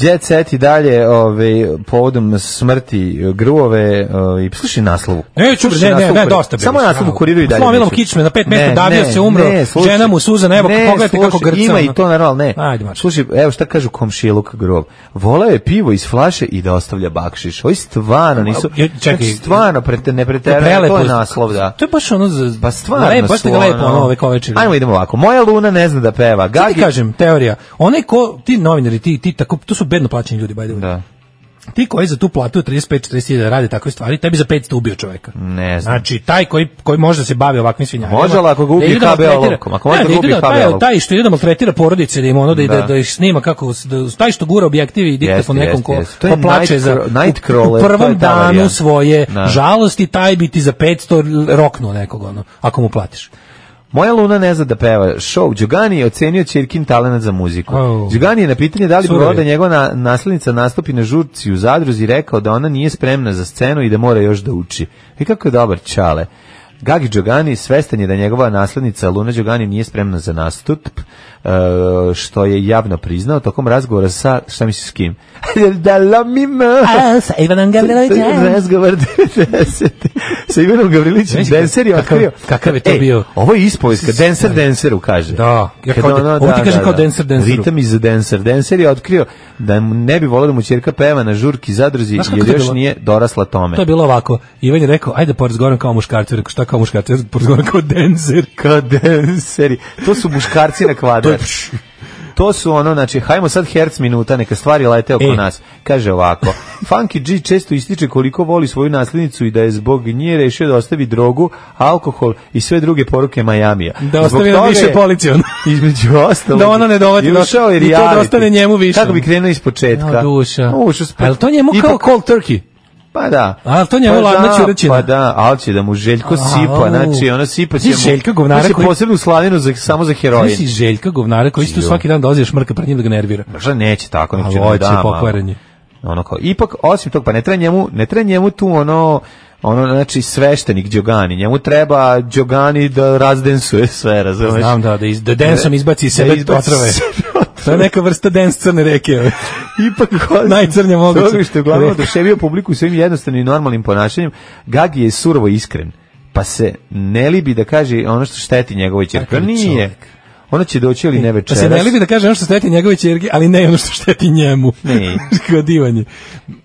[SPEAKER 5] Jet set i dalje ovaj, povodom smrti gruvove ovaj, slušaj naslovu.
[SPEAKER 6] Neću,
[SPEAKER 5] Slušaj
[SPEAKER 6] ne, ne,
[SPEAKER 5] naslovu
[SPEAKER 6] ne,
[SPEAKER 5] kuri-
[SPEAKER 6] dosta bre.
[SPEAKER 5] Samo naslov u kuriru i dalje.
[SPEAKER 6] Slomilo mu
[SPEAKER 5] neću.
[SPEAKER 6] kičme na pet
[SPEAKER 5] Ne,
[SPEAKER 6] mesta, davio
[SPEAKER 5] ne,
[SPEAKER 6] se, umro.
[SPEAKER 5] ne, slušaj.
[SPEAKER 6] žena mu suza, evo,
[SPEAKER 5] Ne,
[SPEAKER 6] pogledajte kako
[SPEAKER 5] slušaj,
[SPEAKER 6] grca.
[SPEAKER 5] Ima
[SPEAKER 6] ono.
[SPEAKER 5] i to naravno, ne.
[SPEAKER 6] Ajde, mač.
[SPEAKER 5] Slušaj, evo šta kažu komšiluk grov. Voleo je pivo iz flaše i da ostavlja bakšiš. Ovi stvarno nisu...
[SPEAKER 6] Ja, čekaj.
[SPEAKER 5] znači, stvarno, prete, ne preterano, to je naslov, da.
[SPEAKER 6] To je baš ono za...
[SPEAKER 5] Pa stvarno
[SPEAKER 6] lepo, baš
[SPEAKER 5] su,
[SPEAKER 6] ste ga lepo,
[SPEAKER 5] ono.
[SPEAKER 6] ono, ove kovečeri.
[SPEAKER 5] Ajmo idemo ovako. Moja luna ne zna da peva.
[SPEAKER 6] Sad ti
[SPEAKER 5] Gagi...
[SPEAKER 6] kažem, teorija. Onaj ko, ti novinari, ti, ti tako, to su bedno plaćeni ljudi, by the way.
[SPEAKER 5] Da.
[SPEAKER 6] Ti koji za tu platu od 35-40 hiljada rade takve stvari, tebi za 500 ubio čoveka.
[SPEAKER 5] Ne znam.
[SPEAKER 6] Znači, taj koji, koji može da se bavi ovakvim svinjarima.
[SPEAKER 5] Može, ali ako ga ubije
[SPEAKER 6] idu da
[SPEAKER 5] KBA
[SPEAKER 6] maltretira-
[SPEAKER 5] lovkom, ako može
[SPEAKER 6] Ne,
[SPEAKER 5] da ga
[SPEAKER 6] idu
[SPEAKER 5] ubije
[SPEAKER 6] da-
[SPEAKER 5] KBA
[SPEAKER 6] taj-
[SPEAKER 5] lovkom.
[SPEAKER 6] Taj što ide da maltretira porodice, da im ono da, ide-
[SPEAKER 5] Da.
[SPEAKER 6] da, ih snima kako, s- da, taj što gura objektivi i dikta po
[SPEAKER 5] Jeste,
[SPEAKER 6] nekom
[SPEAKER 5] jeste,
[SPEAKER 6] ko,
[SPEAKER 5] jeste. To je
[SPEAKER 6] ko plače za
[SPEAKER 5] Nightcrawler-
[SPEAKER 6] u,
[SPEAKER 5] Nightcrawler,
[SPEAKER 6] u
[SPEAKER 5] to
[SPEAKER 6] prvom
[SPEAKER 5] je ta
[SPEAKER 6] danu
[SPEAKER 5] varijanta.
[SPEAKER 6] svoje
[SPEAKER 5] Da.
[SPEAKER 6] žalosti, taj bi ti za 500 roknuo nekog, ono, ako mu platiš.
[SPEAKER 5] Moja luna ne zna da peva. Show. Đugani je ocenio Čirkin talenat za muziku.
[SPEAKER 6] Au.
[SPEAKER 5] Đugani je na pitanje da li bi
[SPEAKER 6] Surovi.
[SPEAKER 5] volao da njegova na, naslednica nastupi na žurci u zadruzi rekao da ona nije spremna za scenu i da mora još da uči. I kako je dobar čale. Gagi Đogani svestan je da njegova naslednica Luna Đogani nije spremna za nastup, e, što je javno priznao tokom razgovora sa, šta misliš s kim? da lomim
[SPEAKER 6] A, sa Ivanom Gavrilovićem.
[SPEAKER 5] razgovor 90. sa Ivanom Gavrilovićem.
[SPEAKER 6] Znaš,
[SPEAKER 5] Denser je
[SPEAKER 6] kakav-
[SPEAKER 5] otkrio.
[SPEAKER 6] kakav je to
[SPEAKER 5] Ej,
[SPEAKER 6] bio?
[SPEAKER 5] Ovo je ispovestka. Denser Denseru kaže.
[SPEAKER 6] Da, ja
[SPEAKER 5] Kad ono,
[SPEAKER 6] kao da- ovo ti kaže kao Dancer Danceru.
[SPEAKER 5] Ritam iz Denser. Denser je otkrio da mu ne bi volao da mu ćerka peva na žurki zadruzi
[SPEAKER 6] Znaš kako
[SPEAKER 5] jer
[SPEAKER 6] to je
[SPEAKER 5] još
[SPEAKER 6] bilo?
[SPEAKER 5] nije dorasla tome.
[SPEAKER 6] To je bilo ovako. Ivan je rekao, ajde porazgovaram kao muškarcu. Ja Rekao, šta kao muškarcu? Ja Porazgovaram kao denzer.
[SPEAKER 5] Kao Denseri. To su muškarci na
[SPEAKER 6] To je
[SPEAKER 5] kvadrat.
[SPEAKER 6] pš.
[SPEAKER 5] To su ono, znači, hajmo sad herc minuta, neka stvari lete oko
[SPEAKER 6] E.
[SPEAKER 5] nas. Kaže ovako, Funky G često ističe koliko voli svoju naslednicu i da je zbog nje rešio da ostavi drogu, alkohol i sve druge poruke Majamija.
[SPEAKER 6] Da
[SPEAKER 5] Zbog
[SPEAKER 6] ostavi nam
[SPEAKER 5] toga
[SPEAKER 6] više ono.
[SPEAKER 5] je-
[SPEAKER 6] policijona.
[SPEAKER 5] Između ostalog.
[SPEAKER 6] Da ona ne dovodi
[SPEAKER 5] i
[SPEAKER 6] do-
[SPEAKER 5] ušao je
[SPEAKER 6] i to da
[SPEAKER 5] reality.
[SPEAKER 6] ostane njemu više.
[SPEAKER 5] Kako bi krenuo iz početka.
[SPEAKER 6] Ja, duša.
[SPEAKER 5] Ušao s-
[SPEAKER 6] A jel to njemu
[SPEAKER 5] Ipak-
[SPEAKER 6] kao cold turkey?
[SPEAKER 5] Pa da.
[SPEAKER 6] A, to njemu ladna
[SPEAKER 5] da,
[SPEAKER 6] ćuraćina.
[SPEAKER 5] Pa da, ali će da mu Željko
[SPEAKER 6] A,
[SPEAKER 5] sipa,
[SPEAKER 6] au.
[SPEAKER 5] znači ona sipa će mu.
[SPEAKER 6] Znaš Željka govnara
[SPEAKER 5] Hoće
[SPEAKER 6] koji-
[SPEAKER 5] posebnu slavinu za, samo za
[SPEAKER 6] Ti si
[SPEAKER 5] heroin.
[SPEAKER 6] Željka govnara koji isto
[SPEAKER 5] Jo.
[SPEAKER 6] svaki dan dolazi šmrka pred njim da ga nervira.
[SPEAKER 5] Možda neće tako, nek
[SPEAKER 6] A
[SPEAKER 5] će da mu
[SPEAKER 6] hoće,
[SPEAKER 5] da. malo.
[SPEAKER 6] pokvaren je.
[SPEAKER 5] Ono kao, ipak, osim toga, pa ne treba njemu, ne treba njemu tu ono, ono, znači, sveštenik Đogani. Njemu treba Đogani da razdensuje sve, razumeš?
[SPEAKER 6] Znam da, da, iz, da densom izbaci iz
[SPEAKER 5] Da
[SPEAKER 6] sebe
[SPEAKER 5] izbaci
[SPEAKER 6] otrove.
[SPEAKER 5] sebe
[SPEAKER 6] To je neka vrsta dens crne reke.
[SPEAKER 5] Ipak
[SPEAKER 6] Najcrnje moguće.
[SPEAKER 5] Toga što je uglavnom oduševio publiku svojim jednostavnim i normalnim ponašanjem, Gagi je surovo iskren, pa se ne libi da kaže ono što šteti njegovoj ćerka.
[SPEAKER 6] Kakav je
[SPEAKER 5] Nije.
[SPEAKER 6] čovjek.
[SPEAKER 5] Ona će doći ili ne
[SPEAKER 6] Da
[SPEAKER 5] večeras.
[SPEAKER 6] se ne libi da kaže ono što šteti njegove čerke, ali ne ono što šteti njemu.
[SPEAKER 5] Ne.
[SPEAKER 6] Kao divanje.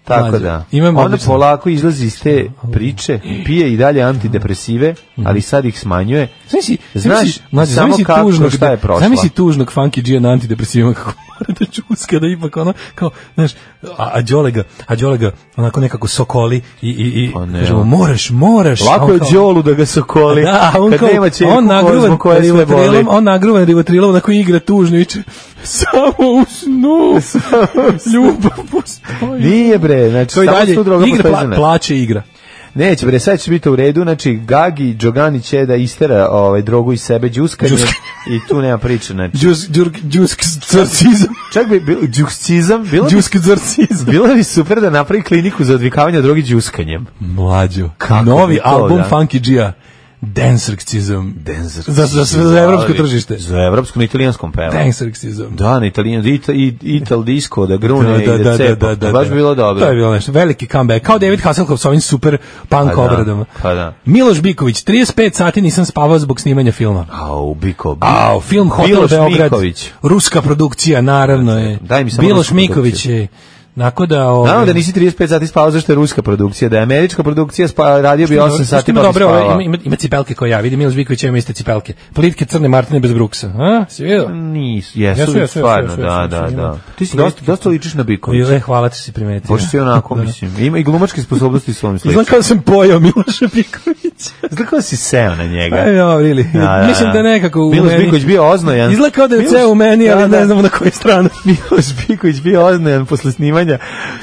[SPEAKER 5] Tako da.
[SPEAKER 6] Imam
[SPEAKER 5] Ona polako izlazi iz te priče, pije i dalje antidepresive, ali sad ih smanjuje.
[SPEAKER 6] Mhm. Znaš,
[SPEAKER 5] Znaš
[SPEAKER 6] znaš, znaš
[SPEAKER 5] samo
[SPEAKER 6] samo
[SPEAKER 5] kako,
[SPEAKER 6] tužnog,
[SPEAKER 5] šta je prošla.
[SPEAKER 6] Zamisli tužnog Funky G na antidepresivima kako mora da čuska da ipak ono kao znaš a, a Đole ga a Đole ga onako nekako sokoli i i i
[SPEAKER 5] Pa ne,
[SPEAKER 6] kaže mu,
[SPEAKER 5] ono.
[SPEAKER 6] moraš moraš
[SPEAKER 5] Lako
[SPEAKER 6] A on
[SPEAKER 5] je
[SPEAKER 6] kao-
[SPEAKER 5] Đolu da ga sokoli.
[SPEAKER 6] da, a on
[SPEAKER 5] kad
[SPEAKER 6] kao,
[SPEAKER 5] nema čerku
[SPEAKER 6] on nagruvan
[SPEAKER 5] kozmu koja sve boli.
[SPEAKER 6] rivotrilom, on nagruvan rivotrilom, onako igra tužno, viče, samo u snu, ljubav postoji.
[SPEAKER 5] Nije bre, znači
[SPEAKER 6] To i
[SPEAKER 5] samo
[SPEAKER 6] dalje,
[SPEAKER 5] su droga
[SPEAKER 6] igra,
[SPEAKER 5] postoji
[SPEAKER 6] pla,
[SPEAKER 5] za nas.
[SPEAKER 6] plaće igra.
[SPEAKER 5] Neće bre, sad će biti u redu, znači Gagi Đogani će da istera ovaj drogu iz sebe đuskanje
[SPEAKER 6] Đuskanje.
[SPEAKER 5] i tu nema priče, znači.
[SPEAKER 6] Džusk, džurk, džusk, crcizam.
[SPEAKER 5] Čak bi bilo đuskcizam, bilo bi-
[SPEAKER 6] Džusk, crcizam.
[SPEAKER 5] bilo bi super da napravi kliniku za odvikavanje drogi đuskanjem.
[SPEAKER 6] Mlađo,
[SPEAKER 5] Kako bi
[SPEAKER 6] novi
[SPEAKER 5] to,
[SPEAKER 6] album
[SPEAKER 5] da?
[SPEAKER 6] Funky Gia, Dancercizam.
[SPEAKER 5] Dancer.
[SPEAKER 6] Za, za, za, za evropsko tržište.
[SPEAKER 5] Za evropsko na italijanskom peva.
[SPEAKER 6] Dancercizam.
[SPEAKER 5] Da, na italijan, ita, i- ital disco, da grune i da, cepa. Baš bi bilo dobro.
[SPEAKER 6] To je bilo nešto, veliki comeback. Kao David Hasselhoff sa ovim super punk
[SPEAKER 5] Pa da,
[SPEAKER 6] obradama.
[SPEAKER 5] Pa da.
[SPEAKER 6] Miloš Biković, 35 sati nisam spavao zbog snimanja filma.
[SPEAKER 5] Au, Biko.
[SPEAKER 6] Au, film Hotel
[SPEAKER 5] Miloš
[SPEAKER 6] Beograd.
[SPEAKER 5] Miković.
[SPEAKER 6] Ruska produkcija, naravno je.
[SPEAKER 5] Daj mi samo
[SPEAKER 6] Miloš
[SPEAKER 5] rusku
[SPEAKER 6] Miković
[SPEAKER 5] produkciju.
[SPEAKER 6] je. Nako da... Ovaj,
[SPEAKER 5] Naravno da nisi 35 sati spavao zašto je ruska produkcija, da je američka produkcija spa, radio bi
[SPEAKER 6] ima-
[SPEAKER 5] 8
[SPEAKER 6] što
[SPEAKER 5] sati
[SPEAKER 6] ima
[SPEAKER 5] pa bi
[SPEAKER 6] dobre, ove,
[SPEAKER 5] spavao.
[SPEAKER 6] ima, ima, ima cipelke koje ja vidim, Miloš Biković ima iste cipelke. Plitke crne Martine bez bruksa. A, si vidio?
[SPEAKER 5] Mm. Nisu, jesu,
[SPEAKER 6] Jesu, jesu,
[SPEAKER 5] stvarno,
[SPEAKER 6] jesu,
[SPEAKER 5] da,
[SPEAKER 6] jesu,
[SPEAKER 5] da,
[SPEAKER 6] jesu,
[SPEAKER 5] da.
[SPEAKER 6] ima.
[SPEAKER 5] Ti si dosta, dosta ličiš na Bikovića.
[SPEAKER 6] E, hvala ti si primetio.
[SPEAKER 5] Boš si onako,
[SPEAKER 6] Da.
[SPEAKER 5] mislim. Ima i glumačke sposobnosti s ovom sliču.
[SPEAKER 6] Izgleda kao da sam pojao Miloša Bikovića.
[SPEAKER 5] Izgleda kao da si seo na njega.
[SPEAKER 6] Aj, ja, really.
[SPEAKER 5] Da, da, da.
[SPEAKER 6] Mislim da nekako u
[SPEAKER 5] Miloš
[SPEAKER 6] meni-
[SPEAKER 5] Biković bio oznojan.
[SPEAKER 6] Izgleda kao da je
[SPEAKER 5] Miloš-
[SPEAKER 6] ceo u meni, ali
[SPEAKER 5] Da, da.
[SPEAKER 6] ne znamo na koju stranu.
[SPEAKER 5] Miloš Biković bio oznojan posle snimanja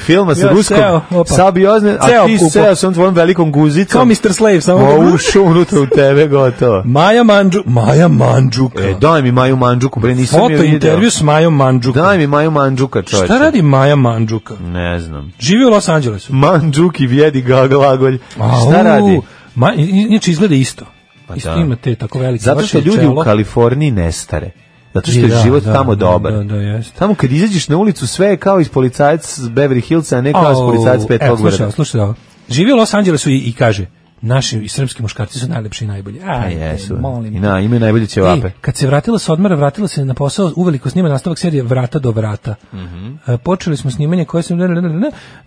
[SPEAKER 5] filma sa
[SPEAKER 6] Ja,
[SPEAKER 5] Ruskom.
[SPEAKER 6] seo, opa.
[SPEAKER 5] Sad bio oznojan, a
[SPEAKER 6] Seo
[SPEAKER 5] ti
[SPEAKER 6] kupo.
[SPEAKER 5] seo sa onom tvojom velikom guzicom.
[SPEAKER 6] Kao Mr. Slave, samo...
[SPEAKER 5] Ma ušao unutra u tebe, gotovo.
[SPEAKER 6] Maja Mandžu, Maja Mandžuka.
[SPEAKER 5] E, daj mi Maju Mandžuku, bre, nisam je
[SPEAKER 6] Foto
[SPEAKER 5] vidio.
[SPEAKER 6] intervju s Majom Mandžuka.
[SPEAKER 5] Daj mi Maju Mandžuka, čoveče.
[SPEAKER 6] Šta radi Maja Mandžuka?
[SPEAKER 5] Ne znam.
[SPEAKER 6] Živi u Los Angelesu.
[SPEAKER 5] Mandžuk i vjedi gaglagolj. Šta
[SPEAKER 6] Au,
[SPEAKER 5] radi?
[SPEAKER 6] Ma, i- inače izgleda isto.
[SPEAKER 5] Pa
[SPEAKER 6] isto
[SPEAKER 5] da.
[SPEAKER 6] ima te tako velike
[SPEAKER 5] Zato što
[SPEAKER 6] oči,
[SPEAKER 5] ljudi u
[SPEAKER 6] čelo.
[SPEAKER 5] Kaliforniji nestare. Zato što
[SPEAKER 6] I
[SPEAKER 5] je
[SPEAKER 6] da,
[SPEAKER 5] život
[SPEAKER 6] da,
[SPEAKER 5] tamo
[SPEAKER 6] da,
[SPEAKER 5] dobar.
[SPEAKER 6] da, da, jeste.
[SPEAKER 5] Tamo kad izađeš na ulicu sve je kao iz policajac s Beverly Hillsa, a ne kao iz
[SPEAKER 6] Au,
[SPEAKER 5] policajac pet
[SPEAKER 6] evo,
[SPEAKER 5] pogorada.
[SPEAKER 6] Slušaj, slušaj ovo. Živi u Los Angelesu i, i kaže, naši i srpski muškarci su najlepši i najbolji.
[SPEAKER 5] A
[SPEAKER 6] Ajde,
[SPEAKER 5] Pa jesu.
[SPEAKER 6] molim.
[SPEAKER 5] I na, imaju najbolje ćevape.
[SPEAKER 6] Ej, kad se vratila sa odmora, vratila se na posao, uveliko snima nastavak serije Vrata do vrata. E, počeli smo snimanje koje sam...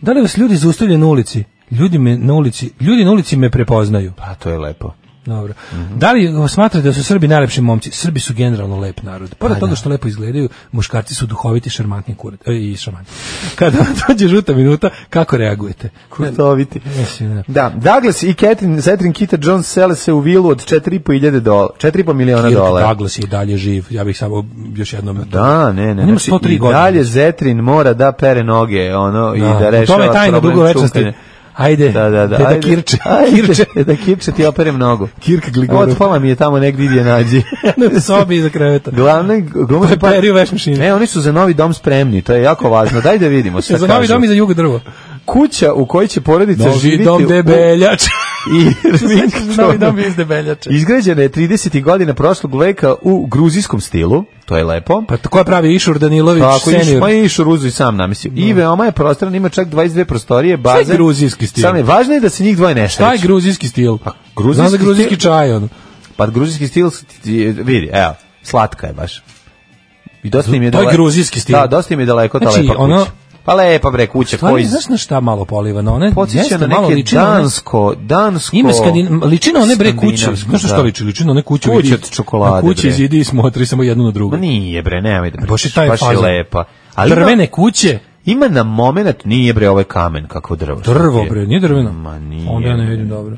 [SPEAKER 6] Da li vas ljudi zaustavljaju na ulici? Ljudi, me na ulici, ljudi na ulici me prepoznaju.
[SPEAKER 5] Pa to je lepo.
[SPEAKER 6] Dobro. Da li smatrate da su Srbi najlepši momci? Srbi su generalno lep narod. Pored toga što lepo izgledaju, muškarci su duhoviti, šarmantni kurat. E, i šarmantni. Kada vam dođe žuta minuta, kako reagujete?
[SPEAKER 5] Kurtoviti.
[SPEAKER 6] Mislim, da.
[SPEAKER 5] Da, Douglas i Catherine, Catherine Kita Jones sele se u vilu od 4,5 dolara, 4,5 miliona
[SPEAKER 6] Kirk
[SPEAKER 5] dolara.
[SPEAKER 6] Douglas je i dalje živ. Ja bih samo još jednom...
[SPEAKER 5] Da, ne, ne.
[SPEAKER 6] On ima
[SPEAKER 5] znači,
[SPEAKER 6] 103
[SPEAKER 5] i
[SPEAKER 6] godine.
[SPEAKER 5] dalje Zetrin mora da pere noge, ono, i
[SPEAKER 6] Da,
[SPEAKER 5] da
[SPEAKER 6] u
[SPEAKER 5] rešava
[SPEAKER 6] tome je tajna
[SPEAKER 5] problem
[SPEAKER 6] dugovečnosti.
[SPEAKER 5] čupanja.
[SPEAKER 6] Ajde,
[SPEAKER 5] da, da, da.
[SPEAKER 6] deda
[SPEAKER 5] ajde,
[SPEAKER 6] Kirče,
[SPEAKER 5] ajde,
[SPEAKER 6] Kirče.
[SPEAKER 5] deda Kirče, ti operem nogu.
[SPEAKER 6] Kirk Gligorov.
[SPEAKER 5] Otpala mi je tamo negdje gdje nađi.
[SPEAKER 6] u sobi iza kreveta.
[SPEAKER 5] Glavne, glavne,
[SPEAKER 6] To je perio veš mašine.
[SPEAKER 5] Ne, oni su za novi dom spremni, to je jako važno. Daj da vidimo šta
[SPEAKER 6] Za novi
[SPEAKER 5] kažu.
[SPEAKER 6] dom i za jugo drvo.
[SPEAKER 5] Kuća u kojoj će porodica
[SPEAKER 6] Novi
[SPEAKER 5] živiti...
[SPEAKER 6] dom E.
[SPEAKER 5] u-
[SPEAKER 6] debeljač.
[SPEAKER 5] I
[SPEAKER 6] Novi dom iz debeljača.
[SPEAKER 5] Izgrađena je 30. godina prošlog veka u gruzijskom stilu, to je lepo.
[SPEAKER 6] Pa to ko je pravi Išur Danilović
[SPEAKER 5] Tako, iš,
[SPEAKER 6] senior?
[SPEAKER 5] ma pa i Šuruzu i sam namislio. I veoma je prostoran, ima čak 22 prostorije, baze.
[SPEAKER 6] gruzijski stil?
[SPEAKER 5] Sam je, važno je da se njih dvoje ne
[SPEAKER 6] Šta je
[SPEAKER 5] šreću.
[SPEAKER 6] gruzijski stil? Pa,
[SPEAKER 5] gruzijski
[SPEAKER 6] Znam za gruzijski
[SPEAKER 5] stil-
[SPEAKER 6] čaj, ono.
[SPEAKER 5] Pa gruzijski stil, s- ti- vidi, evo, slatka je baš. I dosta im je
[SPEAKER 6] To je
[SPEAKER 5] dale-
[SPEAKER 6] gruzijski stil.
[SPEAKER 5] Da, dosta im je daleko ta
[SPEAKER 6] Znači,
[SPEAKER 5] lepa
[SPEAKER 6] ono-
[SPEAKER 5] kuća. Pa lepa bre kuća,
[SPEAKER 6] Stvarno,
[SPEAKER 5] koji
[SPEAKER 6] znaš na šta malo poliva? Na one,
[SPEAKER 5] podsjeća na
[SPEAKER 6] jeste malo
[SPEAKER 5] neke
[SPEAKER 6] liči na one-
[SPEAKER 5] dansko, dansko...
[SPEAKER 6] Ima skandin, liči na one bre kuće.
[SPEAKER 5] skandinavsko,
[SPEAKER 6] Znaš na šta
[SPEAKER 5] da.
[SPEAKER 6] liči? Liči na one kuće.
[SPEAKER 5] Kuće
[SPEAKER 6] vidi-
[SPEAKER 5] od čokolade,
[SPEAKER 6] na Kuće
[SPEAKER 5] bre.
[SPEAKER 6] iz idi i smotri samo jednu na drugu.
[SPEAKER 5] Ma nije bre, nemoj da
[SPEAKER 6] Baš je
[SPEAKER 5] pričaš,
[SPEAKER 6] taj
[SPEAKER 5] baš je
[SPEAKER 6] fazon.
[SPEAKER 5] lepa. Ali ima-
[SPEAKER 6] Drvene kuće.
[SPEAKER 5] Ima na moment, nije bre ovaj kamen kako drvo. šta
[SPEAKER 6] Drvo
[SPEAKER 5] ti je?
[SPEAKER 6] bre, nije drveno.
[SPEAKER 5] Ma nije.
[SPEAKER 6] Onda ja ne vidim
[SPEAKER 5] bre.
[SPEAKER 6] dobro.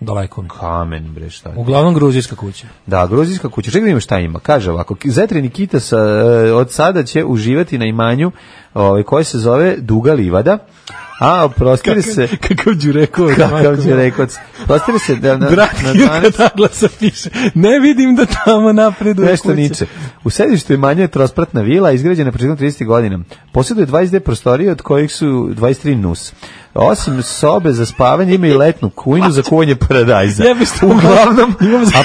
[SPEAKER 6] Daleko mi.
[SPEAKER 5] Kamen bre, šta ti je?
[SPEAKER 6] Uglavnom gruzijska kuća.
[SPEAKER 5] Da, gruzijska kuća. Čekaj da vidimo šta ima. Kaže ovako, Zetri Nikita sa, e, od sada će uživati na imanju ovaj, koje se zove Duga Livada, a prostire se...
[SPEAKER 6] Kakav ću rekao?
[SPEAKER 5] Kakav će rekao? Prostire se da, na,
[SPEAKER 6] Brat
[SPEAKER 5] na
[SPEAKER 6] Kirka
[SPEAKER 5] 12
[SPEAKER 6] Douglasa piše. Ne vidim da tamo napreduje
[SPEAKER 5] Nešto
[SPEAKER 6] kuća.
[SPEAKER 5] niče. U sedištu imanja je trospratna vila, izgrađena početkom 30. godina. Posjeduje 22 prostorije, od kojih su 23 nus. Osim sobe za spavanje ima i letnu kujnu za kuvanje paradajza.
[SPEAKER 6] Jebe što-
[SPEAKER 5] Uglavnom,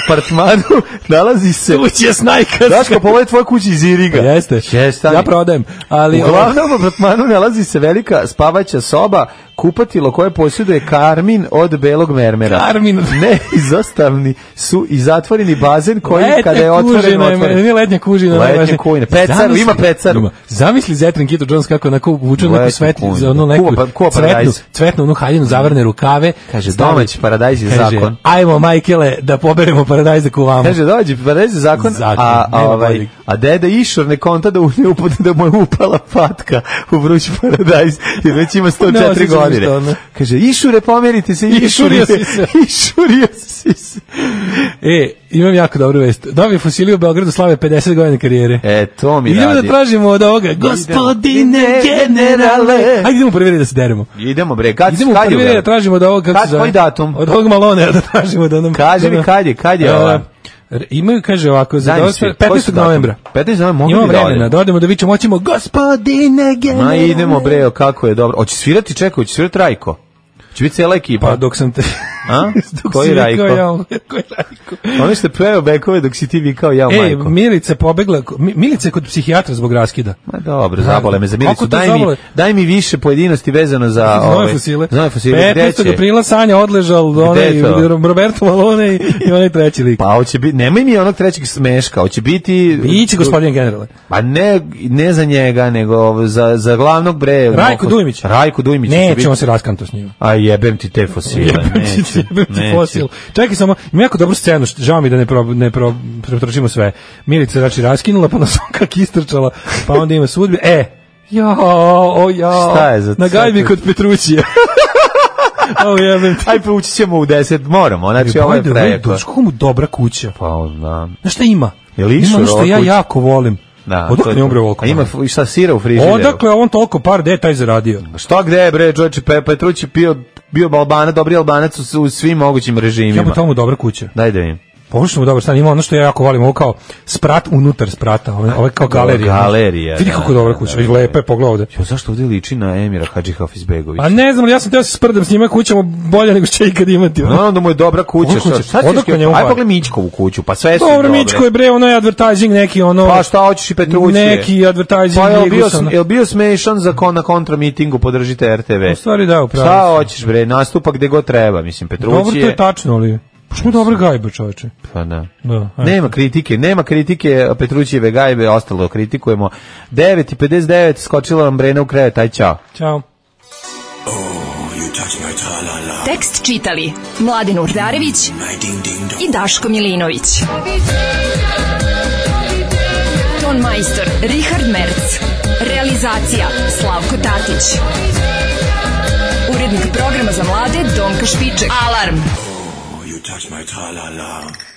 [SPEAKER 5] apartmanu nalazi se...
[SPEAKER 6] Kuća snajka.
[SPEAKER 5] Daško, pa ovo je tvoja kuća iz Iriga.
[SPEAKER 6] Pa jeste.
[SPEAKER 5] Jeste, ali-
[SPEAKER 6] Ja prodajem. Ali,
[SPEAKER 5] u glavnom apartmanu nalazi se velika spavaća soba kupatilo koje posjeduje karmin od belog mermera.
[SPEAKER 6] Karmin od-
[SPEAKER 5] Ne, izostavni su i zatvoreni bazen koji
[SPEAKER 6] Letnja
[SPEAKER 5] kada je otvoren,
[SPEAKER 6] kužina je-
[SPEAKER 5] otvoren.
[SPEAKER 6] Nije letnja kužina.
[SPEAKER 5] Letnja
[SPEAKER 6] najvažnije.
[SPEAKER 5] kujna. Pecar,
[SPEAKER 6] Zamisli-
[SPEAKER 5] ima pecar.
[SPEAKER 6] Zamisli Zetrin Kito Jones kako onako uvuče u
[SPEAKER 5] Letnju
[SPEAKER 6] neku svetlju,
[SPEAKER 5] kujnu.
[SPEAKER 6] za onu neku
[SPEAKER 5] Kuva pa- kuva
[SPEAKER 6] cvetnu,
[SPEAKER 5] paradajz.
[SPEAKER 6] cvetnu onu haljinu, zavrne rukave.
[SPEAKER 5] Kaže,
[SPEAKER 6] stavi-
[SPEAKER 5] domać paradajz je
[SPEAKER 6] kaže,
[SPEAKER 5] zakon.
[SPEAKER 6] Ajmo, majkele, da poberemo paradajz da kuvamo.
[SPEAKER 5] Kaže, dođe, parezi zakon,
[SPEAKER 6] Zakon,
[SPEAKER 5] a, a,
[SPEAKER 6] nema
[SPEAKER 5] ovaj,
[SPEAKER 6] boljeg.
[SPEAKER 5] a deda Išor ne konta da, u nju upade, da mu je upala patka u vruć paradajz, jer već ima
[SPEAKER 6] Ne
[SPEAKER 5] 104
[SPEAKER 6] osjećam
[SPEAKER 5] godine.
[SPEAKER 6] ništa, ono.
[SPEAKER 5] Kaže, Išure, pomerite se, Išurio si se. Išurio si se.
[SPEAKER 6] E, imam jako dobru vest. Novi fosili u Beogradu slave 50 godina karijere.
[SPEAKER 5] E, to mi
[SPEAKER 6] Idemo
[SPEAKER 5] radi.
[SPEAKER 6] da tražimo od ovoga. Gospodine generale. Ajde idemo u prvi red da se deremo.
[SPEAKER 5] Idemo bre, kad
[SPEAKER 6] Idemo u
[SPEAKER 5] kad je
[SPEAKER 6] prvi red da
[SPEAKER 5] Beograd?
[SPEAKER 6] tražimo od ovog, kako
[SPEAKER 5] Kad,
[SPEAKER 6] se zove?
[SPEAKER 5] koji datum?
[SPEAKER 6] Od ovog malonera da tražimo da nam...
[SPEAKER 5] Kaži
[SPEAKER 6] da
[SPEAKER 5] mi
[SPEAKER 6] nam-
[SPEAKER 5] kad je, kad je
[SPEAKER 6] E,
[SPEAKER 5] ova?
[SPEAKER 6] r- Imaju, kaže ovako, za
[SPEAKER 5] Daj mi
[SPEAKER 6] dobro,
[SPEAKER 5] svi, koji su
[SPEAKER 6] 15.
[SPEAKER 5] datum?
[SPEAKER 6] novembra.
[SPEAKER 5] 15. novembra mogu
[SPEAKER 6] Imamo
[SPEAKER 5] bi da
[SPEAKER 6] vremena,
[SPEAKER 5] odemo.
[SPEAKER 6] da odemo da vićemo, moćemo, gospodine generale.
[SPEAKER 5] Ma idemo bre, o, kako je dobro. Hoće svirati, čekaj, hoće svirati Rajko. Hoće biti cijela ekipa.
[SPEAKER 6] Pa dok sam te...
[SPEAKER 5] A?
[SPEAKER 6] dok
[SPEAKER 5] Koji
[SPEAKER 6] si rekao,
[SPEAKER 5] Rajko?
[SPEAKER 6] jao, koji Rajko?
[SPEAKER 5] Ono što je preveo bekove dok si ti vikao ja
[SPEAKER 6] Ej,
[SPEAKER 5] majko.
[SPEAKER 6] Milica je pobegla, Mi- Milica je kod psihijatra zbog raskida.
[SPEAKER 5] Ma dobro, zabole me za
[SPEAKER 6] Kako
[SPEAKER 5] Milicu.
[SPEAKER 6] to
[SPEAKER 5] Daj mi,
[SPEAKER 6] zabole?
[SPEAKER 5] daj mi više pojedinosti vezano za...
[SPEAKER 6] Za
[SPEAKER 5] ove-
[SPEAKER 6] nove fosile.
[SPEAKER 5] Za nove fosile. Gde
[SPEAKER 6] 15.
[SPEAKER 5] će?
[SPEAKER 6] aprila Sanja odležal onaj
[SPEAKER 5] je to?
[SPEAKER 6] Roberto Malone i, i onaj treći lik.
[SPEAKER 5] Pa hoće biti, nemoj mi onog trećeg smeška, hoće biti...
[SPEAKER 6] Biće gospodin generale.
[SPEAKER 5] Pa ne, ne za njega, nego za, za glavnog bre...
[SPEAKER 6] Rajko
[SPEAKER 5] moko-
[SPEAKER 6] Dujmić.
[SPEAKER 5] Rajko Dujmić. će biti-
[SPEAKER 6] Nećemo se raskanto s njima.
[SPEAKER 5] A jebem ti te fosile. neću,
[SPEAKER 6] Jebem ti
[SPEAKER 5] neću.
[SPEAKER 6] fosil. Čekaj samo, ima jako dobru scenu, št- žao mi da ne, pro, ne pro, pretročimo sve. Milica je znači raskinula, pa nas on kak istrčala, pa onda ima sudbe. E, ja, o ja.
[SPEAKER 5] Šta je za-
[SPEAKER 6] Na gajbi kod Petrućija. o jebem ti.
[SPEAKER 5] Aj, pa ući ćemo u deset, moramo, znači ovo je
[SPEAKER 6] Bojde, Bojde,
[SPEAKER 5] prejako.
[SPEAKER 6] znaš kako mu dobra kuća.
[SPEAKER 5] Pa, da.
[SPEAKER 6] Znaš šta ima?
[SPEAKER 5] Je li
[SPEAKER 6] ima
[SPEAKER 5] išao
[SPEAKER 6] ono što ja
[SPEAKER 5] kuća?
[SPEAKER 6] jako volim.
[SPEAKER 5] Da, to
[SPEAKER 6] Odakle
[SPEAKER 5] je
[SPEAKER 6] je
[SPEAKER 5] to.
[SPEAKER 6] umre ovoliko?
[SPEAKER 5] A Ima f- i šta sira u frižideru.
[SPEAKER 6] Odakle on toliko par gde je taj zaradio?
[SPEAKER 5] Šta gde je bre, Đorđe Pe- Petruć je pio, bio Albana, dobri Albanac u, s- u svim mogućim
[SPEAKER 6] Ja
[SPEAKER 5] režimima.
[SPEAKER 6] mu tomu dobra kuća.
[SPEAKER 5] Daj da vidim.
[SPEAKER 6] Površno mu dobar stan, ima ono što ja jako volim, ovo kao sprat unutar sprata, ovo, ovo je kao galerija.
[SPEAKER 5] galerija,
[SPEAKER 6] Vidi
[SPEAKER 5] da,
[SPEAKER 6] kako dobra
[SPEAKER 5] da,
[SPEAKER 6] kuća,
[SPEAKER 5] da,
[SPEAKER 6] da,
[SPEAKER 5] da.
[SPEAKER 6] lepa je, pogledaj ovde.
[SPEAKER 5] Jo, Pa zašto ovdje liči na Emira Hadži Hafizbegović?
[SPEAKER 6] A ne znam, ja sam teo se sprdam s njima kućama bolje nego što će ikad imati. ono.
[SPEAKER 5] No, da mu je dobra kuća.
[SPEAKER 6] Dobra
[SPEAKER 5] Šta,
[SPEAKER 6] kuća,
[SPEAKER 5] šta ćeš
[SPEAKER 6] odakle
[SPEAKER 5] ti-
[SPEAKER 6] njemu
[SPEAKER 5] Aj
[SPEAKER 6] pare?
[SPEAKER 5] pogledaj Mičkovu kuću, pa sve su
[SPEAKER 6] Dobro,
[SPEAKER 5] dobre.
[SPEAKER 6] Mičko je bre, ono je advertising neki, ono...
[SPEAKER 5] Pa šta hoćeš i Petrućije?
[SPEAKER 6] Neki advertising
[SPEAKER 5] Pa je bio,
[SPEAKER 6] Ligusa, ono.
[SPEAKER 5] je bio smešan za kon, na kontra mitingu, podržite RTV.
[SPEAKER 6] U stvari da, upravo.
[SPEAKER 5] Šta hoćeš bre, nastupa gde god treba, mislim,
[SPEAKER 6] Dobro, to
[SPEAKER 5] Petrućije.
[SPEAKER 6] je tačno, ali... Pa što je dobra gajba, čoveče?
[SPEAKER 5] Pa da.
[SPEAKER 6] Da, ajde.
[SPEAKER 5] Nema kritike, nema kritike Petrućijeve gajbe, ostalo kritikujemo. 9.59, skočila nam Brena u krevet, aj čao.
[SPEAKER 6] Ćao.
[SPEAKER 4] Tekst čitali Mladin Urdarević i Daško Milinović. Ton majstor Richard Merc. Realizacija Slavko Tatić. Urednik programa za mlade Donka Špiček. Alarm!
[SPEAKER 13] You touch my tra-la-la.